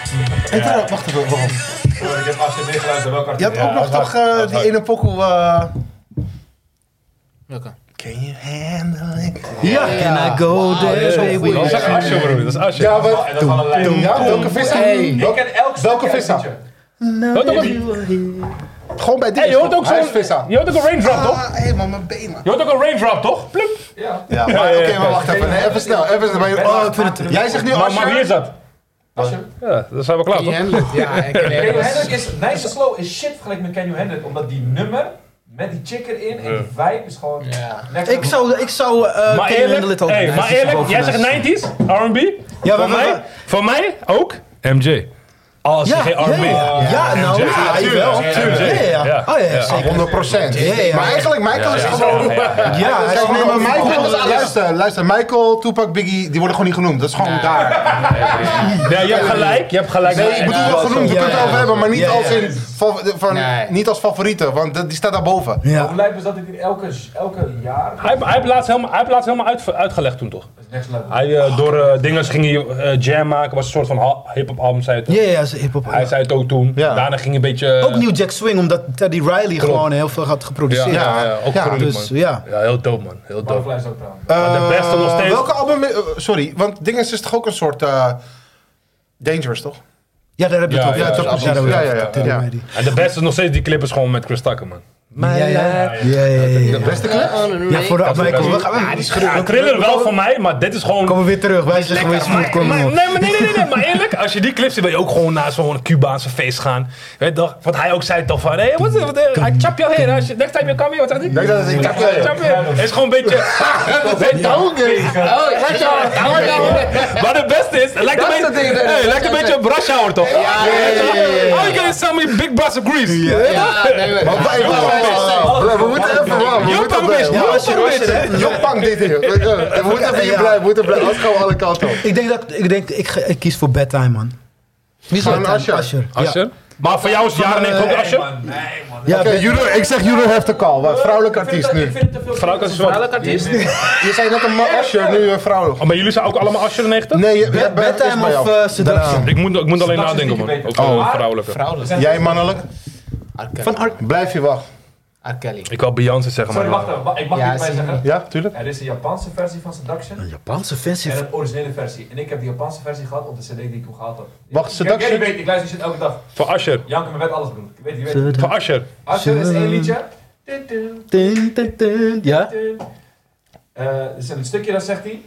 C: Hey, trouwens, wacht even. Waarom?
I: Ik heb Asje meegeluisterd. Welke
C: Je had
I: artiest?
C: ook nog toch eh, die ene pokoe... eh,
G: Welke?
C: Can you handle it?
H: Ja. Can I eh, go there? baby?
B: Dat is echt Asher bro, dat is Asher.
C: Ja,
I: Oh,
C: wat?
I: en dat is wel een lijn.
C: Ja, welke vis?
I: Ik ken elk
C: Welke
I: stukje
C: vissa?
I: uit het liedje.
B: Hoort ook een-
C: Gewoon bij dit.
B: Hey, je hoort ook
C: Hij
B: zo'n...
C: is vissa.
B: Je hoort ook een raindrop, toch?
C: Ah, hé, man, mijn been, man.
B: Je hoort ook een raindrop, toch? Plup.
I: Ja.
C: Ja, maar oké, maar wacht even. Nee, even snel. Even snel. Oh, ik vind het... Jij zegt nu
B: Maar, maar wie
C: Asher.
B: is dat?
I: Asje.
B: Ja, dan zijn we klaar,
G: Die
B: toch?
G: handle it. Ja, ik ken
I: Can You
G: het.
I: Handle It is Nice and Slow is shit vergeleken met Can You Handle It, omdat die nummer met die chick erin en die vibe is gewoon.
G: Ja.
I: next
H: Ik
I: level.
H: zou, ik zou
B: Maar
H: eh, Can You Handle
B: eerlijk,
H: It al
B: hey, maar eerlijk jij zegt 90s, R&B.
H: Ja,
B: voor,
H: maar-
B: mij,
H: maar-
B: voor mij ook MJ. Als je
H: Ja,
B: geen
H: ja,
B: R&B.
H: ja, ja, nou,
B: MJ.
H: ja, hij wel.
B: Ja, tuurlijk.
H: Ja, ja, ja.
B: Ja.
H: Oh ja,
B: Ja.
H: zeker.
C: 100 procent.
H: Ja, ja.
C: Maar eigenlijk, Michael is
B: Ja,
C: gewoon...
B: ja, ja, ja.
H: Ja, hij is
C: Kijk, nee, maar
H: gewoon-
C: Michael, luister, luister. Michael, Tupac, Biggie, die worden gewoon niet genoemd. Dat is gewoon daar.
B: Ja, je hebt gelijk, je hebt gelijk.
C: Nee, ik bedoel wel
H: ja,
C: genoemd, we
H: ja,
C: kunnen het
H: ja.
C: over hebben, maar niet
H: Ja, ja.
C: als in fa- de- van,
G: Nee.
C: niet als favoriete, want dat- die staat daarboven.
I: Maar
H: Ja.
I: Hoe lijkt me dat ik in elke, elke jaar.
B: Hij, hij heeft laatst helemaal, hij heeft laatst helemaal uit, uitgelegd toen, toch?
I: Next level.
B: Hij eh, door eh, dingen ging hij eh, jam maken, was een soort van ha- hip-hop album, zei hij toch?
H: Ja, ja, ze hip-hop.
B: Hij zei het ook toen.
C: Ja.
B: Daarna ging hij een beetje...
H: Ook New Jack Swing, omdat Teddy Riley gewoon heel veel had
B: eh, Ja,
H: geproduceerd.
B: ja, ja, ook
C: Ja,
B: gruwelijk,
H: Dus
B: man.
H: ja.
B: Ja, heel dope man, heel dope.
I: Butterfly is ook trouwens.
B: Maar de beste nog
C: Eh,
B: steeds.
C: Welke album, eh, sorry, want Dingens is toch ook een soort eh, Dangerous, toch?
H: Ja, daar heb je het
B: Ja,
H: over.
B: ja,
H: daar
B: ja,
H: heb je
C: ja,
H: het over.
C: ja, ja, ja.
H: Teddy
C: Ja.
H: Riley.
B: En de beste is nog steeds die clip is gewoon met Chris Tucker man.
H: Ja, ja, ja. ja, ja, ja.
C: De
G: Oh,
C: beste clip?
H: Ja, voor de
B: Dat is
H: afwijking.
B: wel-
H: We gaan- we-
B: Ja, thriller wel van mij, maar dit is gewoon...
H: Komen we weer terug. Wij zijn geweest van
B: Maar- maar-
H: komen
B: nee, maar nee, nee, nee, nee, maar eerlijk, als je die clips ziet, wil je ook gewoon naar zo'n Cubaanse feest gaan. Weet toch? Wat hij ook zei toch van, hey, wat is I chop your hair, als je- next time you come here, wat zegt hij?
C: Nee, dat is ik
B: Chop your hair. Het is gewoon een beetje... Weet je wel?
G: Oh, ja, ja, ja, ja.
B: Maar het beste is, het lijkt een
G: soort
B: beetje-
G: dingen, dat
B: hey,
G: is-
B: het lijkt een beetje een brush hour toch?
G: Ja, ja, ja, ja, ja.
B: Oh, you can sell me big brass of grease.
G: Ja, nee, maar-
C: Maar wij- wacht, wacht, wacht, wacht. We moeten even, wacht, we
B: Yo,
C: moeten
B: pang, bitch.
C: blijven.
B: Yo, pang, bitch.
C: Jong Pang dit hier. We moeten even hier blijven, we moeten blijven. Anders gaan we alle kanten op.
H: Ik denk dat ik denk ik, ga- ik kies voor bedtime man. Wie
C: Gewoon Asher.
H: Asher. Ja.
B: Asher? Maar voor jou is het jaren 90 ook
C: Nee,
B: Asje?
C: Ja, de- Juro- ik zeg Juro heeft de call. Wat, vrouwelijk artiest nu.
B: Vrouwelijk artiest wat? Vrouwelijk artiest?
C: Je zei net een ma- Asher, nu eh, vrouwelijk.
B: maar jullie zijn ook allemaal Asher 90?
C: Nee, je- Bad- Bad- Bedtime is bij jou. of, eh, Daarna. Seduction?
B: Ik moet, ik moet alleen
C: Seduction
B: nadenken,
C: is
B: man.
C: niet
B: Ook
C: beter.
B: oh,
C: Oh.
B: vrouwelijke.
C: Vrouwelijk. Jij mannelijk?
B: Van
C: Blijf je wacht.
N: R. Kelly.
B: Ik wil Beyoncé zeggen, maar...
I: Sorry, wacht even. wa- Ik mag
N: Ja,
I: niet bij
N: zie je.
I: zeggen.
C: Ja, tuurlijk.
I: Er is een Japanse versie van Seduction. Een
H: Japanse versie?
I: En een originele versie. En ik heb de Japanse versie gehad op de CD die ik toen gehaald heb.
C: Wacht,
I: Ik- ik-
C: Seduction-
I: Ik weet, ik luister die shit elke dag.
B: Van Asher.
I: Janken, maar met alles doen. Ik weet, je weet.
H: Seduction. Van
B: Asher.
I: Asher is één liedje. Dun, dun,
H: Dun, dun, dun. Ja?
I: dun. Eh, er is een stukje dat zegt hij.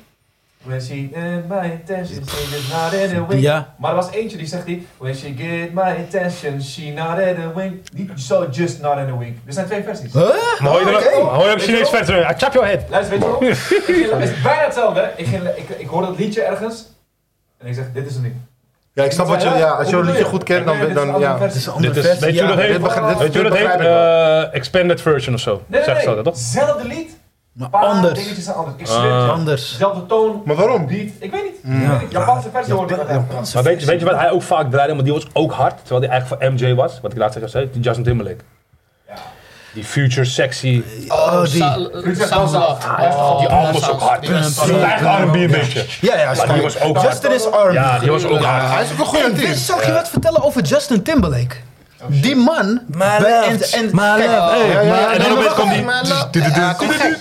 I: When she get my attention, she just nodded a wink.
H: Ja.
I: Maar er was eentje die zegt hij. When she get my attention, she nodded a wink. Niet zo just nodded a wink. Er zijn twee versies.
B: Maar hoor je dan
I: Oké.
G: Oh,
B: ook- hoor je ook
I: Weet je
B: Chinees
I: wel?
B: verder? I chop your head.
I: Luister, weet je wel? Ik ging- het is bijna hetzelfde. Ik, ging, ik, ik hoorde dat liedje ergens en ik zeg, dit is hem niet.
C: Ja, ik snap wat je... Ja, als je een
I: Hoe
C: liedje
I: bedoel je?
C: goed kent, dan...
I: Nee, dit is
C: dan
I: een
C: ja.
I: andere versie.
B: Dit is, weet je hoe dat heet? Weet je hoe dat heet? Eh, Expanded version of zo.
I: Nee,
B: Zeg
I: nee,
B: zo
I: nee.
B: dat toch?
I: Hetzelfde lied. Maar
B: anders.
I: dingetjes zijn anders. Ik
B: Ah.
I: zweer het je.
B: Anders.
I: Zelfde toon. Maar
C: waarom?
I: Beat. Ik weet niet.
B: Mm.
I: Ik weet niet. Japanse versie hoorde ik dat
B: Maar weet, je- weet je wat hij ook vaak draaide, maar die was ook hard, terwijl die eigenlijk voor MJ was, wat ik laatst tegen zei, die Justin Timberlake. Die future sexy.
H: Oh, die.
N: Ah,
I: Ah,
B: die
I: Oh,
B: album was ook hard. Dat was eigenlijk R&B een beetje.
H: Ja, ja,
B: maar die was ook hard.
H: Justin is R&B.
B: Ja, die was ook hard.
H: Hey, Wes, Zag je wat vertellen over Justin Timberlake? Die man. Maar
N: love, my love, hey, my love. En dan opeens komt die-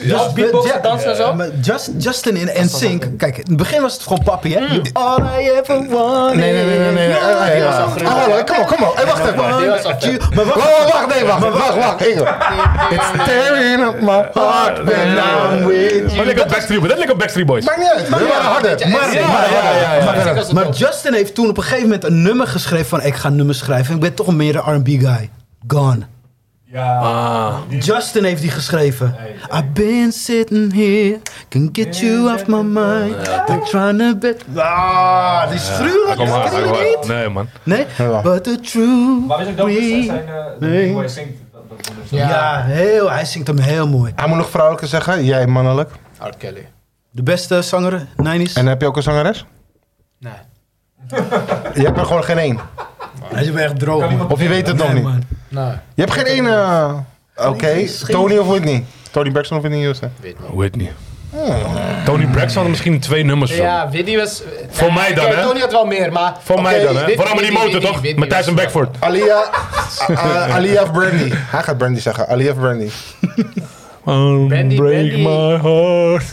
H: Dus beatboxen, dansen en zo. Justin in NSYNC. Kijk, in het begin was het gewoon papi, hè? All I ever wanted.
C: Nee, nee, nee, nee, nee. Eh, eh, ja. Ah, hoor, Kom op, kom op. Hey, wacht even. Maar wacht, wacht, wacht, nee, wacht, wacht, wacht. Ingo. It's tearing up my heart when I'm with
B: Maar
C: you.
B: lekker op Backstreet Boys, dat leek op Backstreet Boys.
C: Maakt niet uit.
H: Maar
C: We waren harder.
H: Maar,
C: Ja, ja, ja, ja.
H: maar- maar Justin heeft toen op een gegeven moment een nummer geschreven van ik ga nummers schrijven. en Ik ben toch meer een R&B guy. Gone.
I: Ja.
C: Ah.
H: Justin heeft die geschreven. I've been sitting here, can get you off my mind. I'm trying to bet. Ah, die is gruwelijk.
B: Kom maar,
H: Dat ken
B: kom
H: je
B: maar.
H: niet.
B: Nee man.
H: Nee, but the truth.
I: Maar weet je ook dat is? Zijn, eh, de
H: Nee.
I: hoe hij zingt. dat- dat- dat-
H: Ja, heel, hij zingt hem heel mooi.
C: Hij moet nog vrouwelijke zeggen, jij mannelijk.
N: R. Kelly.
H: De beste zanger, 90s.
C: En heb je ook een zangeres?
N: Nee.
C: Je hebt er gewoon geen één.
H: Hij is echt droog. man.
C: Of je weet het nog
H: Nee,
C: niet.
H: man.
N: Nee.
C: Je hebt geen één. eh, Oké, Tony of Whitney? Tony Braxton of Whitney Houston?
B: Whitney. Ah. Tony Braxton had misschien twee nummers of zo.
N: Ja, Widdy was...
B: Voor
N: Nee,
B: mij dan,
N: oké,
B: hè?
N: Tony had wel meer, maar...
B: Voor
N: oké,
B: mij dan, hè?
N: Whitney,
B: Vooral met die
N: Whitney, Whitney,
B: motor, toch?
N: Whitney
B: Met Thijs
N: was-
B: en Beckford.
C: Alia, eh, Alia of Brandy? Hij gaat Brandy zeggen, Alia of Brandy.
N: Brandy,
B: Break
N: Brandy.
B: my heart.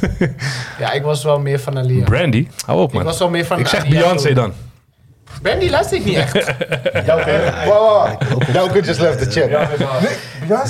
N: Ja, ik was wel meer van Alia.
B: Brandy? Hou op, man.
N: Ik was wel meer van
B: Ik zeg
N: Alia
B: Beyoncé
N: toen.
B: dan.
N: Brandy luister ik niet echt.
C: Wow, wow, wow. Douke just left the chat.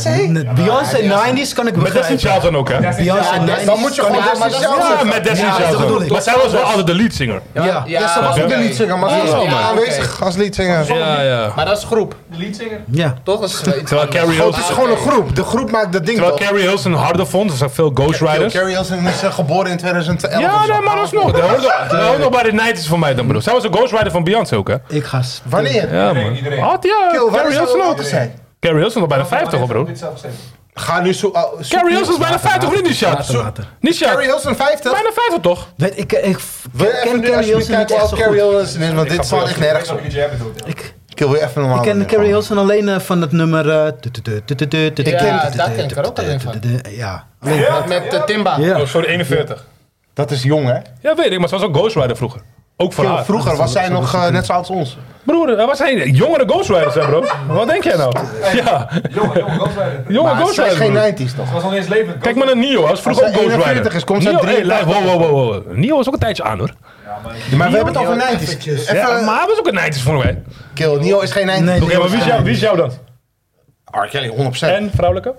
H: Nee, Beyoncé 90s kan ik
B: Met Destiny
H: begrijpen.
B: Child dan ook, hè?
H: Beyoncé 90s.
C: Dan moet je gewoon
N: Ja, maar dat
C: Destiny
N: is
C: Child
B: Ja,
C: zeggen.
B: met Destiny
H: Ja, dat
B: Child
H: bedoel
B: dan.
H: ik.
B: Maar zij was wel altijd de leadsinger.
H: Ja, ja.
C: Ja, ze was ook
B: Ja.
C: de liedzanger, maar ze was
B: Oh,
C: niet
B: man.
C: aanwezig als liedzanger.
B: Ja, ja.
N: Maar dat is groep.
I: Liedzanger.
H: ja.
N: Toch? Dat is
G: eh,
N: wel iets
B: Terwijl
N: anders.
B: Carrie
C: Het
B: Hilson,
C: is gewoon een groep. De groep maakt dat ding
B: terwijl
C: toch?
B: Carrie Hilson harder vond, er zijn veel ghostwriters.
C: Carrie Elson is eh, geboren in 2011.
B: Ja,
C: of zo.
B: nee, maar alsnog. Dat hoort, dat hoort nog bij de 90's voor mij dan, broer. Zij was een ghostwriter van Beyoncé ook, hè?
H: Ik ga... s-
C: Wanneer?
B: Ja,
I: Iedereen,
B: man.
I: iedereen.
B: Had ja,
C: Kill, waar
B: Carrie
C: is dat
B: Hilson ook.
C: later zijn?
B: Carrie Hilson nog bij de 50, hoor, broer.
I: Dit zelf gezegd.
C: Ga nu zo... ah, zoek
B: Carrie
C: nu-
B: Hilson is bijna 50, of niet, Nisha?
H: Later, later.
B: Nisha,
C: Carrie Hilson 50?
B: bijna 50 toch?
H: Weet ik, ik, ik
C: Wil je even
H: ken
C: nu
H: Carrie
C: alsjeblieft
H: Hilson niet
C: kijken
H: echt
C: wat
H: zo
C: Carrie
H: goed.
C: Hilson is? Want dit slaat echt
I: Ik
C: nergens
I: snap
C: op.
I: niet wat jij bedoelt. ja.
H: Ik,
C: Ik wil weer even normaal
H: ik ken
C: doen,
H: Carrie
C: man.
H: Hilson alleen eh, van het nummer... eh, tu- tu- tu- tu- tu- tu- tu- tu-
N: Ja,
H: tu- tu-
N: daar ken ik
H: tu-
N: er ook
H: tu-
N: alleen
H: tu-
N: van.
H: tu- tu- Ja, alleen.
N: Met eh, Timba.
H: Ja.
B: Oh, sorry, 41.
C: Dat is jong, hè?
B: Ja, weet ik, maar ze was ook ghostwriter vroeger. Ook voor
C: Kill,
B: haar.
C: vroeger was zij nog eh, net zo oud als ons.
B: Broer, er was geen jongere ghostwriters, hè, bro? Wat denk jij nou? Ja,
I: Jongen, jongen, Ghostwriter.
B: jonge
C: Maar zij is
B: ghostwriters. broer.
C: geen 90s toch?
I: Het was nog eens levend.
B: Kijk maar naar Nio, hij was vroeger ook
C: Als hij
B: Ghostwriter.
C: 41 is, komt zij
B: Nio, hey,
C: 83.
B: luister, wow, wow, wow, wow. Nio was ook een tijdje aan, hoor.
C: Maar we hebben het over 90s. Even,
B: Ja, maar hij was ook een 90's voor mij. Oké,
C: Kill, Nio is geen 90s.
H: Nee,
C: Oké,
B: maar wie is, jou, wie is jou dan?
C: R. Kelly, 100%.
B: En vrouwelijke?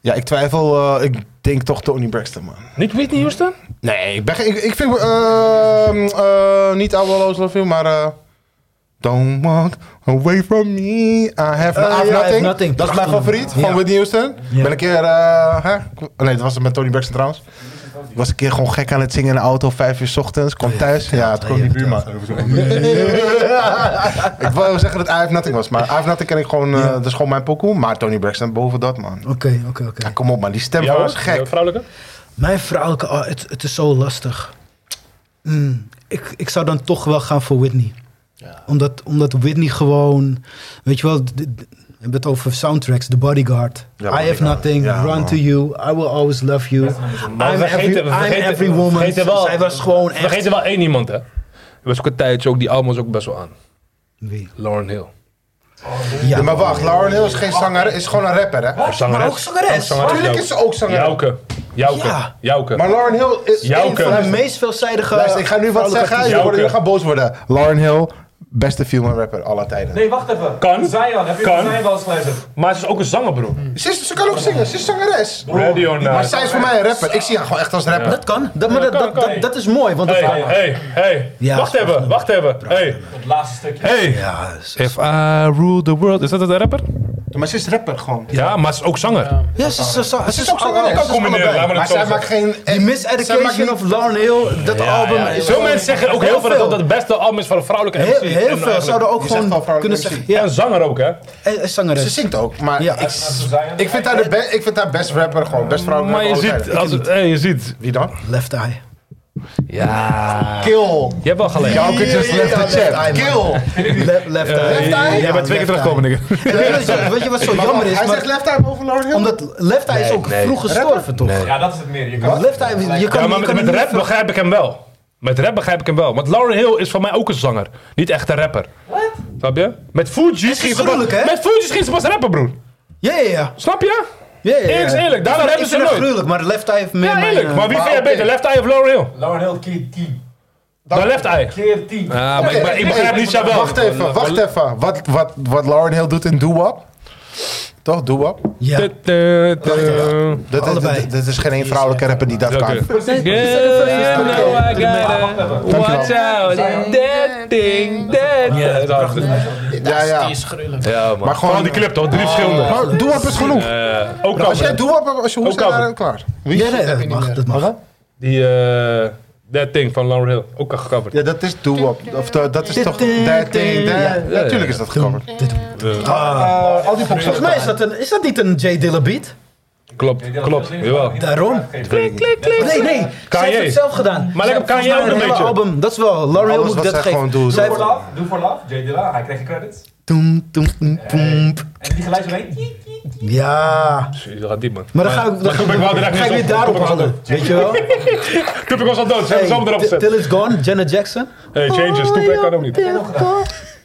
C: Ja, ik twijfel. eh, ik denk toch Tony Braxton, man.
B: Niet Whitney Houston?
C: Nee, ik, ben, geen- ik, ik vind... ehm, eh, niet Abel Oslo veel, maar... eh, Don't walk away from me. I have,
H: ja,
C: I have
H: I have
C: nothing.
H: nothing.
C: Dat is mijn
H: Prachtig.
C: favoriet
H: Ja.
C: van Whitney Houston.
H: Ja.
C: Ben een keer... eh, hè? Nee, dat was het met Tony Braxton trouwens. Ik was een keer gewoon gek aan het zingen in de auto. Vijf uur 's ochtends. Kom thuis. Ja, het kon
H: ja,
C: niet buurman. ik wil zeggen dat I have nothing was. Maar I have nothing ken ik gewoon... eh, Dat is gewoon mijn pokoe. Maar Tony Braxton boven dat, man.
H: Oké, oké,
C: Ja,
H: oké.
C: kom op, man. Die stem
B: Ja,
C: van ons gek.
B: Vrouwelijke?
H: Mijn vrouwelijke... Hmm, oh, het, het is zo lastig. Mm, ik, ik zou dan toch wel gaan voor Whitney. Omdat, omdat Whitney gewoon, weet je wel, d- d- we hebben het over soundtracks, The Bodyguard.
C: Ja,
H: I have
C: Bodyguard.
H: nothing,
C: Ja,
H: run
C: man.
H: to you, I will always love you.
B: Oh, Nou,
H: I'm every, I'm every woman.
B: Vergeten wel,
H: Zij was gewoon
B: we vergeten
H: echt...
B: wel één iemand, hè. Er was ook een tijdje, ook die album was ook best wel aan.
H: Wie?
B: Lauren Hill.
C: Ja, maar wacht, Lauren Hill is geen zanger, is gewoon een rapper, hè?
B: Zangeres.
H: ook zangeres.
C: Tuurlijk is ze ook zangeres.
B: Jouke. Jouke.
H: Ja.
B: Jouke.
C: Maar Lauren Hill is
B: Jouke.
H: Van haar meest veelzijdige...
C: Luister, ik ga nu wat zeggen. Jullie
B: Jouke.
C: worden- jullie gaan boos worden. Lauren Hill, beste female rapper aller tijden.
I: Nee, wacht even.
B: Kan.
I: Zion, heb je
B: Kan.
I: van Zion wel eens geluisterd?
B: Maar ze is ook een zanger, bro.
H: Hmm.
C: Ze, is- ze kan ook zingen, ze is zangeres.
B: Radio Night.
C: Maar zij is voor mij een rapper. Ik zie haar gewoon echt als rapper.
H: Dat kan, dat, maar dat,
B: kan,
H: dat,
B: kan.
H: dat, dat is mooi, want...
B: Hey,
H: dat-
B: hey, hey.
H: Ja,
B: wacht
H: is
B: even, wacht even. Hey,
I: Het laatste stukje.
B: hey.
H: Ja, ze-
B: If I rule the world. Is dat een rapper?
C: Maar ze is rapper gewoon.
B: Ja, maar ze is ook zanger.
H: ja, ze, ze, ze,
C: Ze is ook
H: ze-
C: zangeres.
B: kan
C: ze is
B: combineren,
C: allebei.
B: laat maar
C: Maar
B: het zo
C: zij maakt
B: zeggen.
C: geen... eh,
H: Die
C: Zij maakt
H: Miseducation
C: niet-
H: of Lauren Hill, dat album
B: Ja, ja.
H: is...
B: Veel mensen zeggen ook heel veel dat dat het beste album is van een vrouwelijke
H: Heel,
B: MC.
H: heel
B: En
H: veel
B: eigenlijk-
H: zouden ook
C: Je zegt wel
H: gewoon
C: vrouwelijke
H: kunnen
C: MC.
H: zeggen...
B: Ja,
H: Ja,
B: een zanger ook, hè?
H: eh, eh,
C: Ze
H: zangeres.
C: zingt ook, maar
H: Ja.
C: ik,
I: Zion,
C: ik, vind haar de be- ik vind haar best rapper gewoon. Best vrouwelijke
B: Maar je
C: rapper aller
B: ziet,
C: tijden.
B: als, hey, je ziet.
C: Wie dan?
H: Left Eye.
B: Ja.
C: Kill.
B: Je hebt wel gelijk.
C: Jouw kut is
H: Ja,
C: left the
H: left
C: chat.
H: eye, man.
C: Kill.
H: Le- left
B: Eh,
H: Eye.
C: Eye?
B: Jij bent twee keer
H: Left
B: teruggekomen, nigga.
H: En weet je- Weet je wat zo
C: Maar
H: jammer
C: wacht,
H: is?
C: Hij
H: Maar-
C: zegt left eye boven Lauren Hill.
H: Omdat Left Eye is ook vroeg gestorven, toch?
I: Ja, dat is het meer. Je kan
H: Want Left Eye, je kan,
B: Ja, maar
H: je
B: met,
H: kan
B: met
H: niet
B: rap
H: ver-
B: begrijp ik hem wel. Met rap begrijp ik hem wel. Want Lauren Hill is voor mij ook een zanger. Niet echt een rapper. Wat? Snap je? Met Fuji
H: is
B: schiet ze pas...
H: gruwelijk, hè?
B: Met Fuji schiet ze pas rappen, broer.
H: Ja, ja, ja.
B: Snap je?
H: ja, ja, ja.
B: Eerlijk is eerlijk, daarna
H: Ik
B: rappen
H: vind-
B: ze
H: Ik vind het
B: nooit.
H: gruwelijk, maar Left Eye heeft meer
B: Ja,
H: mijn,
B: eerlijk.
H: eh,
B: Maar wie vind jij beter, Left Eye of Lauren Hill?
I: Lauren Hill keer 10.
B: Dan Left Eye.
I: Keer 10.
B: Ah, maar, ik- maar ik begrijp niet zo wel.
C: Wacht even, wacht even. Wat, wat, wat Lauren Hill doet in Doo-Wop. Toch, Doo-Wop?
H: Ja.
B: Tuh, tuh, tuh.
C: Dat, is-
H: Allebei.
C: dat, dat is geen één vrouwelijke rapper die dat kan.
B: Welke? Girl, eh, you know I gotta watch out. That thing, that... Ja, dat-
C: Ja, ja.
G: Die is gruwelijk.
B: Ja, man.
C: Maar gewoon-
B: Gewoon die clip toch, drie verschillende.
C: Maar Doo-Wop is genoeg.
B: Eh, Ook
C: als jij
B: al.
C: Doo-Wop hebt, als je hoe
B: Ook
C: zijn
B: cover.
C: daar klaar. Wie?
H: Ja, nee, dat mag, dat mag.
B: Die, eh, That Thing van Lauren Hill. Ook al gecoverd.
C: Ja, dat is Doo-Wop. Of eh, dat is toch...
H: Ja.
C: That thing, that...
B: ja.
C: Natuurlijk is dat gecoverd.
H: Ah. Volgens mij is dat, een, is dat niet een J. Dilla beat?
B: Klopt, klopt. Jawel.
H: Daarom.
I: Klik,
H: Nee, nee. Zij heeft
B: Kanye.
H: het zelf gedaan.
B: Maar lekker
H: Zij heeft
B: Kanye
H: volgens mij
B: ook een
H: hele
B: beetje.
H: album, dat is wel. Lauren Hill
C: Alles wat
H: moet ik dat
C: zij gewoon
H: geven.
C: doet.
H: Zij
I: Do
H: heeft-
I: for love, do for love, Jay Dilla, hij krijgt je credits. Eh,
H: Toem, toem, toem, toem.
I: En die geluid omheen.
H: Ja.
B: Dat gaat diep, man.
H: Maar dan ga ik, dan
B: kom ik wel
H: ga
B: direct
H: ik
B: niet
H: weer
B: op.
H: daarop
B: Kom ik wel
H: halen. Weet je wel?
B: Tupac was al dood, ze hebben
H: Hey,
B: hem
H: Oh,
B: zo erop
H: Till
B: gezet.
H: Till It's Gone, Janet Jackson.
B: Hey, changes, Tupac kan ook niet.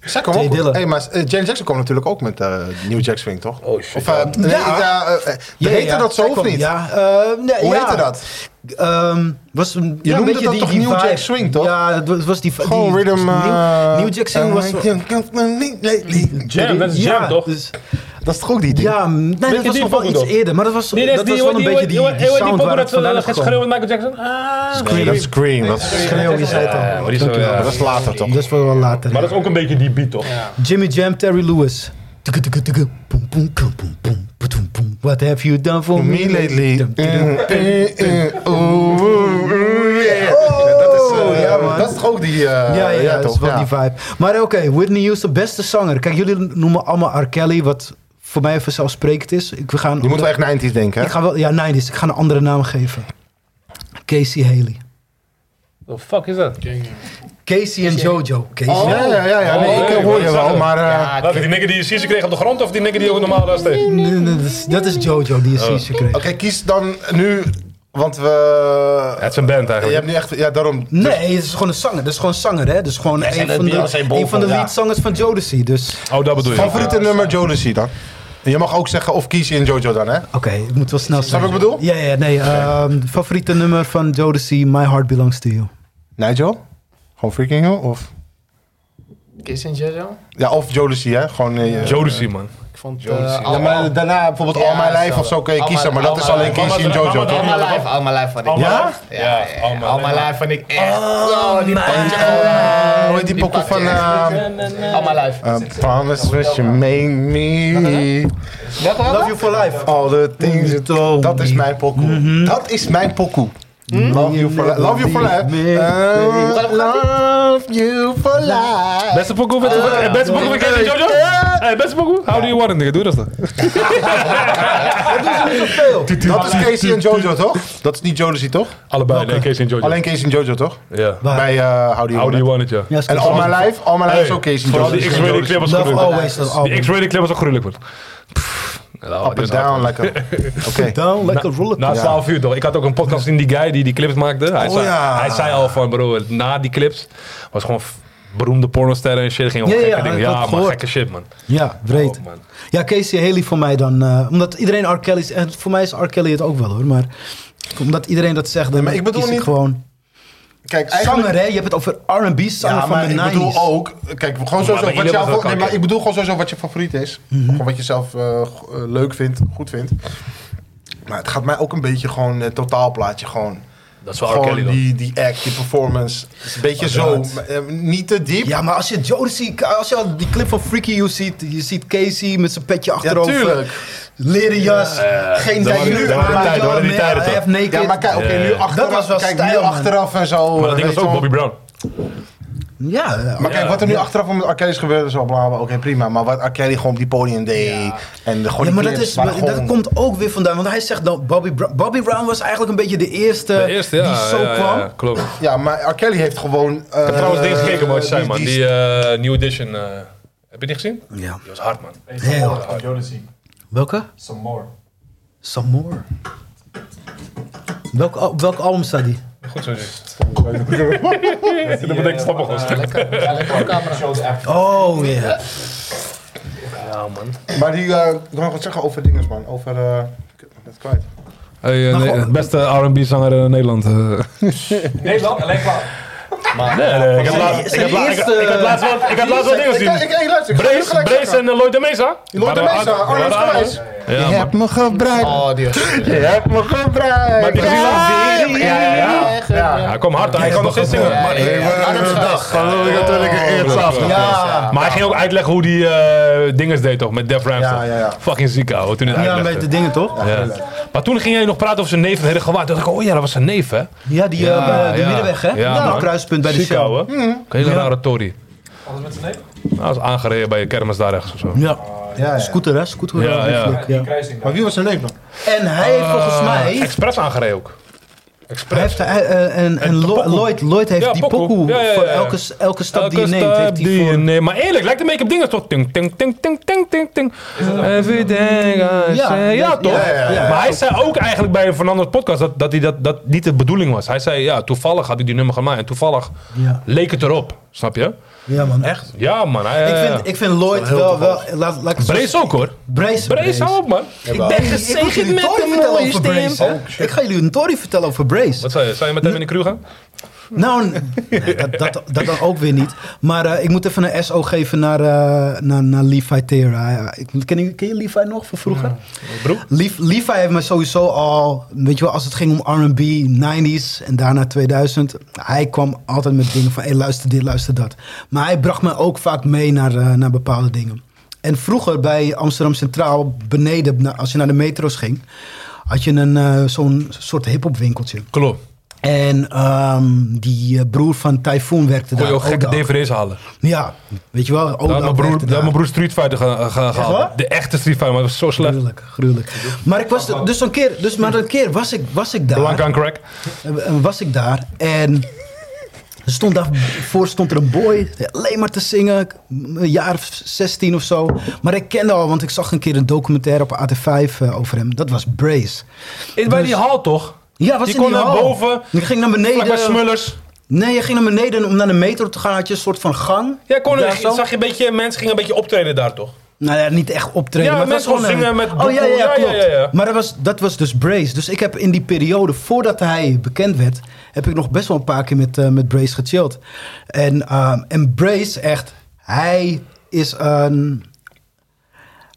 C: Zij komt ook
H: Jay
C: goed.
H: Dilla.
C: Hey, maar eh, Janet Jackson komt natuurlijk ook met eh, New Jack Swing, toch?
B: Oh, shit,
C: Of, eh, nee,
H: Ja.
C: ja, eh, eh,
H: Ja,
C: heette
H: ja,
C: dat zo
H: zij
C: of
H: kwam-
C: niet?
H: Ja, eh, nee,
C: Hoe
H: ja.
C: heette dat?
H: Ehm, was een, ja,
C: noemde
H: een beetje
C: dat
H: die,
C: toch
H: die
C: New
H: vibe.
C: Jack Swing, toch?
H: Ja, het was, was die va-
C: Gewoon
H: die,
C: rhythm... eh,
H: New, New Jack Swing was...
C: eh,
B: Jam, dat is jam, toch?
H: dus-
C: Dat is toch ook die ding?
H: ja, nee, dat was
B: die
H: nog wel
B: pokoe
H: iets
B: toch?
H: eerder. Maar dat was, dat was wel een beetje die, die sound waar het vandaan is
B: met
H: gekomen.
B: Michael Jackson?
C: Scream. Dat is Scream. Dat is,
H: Schreeuw, je zei het al.
B: Ja, maar die is wel-
H: Dankjewel.
B: ja.
C: dat is later toch?
H: Dat is wel wel later.
B: Maar dat is ook een beetje die beat, toch?
H: Jimmy Jam, Terry Lewis. Tuku, tuku, tuku. Poem, poem, kum, poem, poem, poetoem, poem. What have you done for me lately? Dum, dum, dum.
C: Eh, Oh, ja, man. Dat is toch ook die... eh
H: Ja, ja, dat
C: toch?
H: is wel
C: Ja.
H: die vibe. Maar oké, Whitney Houston, beste zanger. Kijk, jullie noemen allemaal R. Kelly, wat voor mij vanzelfsprekend is. Ik, we gaan
C: Je moet wel echt 90's denken, hè?
H: ik ga wel, ja, 90s. Ik ga een andere naam geven. Casey Haley.
B: The fuck is dat?
H: Casey en JoJo. Casey.
C: Oh, ja, ja, ja. ja. Nee,
B: Oh,
C: ik
B: nee,
C: hoor
B: maar
C: je wel,
B: dat-
C: maar... eh,
B: Welke, die nigger die Sisi kreeg op de grond of die nigger die ook normaal daar steeg?
H: Nee, nee, dat, is, dat is JoJo die een siesje kreeg.
C: Oh. Oké, kies dan nu... Want we...
B: Het is een band
C: Je
B: eigenlijk.
C: hebt nu echt... Ja, daarom...
H: Nee, het is gewoon een zanger. Dat is gewoon een zanger, hè? Dat is gewoon
J: zij
H: een,
J: dat
H: van de,
J: Beyoncé boven,
H: een van de
J: ja.
H: leadzangers van Jodeci. Dus
B: Oh, dat bedoel je.
C: Favoriete nummer Jodeci dan? En je mag ook zeggen of kies je in Jojo dan, hè?
H: oké, ik moet wel snel zijn.
C: wat ik bedoel?
H: Ja, ja, nee. ehm, favoriete nummer van Jodeci, My Heart Belongs to You.
C: Nigel? Gewoon Freaking Hill? Of...
G: Kiss en Jojo.
C: Ja, of Jodeci, hè? Gewoon... eh,
B: Jodeci, man.
G: Ik vond
C: Ja,
B: Oh.
C: maar daarna bijvoorbeeld All My Life of zo kun je
G: All
C: kiezen,
G: My-
C: maar dat
G: All
C: is
G: My
C: alleen
G: Life.
C: Casey en
B: All My-
C: Jojo,
B: All
C: toch?
G: All My Life, All My Life vond ik.
C: Ja?
G: Ja, ja,
B: All My
G: ja. All My
B: Life.
G: Life vond ik echt. Oh, die pakte
C: Eh, Hoe heet die pokken
G: pakte
C: van...
G: echt.
C: ehm,
G: All My Life.
C: A promise which you made me.
H: Love You For Life. Mhm.
C: All the things you told Dat is mijn pokoe. Dat is mijn pokoe. Love you for life. Love you for life.
H: Me.
C: Eh, Love you for life.
B: Beste pokoe, wat- wat- beste pokoe, wat ken je, Jojo?
C: Eh,
B: Hey, beste pokoe, how do you want it, nigga? Doe dat dan.
C: Dat doen ze niet zoveel. Dat is Casey en Jojo, toch? Dat is niet Jodeci, toch?
B: Allebei, nee, Casey en Jojo.
C: Alleen Casey en Jojo, toch?
B: Ja.
C: Bij eh How Do You
B: How do you
C: Want
B: want it, ja.
C: It. En All My Life, All My Life is ook Casey en
B: Vooral
C: Jojo.
B: die X-rated clip was gruwelijk.
H: always that album.
B: Die X-rated clip was ook gruwelijk, man. Pff, nou,
C: Up
B: dit
C: and
B: is hard,
C: down,
B: man.
C: lekker. Oké.
H: Down like a roller
B: Na 12 uur toch? Ik had ook een podcast in die guy die die clips maakte. Hij,
C: Oh,
B: zei,
C: ja.
B: hij zei al van bro, na die clips was gewoon f- beroemde pornosterren en shit. Ging om
H: Ja, ja,
B: gekke
H: ja,
B: dingen.
H: ik had
B: Ja,
H: het
B: man,
H: gehoord.
B: gekke shit man.
H: Ja, breed.
B: Oh, man.
H: Ja, Casey Haley voor mij dan. eh, omdat iedereen R. Kelly... En voor mij is R. Kelly het ook wel hoor. Maar omdat iedereen dat zegt, dan
C: maar ik bedoel
H: kies
C: niet-
H: ik gewoon...
C: Kijk, eigenlijk...
H: Zanger hè? Je hebt het over R&B zanger
C: Ja,
H: van
C: maar
H: de
C: ik
H: 90s.
C: bedoel ook... Kijk,
B: bij
C: gewoon sowieso wat
B: jullie was dat Mhm.
C: jouw... Nee,
B: ook,
C: maar
B: ja.
C: ik bedoel gewoon sowieso wat je favoriet is. Gewoon wat je zelf eh, g- eh, leuk vindt, goed vindt. Maar het gaat mij ook een beetje gewoon het totaalplaatje gewoon...
B: Dat is wel R.
C: Gewoon
B: Kelly dan.
C: die, die act, die performance. Het is een beetje zo. maar, eh, niet te diep.
H: Ja, maar als je Jodeci, als je al die clip van Freaky You ziet, je ziet Casey met zijn petje achterover. Leren jas, geen
B: dat
H: tijd
B: waren-
H: nu.
B: dat waren die tijden, dat waren die tijden
H: Hij
B: toch?
H: heeft naked.
C: Ja, maar kijk, oké, nu achteraf,
H: Dat was wel
C: kijk,
H: stijl,
C: nu
H: man.
C: achteraf en zo. eh,
B: Maar dat ding
C: weet
B: was
C: je
B: ook
C: wel.
B: Bobby Brown.
H: Ja, ja.
C: Maar kijk, wat er nu achteraf met Arcade is gebeurd, is wel blablabla. Oké, prima. Maar wat Arcade gewoon op die podium deed. En de, gewoon
H: Ja,
C: die
H: maar dat,
C: clips
H: is,
C: waren gewoon-
H: dat komt ook weer vandaan. Want hij zegt dan, Bobby, Bra- Bobby Brown was eigenlijk een beetje de eerste,
B: De eerste, ja.
H: die zo
B: ja, ja,
H: kwam.
B: ja, klopt.
C: Ja, maar R. Kelly heeft gewoon... eh,
B: Ik heb trouwens dingen gekeken, mooi zijn man.
C: die-
B: Die eh, New Edition. eh, heb je die gezien?
H: Ja.
B: Die was hard man.
I: Hey,
H: Heel
I: some more
H: hard.
I: van Jodeci.
H: Welke?
I: Some more.
H: Some More. Welk, al- welk album staat die?
B: Goed zo. Jay.
I: Dat
B: betekent stappen gewoon.
I: Lekker. Ja, lekker op camera. Show the act.
H: Oh, ja.
C: Maar die... eh, ik wil nog wat zeggen over dinges, man. Over... eh, ik heb het net kwijt.
B: Hey, eh, nee, eh, beste R&B zanger in Nederland. eh.
I: Nederland, alleen klaar.
B: ik had laatst- ik had laatst- ik had laatst wat- ik had laatst wat dingen
C: Ik, ik,
B: gezien.
C: ik, hey, luister. Ik ga het
B: Brace,
C: gelijk
B: Brace
C: zeggen.
B: en eh, Lloyd de Mesa.
C: Lloyd de
B: Waren
C: Mesa,
B: hard-
C: Arnold
B: waren hard,
C: Schwarz.
B: man. Ja, man.
C: me gebruikt.
N: Oh, die was...
C: Je hebt me gebruikt.
B: Maar die gezien
C: Ja.
B: laatst? Ja, ja, ja. Hij kwam hard, hij kan nog steeds zingen. Maar
C: Hey, we-
B: Gewoon natuurlijk een eer s'avonds.
H: Ja.
B: Maar hij ging ook uitleggen hoe die eh dinges deed toch, met Def Ramsey.
C: Ja, ja, ja.
B: Fucking ziek ouwe, toen hij het
H: Ja, met
B: uitlegde.
H: de dingen toch?
B: Ja. Maar toen ging jij nog praten over zijn neef en hele gewaad. Toen dacht ik, oh ja, dat was zijn neef hè.
H: Ja, die
B: Ja,
H: eh, de
B: ja.
H: middenweg, hè?
B: Ja,
H: Ja,
B: man.
H: kruispunt bij de Mm.
B: Ziek
H: show.
B: ouwe. Een hele rare tory.
I: Alles met z'n neef?
B: Nou, hij is aangereden bij een kermis daar rechts of zo.
H: Ja.
C: Ja, ja.
H: Scooter, hè? Scooter.
B: Ja,
H: eh,
B: ja.
H: flik, ja.
I: Die kruising daar.
C: Maar wie was zijn neef dan?
H: En hij heeft volgens mij...
B: Eh, Express aangereden ook.
H: Hij heeft, hij- eh, en en Lo-
B: pokoe.
H: Lloyd, Lloyd heeft
B: Ja,
H: die
B: pokoe.
H: pokoe,
B: Ja, ja, ja,
H: voor
B: ja.
H: elke, s- elke stap die je
B: Elke
H: neemt.
B: stap
H: Heeft hij
B: die je
H: voor...
B: neemt. Maar eerlijk, lijkt de make-up dingen toch? Ting, ting, ting, ting, ting, ting, ting. Everything I
H: Ja,
B: say. Ja,
H: dat-
B: toch?
H: ja, ja, ja.
B: Maar hij zei ook eigenlijk bij Fernando's podcast dat, dat, hij dat, dat niet de bedoeling was. Hij zei, ja, toevallig had hij die nummer gemaakt. En toevallig
H: Ja.
B: leek het erop. Snap je?
H: ja, man. Echt?
B: Ja, man. Hij,
H: Ik
B: eh,
H: vind, ik vind Lloyd wel... wel laat, laat ik het zo-
B: Brace ook, hoor.
H: Brace.
B: Brace ook, man.
H: Ik ben gezegend met een mooie stem.
B: Oh,
H: ik ga jullie een tory vertellen over Brace.
B: Wat zei je? Zou je met hem in de crew gaan?
H: Nou, n- nee, dat, dat, dat dan ook weer niet. Maar eh, ik moet even een SO geven naar, eh, naar, naar Levi Thera. Ja, ik, ken, je- ken je Levi nog van vroeger?
B: broer.
H: Lev- Levi heeft me sowieso al... Weet je wel, als het ging om R&B, 90s en daarna 2000. Hij kwam altijd met dingen van... Hé, luister dit, luister dat. Maar hij bracht me ook vaak mee naar, eh, naar bepaalde dingen. En vroeger bij Amsterdam Centraal, beneden, na- als je naar de metro's ging... had je een, eh, zo'n soort hip-hop winkeltje.
B: Klopt.
H: En ehm, die eh, broer van Typhoon werkte
B: Kon
H: daar.
B: je ook gekke
H: Oudal.
B: DVD's halen.
H: Ja, weet je wel.
B: Daar had
H: Oudal
B: mijn broer,
H: werkte
B: daar had mijn
H: daar.
B: broer Street Fighter ge- ge-
H: waar?
B: gehaald. De echte Street Fighter, maar dat was zo slecht.
H: Gruwelijk, gruwelijk. Maar ik was de- dus een keer, dus maar een keer was ik, was ik daar.
B: Blank aan crack.
H: Eh, eh, was ik daar en er stond daarvoor stond er een boy alleen maar te zingen, k- een jaar of 16 of zo. Maar ik kende al, want ik zag een keer een documentaire op AT5 eh, over hem. Dat was Brace.
B: Is bij die hal toch?
H: Ja, was
B: Je
H: in die
B: kon naar
H: hal.
B: boven,
H: Je ging naar beneden.
B: Vlakbij Smullers.
H: Nee, je ging naar beneden en om naar de metro te gaan. Had je een soort van gang.
B: Ja, kon,
H: Daar zo.
B: zag je een beetje, mensen gingen een beetje optreden daar toch?
H: Nou ja, niet echt optreden.
B: Ja,
H: maar het
B: mensen
H: was gewoon
B: gewoon
H: een-
B: zingen met
H: Oh ja,
B: doekoe.
H: ja, ja,
B: Ja, ja,
H: klopt.
B: ja, ja.
H: Maar dat was, dat was dus Brace. Dus ik heb in die periode, voordat hij bekend werd... heb ik nog best wel een paar keer met, eh, met Brace gechilled. En, ehm, en Brace echt... Hij is een...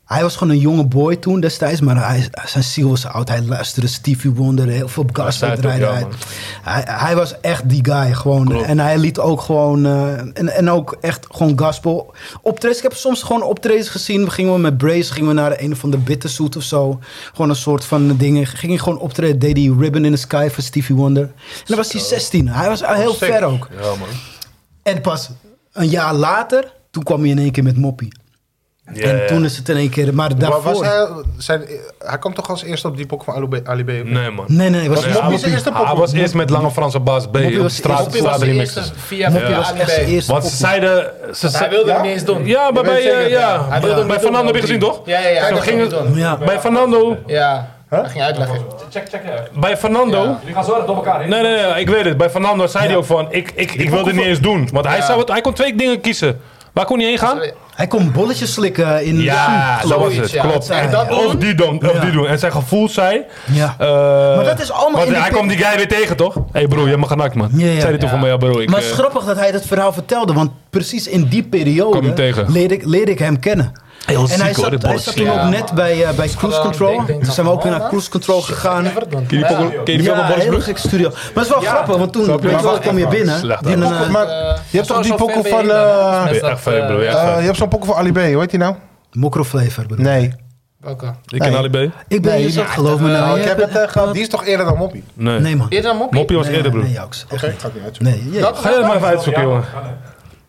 H: Hij was gewoon een jonge boy toen destijds, maar hij, zijn ziel was oud. Hij luisterde Stevie Wonder, heel
B: zei
H: veel
B: het ook,
H: gaslightrijders.
B: ja, man.
H: Hij, hij was echt die guy gewoon. En hij liet ook gewoon. eh, en, en ook echt gewoon gospel optredens. Ik heb soms gewoon optredens gezien. We gingen we met Brace gingen we naar een of andere bitterzoet of zo. Gewoon een soort van dingen. Ging gewoon optreden. Deed hij Ribbon in the Sky van Stevie Wonder. En dan was hij 16. Hij was al heel ver ook.
B: Ja, man.
H: En pas een jaar later, toen kwam hij in één keer met Moppie. en toen is het in één keer, maar daarvoor...
C: Maar was hij, zijn, hij kwam toch als eerste op die pok van Ali B? Ali B of niet?
B: Nee, man.
H: Nee, nee, hij was
C: Was
H: eerst
C: Moppie
H: Moppie.
C: zijn eerste pok?
B: Hij was eerst met Lange Franse Baas B
H: Moppie
B: op
H: was
B: straat.
H: eerst-
B: straat
H: Moppie
B: die
H: was
B: mixes.
H: eerst-
G: Via
H: Moppie
G: via
H: was
G: Ali
H: echt zijn
G: B.
H: eerste
B: Want ze
H: pop.
B: zeiden... Ze
G: Hij
B: zei,
G: wilde het niet eens doen.
B: ja, maar
C: Je
B: bij,
C: weet zeker,
B: eh, ja,
C: ja.
G: Hij wilde
B: bij,
G: hem niet
B: Fernando
G: doen,
B: heb je gezien, toch?
G: Ja, ja, ja.
C: Kijk,
G: hij
C: dat
G: ging
B: ging
G: het doen.
H: Ja.
B: Bij Fernando...
G: Ja, hij ging uitleggen.
I: Check, check je even.
B: Bij Fernando...
G: Ja.
I: Jullie gaan zo erg door elkaar heen.
B: Nee, nee, nee, ik weet het. Bij Fernando zei hij ook van, ik, ik, ik wil dit niet eens doen. Want hij, zou het, hij kon twee dingen kiezen. Waar kon hij heen gaan?
H: Hij kon bolletjes slikken in
B: Ja,
H: de
B: dat was
G: Zoiets,
B: het.
G: ja.
B: Klopt.
H: En dat
B: Of die doen, of
H: Ja.
B: die doen. En zijn gevoel zei...
H: Ja.
B: eh,
H: Maar dat is allemaal
B: want
H: in die
B: hij
H: pit.
B: kwam die guy weer tegen, toch? Hé hey broer, je mag genakt, man.
H: Ja, ja.
B: Zei hij toen
G: Ja.
B: van mij, ja bro, ik...
H: Maar
B: eh,
H: het is grappig dat hij dat verhaal vertelde, want precies in die
B: Kwam hem
H: periode
B: tegen.
H: leerde ik, leerde ik hem kennen.
B: Heel
H: En
B: ziek,
H: hij
B: hoor,
H: zat,
B: dit
H: hij
B: bolletje.
H: zat toen
G: Ja,
H: ook net bij, eh, bij Cruise
G: gewoon
H: Control.
G: dik, denk
H: Toen zijn we ook
G: van,
H: weer
G: man.
H: naar Cruise Control gegaan.
B: Ken je die
G: Ja.
B: pokkel- ken je die pokkel
H: Ja,
B: van
H: heel
B: Borgsbroek?
H: gek studio. Maar het is wel grappig, want toen weet je wel, kwam je binnen.
B: Slecht,
H: Die
B: hè?
H: een, eh,
C: Maar je hebt toch die pokkel van... eh,
B: Ja, echt fijn, bro.
C: eh,
B: Ja,
C: je hebt zo'n pokkel van Ali B, hoe heet die nou?
H: mokroflavor eh, bedoel ik.
C: Nee.
G: Welke?
B: Ik ken
C: Nee.
B: Ali B.
H: Ik ben
C: Nee,
H: je
C: ja,
H: zat, geloof me nou.
C: Nou,
H: jij
C: ik heb
H: bent-
C: het eh, gehad. Die is toch eerder dan Moppie?
B: Nee.
H: Nee man.
G: Eerder dan Moppie.
B: Moppie was
H: Nee,
B: eerder, broer.
H: Nee, Jauks. Echt
C: Oké,
H: niet.
C: ik ga het niet uit.
H: Nee, jee.
G: Dat-
B: Ga je dat maar even uitzoeken, jongen.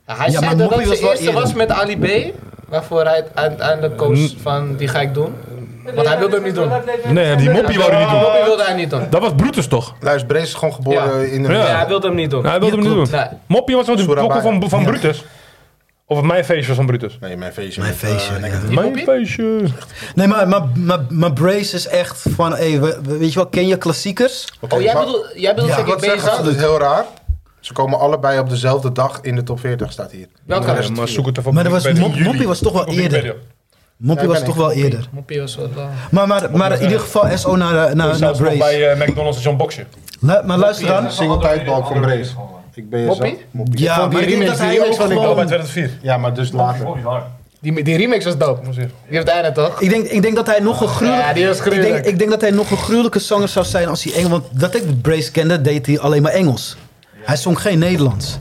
G: Ja, hij
H: Ja, maar
G: zei dat
H: Moppie
G: het
H: was
G: de
H: wel
G: eerste
H: eerder.
G: was met Ali B. Waarvoor hij het uiteindelijk koos van die ga ik doen. Want hij wilde hem niet doen.
B: Nee, die moppie wou hij niet doen.
G: Moppie wilde hij niet doen.
B: Dat was Brutus, toch?
C: Luister, Brees is gewoon geboren
G: Ja.
C: in... een-
B: Ja.
G: Ja, hij wilde hem niet doen.
B: Nou, hij wilde hem niet doen.
G: Nee.
B: Moppie was wel de
C: Surabaya.
B: pokkel van, van Brutus. Of het mijn feestje was van Brutus.
C: Nee, mijn feestje.
H: Mijn
C: met,
H: feestje,
C: eh,
H: ja.
C: Negative.
B: Mijn
G: Moppie?
B: feestje.
H: Nee, maar, maar, maar, maar Brace is echt van, hey, we- we- weet je wel, ken je klassiekers?
C: Oké,
G: Oh, jij
C: maar-
G: bedoelt, jij bedoelt
H: Ja,
G: ik
C: Wat
G: ben je
C: zeggen ze?
G: gaan?
C: Dat is heel raar. Ze komen allebei op dezelfde dag in de top 40, staat hier.
G: Welke?
C: De rest
B: Maar
C: vier.
B: zoek het even op
H: Maar dat was,
B: Wikipedia.
H: Mop- Moppie was toch wel eerder. Uh, Moppie
C: Ja,
H: was
C: ik
H: toch
C: ben
H: wel eerder.
G: Moppie was wel... eh,
H: Maar, maar, maar in ieder geval SO naar, naar, naar
B: Zelfs nog bij
H: Brace. Oh.
B: eh, McDonald's en zo'n boxje.
H: Lu- maar luister dan.
C: Single tijdbalk van Brees. Ik ben jezelf.
G: Moppie?
C: Moppie.
H: Ja,
C: Ik vond die
H: maar ik denk
C: remix
H: dat hij
C: die
H: ook
C: ook van ik
H: gewoon-
B: Oh, bij
C: dacht-
B: 2004.
C: Ja, maar dus later.
G: Die, die remix was dope. Die heeft hij net toch?
H: Ik denk, ik denk dat hij nog een gruwelijk-
G: Ja, die was
H: ik,
G: gruwelijk.
H: denk, ik denk dat hij nog een gruwelijke zanger zou zijn als hij Engels... Want dat ik Brace kende, deed hij alleen maar Engels. Hij zong geen Nederlands.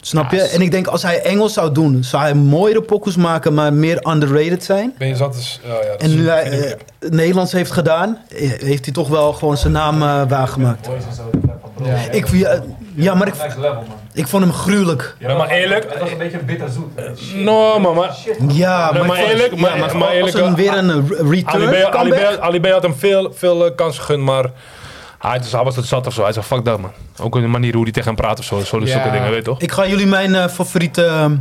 H: Snap je? En ik denk, als hij Engels zou doen, zou hij mooiere pokus maken, maar meer underrated zijn.
B: Ben je zat? Dus, oh, ja, dat
H: En
B: is-
H: nu hij eh, Nederlands heeft gedaan, eh, heeft hij toch wel gewoon zijn naam eh, waargemaakt.
I: Boys en zo, dat lijkt van bro.
G: Ja.
H: Ik, ja, ja, maar ik,
I: Next level, man.
H: ik vond hem gruwelijk.
I: Ja,
B: maar eerlijk- Eh,
I: Het was een beetje bitterzoet. hè. Shit.
B: No, man, maar...
H: Ja,
B: Nee,
H: ik
B: maar
H: vond-
B: eerlijk, maar-
H: ja,
B: maar
H: als
B: eerlijk,
H: er
B: eh,
H: weer een eh, re-
B: Ali
H: return
B: B, Ali,
H: comeback-
B: B, Ali B had hem veel, veel eh, kansen gegund, maar hij, dus hij was het zat of zo. Hij zei, fuck dat man. Ook in de manier hoe hij tegen hem praat of zo. zo
G: Ja.
B: Zulke dingen, weet je toch?
H: Ik ga jullie mijn eh, favoriete ehm,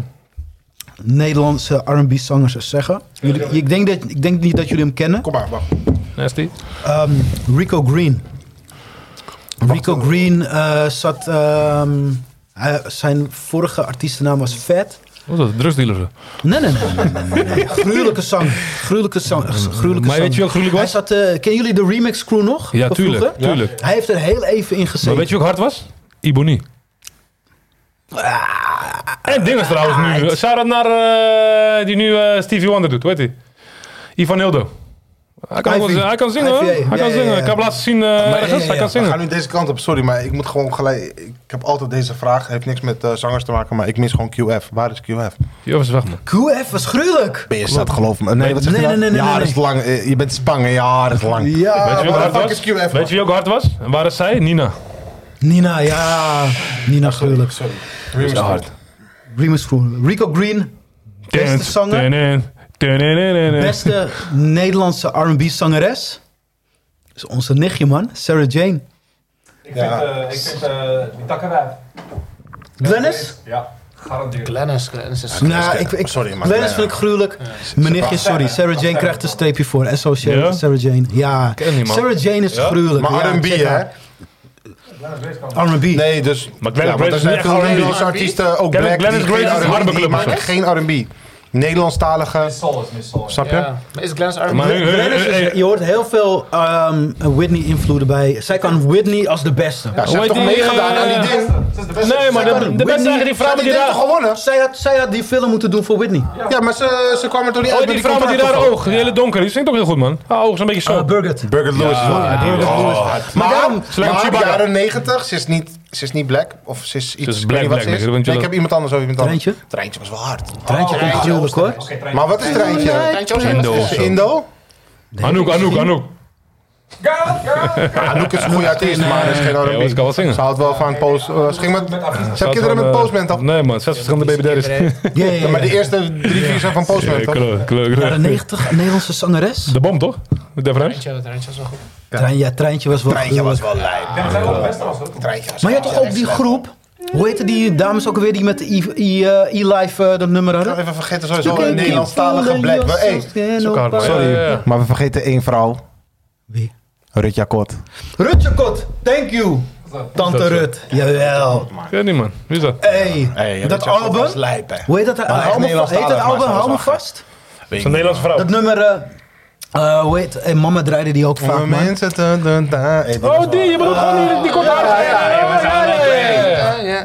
H: Nederlandse R&B-zangers eens zeggen. Jullie, ik, denk dat, ik denk niet dat jullie hem kennen.
C: Kom maar, wacht.
B: Nasty.
H: Ehm, Rico Green. Rico Green eh, zat... ehm, hij- zijn vorige artiestennaam was Fat.
B: Wat is dat? Drugsdealer?
H: Nee, nee, nee. nee, nee, nee, nee. Gruwelijke zang. Gruwelijke zang. eh, Gruwelijke
B: Maar
H: zang.
B: weet je wat gruwelijk
H: Hij
B: was?
H: zat, eh, kennen jullie de Remix Crew nog?
B: Ja,
H: Van
B: tuurlijk.
H: vroeger?
B: tuurlijk.
H: Hij heeft er heel even in
B: Maar
H: gezeten.
B: weet je hoe hard was? Iboni. En dinges trouwens nu. Shout-out naar eh, die nu eh, Stevie Wonder doet, weet hij. Ivan Hildo. Hij kan, ook wel
H: Ivy.
B: zingen. hij kan zingen hoor.
H: Ivy, ja,
B: Hij kan
H: ja,
B: zingen.
H: ja.
B: Ik heb hem laten zien eh,
H: ja,
B: ergens. Hij
H: ja, ja.
B: kan
C: We gaan
B: zingen.
C: nu deze kant op, sorry, maar ik moet gewoon gelijk... Ik heb altijd deze vraag, heeft niks met eh, zangers te maken, maar ik mis gewoon QF. Waar is QF?
B: Joh, is weg man.
H: QF was gruwelijk.
C: Ben je zat, geloof me. Nee, wat zeg
H: nee,
C: je nou?
H: nee, nee, nee,
C: Ja, dat
H: nee.
C: is lang. Eh, Je bent spang, hè? ja, dat is lang.
B: Weet je
H: Ja.
B: wie ook
C: waar
B: hard
C: de fuck
B: was?
C: is QF, man?
B: Weet je wie ook hard was? En waar is zij? Nina.
H: Nina, ja. Nina, gruwelijk.
B: Zo hard.
H: Remus Groen. Rico Green, beste zanger,
B: Best.
H: beste Nederlandse R&B zangeres. Is onze nichtje man, Sarah Jane.
I: Ik vind, eh, ik vind eh, die takkenwijf.
H: Glennis?
I: Ja, garandeer.
G: Glennis, Glennis is...
H: Nou, ik, ik,
C: Sorry, maar-
H: Glennis vind ik gruwelijk. Mijn nichtje, sorry. Sarah Jane krijgt een streepje voor. S.O. Sarah,
B: Ja?
H: Sarah Jane. Ja.
B: Ken die man.
H: Sarah Jane is gruwelijk.
C: Maar
H: Ja,
C: R&B,
H: check
C: hè?
H: haar. R&B.
C: Nee, dus...
B: Maar Glenn
C: want
B: Grace
C: er
B: is
C: zijn
B: niet
C: veel
B: echt R&B.
C: Nederlandse artiesten, ook
B: Glenn-
C: Black,
B: Glenn is
C: die geen
B: Grace is een
C: R&B,
B: harde
C: die
B: club,
C: maken
B: zeg.
C: geen R&B. Nederlandstalige,
I: Soul is Miss Soul.
C: snap je?
G: Ja. Maar is Glennis R&B?
B: Maar hun- eh, hun-
H: Glennis
B: hun-
H: is-
B: hun-
H: je hoort heel veel ehm, Whitney-invloeden bij. Zij kan Whitney als de beste.
C: Ja, ze
B: Hoe
C: heeft toch
B: heet die,
C: meegedaan
B: eh,
C: aan die ding?
I: Ze is de beste.
B: Nee, maar de- de beste
H: Whitney-
B: eigenlijk die vrouw
C: Zou
B: met
C: die
B: die
C: ding toch
B: daar...
C: gewonnen?
H: Zij had, zij had die film moeten doen voor Whitney.
C: Ja, maar ze, ze kwam er toen niet
B: Oh,
C: uit
B: die vrouw met die rare oog. Die hele donkere. Die zingt ook heel goed man. Haar ogen zijn een beetje
H: Uh,
B: zo.
H: Burgert.
C: Burger Lewis. Ja, Burger Lewis. Maar,
H: daarom-
C: maar,
B: Slang Chewbacca.
C: jaren 90, ze is niet, ze is niet black. Of ze is iets.
B: is
C: ik
B: black,
C: weet niet wat
B: black,
C: ze is.
B: nigga, want je
C: Nee, ik
B: dat-
C: heb iemand anders over iemand anders.
H: Treintje?
C: Treintje dus- was wel hard.
H: Oh, Treintje komt gruwelijk hoor.
I: Oké, trein.
C: Maar wat is treintje?
G: Treintje was
B: Indo of
C: Is
B: zo.
C: ze Indo?
B: Anouk, Anouk, Anouk.
C: Anouk is een goede artiest, maar dat is geen
B: Ja,
C: R&B.
B: ze kan wel zingen.
C: Ze houdt wel van post. eh, ze ging met, ze
B: Zou
C: heeft
B: het
C: kinderen
B: wel,
C: met
B: eh,
C: postman toch?
B: Nee man, zes verschillende baby daddies.
H: Ja, ja, ja.
C: Maar de eerste drie, vier zijn van postman
B: Ja,
C: toch?
B: kleur, kleur,
H: Jaren
B: kleur.
H: 90, Nederlandse zangeres.
B: De bom toch? Met Devran?
G: Treintje, treintje was wel goed.
H: Trein, ja, Treintje was wel
C: Treintje was
H: gruwelijk.
C: wel lijp.
I: Ja, maar zij waren best was ook.
C: Treintje was
H: Maar je had
C: wel
H: toch ook
C: echt
H: die
C: lijp.
H: groep? Hoe heette die dames ook alweer die met de i- i- eh, e-life eh, dat nummer
C: Ik
H: hadden?
C: had even vergeten sowieso een Nederlandstalige black. Maar hey,
B: Ja, ja,
C: sorry.
B: ja.
C: Maar we vergeten één vrouw.
H: Wie?
C: Rutja Kot.
H: Rutje Kot, thank you. Tante Rut, jawel.
B: Ik weet niet man, wie is dat?
H: Hey, dat album?
C: was lijp, hè.
H: Hoe heet dat?
C: echt
H: Hou me, va- heet
C: Nederlandstalig,
H: dat
C: maar
H: album?
C: ze was
H: Hou me
C: wel
H: vast?
B: Zo'n Nederlandse vrouw.
H: Dat nummer, eh eh, hoe heet hey, Mama draaide die ook vaak,
C: Jonge
H: man.
C: mensen, dun, dun, dun. Hey, dat
B: Oh die, je bedoelt gewoon die, die korte haar.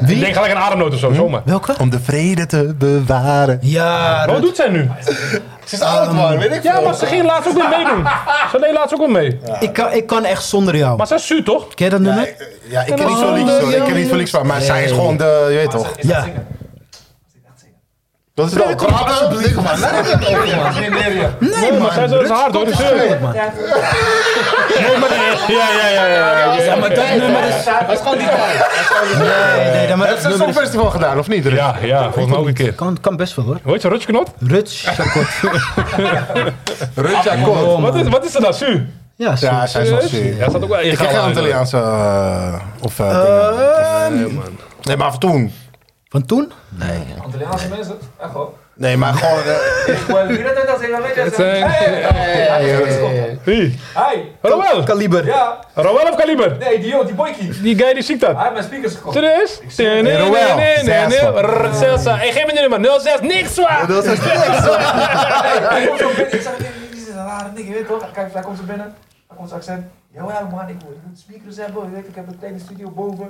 B: Ik denk gelijk een ademnoot of zo, zomaar.
H: Welke?
C: Om de vrede te bewaren.
H: Ja,
B: Wat
H: Rut.
B: doet zij nu?
C: Ze is oud, man. Weet ik
B: Ja,
C: veel.
B: maar ze ging laatst ook weer meedoen. Ze deed laatst ook weer mee.
H: Ik, kan, ik kan echt zonder jou.
B: Maar zij is zuur toch?
H: Ken je dat nummer? Ja,
C: Ja, ik ken niet zo'n liedjes, hoor. Ik ken niet zo'n liedjes van. Maar zij is gewoon de... Je weet toch. Dat is wel grappig. Alsjeblieft, man. Laat het niet over, man.
B: Nee, maar zij is haar door de zeur.
H: man.
B: Ja, ja, ja, ja.
H: Ja, maar dat nummer is...
N: Dat is gewoon die tijd.
H: Nee, nee, nee, maar
C: Heb
H: Eh, dat
C: ze een
H: nummer is...
C: songfestival gedaan, of niet? Rut?
B: Ja, ja, volgens mij ook een keer.
H: Kan, kan best wel hoor.
B: Weet je, rutsknot?
H: Rutje Kot.
C: Rutja Kot.
H: Oh,
B: Wat is,
H: man.
B: wat is er dan, zuur?
H: Ja, zo.
C: Ja, zij is wel zuur.
B: Ja, staat ook wel
C: Ik ken geen Antilliaanse... eh, Of eh, ehm. dingen. Nee, maar van toen.
H: Van toen?
I: Antilliaanse mensen? Echt wel.
C: Nee, maar gewoon... eh,
B: Het zijn... Wie?
I: Hi!
B: Roel!
H: Kaliber.
I: Ja!
B: Roel of Kaliber?
I: Nee, die joh, die boykie.
B: Die guy die ziet dat.
I: Hij heeft mijn speakers gekocht.
B: Serieus? Nee, nee,
C: Roel.
B: nee, nee, nee.
C: Zes, man.
B: Rrr, zes, ah. Hey, geef me nu nummer. 06, niks zwaar.
C: Dat is
I: Hij komt zo binnen. Ik zeg, dit is een rare ding, je weet toch? Kijk, hij komt zo binnen. Hij komt zijn accent. Jawel man, ik moet ik moet speakers hebben. Je weet, ik heb een kleine studio boven.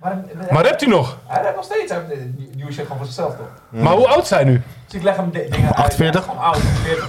I: Maar,
B: Maar hebt hij nog?
I: hij rijdt nog steeds. Hij heeft die nieuwe shit gewoon voor zichzelf toch?
B: Maar hoe oud zijn nu?
I: Dus ik leg hem di- dingen uit.
C: 48?
I: Gewoon oud, 40.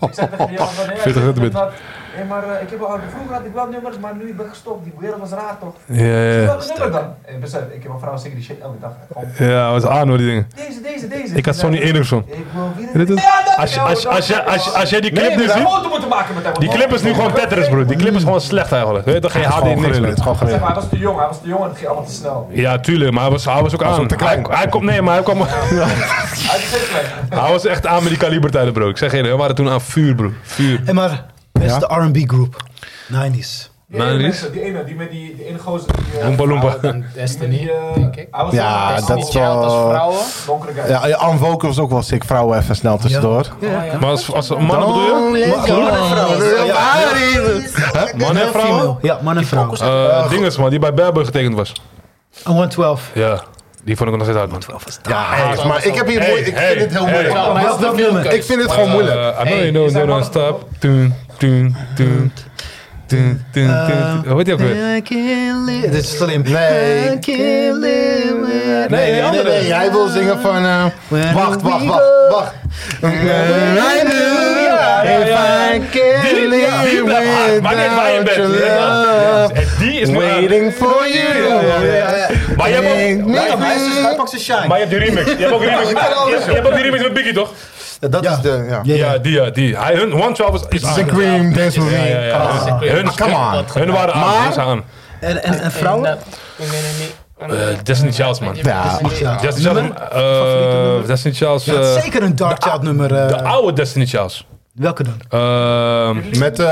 I: ik zeg tegen die jongen van, nee,
B: 40
I: ik
B: bent.
I: heb dat- Hé, maar eh, ik heb al, vroeger had ik wel nummers, maar nu ben ik gestopt. Die wereld was raar toch?
B: Ja,
I: Welke nummer dan? Eh, besef, ik heb een vrouw zeker die shit elke dag. Gewoon,
B: ja, was aan hoor, die dingen.
I: Deze, deze, deze.
B: Ik had Sonny Enersson.
I: Ik wil wie
B: Dit is-
I: Ja, dat
B: Als je,
I: wel,
B: als, je-
I: dat
B: als, je, als, je- als jij die
I: Nee,
B: clip nu
I: we hebben
B: ziet,
I: foto moeten maken met hem.
B: die clip is nu gewoon tetris, bro. Die clip is gewoon slecht eigenlijk. Weet je, toch? geen HD,
C: gewoon
B: niks.
C: grillen.
B: man.
C: Het is gewoon
I: Zeg maar,
C: grillen.
I: hij was te jong, hij was te jong en het ging allemaal te snel.
B: Ja, tuurlijk, maar hij was, hij was ook aan.
C: ook Ah, te klein.
B: Hij, hij komt, nee, maar hij kwam.
I: Hij is heel klein.
B: hij was echt aan met die kalibertijden, bro. Ik zeg je, we waren toen aan vuur, bro. Vuur.
H: Hey, maar beste R&B groep. 90s.
I: Die ene
C: Nou,
B: Maar die is-
I: mensen, Die ene, die met die die ene gozer. die, eh,
B: Loempa loempa.
G: Dan
I: die met die,
G: Destiny,
I: eh,
G: denk ik.
I: Hij was
C: Ja,
I: een-
C: Ah, dat
I: een
C: is
I: beetje
C: wel-
I: oud als
G: Als vrouwen.
I: Donkere guy.
C: Ja, ja, Ann Woken was ook wel sick. Vrouwen even snel tussendoor.
B: Maar als, als man
H: Oh,
B: bedoel je?
C: Mannen en vrouwen.
B: Man en vrouw?
H: Ja, man en vrouw.
B: Eh dinges, man, die bij Berber getekend was.
H: En 112.
B: Ja, die vond ik nog steeds uit, man.
C: Ja, hey, maar ik heb hier moe- Ik vind het heel
B: Hey.
C: moeilijk.
H: Welk welk nummer?
C: Ik vind het gewoon moeilijk.
B: Eh, I know you know, don't know, stop. Toen, toen, toen. Toen, toen, toen. Hoe heet die ook weer?
H: I can't live- Dit is slim.
C: Nee.
H: I can't live with-
C: Nee, nee, nee, nee. Hij wil zingen van. eh, wacht, wacht, wacht, wacht. I do, if I can live without your love.
B: Die is
C: Waiting for you.
B: Maar je hebt ook-
C: Make me-
H: Hij pakt zijn shine.
B: Maar je hebt die remix. Je hebt ook remix. Je hebt ook die remix met Biggie, toch?
C: Dat is de. Ja.
B: Ja, die, ja, die. Hij, hun, One Twelve is, is
C: This is
B: aan.
C: a cream, dance with
B: Ja,
C: me.
B: ja, ja. Hun,
C: Come on.
B: hun waren aan, hun zijn aan.
H: En, en, en vrouwen?
B: Eh, Destiny Childs, man.
C: Ja.
B: Destiny Childs, eh, Destiny Childs,
H: Ja, het is
B: eh,
H: zeker een Dark Child nummer. eh,
B: de oude Destiny Childs.
H: welke dan?
B: Ehm,
C: Met eh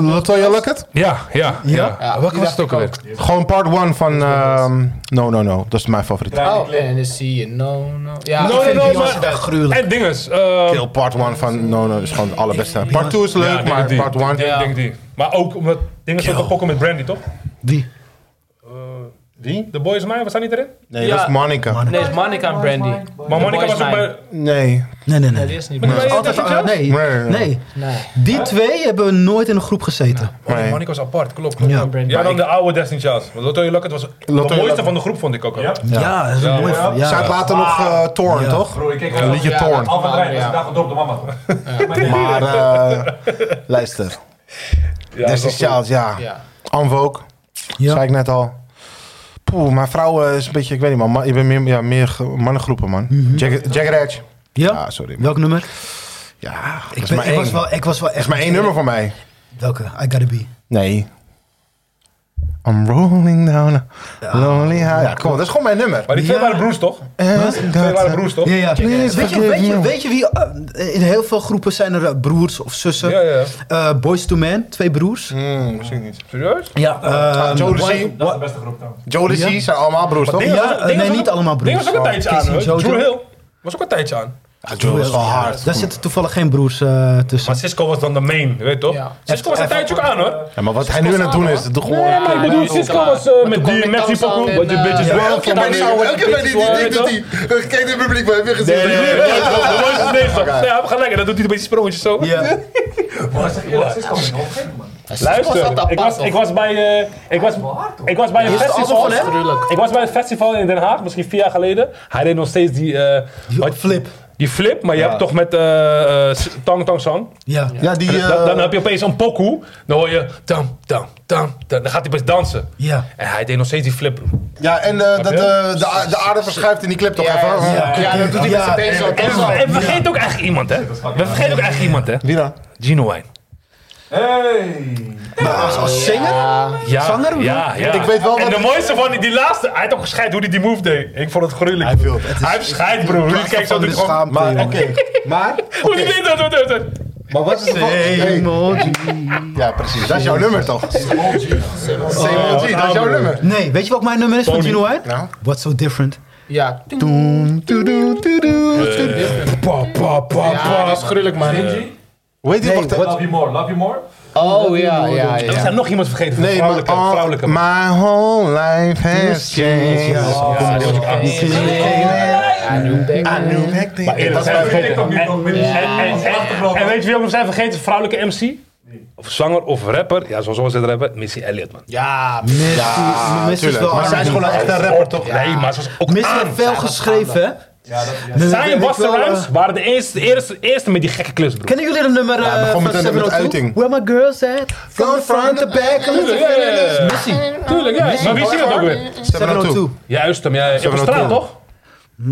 C: Latoya Luckett?
B: ja, ja, ja. Welke was het ook alweer?
C: Gewoon part 1 van. ehm, no, no, no. Dat is mijn favoriet.
G: Oh, en zie je, no, no. Ja,
B: No, no, no,
H: Beyoncé daar
B: maar...
H: gruwelijk.
B: En dinges. ehm,
C: Heel part 1 van. No, no. is gewoon het allerbeste. Part 2 is leuk,
B: ja,
C: maar
B: die.
C: part 1.
B: Ik denk die. Maar ook omdat dinges ook een pokken met Brandy, toch? Eh,
H: Die.
C: Die?
B: De boys mij, was dat niet erin?
C: Nee,
G: Ja.
C: dat is Monica.
G: Nee, is Monica en Brandy.
B: Maar Monica was ook bij...
C: Nee.
B: Oh,
H: Nee, nee,
G: Nee, die
H: nee.
B: Maar
G: is niet
B: die
G: Brandy.
B: waren-
H: Altijd,
B: Destiny
H: eh,
B: Childs?
C: Nee.
H: nee. Nee.
G: Nee.
H: Die twee hebben nooit in een groep gezeten.
B: Oh,
C: Nee.
B: Monica was apart, klopt. klopt.
H: Ja.
B: Ja, dan de oude Destiny Childs. Want Lotto Luckett was de mooiste
C: Luckett.
B: van de groep, vond ik ook. al.
I: Ja.
H: Ja, dat is een mooi.
I: ja.
H: Ja.
C: Zij had later nog eh Torn, toch?
I: Bro, ik keek
C: Een liedje Torn.
I: Alpha Drein, dat is
G: Ja.
I: een dag gedropt door mama. toch?
C: Maar eh, luister.
B: Ja, dat
C: Destiny
B: was goed.
C: Childs, ja.
G: Ja.
C: Anvoke,
H: Ja.
C: zei ik net al. Poeh, mijn vrouw eh, is een beetje, ik weet niet man, ma- ik ben meer, ja, meer ge- mannengroepen man. Jack, Jack Edge.
H: Ja?
C: Ja, sorry. man.
H: Welk nummer?
C: Ja, dat
H: Ik,
C: is
H: ben-
C: maar
H: ik
C: één.
H: was wel, ik was wel
C: Dat is
H: echt...
C: maar één nummer voor mij.
H: Welke? I Gotta Be.
C: Nee. I'm rolling down a lonely highway. Ja, kom op, dat is gewoon mijn nummer. Eh,
B: Maar die twee waren broers, toch? Die twee waren broers, toch?
H: Ja, ja.
C: Please
H: Weet je,
C: forgive
H: weet, je,
C: me.
H: weet je wie... eh, in heel veel groepen zijn er eh, broers of zussen.
B: Ja, ja.
H: Eh, Boys to Men, twee broers.
C: Hmm, misschien niet.
B: Serieus?
H: Ja.
C: Ah,
H: eh,
C: Jodeci.
I: Dat is de beste groep dan.
C: Jodeci
H: Ja.
C: zijn allemaal broers, toch?
H: Ja, eh, nee, niet allemaal broers.
B: Ding was ook een
H: Oh,
B: tijdje aan,
H: Casey
B: hoor.
H: Jojo.
B: Drew Hill was ook een tijdje aan.
C: Ja, Jodeci is wel hard.
H: Daar zitten toevallig geen broers eh, tussen.
B: Maar Cisco was dan de main, weet je toch?
N: Ja.
B: Cisco was een tijdje ook aan, hoor.
C: Ja, maar wat hij nu aan het doen is, doe gewoon...
B: Nee, maar ik bedoel, Cisco was eh, met die met die
N: Tamsang
B: pokoe,
N: en,
B: wat je
N: eh,
B: bitches
N: ja,
B: wel.
C: Elke
B: Tamsang,
C: manier,
B: wat je
C: elke
B: bitches
C: manier,
B: wel,
C: die,
B: weet je
C: die,
B: toch?
C: die, die. Kijk, dit publiek, maar heb je gezien?
B: Nee, nee, nee, nee, dat was het meeste. Nee, hij heeft gelijk, en dat doet hij bij die sprongetjes zo.
H: Ja.
I: Maar zeg eerlijk, Cisco is nog gek, man.
B: Luister, eh, ik was, ik was bij, eh, ik was, ik was bij een festival. Ik was bij een festival in Den Haag, misschien vier jaar geleden. Hij deed nog steeds die. eh, wat-
H: flip.
B: Die flip, maar je hebt toch met eh, eh, s- Tang Tang Sang.
H: Ja.
C: Ja, die... eh,
B: Dan, dan heb je opeens een pokoe. Dan hoor je tam, tam, tam, tam. Dan gaat hij best dansen.
H: Ja.
B: En hij deed nog steeds die flip.
C: Ja, en eh, dat,
B: je?
C: eh, de, a- de aarde verschuift in die clip toch even?
H: Ja,
N: Ja, dat doet hij met
H: Ja.
N: zijn been zo.
B: En
N: toch
B: we,
N: wel.
B: en we vergeten ook echt iemand, hè? We vergeten ook echt iemand, hè?
C: Wie dan?
B: Gino Wijn.
H: Als zanger?
B: Ja,
H: Zanger?
B: Ja, ja.
C: Ik weet wel
B: en
C: wat-
B: de mooiste van die, die laatste, hij had ook gescheid hoe hij die move deed. Ik vond het gruwelijk.
C: Hij wil het. Het is-
B: Hij heeft scheid, bro. Ruud kijkt zo
H: van
B: doet
H: de
B: hij gewoon...
H: schaamte,
C: Maar, oké.
H: jongen.
C: Maar,
B: Hoe die
C: oké.
B: deed dat, dat, dat, dat.
C: Maar wat is het? Hey.
H: Emoji.
C: Ja, precies. Dat is jouw nummer toch? Same OG, dat is jouw nummer.
H: Nee, weet je wat mijn nummer is van
B: Tony.
H: Gino White?
C: Nou.
H: What's so different?
N: Ja,
C: Doem, toedoe, toedoe, toedoe.
H: Pa, pa, pa,
N: ja, dat is gruwelijk, man.
C: Hoe heet die? Wacht,
I: Love you more, love you more.
N: Oh ja, ja,
B: We
N: ja.
B: zijn nog iemand vergeten.
C: Nee, maar
B: vrouwelijke.
C: all-
B: vrouwelijke.
C: my whole life has changed.
B: ja, die was ook aan.
N: Ah,
C: Anouk Hector.
B: Maar eerlijk,
C: Dat
B: we zijn
C: is mijn
B: we vergeten.
C: favoriete.
B: En, en- en- en weet je wie ook nog zijn vergeten? Vrouwelijke MC? Of zanger of rapper? Ja, zoals we het rapper. Missy Elliott, man.
N: Ja,
H: Messi, Messi is
C: tuurlijk.
H: wel
C: Maar zij is
H: R&B.
C: gewoon een echte rapper toch?
B: Nee, maar ze was ook
H: Messi
B: aan.
H: heeft veel geschreven, hè?
B: Zij en
H: was
B: Busta Rhymes
C: eh,
B: waren de eerste, eerste, eerste met die gekke clips, bro.
H: Kennen jullie de nummer eh,
C: hij begon
H: van
C: met een- met
H: 702?
C: uiting.
H: Where my girls at? From the front, the back, oh and the
B: Ja.
H: Messi,
B: Tuurlijk, ja. Maar wie ziet dat ook weer?
C: 702.
H: 702.
B: Juist hem, ja. Op straat, toch?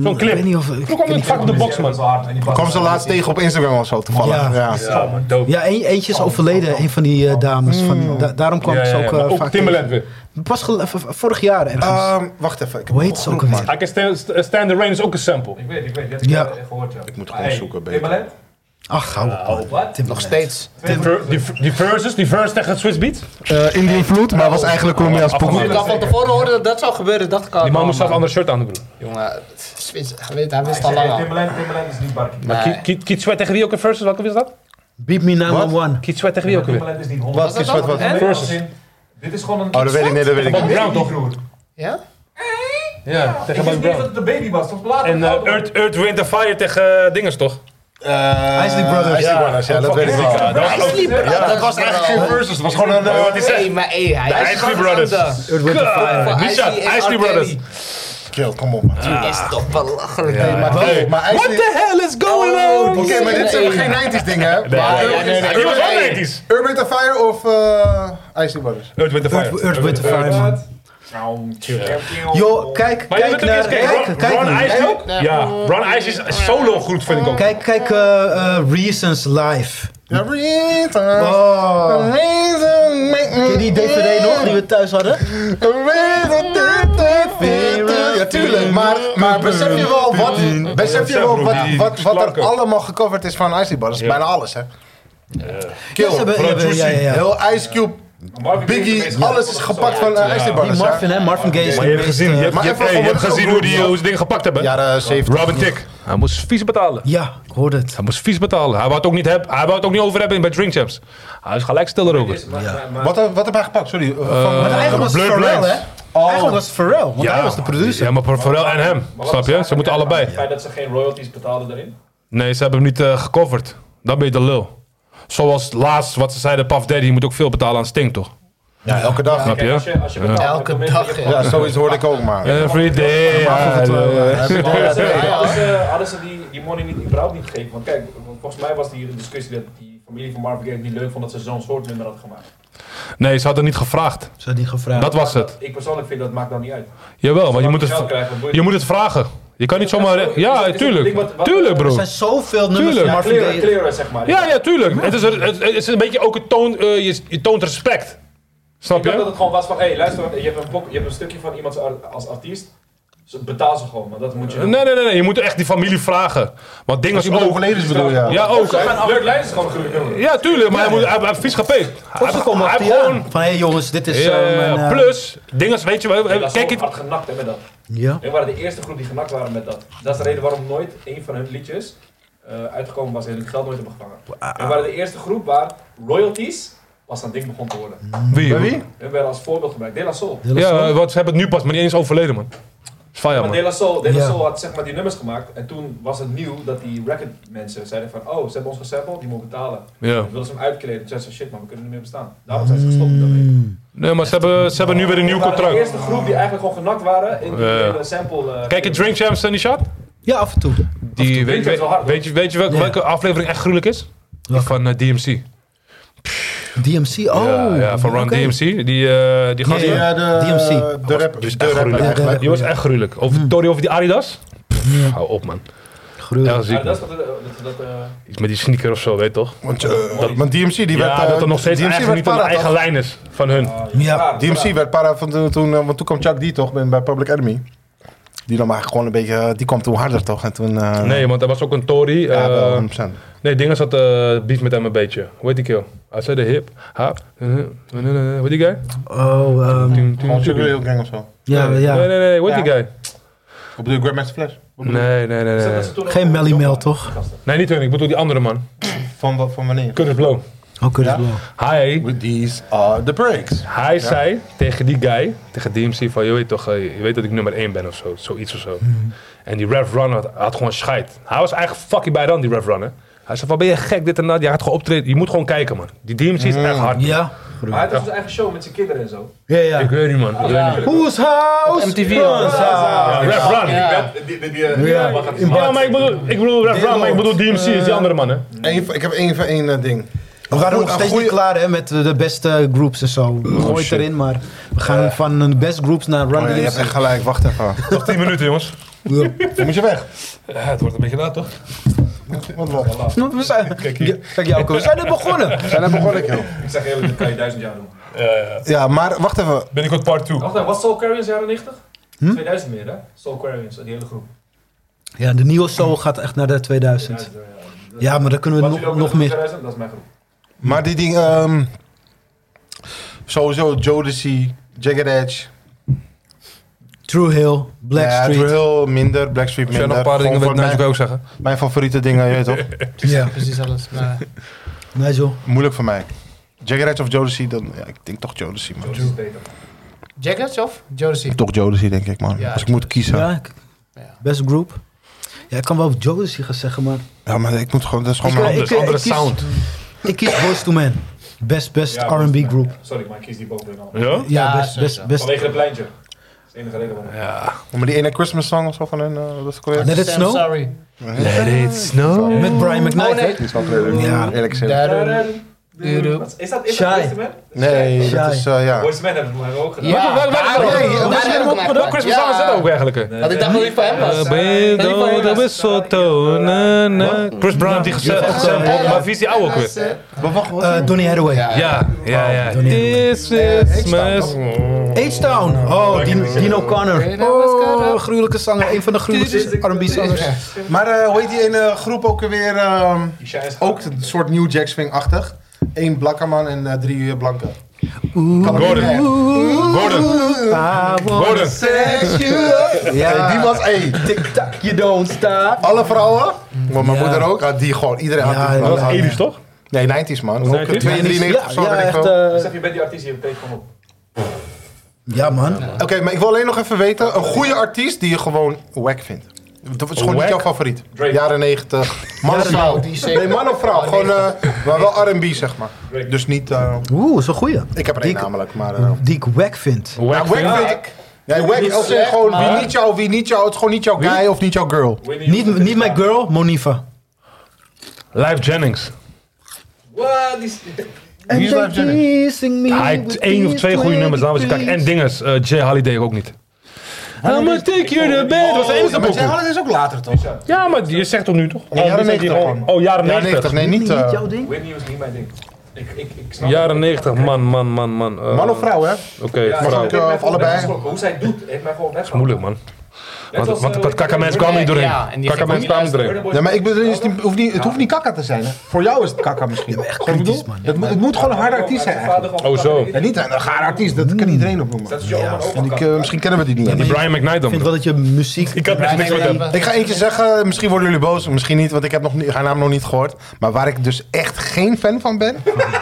B: Zo'n
H: Ik weet
B: clip.
H: niet of...
B: Toen kwam het vaak op de box, man.
C: Ik kwam ze laatst tegen op Instagram of zo toevallig.
H: Ja.
C: Ja.
B: Ja, man, dope.
H: Ja, een- eentje is overleden, een van die eh, dames. Van, da- daarom kwam
B: Ja,
H: ze
B: ja, ja,
H: ook
B: maar
H: eh,
B: ook
H: vaak
B: Timbaland weer.
H: tegen. Pas gel- v- v- vorig jaar ergens.
C: Ehm, Wacht even. ik heb
H: Hoe heet
C: nog
H: ze ook
C: genoeg,
H: alweer?
B: I Can Stand, Stand the Rain is ook een sample.
I: Ik weet, ik weet. Dat
H: Ja.
I: heb ik gehoord, ja. Ik
C: moet gewoon zoeken, beter.
I: Timbaland?
H: Ach, hou op. man.
I: Wat?
H: Timbaland.
N: nog steeds.
B: Die ver- Die, die verses, die verse tegen Swiss Beat.
C: Eh, Indian Vloed, maar was eigenlijk Colombiaans
N: Toen ik
C: pokoe.
N: al van tevoren hoorde dat dat zou gebeuren, dacht ik al.
B: Die man moest zelf
N: oh,
B: een ander shirt aan doen.
N: Jongen, het is- hij weet- hij wist al lang
I: Hey,
N: al.
I: Timbaland, Timbaland is niet Barkie.
B: Maar
N: Nee.
B: Ki- Ki- Kiet Sweat tegen wie ook een versus? Welke was dat?
H: Beat me 911.
B: Kiet Sweat tegen wie ook weer?
I: Timbaland is niet 100.
C: is wat wat?
I: En?
B: Versus.
I: Als in, Dit is gewoon een...
C: Oh, dat weet ik niet, dat weet ik
B: Bob
C: niet.
B: Brown toch?
I: broer.
N: Ja?
B: Ja,
I: Ik
B: tegen
I: wist
B: Bob
I: niet eens dat
B: Brown.
I: het de baby was. Tot later.
B: En eh, Earth, Earth, Wind and Fire tegen eh, dinges toch?
C: Isley
H: Brothers.
C: Isley Brothers, ja, dat weet ik wel.
B: Ja, dat was ook-
C: Ja, dat was eigenlijk geen versus, het was gewoon een... eh,
B: Wat is
N: Nee, maar hé, hij
B: De
N: is
B: Isley
N: gewoon
B: Brothers.
N: aan de-
H: Earth, Wind and Fire.
N: Voor
B: Misha,
N: Isley en
B: Isley
N: R.
B: Brothers.
N: Kelly.
C: Kill, kom op man.
N: Die is toch belachelijk. hè?
C: Maar hey, maar
B: What
C: Isley...
B: the hell is going on?
C: Oh, Oké, maar dit zijn geen 90s dingen, hè? Maar-
B: nee, nee, nee. Die was wel 90s.
C: Urban the Fire of eh Isley Brothers?
B: Earth, Wind and Fire.
H: Earth, Earth, Wind and Fire, man. Yo, kijk,
B: Maar je
H: kijk
B: moet ook eens
H: naar...
B: kijken.
H: Kijk,
B: Ron
H: kijk,
B: Ice
H: nu.
B: ook? Ja, Ron Ice is solo goed, vind ik ook.
H: kijk, kijk eh, eh, Reasons Live.
C: The
B: Hm.
C: reason,
H: Oh.
C: reason make me...
H: Ken je die DVD nog die we thuis hadden?
C: The reason did that fit. Ja, tuurlijk, maar, maar besef je wel wat, besef je wel wat, wat, wat er allemaal gecoverd is van Isley Brothers? Bijna alles, hè?
H: Ja, ze
C: Kill,
H: hebben- ja,
C: Bro Juicy,
H: ja, ja, ja.
C: heel Ice Cube, Biggie, alles is gepakt van eh, Isley
H: Die
C: Brothers, hè?
H: Marvin, hè? Marvin Gaye is
B: Maar
H: de
B: je hebt
H: meest,
B: gezien, je
H: eh,
B: hebt,
C: maar
B: je hebt,
C: even
B: hey, je
C: gewoon
B: hebt
C: wat
B: gezien
C: ze
B: hoe die
C: doen,
B: hoe ze dingen gepakt hebben.
C: Jaren 70.
B: Robin Tick. Hij moest vies betalen.
H: Ja, ik hoorde het.
B: Hij moest vies betalen. Hij wou het ook niet, heb, hij wou het ook niet over hebben bij Drink Champs. Hij is gelijk stil erover.
C: Wat, wat heb hij gepakt? Sorry. eh, van-
H: Maar eigenlijk was het
B: Blurred
H: Pharrell, hè?
B: Lines.
H: Eigenlijk was het Pharrell, want hij was de producer.
B: Oh. Ja, maar voor Pharrell en hem. Snap je? Ze moeten allebei.
I: Het feit dat ze geen royalties betaalden daarin.
B: Nee, ze hebben hem niet eh, gecoverd. Dan ben je de lul. Zoals laatst wat ze zeiden, Puff Daddy, je moet ook veel betalen aan Sting, toch?
C: ja, elke dag.
B: Snap
I: Kijk, als
B: je?
I: je, als je betaalt,
N: Elke
I: dan ben je-
N: dag,
I: je-
N: ja.
C: Ja, zoiets hoorde ik ook maar.
B: Every day. eh, I love-
I: Hadden ze, hadden ze, hadden ze die, die money niet, überhaupt niet gegeven? Want kijk, want volgens mij was hier een discussie dat die familie van Marvin Gaye het niet leuk vond dat ze zo'n soort nummer
B: eh,
I: had gemaakt.
B: Nee, ze hadden niet gevraagd.
H: Ze had niet gevraagd.
B: Dat was het.
I: Ik persoonlijk vind dat maakt dan niet uit.
B: Jawel, want je moet
I: Zolang je geld
B: het,
I: krijgt, dan moet je-
B: je moet het vragen. Je kan niet zomaar... Ja, tuurlijk. Tuurlijk,
H: Er
B: bro.
H: zijn zoveel nummers
B: Tuurlijk.
H: van Marvin
B: Ja,
H: Gaye.
B: zeg maar. Ja, ja, tuurlijk. Het is, er- het, het is een beetje ook het toon, eh, je, je toont respect. Snap
E: Ik dacht dat
B: je?
E: het gewoon was van, hé, hey, luister, je hebt, een bok, je hebt een stukje van iemand als- als artiest. Dus betaal ze gewoon, maar dat moet je...
B: Nee, nee, nee, nee. Je moet echt die familie vragen. Want dingen
E: Als
B: als
E: iemand
B: ook...
E: overleden is, bedoel je?
B: Ja, ook.
E: Leuk Lijn is gewoon een gruwelijk nummer.
B: Ja, tuurlijk. Maar hij, moet, hij, hij heeft vies gepeerd. Hij, hij, hij heeft gewoon...
H: Van, hé jongens, dit is...
B: Ja,
H: eh,
B: ja, ja.
H: mijn, eh,
B: Plus, dingen als, weet je wel...
E: Ja, dat
B: Kijk,
E: is
B: het-
E: hard genakt hè, met dat.
H: Ja.
E: We waren de eerste groep die genakt waren met dat. Dat is de reden waarom nooit een van hun liedjes eh, uitgekomen was en hun geld nooit hebben gevangen. We waren de eerste groep waar royalties pas aan ding begon te worden.
B: Wie?
E: Bij
B: Wie?
E: We werden als voorbeeld gebruikt. Mm. De La Soul.
B: Ja, want ze hebben het nu pas, maar niet eens overleden, man. Is fijn,
E: Maar De
B: man.
E: La Soul, De La
B: Ja.
E: Soul had zeg maar die nummers gemaakt en toen was het nieuw dat die record mensen zeiden van oh, ze hebben ons gesampled, die moeten betalen.
B: Ja.
E: Dan wilden ze hem uitkleden. Toen zeiden ze shit man, we kunnen er niet meer bestaan. Daarom zijn ze gestopt daarmee.
B: Nee, maar ze hebben, ze hebben nu weer een nieuw
E: We waren de
B: contract.
E: eerste groep die eigenlijk gewoon genakt waren in die
B: Ja.
E: hele sample. eh,
B: Kijk je Drink Champs en die shot?
H: Ja, af en toe.
B: Die, weet, weet, weet je, weet je welke, welke aflevering echt gruwelijk is? Die van eh, DMC.
H: DMC, oh.
B: Ja, ja, van Run
H: oké.
B: DMC. Die, eh die gast.
H: Nee, eh, de- DMC. de
B: Die was-
H: rapper.
C: Dus
B: Die was echt
H: De rapper
B: gruwelijk.
H: eigenlijk.
B: Die was echt gruwelijk. Over Tori over die Adidas. Hmm. Pff, Hou op, man. Ja,
E: Ja,
B: ziek,
E: dat
B: man.
E: is dat, eh, dat, dat, eh,
B: Iets met die sneaker of zo, weet toch?
C: Want, eh, want DMC die
B: ja,
C: werd, eh,
B: dat er nog steeds
C: DMC
B: eigenlijk niet
C: werd
B: een
C: para,
B: eigen
C: toch?
B: lijn is van hun.
C: Ja, DMC werd para van toen, toen, eh, want toen kwam Chuck D toch bij- bij Public Enemy. Die nam eigenlijk gewoon een beetje, eh, die kwam toen harder toch? En toen, eh,
B: Nee, want er was ook een Tory. eh,
C: Ja, wel, 100%.
B: Nee, Dingen zat eh beef met hem een beetje. Hoe heet die kill? Hij zei de hip, hap, eh, eh, eh, eh, hoe heet die guy?
H: Oh, ehm,
C: Gewoon Sugar Hill Gang of zo.
H: Ja, ja.
B: Nee, nee, nee, hoe heet die guy?
C: Wat bedoel je, Grandmaster Flash?
B: Nee, nee, nee, nee.
H: Geen Melly Mel, toch?
B: Nee, niet hun, ik bedoel die andere man.
C: Van, wat- van wanneer?
B: Curtis Blow.
H: Oh, Curtis Blow.
B: Hij...
C: With these are the breaks.
B: Hij
C: Ja.
B: zei tegen die guy, tegen DMC van, je weet toch, eh, je weet dat ik nummer 1 ben of zo, zoiets of zo.
H: Mhm.
B: En die Rev Run had, had gewoon scheid. Hij was eigenlijk fucking bij dan, die Rev Runner. Hij zei van, ben je gek, dit en dat. Je had gewoon optreden, je moet gewoon kijken, man. Die DMC is echt hard.
H: Mhm. Ja.
E: Maar hij had zijn eigen show met zijn kinderen en zo.
H: Ja, ja.
B: Ik weet niet, man. Ik weet niet.
H: Who's house?
E: MTV.
H: runs
B: Ja,
H: house?
B: Rev Run.
C: Ja,
B: Ja, maar ik bedoel, ik bedoel Rev Run, maar ik bedoel DMC is die andere man, hè.
C: Eén van- ik heb één van één eh, ding.
H: We waren nog
C: Een
H: steeds
C: goeie- Oh,
H: niet klaar hè, met eh, de beste groups en zo. Gooi het
C: shit. Eh.
H: erin, maar we gaan van de best groups naar Run
C: Oh, je hebt
H: DMC.
C: echt gelijk, wacht even.
B: Nog 10 minuten, jongens.
H: Ja.
C: Dan moet je weg.
B: het wordt een beetje laat, toch?
C: Wat wat?
H: We zijn, kijk jou, Koos, we zijn net begonnen.
C: Zijn er begonnen, joh.
E: Ik zeg eerlijk, dat kan je duizend jaar doen.
C: Ja, maar wacht even.
B: Binnenkort part 2.
E: Wacht even, was Soul Carrions jaren 90?
H: Hm?
E: 2000 meer, hè? Soul Carrions, die hele groep.
H: Ja, de nieuwe soul gaat echt naar de 2000. Ja, maar dan kunnen we
E: Wat jullie
H: nog,
E: ook
H: nog
E: doen in
H: meer.
E: 2000, dat is mijn groep.
C: Maar die ding, ehm sowieso Jodeci, Jagged Edge.
H: True Hill, Blackstreet.
C: Ja, True Hill minder, Blackstreet
B: jij
C: minder.
B: nog een paar dingen
C: Gewoon
B: weet,
C: van
B: nou, zou ik
C: mijn-
B: ook zeggen.
C: Mijn favoriete dingen, je weet toch?
H: Ja,
G: Precies alles. Maar
H: Nigel.
C: Moeilijk voor mij. Jagged Edge of Jodeci, dan, ja, ik denk toch Jodeci, man.
G: Jaggers of Jodeci?
C: Toch Jodeci, denk ik, man.
G: Ja.
C: Als ik moet kiezen.
H: Ja,
C: Ja,
H: ik- best group. Ja, ik kan wel Jodeci gaan zeggen, maar...
C: maar ik moet gewoon, dat is gewoon
H: Ik, eh,
C: mijn
H: ik, eh, ik kies- Ik kies Boyz II Men. Best, best
E: Ja,
H: R&B
E: Boyz II
H: group.
E: Sorry, maar ik kies die bovenin al.
B: Ja?
H: Ja, best, best, best.
E: Vanwege het pleintje. Dat is de enige reden waarom.
C: Maar die ene Christmas song of zo van hun, eh, dat is correct.
H: Let it
G: Sam,
H: snow.
G: Sorry.
B: Let it snow.
H: Met Brian
G: Oh,
N: Oh,
H: McKnight. hè?
C: Die is wel leuk.
H: Ja.
C: Eerlijk gezegd.
G: Daarom.
E: Wat- Is dat is dat
H: Shy.
E: Boyz II Men?
C: Nee, dat is, eh, ja.
E: Boyz II Men hebben we hebben we ook gedaan.
G: Ja,
B: Welke- welke- welke-
G: daarom.
C: welke-
G: Daarom
C: welke-
G: heb
B: Welke
G: ik hem
B: welke-
G: gepakt.
B: welke Christmas
G: Ja.
B: song is dat ook eigenlijk? hè?
G: Want ik dacht dat die van hem was.
B: Eh, ben je
G: Dat die van hem
B: dood,
G: was.
B: dat is zo to- na, na. Chris Brown heeft die
H: Ja.
B: gezegd. Maar wie is die oude ook weer?
H: Eh, Donny Hathaway.
B: Ja, ja, Oh, ja.
H: Donnie
B: This is mess.
H: H-Town. Oh, Dean, Dean O'Connor. Oh, gruwelijke zanger. Een van de gruwelijkste R&B-zangers.
C: Maar eh, hoe heet die ene groep ook weer? ehm,
E: Die Shy is
C: ook een soort New Jack Swing-achtig. Eén blakke man en eh, drie uur blanke. Kan
B: Gordon.
C: niet meer.
B: Gordon. Gordon.
H: Ja.
C: Hey, die was één.
H: Tik-tak, you don't stop.
C: Alle vrouwen, maar mijn
H: Ja.
C: moeder ook, had die gewoon. Iedereen had
H: Ja,
C: die
H: ja,
B: Dat
C: vrouw.
B: was 80's toch?
C: Nee, 90s man. Ook
B: 90s?
C: 92 of zo,
H: Ja,
C: weet ik
H: echt...
C: veel.
H: eh,
E: Zeg, je bent die artiest hier, betekent gewoon op.
H: Ja, man.
C: Oké, maar ik wil alleen nog even weten, een goede artiest die je gewoon wack vindt. Dat is gewoon
B: Wack?
C: niet jouw favoriet.
E: Drake.
C: Jaren 90. Man of
H: Jaren
C: vrouw.
G: 90, zeker.
C: Nee, man of vrouw. Gewoon, eh, maar wel R&B zeg maar.
E: Drake.
C: Dus niet... eh,
H: Oeh, zo'n goeie.
C: ik heb er één
H: Die ik-
C: namelijk, maar... eh
H: Die ik wack vind.
C: ja,
B: Wack.
C: wack vind ik... Nee, wack als in gewoon wie niet jou, wie niet jou. Het is gewoon niet jouw guy of niet jouw girl.
E: Whitney
H: Niet,
E: Houston.
H: niet mijn girl, Monifa.
B: Live Jennings.
E: Wow, die is-
C: Wie is Life Jennings?
B: Hij heeft één of twee goede nummers, dames en heren. En dinges. eh, Jay Holiday ook niet. I'ma take you to bed. Dat was de enige
C: maar
B: pokoe.
C: Jaren is ook later, toch?
B: Ja, maar je zegt toch nu toch?
C: Nee, jaren 90 gewoon.
B: Oh, jaren
C: Jaren
B: 90.
C: 90, nee, niet, eh, Niet jouw
E: ding? Whitney was niet mijn ding. Ik, ik, ik snap
B: Jaren 90, man, man, man, man. Eh,
E: Man of vrouw, hè?
B: Oké,
E: Ja,
B: vrouw.
E: ik heb
C: eh,
E: mij gewoon weggesproken. Hoe zij het doet, heeft mij gewoon
B: Dat is
E: weggehaald.
B: moeilijk, man.
E: Net
B: Want,
E: als,
B: want,
E: eh,
B: want kakkermens kwamen niet doorheen.
E: Ja, en die
B: Kakkermens
E: ging ook
B: kwamen
E: niet
B: niet doorheen.
E: luisteren.
C: Nee, maar ik bedoel, het, is niet- hoeft niet, het hoeft niet kakka te zijn. Hè. Voor jou is het kakka misschien. Ja, echt kritisch, man. Het, moet- het moet gewoon een harde artiest zijn eigenlijk.
B: Oh, zo.
C: En niet een harde artiest, Hmm. dat kan iedereen opnoemen. En ik, eh, misschien kennen we die niet.
B: Die Brian McKnight dan.
H: Ik vind wel dat je muziek... Ik
B: had echt niks met hem.
C: Ik ga eentje zeggen, misschien worden jullie boos, misschien niet, want ik heb nog niet, haar naam nog niet gehoord. Maar waar ik dus echt geen fan van ben.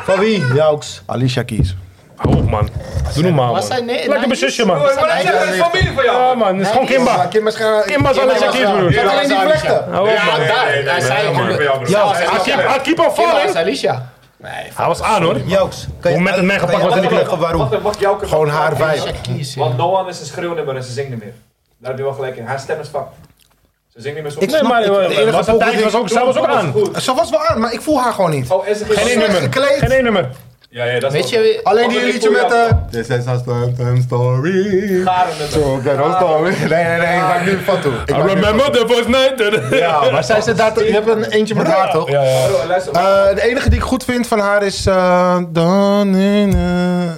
C: van wie? Jouks. Alicia Keys.
B: Hou op, man. Doe normaal, man.
N: Was hij nee?
B: Lekker mijn zusje, man.
N: Was hij
E: Dat is familie van jou.
B: Ja, man. Het is gewoon Kimba.
C: Kim is gaan...
B: Kimba is Alicia Keys, broer.
C: Zet alleen die vlechten.
B: Hou op, man.
N: daar, daar zei ik hem.
B: Ja, hij keep- hij keep on
N: Kim was
B: falling.
N: Alicia.
B: Hij was aan, hoor.
H: Jouks. kan je-
B: Hoe met een man
H: kan je
B: gepakt wordt in de club.
H: uitleggen Waarom?
E: Wacht, wacht, jouw
C: Gewoon haar vijf.
N: Kies, ja.
E: Want Noah is een schreeuwnummer en ze zingt niet meer. Daar heb je wel gelijk in. Haar stem is fucked. Ze zingt niet meer zo
B: Nee, maar
C: enige
B: eh, was een
C: pokoe
B: tijdje
C: die-
B: was ook, zij was ook aan.
E: goed.
C: Ze was wel aan, maar ik voel haar gewoon niet.
E: Oh, en ze ging
B: Geen één nummer.
C: Gekleed.
B: Geen één nummer.
E: Ja, ja, dat is
N: Weet je,
C: Alleen die
E: Oh, dat
C: liedje
E: ik voel
C: met...
E: jou.
C: eh, This is a Slantum story.
E: Garen nummer.
C: So get on story. Nee, nee, nee, ik maak nu van toe. Ik
B: I
C: maak nu van
B: remember
C: toe.
B: the first night.
C: Ja, maar zij zit daar... toch- Je hebt een eentje met haar, toch?
B: Ja, ja.
E: Bro, luister.
C: Eh, de enige die ik goed vind van haar is. eh dan in. eh,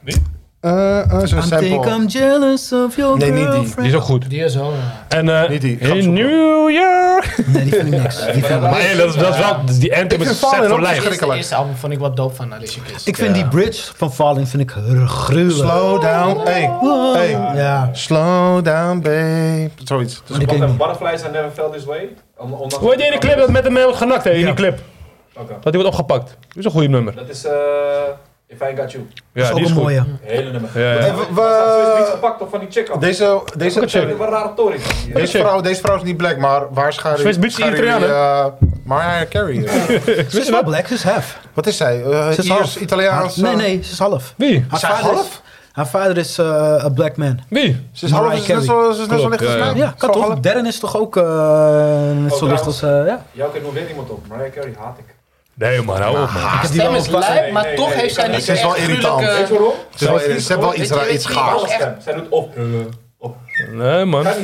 B: Wie?
C: eh, eh, Zo'n
H: I think
C: sample.
H: I'm jealous of your
C: Nee, niet die.
H: girlfriend.
B: Die is ook goed.
N: Die is wel.
B: En eh,
C: Niet die. Ga hem
B: in New York.
H: Nee, die vind ik niks. Die vind ik-
B: Maar hey, dat is, dat is wel, dus die anthem
C: Ik
B: is
C: vind Fallen
B: set voor
C: ook
B: lijf.
C: echt-
N: Eerste,
C: Verschrikkelijk.
N: eerste album vond ik wat dope van Alicia Keys.
H: Ik vind die bridge van Falling vind ik gruwelijk.
C: Slow down, hey, hey.
H: Ja.
C: Slow down, babe. Zoiets. Dus
H: Ik
E: Wacht
H: denk
E: even,
H: niet.
E: Butterflies are never felt this way. On- ondanks-
B: Hoe heet die ene clip dat met een man wordt genakt, hè? In die
H: Ja.
B: clip.
E: Oké.
B: Dat die wordt opgepakt. Dat is een goede nummer.
E: Dat is eh, If I Got You.
B: Ja,
H: dat is
B: die
H: ook
B: is
H: een
B: goed.
H: mooie.
E: Hele nummer.
B: Ja, ja.
C: Eh, we- we-
E: Ze is niet gepakt toch van die chick af.
C: deze, deze,
B: Ook een chick.
E: Wat een rare toren.
B: Deze
C: deze,
B: chick.
C: vrouw, deze vrouw is niet black, maar waar scharen
B: Ze is bitch
C: scharen
B: Italiaan,
C: jullie, eh, Mariah Carey. eh?
H: Ze is wel black, ze is half.
C: Wat is zij? Eh,
H: Ze is half.
C: Iers, Italiaans?
H: Haar- Nee,
C: eh,
H: nee, ze is half.
B: Wie?
H: Haar
C: Zij
H: vader is-
C: half?
H: Haar vader is eh, een black man.
B: Wie?
C: Ze is half, ze is net
H: Mariah
C: zo, ze is net zo
B: Klopt,
C: licht
B: ja,
C: als
B: ja.
C: mij.
H: Ja, kan
C: Zo
H: toch?
C: half.
H: Darren is toch ook eh, net zo licht als... eh, ja.
E: Jouw keer noemt weer iemand op. Mariah Carey haat ik.
B: Nee, man, hou op, man.
N: Haar stem is lijp, maar
E: nee,
N: toch
E: nee,
N: heeft zij
E: nee,
N: niet
C: ze is wel
N: echt
C: irritant.
N: gruwelijke-
E: Weet je waarom?
C: Ze is wel- ze hebben wel iets,
N: Weet je,
C: iets
N: weet je,
C: gaars.
E: Haar stem. Zij doet op. eh, op.
B: Nee, man.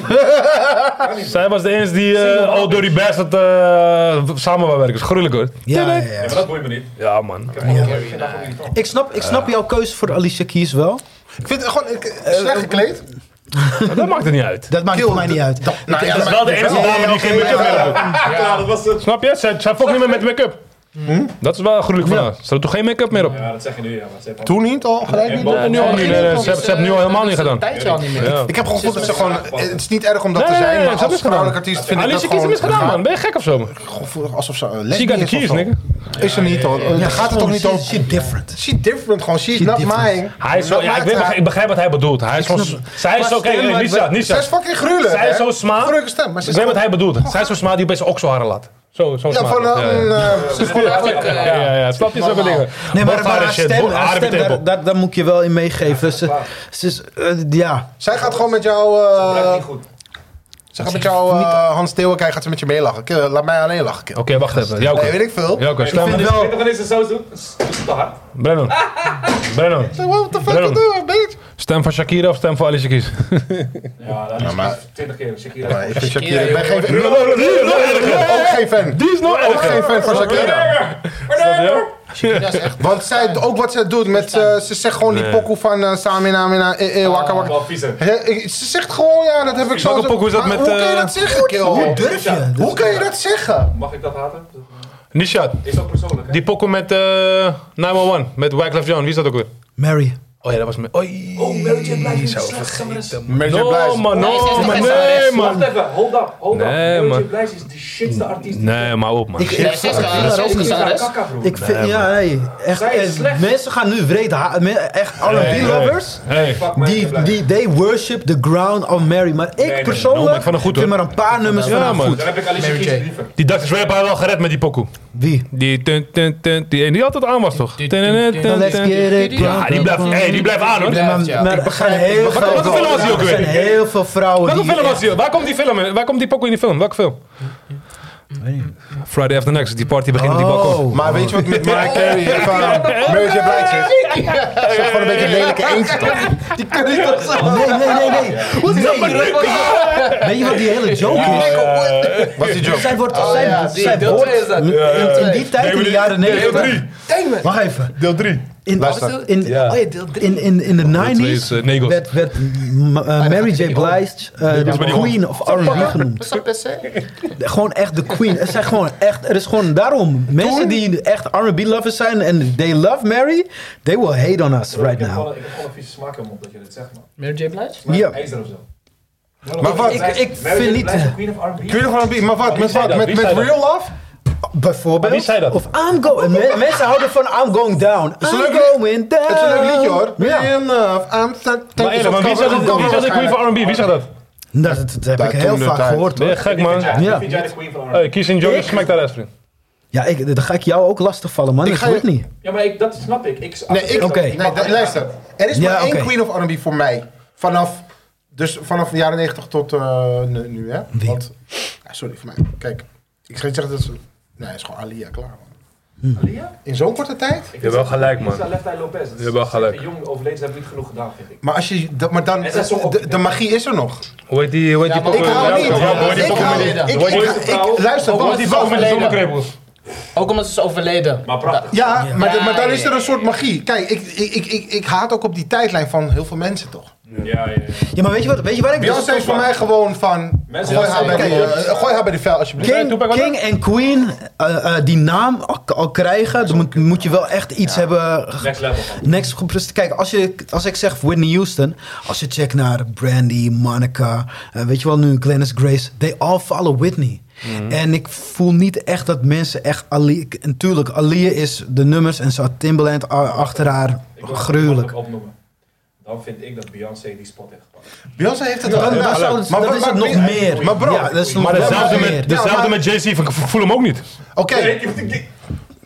B: Zij was de enige die
E: Single
B: eh
E: man.
B: al door die bastard eh samen wou werken. Is gruwelijk, hoor.
H: Ja, ja, ja.
E: Ja, maar dat boeit me niet.
B: Ja, man.
E: Ik heb gewoon- ik vind dat gewoon irritant.
H: Ik snap, ik snap jouw keuze voor Alicia Keys wel.
C: Ik vind het gewoon ik,
B: Eh,
C: slecht gekleed.
B: Maar dat maakt er niet uit.
H: Dat maakt
C: Kill,
H: voor mij niet uit.
C: Nou ja,
B: Dat is wel de enige dame die geen make-up meer had.
E: Ja, dat was het.
B: Snap je? Zij, zij fokt niet meer met make-up. Dat is wel gruwelijk van haar. Ze doet toch geen make-up meer op?
E: Ja, dat zeg je nu. Ja, maar ze heeft al-
C: Toen niet al, gelijk niet.
B: Nee, nu al niet. Nee, nee, ze hebben ze hebben nu al helemaal niet gedaan.
N: Tijdje al niet meer.
B: Ja.
C: Ik heb gewoon gevoeld dat ze gewoon. Het is niet erg om dat
B: Nee,
C: te
B: nee,
C: zijn,
B: nee, ze
C: maar
B: hebben het
C: als vrouwelijk
B: gedaan.
C: artiest vind ik
B: Alicia
C: dat
B: Keys heeft
C: gewoon.
B: misgedaan, man. Ben je gek of zo?
C: gewoon voelen alsof ze een
B: She got
C: lesbisch
B: the
C: is. of
B: keys,
C: zo.
B: nigga.
C: Is ze niet hoor. Daar gaat het toch niet om.
H: Shit different.
C: She different gewoon. She's not
H: different.
C: mine.
B: Hij is zo, ja, ik, weet,
C: Not
B: ik begrijp wat hij bedoelt. Hij is gewoon, zij is zo, kijk, Nisha,
C: mine. Zij
B: Nisha.
C: is fucking gruwelijk.
B: Zij is
C: hè?
B: zo sma.
C: Gruwelijke stem. Maar ze
B: Ik
C: is
B: weet wat hij bedoelt. Zij is zo'n sma die opeens zijn okselharen laat. Zo, zo'n
C: Ja,
B: sma.
C: van
B: ja, ja.
C: een. eh, Ze is gewoon.
N: Eigenlijk, eh,
B: ja, ja, ja. Snap je zulke dingen?
H: Nee, maar,
B: Borsthaar
H: maar haar
B: en shit,
H: stem,
B: bo-
H: haar
B: haar
H: stem,
B: met
H: daar,
B: tepel.
H: daar, daar moet je wel in meegeven. Ze, ze is, eh, ja.
C: Zij gaat gewoon met jou.
E: Dat blijft niet
C: eh,
E: goed.
C: Ze gaat met jou, eh, Hans Theo kijken, gaat ze met je meelachen. Kill, Laat mij alleen lachen. kill.
B: Oké, wacht even.
C: Nee,
B: Jouke.
C: weet ik veel.
B: Jouke,
E: Ik vind
B: stem.
E: het wel. Ik vind het zo doen. Dat is te hard.
B: Brennan. Brennan.
C: What the fuck
B: Brennan.
C: you doing, bitch?
B: Stem van Shakira of stem van Alicia Keys?
E: Ja, dat is
C: maar-
E: 20 keer. Shakira.
C: Maar Ik vind Shakira.
N: Ja,
C: Ik ben geen.
B: Die is nog erger.
C: Ook geen fan.
B: Die is nog
C: Ook geen
B: erger.
C: fan van Shakira.
N: Dat is echt
C: Want zij, ook wat zij doet, met, eh, ze zegt gewoon die pokoe van eh Samina, Mina, eh, eh, waka, waka.
E: Wel viezer.
C: Hè, ik- Ze zegt gewoon, ja, dat heb ik zo.
B: Welke pokoe is dat
C: Maar
B: met,
C: Hoe kan je
B: eh,
C: dat zeggen, kill? Hoe durf je? Hoe kan je dat zeggen?
E: Mag ik dat haten?
B: Nisha,
E: Is ook persoonlijk, hè?
B: die pokoe met eh 911, met Wyclef John. Wie is dat ook weer?
H: Mary.
B: Oh ja, dat was met... Oei.
E: Oh, Mary J. Blige is de slechtste zangeres.
C: Major
B: No,
C: Blaze.
B: man, no, man, nee, man.
E: Wacht even, hold up, hold up.
B: Nee,
E: Mary
B: man.
E: J. Blige is de shitste artiest. die
B: Nee, maar op, man.
H: Ik,
N: Zij
H: ik,
N: is echt een
E: er is.
N: racistische
E: Ze is
N: zangeres.
E: een kakka, broer.
H: ik vind,
B: Nee,
H: ja, nee. Echt,
E: Zij is
H: eh,
E: slecht.
H: mensen gaan nu wreed ha- me- Echt,
B: nee.
H: R&B-lovers.
B: Hey.
E: Fuck Mary J.
H: Die,
E: Blige.
H: die, they worship the ground of Mary. Maar ik
E: nee.
H: persoonlijk
B: Oh, maar ik vond het goed,
H: vind
B: hoor.
H: maar een paar nummers
B: Ja,
H: van haar
B: man.
H: goed.
E: Dan heb ik Alicia
N: Mary
E: Keys
N: J.
E: liever.
B: Die Dutch Rap had wel gered met die pokoe.
H: Wie?
B: Die tun, tun, tun, die en die altijd aan was toch? Tun, tun, tun,
H: Dan let's
B: tun.
H: get it.
B: Ja, die blijft, hey, die blijft aan hoor.
N: Ja,
H: Maar,
N: ja.
H: maar
C: Ik
H: er
C: begrijp-
H: zijn
C: ik
H: heel
C: begrijp-
H: veel-
B: Welke film was die ook
H: er
B: weer?
H: zijn heel veel vrouwen
B: Welke
H: die...
B: film was die? Waar komt die film in? Waar komt die pokoe in die film? Welke film? Friday After Next, die party
H: Oh.
B: begint in die
E: Oh.
B: bak ook.
C: Maar weet je wat met Mariah Carey van Mary J. Blige is? Dat is toch gewoon een beetje een lelijke eentje toch? Die kun je toch zo?
H: Nee, nee, nee, nee.
C: Wat is dat
H: Nee. Weet je wat die hele joke is?
C: Wat is die joke?
H: Zij wordt,
C: Oh,
H: zij,
C: ja, die-
H: zij
C: deel
H: wordt
C: twee is dat.
H: in-
C: Ja, ja,
H: in,
C: ja.
H: die tijd,
C: Deel
H: in de
C: drie.
H: jaren
C: Deel
H: 90.
C: drie.
H: Wacht even.
C: Deel 3.
H: In,
C: Luister.
H: in,
C: Ja.
H: oh ja, deel drie. in, in, in de
B: twee
H: 90s
B: is, eh, Negos.
H: werd, werd m- eh, Mary J. Blige eh,
B: Negos
H: de
B: bij die
H: queen of R&B genoemd.
N: What's up, PC?
H: De- Gewoon echt de queen. Er, zijn gewoon echt, er is gewoon daarom. Mensen die echt R&B lovers zijn en they love Mary, they will hate on us right
E: Ik heb
H: now.
E: gewoon- ik heb gewoon een vieze smaak in mijn mond dat je dit zegt, man.
G: Mary J. Blige?
E: Maar
H: Ja.
E: ijzer of zo.
C: Maar wat-
H: Ik- ik
E: Mary J.
H: vind
E: Blige,
H: niet-
E: Queen of R&B.
C: Queen of R&B, maar wat? Met wat? Met, met Real Love?
H: Bijvoorbeeld.
B: Wie zei dat?
H: Of I'm going. me- mensen houden van I'm going down.
C: is een
H: I'm
C: leuk lied.
H: going down.
C: Het is een leuk liedje hoor.
H: Ja.
C: Real Love, I'm
B: Maar, eerlijk, maar wie zegt dat- wie zegt de Queen van R&B? Wie zegt dat?
H: Dat, dat heb ik
C: toen
H: heel
C: de
H: vaak
C: tijd.
H: gehoord
B: Nee,
H: hoor.
B: gek man.
H: Ja.
E: Vind jij de Queen van R&B?
B: Hey, Kies in Jones, smaakt daar rest, vriend.
H: Ja, ik, dan ga ik jou ook lastig vallen, man.
C: Ik
H: Ik
C: ga
H: ga
C: je-
H: niet.
E: Ja, maar ik, dat snap ik. ik
C: Nee, ik,
H: Oké.
C: nee, dat- luister. Er is
H: Ja,
C: maar één
H: oké.
C: Queen of R&B voor mij. Vanaf, dus vanaf de jaren 90 tot eh, nu, nu, hè?
H: Wie?
C: Want, ja, sorry voor mij. Kijk, ik ga niet zeggen dat ze. Nee, het is gewoon Alia, klaar. Man.
B: Hm.
E: Alia?
C: In zo'n korte tijd?
B: Je hebt wel gelijk, man.
E: Lisa Left Eye Lopez. Dat is-
B: Je hebt wel gelijk.
E: de Jong overleden, ze hebben niet genoeg gedaan, vind ik.
C: Maar, als je, dat, maar dan,
E: En zij zong ook-
C: de, de magie is er nog.
B: Hoe heet die, hoe heet die
C: Ik hou niet.
B: Ja, hoe heet die
C: Ik
B: pokken
C: hou
B: met
C: ik-
B: die-
C: ik-
B: hoe heet die-
C: ik- ik- Luister,
B: hoe heet
C: wat?
B: die pokken met die
G: overleden.
B: zonnekreppels?
G: Ook omdat ze is overleden.
E: Maar prachtig.
C: Ja, maar,
G: Ja,
C: maar dan
G: ja,
C: is er
G: ja,
C: een soort magie. Kijk, ik, ik, ik, ik, ik haat ook op die tijdlijn van heel veel mensen toch.
E: Ja, ja, ja.
H: Ja, maar weet je wat, weet je wat ik dus
C: Beyoncé is voor mij gewoon van.
E: Mensen
C: Gooi
E: dat
C: haar bij
E: zeggen,
C: die, eh, gooi haar bij die vuil alsjeblieft.
H: King, King en Queen, eh, eh, die naam al, al krijgen, dan moet, moet je wel echt iets hebben. ge-
E: Next level, man.
H: Next gepresteerd. Kijk, als, je, als ik zeg Whitney Houston, als je checkt naar Brandy, Monica, eh, weet je wel nu, Glennis Grace, they all follow Whitney. En ik voel niet echt dat mensen echt Ali. En tuurlijk, Alia is de nummers en ze had Timbaland a- achter haar.
E: Ik wil het
H: Gruwelijk.
E: makkelijk opnoemen. Dan vind ik dat Beyoncé die spot heeft gepakt.
C: Beyoncé heeft het al.
H: Dan, dan
C: gedaan.
H: zou het-
C: Maar
H: dat
C: wat-
H: is het
C: maar-
H: nog meer.
C: Maar bro,
H: ja, dat is nog
B: Maar
H: wel
B: dezelfde
H: meer.
B: met, dezelfde
C: maar-
B: met Jay-Z, ik voel hem ook niet.
C: Oké,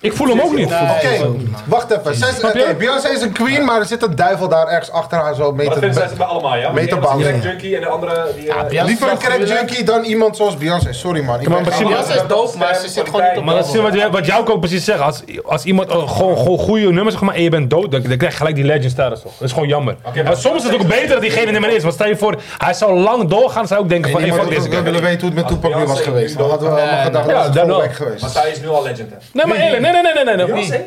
B: Ik voel hem ook niet.
E: Nou,
C: oké. Wacht even. Zij is-
B: Snap je?
C: oké, Beyoncé is een queen, maar er zit een duivel daar ergens achter haar zo mee
E: Maar dat
C: te...
E: vinden zij ze bij allemaal, ja?
C: Meter
E: een
C: bouwen.
E: crack junkie en de andere... Die, eh,
G: Beyoncé
C: Liever een
G: is wel
C: crack
G: gruwelijk.
C: junkie dan iemand zoals Beyoncé. Sorry man. Ik
B: maar
C: ben-
B: misschien-
G: Beyoncé is doof, maar ze zit gewoon niet op
B: Maar dat is wat, jij- wat jou ook precies zegt. Als, als iemand eh, gewoon, gewoon goede nummers zeg maar, en je bent dood, dan, dan krijg je gelijk die legend status toch. Dat is gewoon jammer.
E: maar-
B: maar soms is het ook beter dat diegene er meer is. Want stel je voor, hij zou lang doorgaan, zou ik denken van,
C: Nee,
B: hey,
C: maar
B: fuck
C: we
B: deze
C: we
B: guy.
C: willen weten hoe het met
E: Als
C: Tupac nu was
E: Beyoncé
C: geweest.
E: nu
C: Dan hadden we allemaal gedacht dat
B: Ja,
C: het
B: dan
C: gewoon
B: wel.
C: weg geweest.
E: Maar zij is nu al legend, hè?
B: Nee, maar eerlijk, nee, nee, nee, nee, nee. nee.
E: Beyoncé?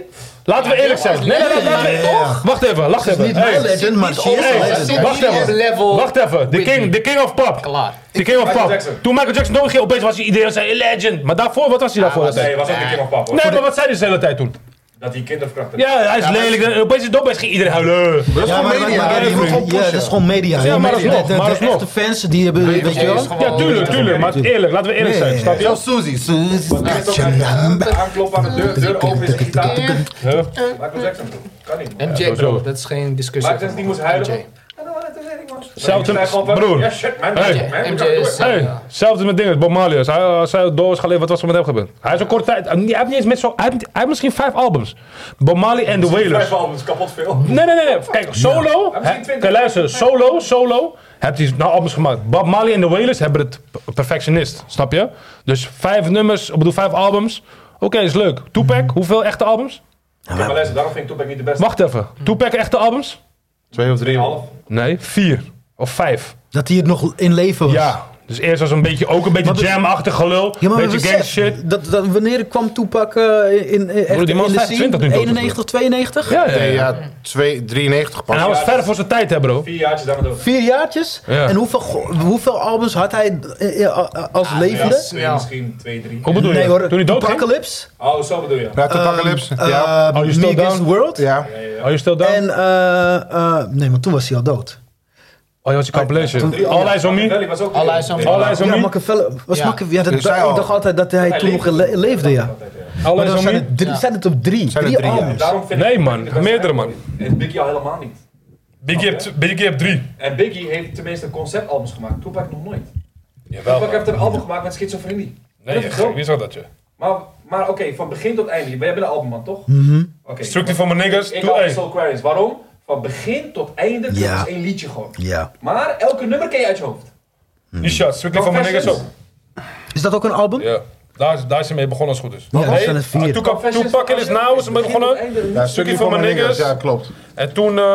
B: Laten we eerlijk zijn. Nee, nee, nee, laten we- Wacht even, wacht even.
H: Niet mijn
B: Hey.
H: legend, maar she is
B: Hey,
H: a legend.
G: zit
B: wacht
G: niet op
B: even.
G: level
B: Wacht even. De
G: Whitney.
B: king, de king of pop.
G: Klaar.
B: De king of
E: Michael
B: pop.
E: Jackson.
B: Toen Michael Jackson doodging, opeens was hij iedereen zei legend. Maar daarvoor, wat was hij daarvoor?
E: Nee,
B: altijd?
E: was ook een keer papa, hoor.
B: Nee, maar wat zei hij de hele tijd toen?
E: Dat die kinderverkrachter...
B: Ja, hij is lelijk. En Opeens is het opeens ging iedereen huilen.
C: Dat is
H: Ja,
C: gewoon
H: maar, maar,
C: media.
H: maar-
C: hè, die moet gewoon
H: ja, dat
C: pushen.
H: is gewoon media.
B: Ja, maar
H: de,
B: alsnog,
H: de- de-
B: maar
H: de
B: alsnog.
H: echte fans die hebben, weet je wel?
B: Ja, tuurlijk, tuurlijk. Maar eerlijk, laten we eerlijk
H: Nee.
B: zijn. Snap je?
C: Zelfs Suzy. Suzy.
E: Maakt ook uit. Aankloppen aan de deur, deur open is een gitaar. Michael Jackson, kan niet. man.
G: MJ, bro, dat is geen discussie.
E: Michael Jackson die moest
G: MJ.
E: huilen.
B: Zelfs
E: Zij gewoon
B: een
E: van, Ja,
B: broer.
E: shit, man.
B: Hey.
E: man, we
G: MJ
E: gaan
G: is...
E: door.
B: Hey,
G: eh,
B: zelfs met dingen, Bob Marley, als hij, als hij door is geleden, wat was er met hem gebeurd? Hij is een korte tijd, hij heeft, niet eens met zo, hij heeft, hij heeft misschien vijf albums. Bob Marley en The Wailers.
E: Vijf albums, kapot veel.
B: Nee, nee, nee, nee. Kijk, solo.
E: Hij heeft
B: hè,
E: twintig.
B: Kijk, luister, solo, solo. Hebt hij nou albums gemaakt? Bob Marley en The Wailers hebben het p- perfectionist, snap je? Dus vijf nummers, ik bedoel vijf albums. Oké, is leuk. Tupac, hoeveel echte albums?
E: Oké, Maar luister, daarom vind ik Tupac niet de beste.
B: Wacht even. Tupac echte albums?
C: Twee of drie.
E: Half.
B: Nee, vier of vijf.
H: Dat hij het nog in leven was.
B: Ja. Dus eerst was een beetje, ook een beetje
H: Maar we-
B: jam-achtig gelul.
H: Ja, maar
B: beetje
H: besef,
B: gang shit.
H: Dat, dat, wanneer kwam Tupac eh, in, in, echt
B: Broer, die man
H: in
B: is
H: de
B: 25 nu
H: scene?
B: dood,
H: 91, 92?
B: Ja, ja, ja.
C: Ja, twee, 93
B: En
C: pas.
B: hij was ver voor zijn tijd, hè, bro.
E: Vier jaartjes daarna dood.
H: Vier jaartjes?
B: Ja.
H: En hoeveel, go- hoeveel albums had hij eh, eh, als
E: Ah, Ja,
H: levende?
E: twee misschien, twee, drie.
B: Hoe bedoel je?
H: nee hoor,
B: Toen hij dood ging?
H: Apocalypse,
E: Oh, zo bedoel je.
C: Ja, Tupacalypse.
H: eh,
C: Ja.
B: Are You
H: Me
B: Still
H: Against
B: Down?
H: World.
C: Ja.
B: Oh, je stelt down?
H: En, eh, eh, nee, want toen was hij al dood.
B: oh, je was je compilation. All Eyes On Me.
E: Belly was ook
G: All eyes on
B: All
G: me.
B: Eyes On
H: Ja,
B: Me.
H: Machiavelli, was
G: Ja.
H: Machiavelli- ja, dat,
C: Dus hij
H: ik
C: al-
H: dacht altijd dat hij, toen nog
E: leefde.
H: le- leefde, ja.
B: All
H: Maar
B: Eyes
H: dan
B: On
H: zijn
B: Me.
H: het, drie, zijn het op drie.
C: Zijn er
H: drie,
C: drie, ja.
H: albums.
E: Daarom vind ik
B: Nee,
E: Tupac
B: man.
E: niet de beste
B: Meerdere, man.
E: rapper. En Biggie al helemaal niet.
B: Biggie hebt- Biggie hebt drie.
E: En Biggie heeft tenminste conceptalbums gemaakt. Tupac nog nooit. Tupac heeft een album gemaakt met schizofrenie.
B: Nee,
E: Dat
B: je
E: is zo.
B: gek. wie zag dat je?
E: Maar, maar oké, van begin tot einde. Jij bent een albumman, toch?
B: Mhm.
E: Oké.
B: Structie van mijn niggas,
E: Ik dus-
B: doe
E: hou van
B: één.
E: Soul Aquarius. Waarom? Van begin tot einde, dat
H: Ja.
E: is één liedje gewoon.
H: Ja.
E: Maar elke nummer ken je uit je hoofd.
B: Die shot, Strictly van mijn niggas ook.
H: Is dat ook een album?
B: Ja. Daar, is- daar is hij mee begonnen als het goed is.
H: Ja, dat
B: nee,
H: zijn er vier.
B: ah, Tupac- Tupac in is nou is mee begonnen.
C: Ja,
B: Een stukje van mijn niggas.
C: Ja, klopt.
B: En toen eh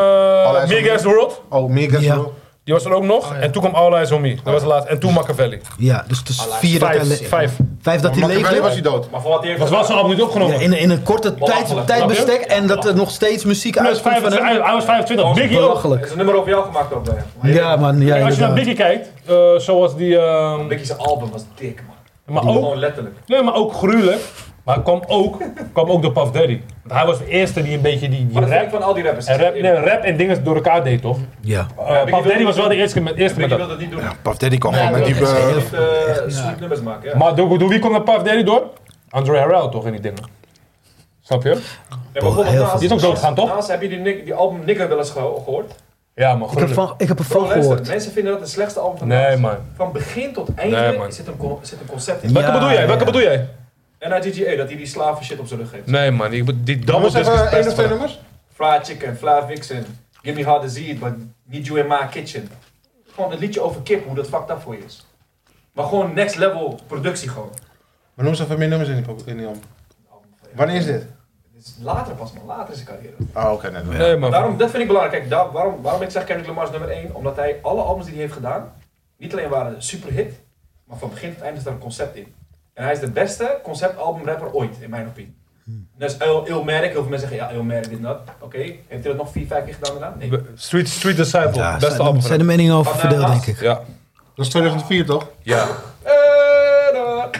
C: Eyes on
B: Big
C: Me.
B: Ass The World.
C: Oh, Big Ass The World.
B: Die was er ook
H: Oh,
B: nog. En toen kwam All Eyes On Me. Dat was de laatste. En toen Machiavelli.
H: Ja, dus het is vier dat hij
B: vijf,
H: leefde.
B: vijf.
H: Vijf dat hij leefde.
C: dood.
E: Maar voor wat hij
B: Was wel zijn album niet opgenomen.
H: Ja, in, in een korte tijd,
E: Belachelijk.
H: tijdbestek en dat er nog steeds muziek
B: Plus
H: uitkomt van
B: 25,
H: hem.
B: hij was 25. Biggie ook.
E: Er
H: Belachelijk.
E: is een nummer over jou gemaakt ook, Brian.
H: Ja
B: Als
H: man, ja
B: je naar
H: inderdaad.
B: Biggie kijkt, eh, zoals die... ehm,
E: Biggie's album was dik, man.
B: maar ook,
E: Gewoon letterlijk.
B: nee, maar ook gruwelijk. Maar kwam ook, kwam ook door Puff Daddy. Want hij was de eerste die een beetje die, die
E: Maar dat vind ik
B: rap,
E: van al die rappers.
B: en rap, nee, rap en dingen door elkaar deed, toch?
H: Ja.
B: Eh, Puff Daddy was wel de eerste met, eerste met
E: Biggie
B: dat.
E: wilde het niet doen.
C: Puff Daddy kwam
E: Hij
C: gewoon met
E: wilde
C: die...
E: echt
C: eh,
E: niet, eh, sweet nummers maken, ja.
B: Maar door, door wie kwam dat Puff Daddy door? Andre Harrell toch in die dingen. Snap je?
E: Nee, maar bijvoorbeeld
H: heel
E: Nas-
B: Die is ook doodgaan, toch?
E: Nas, heb je die, Nick- die album Nigga wel eens geho- gehoord?
B: Ja, maar
H: Ik heb,
B: gruwelijk.
H: van, ik heb ervan
E: Bro, luister,
H: gehoord.
E: mensen vinden dat het slechtste album van
B: Nee,
E: Nas.
B: man.
E: Van begin tot
B: Nee,
E: einde
B: man.
E: zit, een, con- zit een concept in.
H: Ja,
B: Welke bedoel jij? Welke
H: ja.
B: bedoel jij?
E: En uit GGA, dat hij die slaven shit op zijn rug geeft.
B: Nee man, die, die
C: Noem
B: double
C: eens
B: disc
C: even
B: is
C: één
B: dus
C: of
B: best
C: twee
B: man.
C: nummers.
E: Fried chicken, fried vixen, give me hard disease, but need you in my kitchen. Gewoon een liedje over kip, hoe dat fucked up voor je is. Maar gewoon next level productie gewoon.
C: Maar noem eens even meer nummers in die, pop- in die album. Wanneer is dit?
E: Dit is later pas man, later is zijn carrière.
C: Ah, oké. net.
B: Nee man.
E: Daarom, dat vind ik belangrijk. Kijk, daar, waarom, waarom ik zeg Kendrick Lamar is nummer 1? Omdat hij alle albums die hij heeft gedaan, niet alleen waren superhit, maar van begin tot eind is daar een concept in. En hij is de beste conceptalbumrapper ooit, in mijn opinie. Dus Dat is Il- Ilmatic, heel veel mensen zeggen ja, Ilmatic, dit en dat. Oké, heeft hij dat nog 4, 5 keer gedaan daarna? Nee.
B: Street, Street Disciple,
H: Ja,
B: beste
H: zijn,
B: album.
H: zijn de meningen over
E: Van, eh,
H: verdeeld,
E: Nas?
H: denk ik.
B: Ja,
C: Dat is 2004 toch?
B: ja.
E: Eh, da-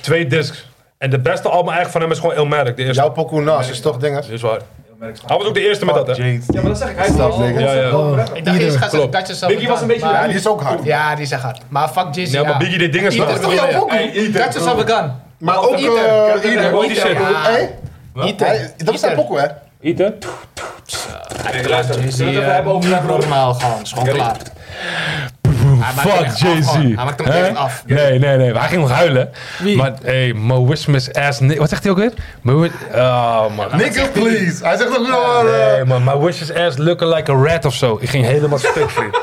B: Twee discs. En de beste album eigenlijk van hem is gewoon Ilmatic, de eerste.
C: Jouw pokoe Nas is toch dingen?
B: Dat is waar.
E: Ilmatic is
B: Hij
E: gewoon-
B: was ook de eerste met dat, hè?
C: Jade.
E: Ja, maar dat zeg ik, hij is de
C: Snap ik.
E: allereerste
B: Ja, ja.
E: conceptalbumrapper.
N: Ik dacht eerst gaat ze
B: Klopt.
N: dat je zelf
E: Biggie was een beetje-
C: Ja, die is ook hard.
N: Ja, die is echt hard. Maar fuck Jizzy.
B: Nee, maar Biggie deed dingen
N: Ieder is
B: snel.
N: toch jouw
B: Ja.
N: pokoe?
E: Hey, Ieder.
N: Dat is een gun.
C: Maar ook
N: Ether.
C: eh, Ieder.
B: Hoor die shit.
C: Hey, hij- Dat is zijn pokoe, hè?
B: Ether?
E: Nee, luister, zullen we
N: Jay-Z,
E: het even
N: eh,
E: hebben over
N: niet
E: zijn broer?
N: normaal gewoon. Is gewoon
E: Ja, die-
N: klaar. Hij maakt hem
B: Fuck
N: echt af,
B: Jay-Z.
N: gewoon. Hij maakt hem
B: Hè?
N: echt af.
B: Nee, nee, nee. Hij ging nog huilen. Maar, hey, Mo Wismus ass... ni- Wat zegt hij ook weer? Mo Wis- Oh, man.
C: Nigga, please. Hij zegt ook nog
B: Nee, man. My wishes ass looking like a rat of zo. Ik ging helemaal stuk, vriend.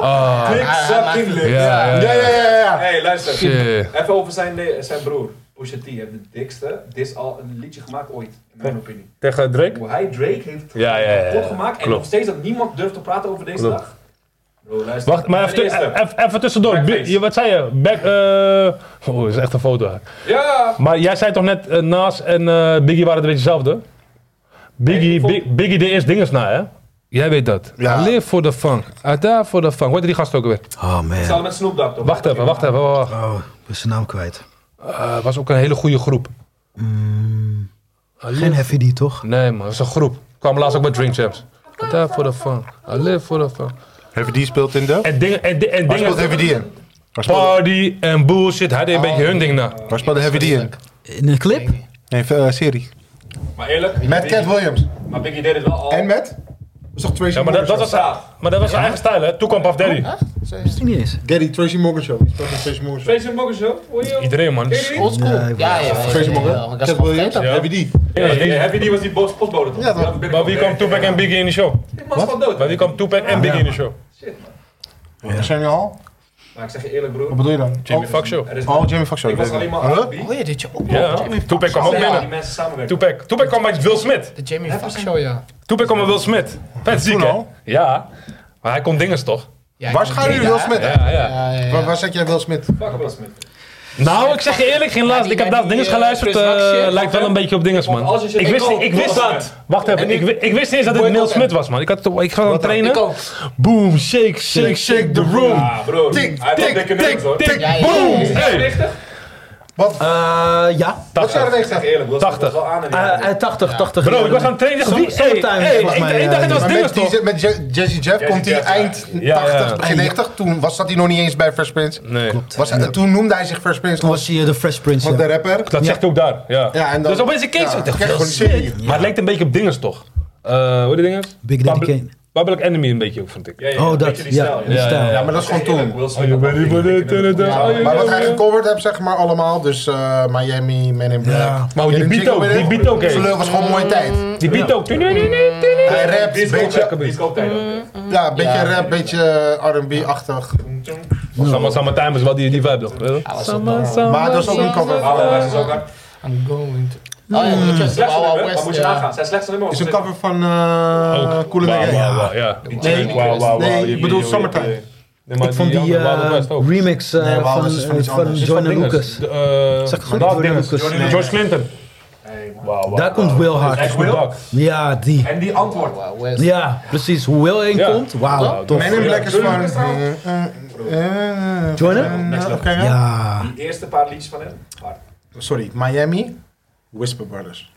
B: Ah,
E: Nick fucking Lick.
B: ja, ja, ja.
C: Ja, ja, ja, ja.
E: Hey, luister.
B: Shit.
E: Even over zijn, zijn broer. Pusha T heeft de dikste dis al een liedje gemaakt ooit, in mijn opinie.
B: Tegen Drake?
E: Hoe hij Drake heeft
B: Ja, ja, ja, ja.
E: kapot gemaakt en
B: Klopt.
E: nog steeds dat niemand durft te praten over deze
B: Klopt.
E: dag. Bro, luister.
B: Wacht, maar
E: Mijn
B: even,
E: eerste.
B: even, even tussendoor.
E: Blackface.
B: Bi- je- Wat zei je? Back, eh Oh, dat is echt een foto. hè.
E: Ja!
B: Maar jij zei toch net, eh, Nas en eh, Biggie waren een beetje hetzelfde? Biggie,
E: Nee, ik vond-
B: Bi- Biggie de eerst dinges na, hè? Jij weet dat.
C: Ja.
B: Live voor de funk. Uit daar voor de funk. Hoe heet die gast ook weer?
H: Oh
E: Samen
H: man.
E: met Snoop Dogg toch?
B: Wacht even, wacht even. wacht, wacht.
H: Oh, ik ben zijn naam kwijt.
B: Eh, was ook een hele goede groep.
H: Geen Heavy D, toch?
B: Nee man, dat is een groep. Kwam laatst ook bij Dream Champs. Uit daar voor de funk. I live voor de funk.
C: Heavy D speelt in de...
B: En dingen, en, di- en
C: Waar speelt
B: dingen.
C: Heavy D in? Waar speelde-
B: Party en bullshit. Hij deed een beetje hun ding na.
C: Waar speelde Heavy D in?
H: In een clip?
C: Nee, eh, serie.
E: Maar eerlijk,
C: Met
E: Biggie-
C: Cat Williams.
E: Maar Biggie deed het wel al.
C: En met? Is toch Tracy
B: Ja, maar dat, dat was, maar dat was zijn eigen stijl, hè? Toen kwam Puff Daddy.
H: Is die niet eens?
C: Gary, Tracy Morgan Show. Is dat een Tracy Morgan Show?
E: Tracy Morgan Show? Hoor je hem?
B: Iedereen, man.
E: Ken je die?
N: Oldschool.
H: Nee,
N: Ja,
H: ik
N: ja, ja. ja,
C: Tracy
N: ja, ja,
C: Morgan?
N: dat is
C: Cat
N: gewoon
C: Williams?
N: gek,
C: Heavy D.
B: Ja,
E: Nee,
B: die-
E: Heavy D was die bos- postbode toch?
C: Ja, toch.
E: ben ik
B: Maar
E: ook
B: wie
E: weer-
B: kwam Tupac en Biggie in de show?
E: Die man is gewoon dood.
B: Maar wie kwam Tupac en Biggie in de show?
E: Shit, man.
C: Zijn jullie al?
E: Maar ik zeg je eerlijk, broer.
C: Wat bedoel je dan?
B: Jimmy Fuck Show.
E: er is-
C: Oh, Jamie Foxx Show.
E: Ik was
C: weet
E: alleen
C: ik.
E: maar R&B.
N: Hoor je dit je ook?
B: Ja, Tupac kwam ook
E: Ja, die
B: binnen.
E: mensen samenwerken.
B: Tupac, Tupac kwam bij Will Smith.
N: De Jamie Foxx show, ja.
B: Tupac kwam bij Will Smith. Vet ziek,
C: Toen
B: hè?
C: al?
B: Ja. Maar hij kon dinges toch?
N: Ja, ik
C: Waar
N: vond
C: gaan jullie
N: Jada-
C: Will Smith?
B: Ja, ja.
N: Ja, ja, ja.
C: Waar, waar zet jij Will Smith?
E: Fuck Will Smith.
B: Nou, ik zeg je eerlijk, geen laatst. Ik heb laatst dinges geluisterd. eh, lijkt wel een beetje op dinges, man. Ik wist, niet- ik wist dat. Wacht even, ik, wi- ik wist niet eens dat het Will Smith was, man. Ik, had, ik was aan het
N: Ik
B: trainen.
N: ook.
B: Boom, shake, shake, shake the room.
E: Ah, broer.
C: Tik,
E: Hij heeft
C: tik,
E: wel dikke
C: tik,
E: nummers, hoor.
B: Tik,
N: Ja, ja.
B: boom.
E: Is hij
B: Hey,
E: 90?
C: Wat?
H: Eh, ja.
E: Wat zijn er
B: 80.
E: Ik zeg eerlijk, Will Smith
B: 80.
E: was wel aan in die
H: Eh,
E: jaren.
H: eh, 80, 80.
B: Bro, ik was aan het trainen. Ik dacht, wie- hey,
H: Summertime
B: hey,
H: was
B: ik-
H: mij,
B: ik dacht,
H: eh,
B: het was
C: Maar
B: dinges
C: met,
B: toch?
C: die, met Je- Jazzy Jeff komt hij
E: Jeff, ja.
C: eind
B: Ja, ja.
C: 80, begin
H: Ja.
C: 90. Toen was, zat hij nog niet eens bij Fresh Prince.
B: Nee.
C: Was, hij- toen noemde hij zich Fresh Prince
H: Toen
C: als
H: was hij eh, de Fresh Prince.
C: als de
H: ja.
C: rapper.
B: Dat zegt hij ook daar, ja.
C: Ja, en dan-
B: dus opeens een case.
C: Ja,
B: ik dacht,
C: krijg
B: veel
C: gewoon een
B: shit. Maar het lijkt een beetje op dinges toch? Eh hoe die dinges?
H: Big Daddy
B: Public-
H: Kane.
B: Public Enemy een beetje ook, vond ik.
E: Ja, ja,
H: Oh,
E: een
H: dat,
E: beetje die
H: ja,
E: stijl,
H: die stijl. Ja,
C: Ja, maar dat is
E: Ik zeg
C: gewoon toen.
E: eerlijk, Will Smith had wel dikke nummers.
C: Ja, maar wat hij gecoverd hebt, zeg maar, allemaal. Dus eh, Miami, Men in Black.
H: Ja.
B: Maar die
C: Hidden
B: beat
C: Chicken
B: ook,
C: with
B: die
C: It.
B: beat ook,
C: Fleur
B: hé.
C: was gewoon een mooie tijd.
B: Die beat ook.
C: Hij rapt,
E: Disco
C: beetje,
E: tijd, disco tijd ook, hè.
C: ja, beetje rap, beetje eh, R&B-achtig.
B: Samen Samen is wel die, die vibe toch? weet je wel?
C: Maar dat is ook een cover. eh,
G: I'm going to...
E: Oh, ja,
G: dat is
E: slechtste
G: Wild Wild
E: nummer,
G: West,
E: maar moet je
G: ja.
E: nagaan. Zijn slechtste nummer
C: Is een cover van eh Coole
B: Wauw,
C: Mega.
B: wauw, wauw, ja.
C: Nee,
B: Wauw, wauw, wauw.
C: nee,
B: Je-
C: ik bedoel
B: je- je-
C: Summertime.
B: je- Nee, maar
H: ik vond die,
B: andere Wild
H: eh,
B: West ook.
H: remix eh,
C: Nee, Wild
H: van,
C: West is van
H: eh,
C: iets
H: van
C: anders.
B: Is van
H: Joyner
B: dinges.
H: Lucas.
B: De, eh,
H: Zeg goed,
B: Dark
H: Joyner
B: Dinges.
H: Lucas.
B: Johnny-
H: Nee.
B: George Clinton.
H: Daar komt Will hard.
B: Echt Oh, Will?
H: Ja, die.
E: En die antwoord.
H: Ja, precies. Hoe Will heen
B: Ja.
H: komt, wauw, tof.
C: Man in Black is van... eh,
H: Joyner?
E: Next level.
C: Oké, ja.
H: Ja.
E: Die eerste paar liedjes van hem. hard.
C: Sorry, Miami, Whisper Brothers.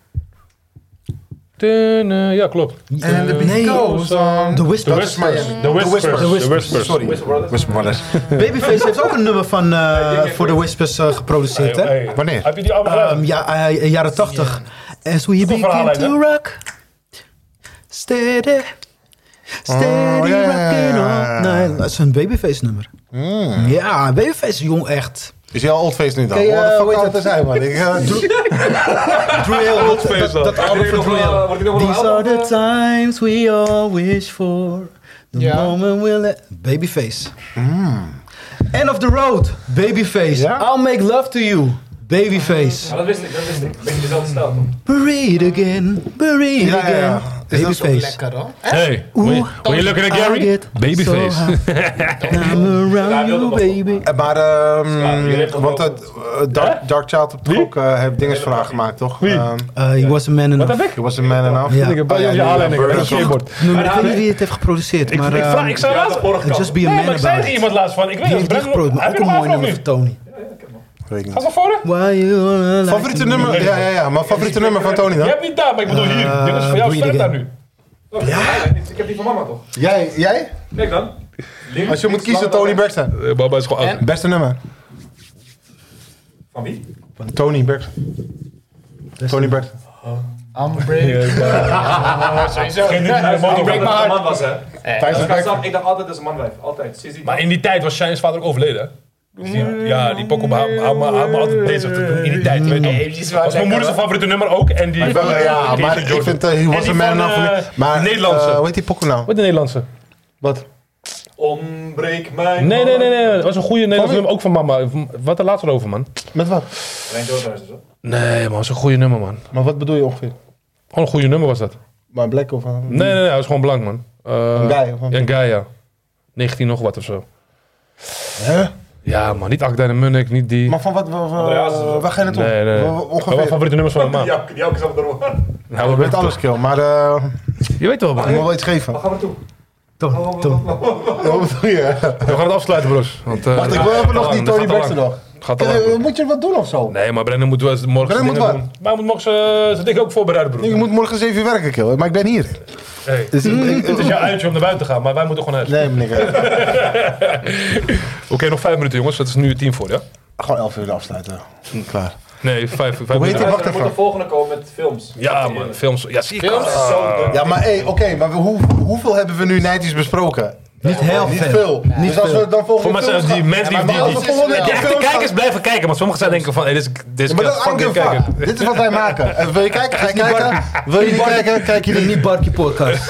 B: Dun, eh, Ja, klopt.
C: En de
H: nee.
C: beat goes on.
H: The Whispers.
B: The Whispers.
C: Miami.
B: The Whispers.
H: The
B: The Whispers.
C: Sorry,
E: Whisper Brothers.
C: Whisper Brothers.
H: Babyface heeft ook een nummer van eh, voor The Whispers eh, geproduceerd, hè?
B: Hey, hey.
C: Wanneer?
B: Heb je die album
H: Ehm, ja, eh, jaren 80. As we begin
B: verhaallijn,
H: to rock. Steady. Steady
C: Oh, ja, ja,
H: rocking
C: ja, ja.
H: all night. Dat is een babyface nummer. Ja, babyface jong echt.
C: Mm. Is jouw old face nu dan?
H: Oké, eh,
C: Wat de
H: hoe
C: fuck
H: heet
C: zou het
H: het?
C: te zijn, man? Ik, eh,
H: Drill. dat- dat- dat-
E: Wordt die nog wel- wordt die nog wel
H: These
E: oud?
H: are the times we all wish for. The
N: Ja.
H: moment we'll let- Babyface. Mm. End of the road. Babyface.
C: Ja?
H: I'll make love to you.
E: Ja,
H: Babyface.
E: dat wist ik, dat wist ik. Beetje dezelfde stijl. toch?
H: Buried again. Buried
C: Ja, ja,
H: again.
C: ja. Is dat zo
H: Babyface.
G: Lekker hoor.
B: Hey,
H: Oeh,
B: wil je looking at
H: I
B: Gary?
H: get
B: Babyface.
H: so high. I'm around you, baby.
C: eh, Maar, ehm,
E: Ja, die heeft
C: want
E: ook-
C: het, eh, Dark, Dark Child heeft toch ook eh, heeft dingensvraag gemaakt, toch? Wie?
H: Uh, he was a man enough.
C: ik? was een man and off.
H: Ja.
B: Ik ben
C: Oh, ja,
B: je
C: ja,
B: halen en ik
C: Burger
B: ben een
C: King.
B: skateboard.
H: Nummer- ik weet niet wie het heeft geproduceerd, maar
B: Ik vraag,
H: ehm,
B: ik zou
E: Ja, de
B: laatst...
E: vorige kant.
H: Just Be a
B: Nee,
H: Man
B: maar ik
H: About
B: zei
H: It.
B: tegen iemand laatst van, ik weet
H: Die
B: het,
H: heeft
B: Brent,
H: die geproduceerd, maar
B: heb
H: ook
B: je
H: een
B: nog
H: mooi
B: afgelopen
H: nummer
B: nu?
H: van Tony.
C: Weet ik
B: Van
C: niet.
B: tevoren?
H: Why you like
C: Favoriete
H: me?
C: nummer? Ja, ja, ja. Maar favoriete nummer van Tony
B: Je
C: dan?
B: hebt niet daar, maar ik bedoel
H: Eh,
B: hier. Dit is voor jou,
H: breathe
B: staat daar
H: again.
B: nu.
E: Ja? Ik heb die van mama toch?
C: Jij? jij?
E: Kijk dan. Links,
C: Als je moet
E: links,
C: kiezen,
E: langer
C: Tony
E: dan-
C: Braxton.
B: Eh, Baba is gewoon oud.
C: Beste nummer?
E: Van wie?
C: Tony Braxton. Tony Braxton.
G: Sowieso.
E: Break my heart. man was hè.
C: Thijs
E: Als
C: is
E: ik aan
C: Braxton.
E: zag, ik dacht altijd dat is een manwijf. Altijd. Sinds die
B: Maar in die tijd was Shine's vader ook overleden, hè? Dus die- Ja, die pokkel houdt me- houdt me houdt me altijd bezig te doen in die tijd, weet je toch? Dat was mijn moeder zijn favoriete nummer ook en die...
C: Ja, ja, maar
B: Jason
C: ik vind eh,
B: Jordan.
C: He
B: En
C: Was
B: die
C: a Man
B: van,
C: Enough.
B: eh,
C: niet- Maar,
B: Nederlandse.
C: eh, hoe heet die pokoe nou?
B: Wat de Nederlandse?
C: Wat?
E: Ombreek mij.
B: Nee, nee, nee,
E: man.
B: nee. Dat was een goede Nederlandse nummer, ook van mama. Wat de laatste over, man?
C: Met wat?
E: Alleen Jordan is het, hoor.
B: Nee, man, dat is een goede nummer, man.
C: Maar wat bedoel je ongeveer?
B: Gewoon een goede nummer was dat.
C: Maar Black of... eh,
B: Nee, nee, nee, hij was gewoon blank, man. Eh,
C: Een guy, of wat?
B: Ja, een guy, ja. 19 nog wat of zo.
C: Hè?
B: Ja, man, niet Akda en Munnik, niet die.
C: Maar van wat? wa- wa-
E: Andreas is het.
C: Waar ga je naartoe?
B: nee, nee.
C: Wa- wa-
B: Wat waren
C: Ongeveer.
B: favoriete nummers van
E: Die
B: mama?
E: jank- Die ook is op de roer.
B: Nou,
C: Ik
B: we
C: weet alles, kill. Maar eh,
B: Je weet wel, man.
C: ik moet
B: We
C: wel iets geven.
E: Waar gaan we toe?
H: Tony, Tony.
C: Wat bedoel je?
B: gaan het afsluiten, broers. Want, eh,
C: Wacht, ik wil even
B: gaat
C: nog
B: te
C: die
B: lang,
C: Tony
B: dit gaat te
C: Braxton
B: lang.
C: nog.
B: Gaat te lang,
C: Eh,
B: broer.
C: Moet je wat doen of zo?
B: Nee, maar Brennan moet wel eens morgen
C: Brennan
B: dingen
C: moet
B: doen. Maar hij moet morgen eh, zijn dingen ook voorbereiden, broer.
C: Ik moet morgen eens even werken, kill. Maar ik ben hier.
B: Hey,
C: Dus ik- ik-
B: Het is jouw uitje om naar buiten te gaan, maar wij moeten gewoon uit.
C: Nee, meneer. eh,
B: Oké, nog vijf minuten, jongens. Het is nu tien voor, ja?
C: Gewoon 11 uur afsluiten. Mm, Klaar.
B: Nee, vijf, vijf
C: Hoe heet
B: minuten.
C: die? Wacht
E: Er moet
C: even.
E: een volgende komen met films.
B: Ja, man. Films. Ja, zie ik.
E: Films? Zo dun.
C: Ja, maar hey, oké, maar we- hoe, hoeveel hebben we nu Nijtjes besproken?
H: Niet heel
C: Niet
H: veel.
C: veel. dus als we dan volgende
B: Voor mensen
C: films
B: die
C: gaan-
B: mensen die,
C: Ja,
B: die,
C: maar als we
B: die-
C: volgende
B: die
C: keer
B: echte
C: films gaan-
B: kijkers blijven kijken, want sommigen zijn denken van, hey, dit is dit is
C: Maar dat
B: kut, fuck
C: hangt
B: dit
C: er van.
B: kijken.
C: Dit is wat wij maken. En wil je kijken? Ga je kijken? Wil je niet kijken? Kijk
H: Dit is
C: jullie niet.
H: niet Barkie Podcast.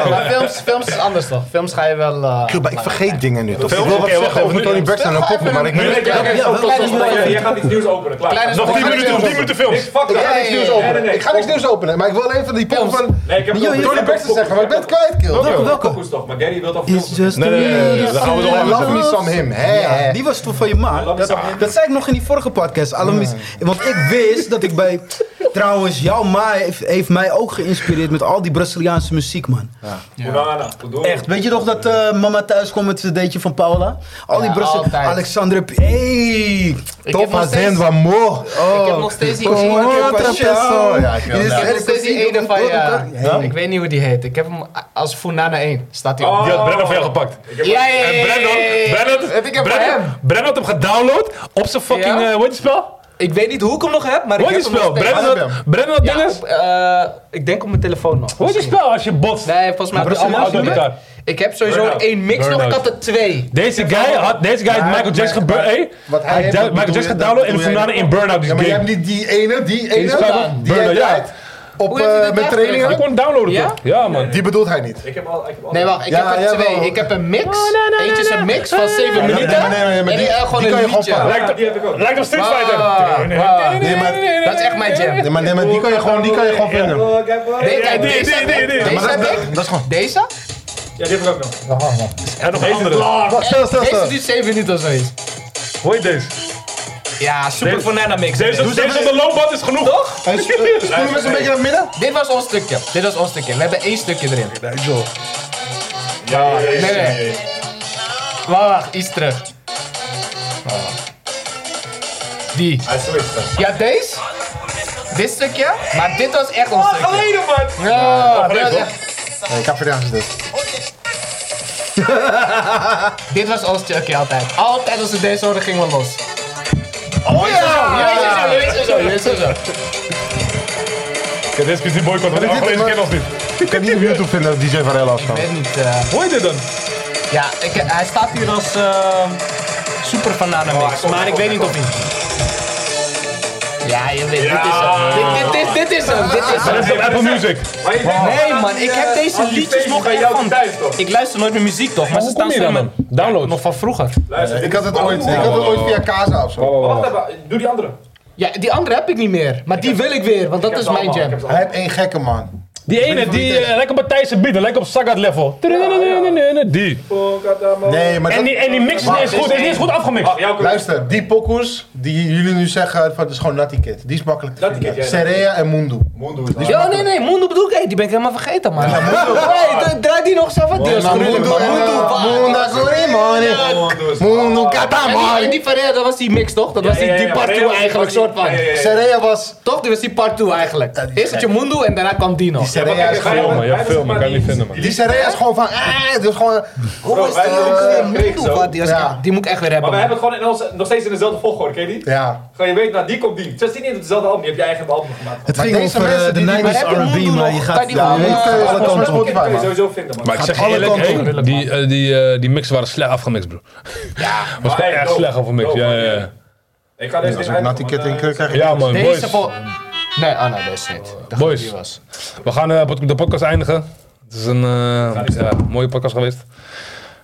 G: Maar films, films is anders toch? Films ga je wel... eh,
C: Kill, maar ik vergeet dingen nu. Toch? Ik
B: Films?
C: wil wat
B: Oké, wacht
C: zeggen over
B: even.
C: Tony Braxton en Poppen, maar ik
B: Nee, nee,
C: weet
B: nee, nee, nee.
H: Ja, wel,
E: Kleine
H: wel, wel.
E: spoiler, Jij gaat iets nieuws openen. Klaar.
G: Kleine
B: Nog 10
G: spoiler.
B: minuten of 10 minuten
E: Niks,
B: films.
E: fuck
C: Ik ga
E: dat.
C: niks nieuws
E: Nee, nee,
C: openen.
E: nee.
C: Ik ga niks nieuws openen, maar ik wil even die poppen van
E: Nee, ik heb
H: Yo, yo,
C: Tony Braxton zeggen, maar ik ben het kwijt, kill.
H: Welke, welke?
E: Pokus toch, maar Gary wil toch
H: Is
E: films.
H: just
B: Nee, nee, nee, nee, nee. Dan gaan we
C: I
B: nog
C: love
B: even
C: me some him. hè?
H: Die was toen van je ma.
E: Love
H: Dat,
E: is aan.
H: dat zei ik nog in die vorige podcast. Alam is- Want ik wist dat ik bij... Trouwens, jouw ma heeft, heeft mij ook geïnspireerd met al die Braziliaanse muziek, man.
E: Onana, Kuduro.
H: Echt, weet je nog dat eh, mama thuis kwam met het cd'tje van Paula? Al die
G: Ja, altijd.
H: Braziliaanse... Alexandre... P- Hey!
G: Ik heb
C: Top
G: nog steeds-
C: fazendo amor.
G: Ik heb nog steeds die
C: Como
G: ene-
C: outra pessoa. Ja, kill.
G: Ik heb nog steeds die ene van ja.
H: Ja.
G: Ik weet niet hoe die heet. Ik heb hem a- als Funana 1. Staat hij op.
B: Die
E: Oh.
B: had Brennan voor jou gepakt.
G: Ja, ja, ja,
B: En
G: ja,
B: Brennan,
G: ja, ja, ja.
B: Brennan,
G: Heb ik hem
B: Brennan,
G: bij hem.
B: Brennan had hem gedownload op zijn fucking,
G: Ja.
B: eh, hoe heet die spel?
G: Ik weet niet hoe ik hem nog heb, maar
B: Hoe
G: ik
B: heet
G: heb
B: die
G: hem nog
B: spel?
G: steeds.
B: Brennan had, Brennan had
G: Ja,
B: dinges.
G: op, eh, ik denk op mijn telefoon nog.
B: Hoe heet die
G: Misschien.
B: spel als je botst?
G: Nee, volgens mij heb ik allemaal
B: Braziliaans
G: auto
B: nummer?
G: elkaar. Ik heb sowieso
E: Burnout.
G: één mix nog, ik
B: Burnout.
G: had er twee.
B: Deze guy had, deze guy had Michael Jackson gebeurd, hey.
C: Wat hij
B: Hij
C: heeft,
B: down-
C: dat
B: Michael Jackson
C: bedoel je- dat
B: gedownload en
C: bedoel jij
B: Funana
C: niet.
B: in Burnout, dus
C: Ja, maar jij hebt
B: game.
C: niet die ene, die
B: Die
C: ene.
B: is
C: Die
B: Burnout, ja.
C: heb jij. Op,
G: Hoe heeft hij
C: eh,
G: dat
C: met
G: echt
C: trainingen?
G: Je kon hem downloaden,
C: ja?
G: toch? Ja, man.
C: Die bedoelt hij niet.
E: Ik heb al, ik heb al
G: Nee, wacht, ik
C: Ja,
G: heb er
C: ja,
G: twee.
C: wel.
G: Ik heb een
B: Oh,
G: mix. Eentje is een mix van 7
C: Nee,
G: minuten.
C: nee, nee, nee, maar
G: en
C: die-
G: eh, gewoon
C: die
G: een
C: kan je gewoon
G: liedje.
C: pakken.
E: Ja, die heb ik ook.
G: Lijkt op Street Fighter.
C: Nee, maar-
G: Dat is echt mijn jam.
C: Nee, maar, nee, maar die kan je gewoon, die kan je gewoon vinden.
G: Nee, kijk, deze heb ik.
C: maar
G: Deze
C: dat-
G: heb ik.
C: Dat is gewoon...
G: Deze?
E: Ja, die heb ik ook nog.
G: En nog
C: Wacht, Stil, stil,
G: Deze
C: stil.
G: duurt 7 minuten of zoiets.
B: Hoe heet deze?
G: Ja, Super Banana Mix.
B: Deze
G: Doe
B: deze op de loopband is genoeg. Toch?
C: Hij is- eh, Spoel hem eens een beetje naar midden.
G: Dit was ons stukje. Dit was ons stukje. We hebben één stukje erin.
C: Ja,
G: Nee, nee. Wacht, wacht, iets terug. Die.
E: Hij switcht.
G: Ja, deze? Dit stukje? Maar dit was echt ons stukje.
E: Geleden, man!
G: Oh, Ja, dit was echt-
C: Nee, Capriaans is dit.
G: dit was ons stukje altijd. Altijd als we deze hoorden gingen we los. Oh ja! Je weet het zo, je weet het zo, je weet het zo.
B: Kijk, deze is die boycott, want
C: Dit-
B: die
C: dit-
B: Angolezen kennen ons niet.
C: Ik kan niet op YouTube vinden dat DJ Varela of zo.
G: Ik weet niet. eh,
B: Hoor je dit dan?
G: ja, ik, hij staat hier als eh super banana
B: Oh,
G: mix, maar ik weet niet of hij. Ja, je weet, dit is hem. Dit, dit, dit, dit is hem, dit is
B: Dat
G: hem.
B: is op Apple Music.
E: Maar je denkt
G: Nee
E: dat
G: man,
E: die,
G: ik
E: eh,
G: heb deze
E: als die
G: liedjes
E: feest
G: nog
E: bij
G: echt
E: jou
G: van.
E: thuis, toch?
G: Ik luister nooit meer muziek toch, maar ze
B: hoe kom
G: staan
B: je
G: zo in
B: daar
G: mijn-
B: dan? Download.
G: Ja, Nog van vroeger.
E: Luister,
C: Ik had het ooit, ik had het ooit via Casa of zo.
E: Wacht even, doe die andere.
G: Ja, die andere heb ik niet meer, maar die wil ik weer, want
E: Ik
G: dat
E: heb
G: is
E: ze
G: mijn
E: allemaal, ik
G: jam.
E: heb ze
C: Hij
E: allemaal.
C: heeft één gekke man.
B: Die ene, die eh, lijkt op Matthijs bieden, lijkt op Sagat level. Die.
C: Nee, maar
B: En die, en die mix is niet eens goed, is niet eens goed afgemixt.
E: Wacht, jouw keuze.
C: Luister, die pokkers die jullie nu zeggen, van, het is gewoon Natty Kid. Die is makkelijk te
E: Natty
C: vinden.
E: Kid, ja, ja.
C: Serea en Mundu.
E: Moon doet het.
G: Ja, nee, nee, Mondo bedoel ik, hey, die ben ik helemaal vergeten man. Hey, dra- draai die nog eens even, die was
C: Maar Mundu, eh,
G: gruwelijk.
C: Mundu, Mundu, Kurimani. Mundu,
G: En die- En
C: Katamani.
G: die van ja, dat was die mix toch? Dat was die,
E: ja,
G: die
E: ja,
G: part
E: maar
G: 2
E: ja,
G: eigenlijk,
E: ja, ja,
G: soort van.
E: ja, ja, ja.
C: Serea was...
G: Toch? Die was die part 2 eigenlijk.
C: Ja, die
G: Eerst had je Mundo en daarna kwam Dino.
C: Die Serea is
B: Film,
C: gewoon...
B: man. Ja, film, man. Kan je niet vinden, man.
C: Die Serea is gewoon van... Eh, het is gewoon...
E: Bro,
C: Hoe is
E: wij doen
C: dat?
E: het
G: Eh,
E: gewoon gekregen
G: Mundo,
E: zo.
G: wat, die, was-
C: Ja.
G: die moet ik echt weer
E: Maar
G: hebben.
E: we
G: man.
E: hebben het gewoon in onze, nog steeds in dezelfde volgorde, ken je die?
C: Ja.
E: Gewoon, je weet, nou die komt die. Dus die niet op dezelfde album, je hebt je eigen album gemaakt.
H: Het
C: Maar
H: ging
C: deze
H: over eh,
C: mensen
H: de
C: die- die-
H: 90s
G: maar hebben
H: R&B, maar je
G: nog-
H: gaat...
G: kan die
H: Ja,
G: nog-
H: je
G: Ja,
H: gaat
C: kun je
H: alle
C: volgens mij
H: kanten
E: Dat kun je
H: op.
C: Spotify, man.
E: sowieso vinden, man.
B: Maar ik zeg je
C: alle
B: eerlijk,
C: kanten
B: hey,
C: op.
B: die, eh, die, eh, die mix waren slecht afgemixt, bro. Ja, was gewoon
E: maar
B: echt
E: dope.
B: slecht afgemixt.
E: Dope,
B: Ja,
E: man,
B: ja,
E: ja.
B: ja.
E: Ik ga deze
C: Als
E: niet
C: ik Natty
E: uitdoen,
C: Kid
E: want,
C: in
E: eh,
C: krijg, krijg ik...
B: Ja, man, boys.
G: Deze vol. Nee, ah nee, deze niet. Ik dacht dat
B: Boys.
G: die was.
B: We gaan eh, pod- de podcast eindigen. Het is een eh, ja, mooie podcast geweest.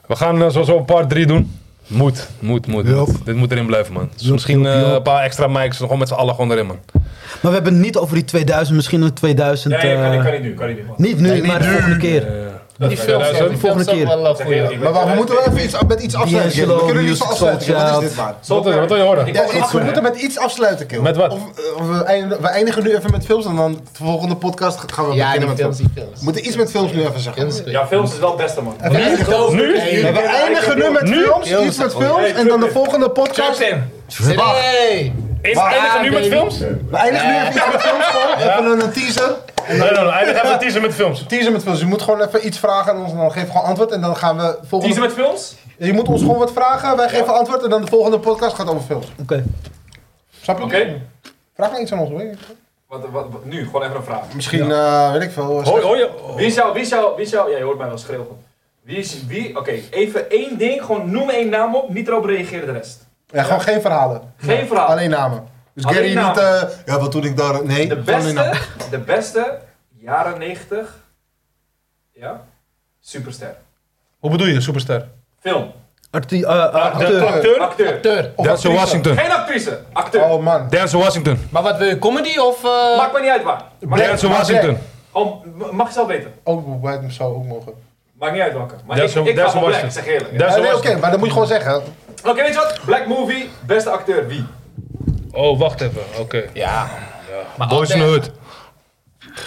B: We gaan eh, sowieso een part 3 doen. Moet, moet, moet.
H: Yup.
B: moet. Dit moet erin blijven, man. Dus misschien
H: yup,
B: eh,
H: yup.
B: een paar extra mics, gewoon met z'n allen gewoon erin, man.
H: Maar we hebben het niet over die 2000, misschien een 2000...
E: Nee, kan,
H: eh,
E: kan niet nu, kan niet nu. man.
H: Niet nu, maar de volgende keer.
G: Die films, ja, die
H: Volgende
G: films ook
H: keer.
G: wel eh, goeie.
E: Ik
C: Maar
E: ben-
C: wacht, we moeten wel even iets, met iets afsluiten, Kid. We kunnen niet zo
H: Music
C: afsluiten, Kid. Wat is dit,
H: Soulchild.
C: man?
B: Wat, is- wat wil je horen?
C: Ja, iets, we moeten met iets afsluiten, Kil.
B: Met wat?
C: Of, eh, of we, eindigen, we eindigen nu even met films en dan de volgende podcast gaan we
G: Ja,
C: beginnen
G: die
C: met
G: films,
C: films.
G: die films.
C: We moeten iets met films nu even zeggen.
G: Films,
E: Ja, films is wel het beste, man.
B: Nu?
C: Ja, we eindigen nu met films, iets met films en dan de volgende podcast. Wacht,
G: Hey!
B: Is eindigen nu met films? Nee,
C: we eindigen nu even iets met films gewoon. Even een teaser.
B: nee, nee. Eindig even teaser met films.
C: Teaser met films. Je moet gewoon even iets vragen en ons dan geef gewoon antwoord en dan gaan we
E: Teasen
C: volgende...
E: met films?
C: Je moet ons gewoon wat vragen, wij geven antwoord en dan de volgende podcast gaat over films.
H: Oké.
C: Snap je?
E: Oké.
C: Vraag maar iets aan ons. weet je.
E: Wat, wat, wat- nu, gewoon even een vraag.
C: Misschien, eh, weet ik veel. eh,
B: Hoor, hoor je?
E: Wie zou, wie zou, wie zou, ja je hoort mij wel schreeuwen. Wie is, wie, oké, even één ding, gewoon noem één naam op, niet erop reageren de rest.
C: Ja, gewoon geen verhalen.
E: Geen verhaal.
C: Alleen namen. Dus
E: Alleen
C: Gary
E: namen.
C: niet, eh, ja, wat toen ik daar. Nee,
E: De
C: gewoon alleen namen.
E: beste, de beste, jaren 90. ja, superster.
B: Hoe bedoel je, superster?
E: Film,
H: Arti- eh, acteur.
B: Acteur?
E: acteur,
G: Acteur.
B: Denzel Washington.
E: geen actrice, acteur.
C: Oh man.
B: Denzel Washington.
G: Maar wat wil je, comedy of... eh,
E: Maakt me niet uit waar. Maakt niet uit.
B: Denzel Washington.
E: Oh, mag je zelf weten.
C: Ook bij hem zou ook mogen.
E: Maakt niet uit welke. Maar
B: Dat
E: ik,
B: is zo-
E: ik
B: dat
E: ga
B: is
E: van
B: zo
E: Black,
B: was
E: zeg eerlijk.
B: Denzel
C: Ja, nee, Oké,
B: Washington.
C: maar dat moet je gewoon zeggen.
E: Oké, weet je wat? Black Movie, beste acteur, wie?
B: Oh, wacht even. Oké.
G: Ja. Maar
B: Boys in the
G: altijd-
B: Hood.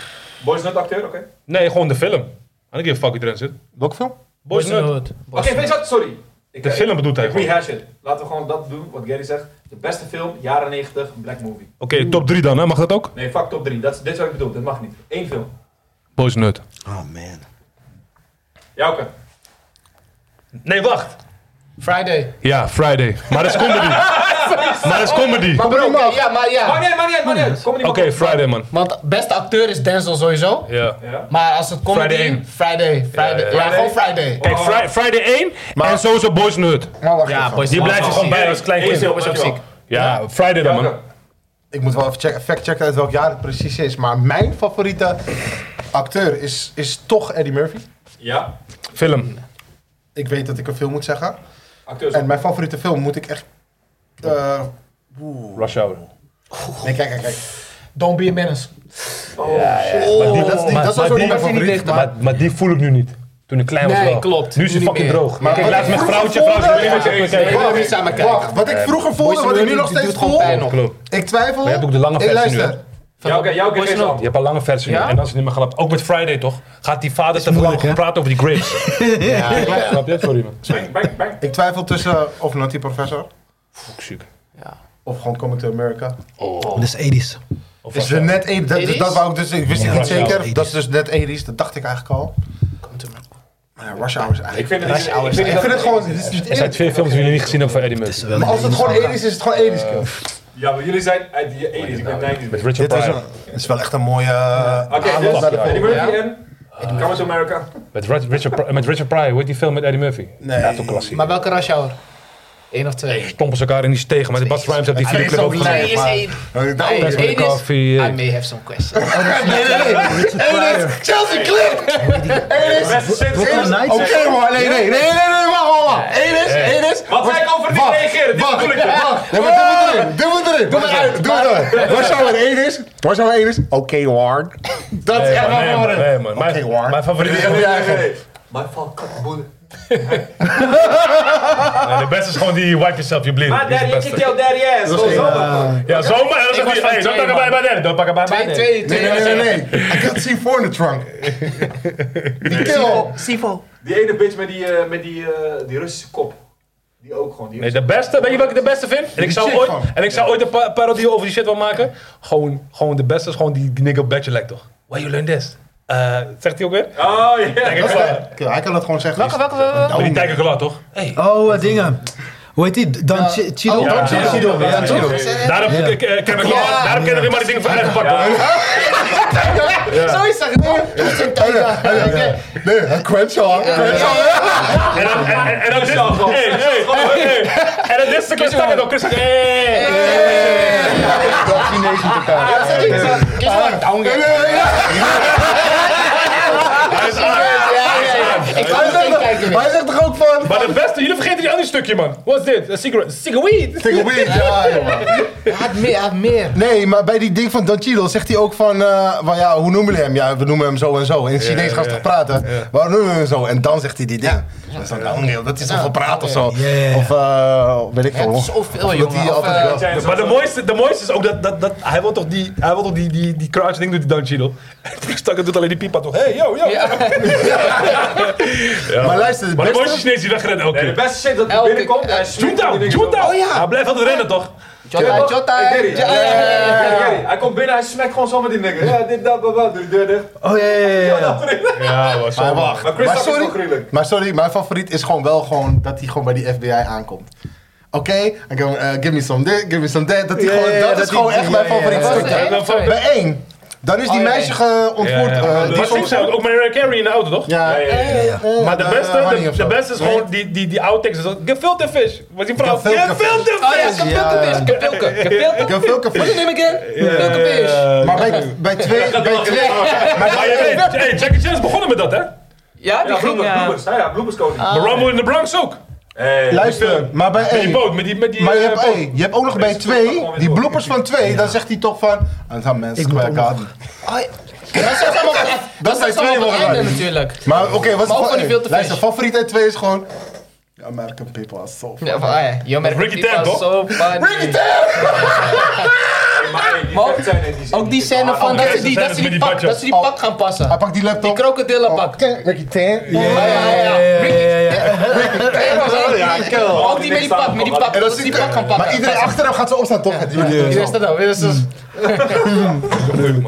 E: Boys Not acteur, oké.
B: Nee, gewoon de film. I don't give a fuck wie erin zit.
C: Welke film?
B: Boys in the Hood.
E: Oké, weet je wat? Sorry. Ik,
B: De
E: eh,
B: film bedoelt hij
E: Ik
B: gewoon.
E: rehash it. Laten we gewoon dat doen wat Gary zegt. De beste film, jaren 90, een black movie.
B: Oké, top 3 dan, hè? Mag dat ook?
E: Nee, fuck top 3. Dat is, dit is wat ik bedoel. Dat mag niet. Eén film.
B: Boys in the Hood.
H: Oh man.
E: Jouke.
B: Nee, wacht.
G: Friday.
B: Ja, Friday. Maar dat is comedy. maar dat is comedy.
G: Maar
C: bro,
G: bro, ja, maar
E: Maar
G: ja.
E: nee, maar nee, maar nee. Kom niet
B: Oké, Friday, man.
G: Want beste acteur is Denzel sowieso.
B: Ja.
E: Ja.
G: Maar als het comedy...
B: Friday één.
G: Friday. Friday.
B: Ja,
G: Ja,
B: ja.
G: gewoon Friday.
B: Kijk, Fri- Friday 1 en sowieso Boys in the Hood.
C: Maar Nou, wacht even.
B: Die blijft er gewoon bij als klein
E: Eén
B: kind.
E: film is ook ziek.
B: Ja, Friday dan, man.
E: Jouke.
C: ik moet wel even checken, fact-checken uit welk jaar het precies is. Maar mijn favoriete acteur is, is toch Eddie Murphy.
E: Ja.
B: Film.
C: Ik weet dat ik een film moet zeggen.
E: Acteurs.
C: En mijn favoriete film moet ik echt... eh, oeh.
B: Rush Hour.
C: Nee, kijk, kijk, kijk.
G: Don't be a menace.
C: Oh, shit.
B: Maar die-
C: dat is die-
B: maar-
C: dat is
B: maar
C: wel
B: die-
C: mijn favoriet.
B: Maar, maar die voel ik nu niet. Toen ik klein was
G: Nee,
B: wel.
G: klopt.
B: Nu is het
G: Nu niet
B: fucking
G: meer.
B: droog. Maar kijk,
C: wat
B: laatst
C: ik
B: met
C: vroeger
B: vrouwtje, vrouwtje.
C: voelde-
B: wil niet met je eens zijn.
G: Nee, we samen kijken.
C: Wacht, wat
B: Eh,
C: ik vroeger voelde,
G: Boys
C: wat ik nu
G: Wilder
C: nog
G: doet
C: steeds
G: gewoon
C: voel...
G: pijn op.
B: Klopt.
C: Ik twijfel.
B: Maar je hebt ook de lange
C: ik
B: versie nu,
C: luister.
E: Jouw keer- jouw keer
G: Boys
E: is
G: Not.
E: al.
B: Je hebt al lange versie nu.
G: Ja?
B: En dan is het niet meer gelapt. Ook met Friday toch? Gaat die vader te lang
H: moeilijk, hè?
B: praten over die grapes. ja, snap je? Sorry man.
E: Bang, bang, bang.
C: Ik twijfel tussen of Naughty Professor
B: Fuck, ziek.
C: of gewoon Coming to America.
H: Dat is 80s.
B: Of
C: Is
B: was
C: er net 80 dat,
G: Edis?
C: dat wou ik dus, ik wist
B: Ja,
C: het niet
B: Rush Hour.
C: zeker. Dat is dus net 80s, dat dacht ik eigenlijk al. Maar ja, Rush Hour is
E: Ik
C: eigenlijk...
E: vind het, ik vind het,
C: Ik vind het gewoon... dit is niet
B: Er zijn twee films die jullie niet gezien hebben van Eddie Murphy.
C: Maar als het gewoon 80s is, is het gewoon 80s. kill.
E: Ja, maar jullie zijn uit die 80s, ik ben 90s.
B: Met
E: Oké,
B: Richard
C: Dit was
B: Pryor.
C: een, het is wel echt een mooie eh,
E: dus
C: aanloop naar de
E: Eddie
C: film.
E: Murphy en Coming to America.
B: Met Rich- Richard, Pryor- met Richard Pryor, hoe heet die film met Eddie Murphy?
C: Nee.
B: Ja, toch klassiek.
G: Maar welke rush hour? Eén of twee?
B: Stompen ze elkaar in die tegen, maar de Bas Rhymes heeft die
C: Hij is
B: videoclip ook
C: ook
B: gezien.
C: lijp,
G: is
C: maar-
G: één.
C: Eh, daarom-
G: Hey,
B: Tijd voor de
G: één is-
B: koffie.
G: I may have some questions.
C: Nee, nee, nee. Hey, dit- Chelsea Clip!
H: Brooklyn
C: Oké
H: Nights.
C: hoor, nee, nee, nee, nee, nee, wacht, wacht, wacht. Eén is, één is.
E: Wat zei ik over niet
C: Wacht,
E: reageren? Dit
C: wacht,
E: bedoel ik dus.
C: wacht. Nee, maar doe het erin, doe het erin. Doe het erin, doe het erin. Waar zou er één is? Waar zou er één is? Oké hoor. Dat is
B: Nee,
C: echt
B: man, nee,
C: waar
B: man,
C: hoor.
B: nee, man. Mijn-
C: Oké, Warren.
B: Mijn favoriete
C: Ja, ja, ja.
E: My fuck, boer.
B: Nee, de beste is gewoon die wipe yourself, je blind.
E: Maar
B: Die is de
E: daddy, kick
B: beste.
E: your daddy ass. Zo, zo.
B: Ja, zomaar. Dat is
G: Ik
B: een
G: was
B: goeie.
G: van
B: Hey, Don't
G: twee,
B: pak bij
G: man.
B: bij derde. Don't pak bij
G: Twee,
B: bij derde.
G: twee,
C: Nee, nee,
G: twee.
C: nee, nee. I got C4 in the trunk. Die kill.
E: Die ene bitch met die, eh, met die, eh, die Russische kop. Die ook gewoon. Die
B: Nee, de beste. Weet je welke ik de beste vind? En ik
C: Die
B: zou
C: chick
B: ooit,
C: gewoon.
B: en ik zou ooit een pa- parodie over die shit wil maken. Gewoon, gewoon de beste is gewoon die nigga bachelor toch? Why you learn this? Eh, zegt hij ook weer?
E: Oh ja.
B: Tiger
C: eh,
B: Claw.
C: Kill, Hij kan dat gewoon zeggen.
G: Welke, welke, welke?
B: Maar die Tiger Claw toch?
H: Oh, eh, dingen. Hoe heet die? Dan Chi- Chido.
C: oh, Dan Chido.
H: Chido, ja,
C: Ja,
H: Chido.
B: Daarom
H: Ja.
B: ik, eh, ken ik wel- daarom ken ik weer maar die dingen van Erg Bart. hoor.
G: Zo is dat.
C: Nee, Crenshaw. Crenshaw.
B: En dan- en- en- en dan dit. Hey, hey, hey, hey. En dan dit is de Chris Tucker toch? Chris Tucker, hey.
C: Dat Chinees met elkaar. Nee, nee, nee, nee.
B: Hij is aan.
G: Ik
C: Hij
G: kan
C: zegt
G: geen
C: toch-
G: kijken
C: Hij zegt toch ook van...
B: Maar de beste, jullie vergeten die andere stukje, man. What's dit? A cigarette. Cigarette.
C: Take a weed. Ja, jongen.
G: Hij had meer, hij had meer.
C: Nee, maar bij die ding van Don Cheadle zegt hij ook van, eh, van ja, hoe noemen jullie hem? Ja, we noemen hem zo en zo. In het Chinees gaan ze toch praten? Waarom noemen we hem zo? En dan zegt hij die ding. Dat is dan Daniel, dat is zoveel praat of zo.
H: Ja, ja, ja.
C: Of eh, weet ik veel.
G: Het
C: hoor.
G: is zoveel,
C: dat hij
G: jongen. Of,
C: altijd
G: eh,
C: wel-
E: Zijn ze
B: Maar de
E: zo-
B: mooiste, de mooiste is ook dat, dat, dat hij wil toch die, hij wil toch die, die, die crouch ding doen, die Dan Cheadle. En Chris Tucker doet alleen die pipa toch. Hey, yo, yo.
C: Maar luister, het
B: Maar de
C: beste-
B: mooiste Chinees die wegrent elke
E: Nee, de
B: keer.
E: beste shit dat hij
G: Elke-
E: binnenkomt. Hij
B: Shoot
E: snoept die
B: down,
E: dingen
B: shoot
E: zo.
B: down. Hij blijft altijd rennen toch?
G: Jota, Jota.
E: Ik weet het.
G: Ja, ja, ja, ja, ja.
E: Ja, Gary, Hij komt binnen, hij smekt gewoon zo met die nigger. Ja, dit, dat, dat, dat. Doe die deur dicht.
C: Oh ja, ja, ja, ja.
B: Ja, was
C: Maar wacht.
E: Maar Chris
C: Maar
E: Tucker is
C: sorry.
E: wel gruwelijk.
C: Maar sorry, mijn favoriet is gewoon wel gewoon dat hij gewoon bij die FBI aankomt. Oké, I go, eh, give me some this, give me some that. Dat, hij
B: Ja,
C: gewoon,
B: ja,
C: dat
B: dat
C: is gewoon
B: hij-
C: echt
B: ja,
C: mijn
B: ja, ja.
C: favoriet
B: Dat
G: was
C: stukje.
G: er één of twee?
C: Bij één, dan is die
G: Oh, ja,
C: meisje ge- ontvoerd. eh, die
B: Maar
C: is
B: soms
C: ontvoerd.
B: ook Mariah Carey in de auto toch?
C: Ja, ja, ja, ja.
B: Maar de
C: Eh,
B: beste,
C: Honey
B: de,
C: of
B: de
C: zo.
B: beste is
C: Nee.
B: gewoon die, die, die outtakes. is dat, Gefilte fish. Was die vrouw?
C: Gefilte
B: Gefilte
G: Oh ja,
B: fish.
G: kapilke
C: Ja.
G: vis, kapilke, kapilke.
C: Ik heb veel cafés.
G: Wat is je name again? Kapilke vis.
C: Maar bij, bij twee, bij twee,
B: Maar je weet, hey, Jackie Chan is begonnen met dat hè?
G: Ja, die
E: Ja,
G: ging...
E: bloemers,
G: eh,
E: bloemers. Ja, ja, bloemerskoning.
C: Ah,
B: Maar Rumble in the Bronx ook.
E: Hey.
C: luister, maar bij
B: Met die
C: één.
B: boot, met die... Met die
C: Maar je
B: eh,
C: hebt,
B: boot.
C: hey, je hebt ook nog bij
E: Deze doet dat
C: twee,
E: gewoon weer
C: die
E: door.
C: bloepers van twee, dan zegt hij toch van, en dan mensen
H: moet
C: bij
H: ook nog-
C: elkaar. Dat zijn twee
G: allemaal op het
C: woorden.
G: einde natuurlijk.
C: Maar oké, wat is
G: Maar ook van die
C: hey,
G: veel te
C: Luister,
G: vis.
C: favoriet uit twee is gewoon, The American people are so
G: Ja, maar, ah, ja. Yo, maar
B: Ricky
G: die
B: Tan,
G: was
B: toch?
G: Zo funny.
E: Maar hey, die
G: Maar ook-
E: vechten zijn in die
G: Ook die scène van dat ze die, dat ze die, pak, dat ze die pak gaan
C: Hij
G: passen.
C: pakt die laptop.
G: Die krokodillenpak.
C: Oh, Oké, Ricky Tan.
G: Ja, ja, ja. Ricky-
C: Ja, ik ken
G: Ook die met die pak, met die pak.
C: En
G: Dat
C: dat
G: ze
C: ziet
G: die pak gaan
C: er,
G: pakken.
C: maar iedereen achter hem gaat zo opstaan, toch? Die video.
G: Wie is dat nou? Wie is dat?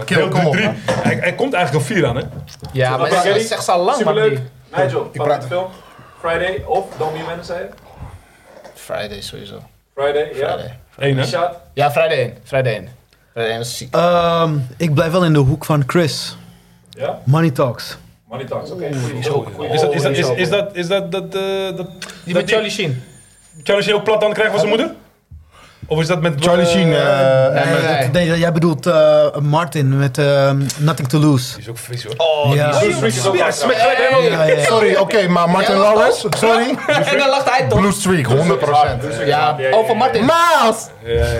C: Kill, kom op.
B: Drie. Hij, hij komt eigenlijk een vier aan, hè?
C: Oh,
G: Ja, maar dat
E: Gary,
G: is echt al lang, man.
E: Superleuk.
G: die.
E: Nigel,
C: praat
E: favoriete film? Friday of Don't Be a Menace, zei je?
G: Friday sowieso.
E: Friday, ja.
G: Friday.
B: Eén, hè?
E: Shot.
G: Ja, Friday 1. Friday 1. Friday 1 is ziek.
H: Ehm, ik blijf wel in de hoek van Chris.
E: Ja?
H: Money Talks.
E: Money Talks, oké. Goeie, goeie.
B: Is dat, is dat, is, is dat, is dat, dat, eh, dat
G: Die met Charlie Sheen.
B: Charlie Sheen ook plat aan krijgt van zijn moeder? Of is dat met
C: Charlie
B: eh,
C: Sheen, eh,
B: en
H: Nee,
B: met-
H: dat- nee, jij bedoelt eh, Martin met eh, Nothing to Lose.
B: Die is ook Fries hoor. Oh,
H: Ja.
B: die is Fries. Hij smaakt gelijk helemaal
H: Ja, ja, ja.
C: Sorry, oké, maar Martin
G: Ja,
C: Lawrence, sorry.
G: En dan lacht hij toch.
C: Blue Streak, 100%.
G: Ja, over Martin.
H: Miles!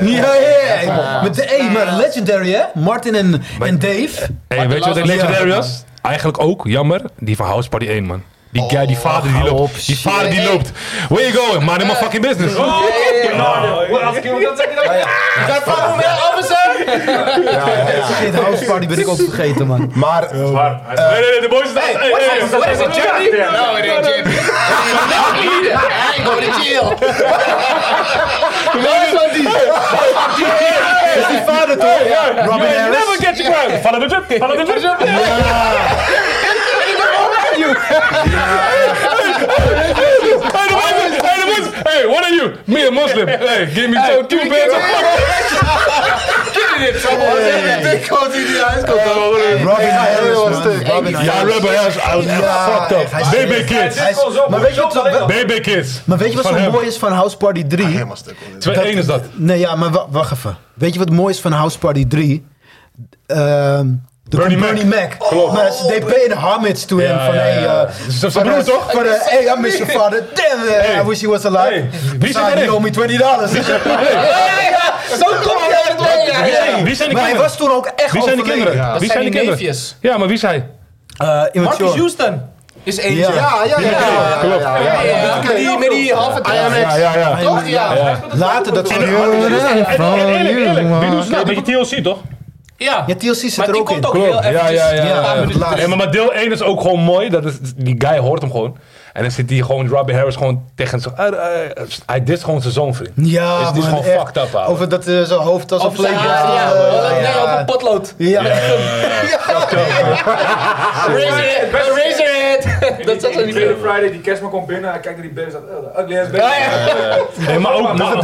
H: Ja, ja, ja. Met de E, maar legendary hè? Martin en, en Dave.
B: Hey, weet je wat ik legendary was? Eigenlijk ook, jammer, die van House Party 1, man. Die guy,
C: Oh,
B: die vader die loopt. die vader die loopt. Where you going? Mind my fucking business.
H: Shit, House Party ben ik ook vergeten, man.
C: Maar
B: Nee, nee, nee, de boys is hey, hey, hey, hey.
G: Wat is het, Jerry? Nou, dit is Jerry. Hij wordt een chill.
C: is die vader toch? Robin
B: You
C: Harris.
B: never get your crown. Follow the drip, follow the drip. Hey, the boys, hey, the boys. Hey, what are you? Me a Muslim. Hey, give me two, two bands of
C: Ik hoor die die uitkomt. Robin Harris was stuk. Robin
B: Ja,
C: Harris.
B: rubber ass. I was fucked up.
H: hij is-
B: Baby kids.
H: Hij is- Maar weet je wat zo-
B: Baby kids.
H: Maar weet je wat
B: Van
H: zo
B: hem. Ah,
H: mooi is van House Party 3?
C: Helemaal stuk. hoor.
B: Twee één is dat.
H: Nee, ja, maar wa- wacht even. Weet je wat mooi is van House Party 3? Ehm de Bernie, Bernie Mac. Maar ze they paid homage to him.
B: Ja,
H: van,
B: ja,
H: hey,
B: ja.
H: eh,
B: Ze- ze
H: van,
B: broer
H: eh,
B: toch?
H: Van, eh, hey, I miss your father. Damn, eh, I wish he was alive.
B: Wie zit
H: Sorry,
B: erin?
H: you owe me 20 dollars. Zo kom je uit
B: Wie zijn- Wie zijn die
H: Maar hij
B: kinderen?
H: was toen ook echt
B: Wie zijn die
H: overleden.
B: kinderen? Wie zijn die kinderen?
O: neefjes?
B: Ja, maar wie is hij?
H: Eh, iemand
G: Marcus
H: joh.
G: Houston is eentje.
H: Ja, ja, ja. ja, ja,
B: Klopt.
H: ja,
G: Ja, ja,
H: ja.
G: Met die, met die halve draad.
B: Ja, ja, ja.
G: Toch? Ja. Ja,
H: Later dat soort
B: Wie doet ze dat? Beetje TLC toch?
H: Ja, TLC zit
G: maar
H: er
G: die
H: ook in.
G: komt ook
B: Klopt.
G: heel
B: Ja,
G: even.
B: ja, ja.
H: Ja,
B: ja.
H: het laatste.
B: Ja, maar, maar deel 1 is ook gewoon mooi. Dat is, die guy hoort hem gewoon. En dan zit die gewoon, Robbie Harris gewoon tegen zijn... eh, eh, Hij dist gewoon zijn zoon, vriend.
H: Ja,
B: Is die
H: man,
B: gewoon
H: echt.
B: fucked up, ouwe.
H: Over dat eh, zijn hoofd als een
G: Of zijn
H: vlees.
G: haar, ja.
H: eh, Ja,
G: Nee, op
H: ja.
G: een potlood.
H: Ja.
G: Razor head, razor head. Dat zat er niet
E: Black
G: in.
E: Friday, die kerstman komt binnen, hij kijkt naar die baby en zegt, "Eh, ugly ass baby.
B: Nee, maar ook... Maar,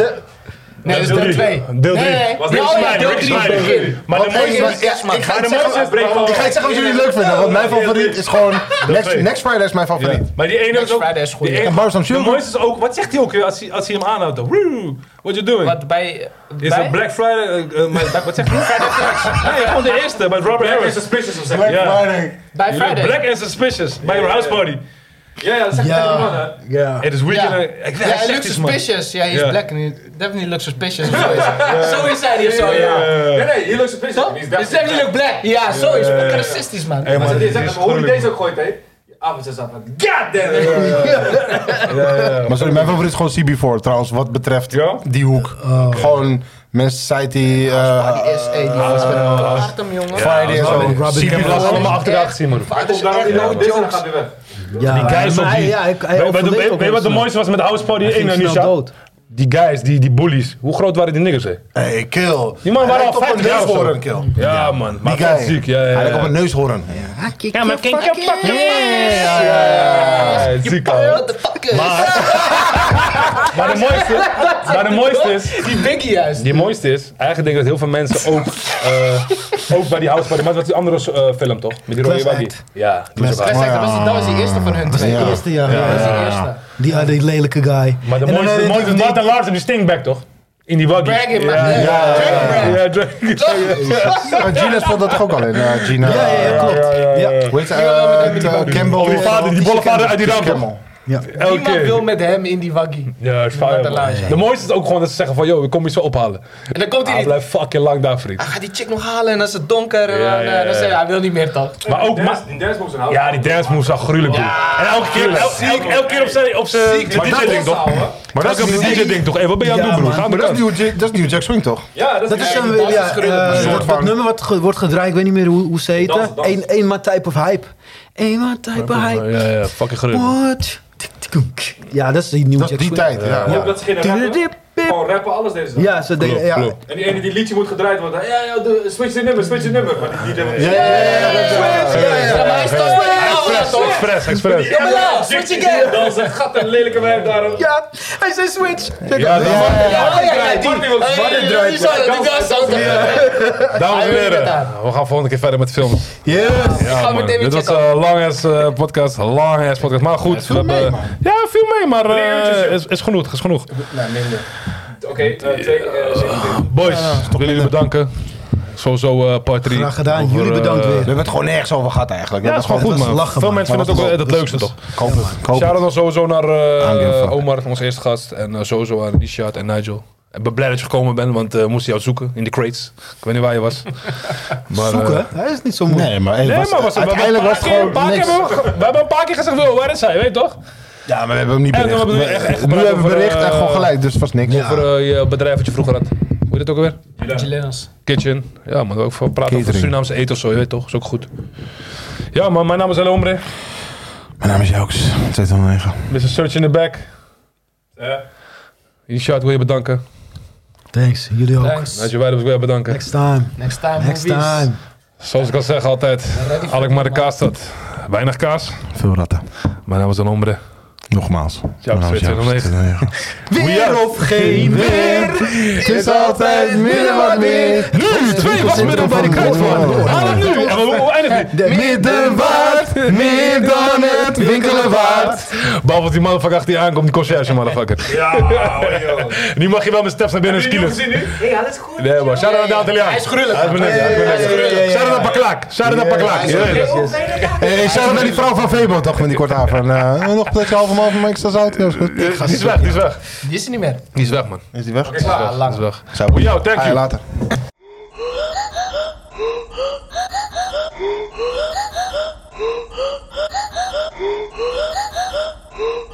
G: Nee, dat is
B: deel
G: deel
B: drie.
G: 2.
B: Deel 3.
G: Nee, nee, nee. oh
B: Rick
G: Ja, ja,
B: Snyder,
G: deel
B: Rick
G: drie is het
B: Snyder.
G: begin. dus-
B: Maar de mooiste...
G: Jezus, kerstman.
C: Ik ga
B: Maar
C: het
B: de mooiste is...
C: zeggen, ik ga het zeggen wat jullie het leuk vinden, want mijn favoriet is gewoon... Next, Next Friday is mijn favoriet.
B: Maar die ene is ook...
G: Friday is goed.
B: die ene-
C: En Bars on
B: de
C: Sugar.
B: mooiste is ook... Wat zegt hij ook weer als hij, als hij hem aanhoudt? dan? Woo, what you doing?
G: Wat bij...
B: Is
G: bij-
B: dat Black Friday? eh, eh, maar, wat zegt hij? Friday Flex. Nee, gewoon de eerste, bij Robert
E: Black is
B: Harris.
E: suspicious of zeg.
C: Black
B: Ja.
C: Friday.
G: Bij Friday.
B: Black and Suspicious, bij een house party.
E: Ja, ja, dat zeg ik
H: Ja.
E: tegen die man, hè.
H: Ja.
B: Het is
G: Ja.
B: weekend. eh, Ik
G: Ja,
B: hij
G: hij
B: zegt
G: looks
B: iets, man.
G: suspicious. Ja, hij is
B: Ja.
G: black en he definitely looks suspicious. of zoiets. Zo is hij hier zo, ja.
E: Nee, nee, hier looks suspicious.
G: Toch?
E: Die is
G: Is
E: definitely-
G: definitely look black. Ja, zo is fucking racistisch, man.
B: Hey,
E: Maar
B: man,
E: ze-
B: dit
E: die
B: is
E: zegt, hoe die
B: gruwelijk.
E: deze ook gooit, hè. Avond is dat van, god damn it.
C: Maar sorry, mijn favoriet is gewoon CB4 trouwens, wat betreft
B: Ja?
C: die hoek. Gewoon, mensen zei die... eh,
G: Is hey, die was hard hem, jongen.
C: Friday en zo.
H: Robin
B: Ik heb
C: CB4
B: het
C: was
B: allemaal achter elkaar
G: echt.
B: gezien, man.
E: Hij komt daar niet naar deze en dan gaat hij weg.
H: Ja,
B: Die guys
H: maar
B: op
H: hij-
B: die-
H: ja, hij- hij
B: Weet- Weet
H: overleed
B: weet-
H: ook
B: weet je
H: wel
B: wat de
H: snel.
B: mooiste was met House Party
H: Hij
B: 1
H: ging
B: en
H: snel
B: Nisha?
H: dood.
B: Die guys, die, die bullies. Hoe groot waren die niggers, hè?
C: Hey, kill.
B: Die man waren
C: Hij
B: al
C: lijkt op
B: 50
C: een
B: jaar of zo.
C: neushoorn, kill.
B: Ja, man. Maar
C: Die
B: vet
C: guy.
B: ziek, ja, ja.
C: Hij lijkt op
B: ja.
C: een neushoorn.
B: Ja, maar kijk, je fucking Ja, ja, ja. Ziek,
G: What
B: ouwe.
G: the fuck is
B: Maar de mooiste, maar de mooiste is...
G: Die Biggie juist.
B: Die mooiste is, eigenlijk denk ik dat heel veel mensen ook, eh, ook bij die house party, maar dat is die andere eh, film toch? Met die rode
H: Class
B: waggie.
H: Act.
B: Ja, die is ook hard.
H: Class
G: Hij zei, Dat was die- dat was die eerste van hun twee.
H: De
G: Dat
H: eerste, ja. ja.
G: was die eerste.
H: Die, ah, die lelijke guy.
B: Maar de
H: En dan,
B: mooiste, de
H: eh,
B: mooiste is
H: die-
B: Martin Larsen, die stinkback toch? In die waggie.
G: Brag it, man.
B: Ja, ja,
G: Ja, drag
B: ja,
G: brag.
B: ja, drag-
C: Gina speelt dat toch ook al in? eh, Gina.
H: Ja, ja, ja, klopt.
B: ja, ja, ja.
H: Ja.
C: Hoe heet ze? Eh, het, eh, Campbell.
B: Oh, die vader, die bolle vader uit die ramp.
C: Campbell.
B: Elke
G: Niemand wil
B: keer.
G: met hem in die waggie.
B: Ja, is fire,
G: Martin Larsen.
B: man. De mooiste is ook gewoon dat ze zeggen van, yo, ik kom je zo ophalen.
G: En dan komt hij
B: Hij
G: niet.
B: blijft fucking lang daar, vriend.
G: Hij gaat die chick nog halen en dan is het donker. En
B: Ja,
G: dan,
B: ja,
G: eh, dan
B: ja.
G: zei hij, hij wil niet meer toch.
B: Maar ook,
E: Dance-
B: maar,
E: Die dance moves in house.
B: ja, die dance moves zag gruwelijk doen. En elke keer, el, elke, elke keer op zijn, op zijn DJ-ding toch?
C: Maar dat
B: Elke
C: is
B: keer op zijn DJ-ding toch? Hé, wat ben je aan het
H: Ja,
B: doen, broer?
H: man.
B: Ga
C: Maar
B: maar
C: dat is
B: dan.
C: New Jack- dat is New Jack Swing toch?
E: Ja, dat
H: Dat
E: is
H: is
E: echt-
H: een, ja, eh,
C: soort
H: dat, dat
C: van-
H: nummer wat ge- wordt gedraaid, ik weet niet meer hoe, hoe ze
E: Dans,
H: heten.
E: dans.
H: Eén één maar type of hype. Eén maar type of hype.
B: Ja, ja, fucking gruwelijk.
H: What? Tik, tik, tik. Ja, dat is die New
C: Dat is
H: Jack
C: die
H: Swing.
C: tijd, ja.
E: Ook dat ze geen rappen,
H: Tididip, pip.
E: gewoon rappen, alles deze dag.
H: Ja, ze denken, ja.
B: klopt.
E: En die ene die liedje moet gedraaid worden, ja, ja, de- switch de nummer, switch de nummer. Maar die DJ moet-
C: Ja, ja, ja, ja, dat is waar.
G: Ja, maar hij is toch
B: Express, express, express.
G: Ja, maar ja, switch again.
E: Dan zegt, gat een lelijke wijf daar.
H: Ja, hij zei switch.
B: Ja, dames,
G: Ja, ja, ja, die.
E: Martin wil
G: Hey,
E: zwart
G: die
E: eruit,
G: zou-
E: maar
G: die
E: kan-
G: zou- zou-
B: dames en
G: Hij weet
B: heren,
G: het daar.
B: we gaan volgende keer verder met films.
H: Yes.
B: Ja,
G: gaan
B: man.
G: meteen weer
B: Dit was
G: checken.
B: een lang ass eh, podcast, lang ass podcast. Maar goed, we hebben. Ja, viel mee, maar eh, is, is genoeg, is genoeg.
C: Nee, minder.
E: Oké,
P: eh, twee, eh, zeven, zeven.
B: Boys, willen jullie bedanken. Sowieso eh part 3.
C: Graag gedaan. Jullie bedankt weer. We hebben het gewoon nergens over gehad eigenlijk.
B: Ja, het is gewoon goed, man. Veel mensen vinden het ook wel het leukste, toch?
C: Ik hoop het. Ik hoop het.
B: Shout-out dan sowieso naar eh,
C: Aangeven, fuck.
B: Omar, onze eerste gast. En eh, sowieso aan Richard en Nigel. Ik ben blij dat je gekomen bent, want eh, we moesten jou zoeken in de crates. Ik weet niet waar je was. Maar, eh,
H: Zoeken, dat is niet zo moeilijk.
C: Nee, maar, het
B: Nee,
C: was,
B: maar was, we hebben
C: uiteindelijk
B: een
C: was het
B: paar keer-
C: gewoon
B: een paar keer
C: niks.
B: hebben we, ge- we hebben een paar keer gezegd, "Yo, waar is hij? Weet je toch?
C: Ja, maar we hebben hem niet
B: En toen
C: bericht.
B: hebben we
C: We-
B: hem echt- echt
C: nu
B: gebruikt
C: hebben we
B: voor,
C: bericht en
B: eh,
C: gewoon gelijk, dus het was niks.
B: Voor eh, je bedrijf wat je vroeger had. Hoe heet het ook alweer?
G: Chilenas.
B: Kitchen. Ja, maar ook voor praten over
C: Catering.
B: Surinaamse eten of zo, je weet toch? Is ook goed. Ja, man, mijn naam is El Omre.
C: Mijn naam is Jooks, 209.
B: Mr. Search in the Back.
P: Ja.
B: Richard, wil je bedanken.
H: Thanks, jullie ook.
B: Nadje Weider wil ik weer bedanken.
H: Next time.
G: Next time,
H: Next
G: movies.
H: time.
B: Zoals ik al zeg altijd, Alkmaar de kaas dat. Weinig kaas.
C: Veel ratten.
B: Mijn naam is El Omre.
C: Nogmaals.
B: Jouw
C: Mijn naam is
B: 209.
C: 209.
B: Weer of geen weer.
C: Het is altijd midden wat meer.
B: Nu, twee was midden bij de kruid van. Haal hem nu. En we- we eindigen.
C: De middenwaard, meer dan het winkelen waard.
B: Behalve als die motherfucker achter je aankomt, die conciërge motherfucker.
P: Ja, hoor, joh.
B: Nu mag je wel met steps naar binnen
P: Heb je die
B: skillen.
P: gezien nu?
Q: Hey, alles goed?
B: Nee, maar shout out naar de Antilliaan.
G: Hij is gruwelijk,
B: Hij is
G: man.
B: beneden. hij is
C: Ja, ja, ja,
B: beneden.
C: ja, ja, ja.
B: Shout out naar Paklaak. Shout out naar Paklaak. Je weet het.
Q: Oh, fijne dag.
C: Hey, shout out naar die vrouw van Febo toch met die korte haar van. eh, nog een plekje halve man van Mike Sazat.
B: Die is weg, die is weg.
G: Die is er niet meer.
B: Die is weg, man.
C: Is die weg?
G: Ah,
B: Die
G: lang.
B: is weg.
C: Zou-
B: Voor jou, thank
C: Ah,
B: you.
C: Later.
R: Ooh.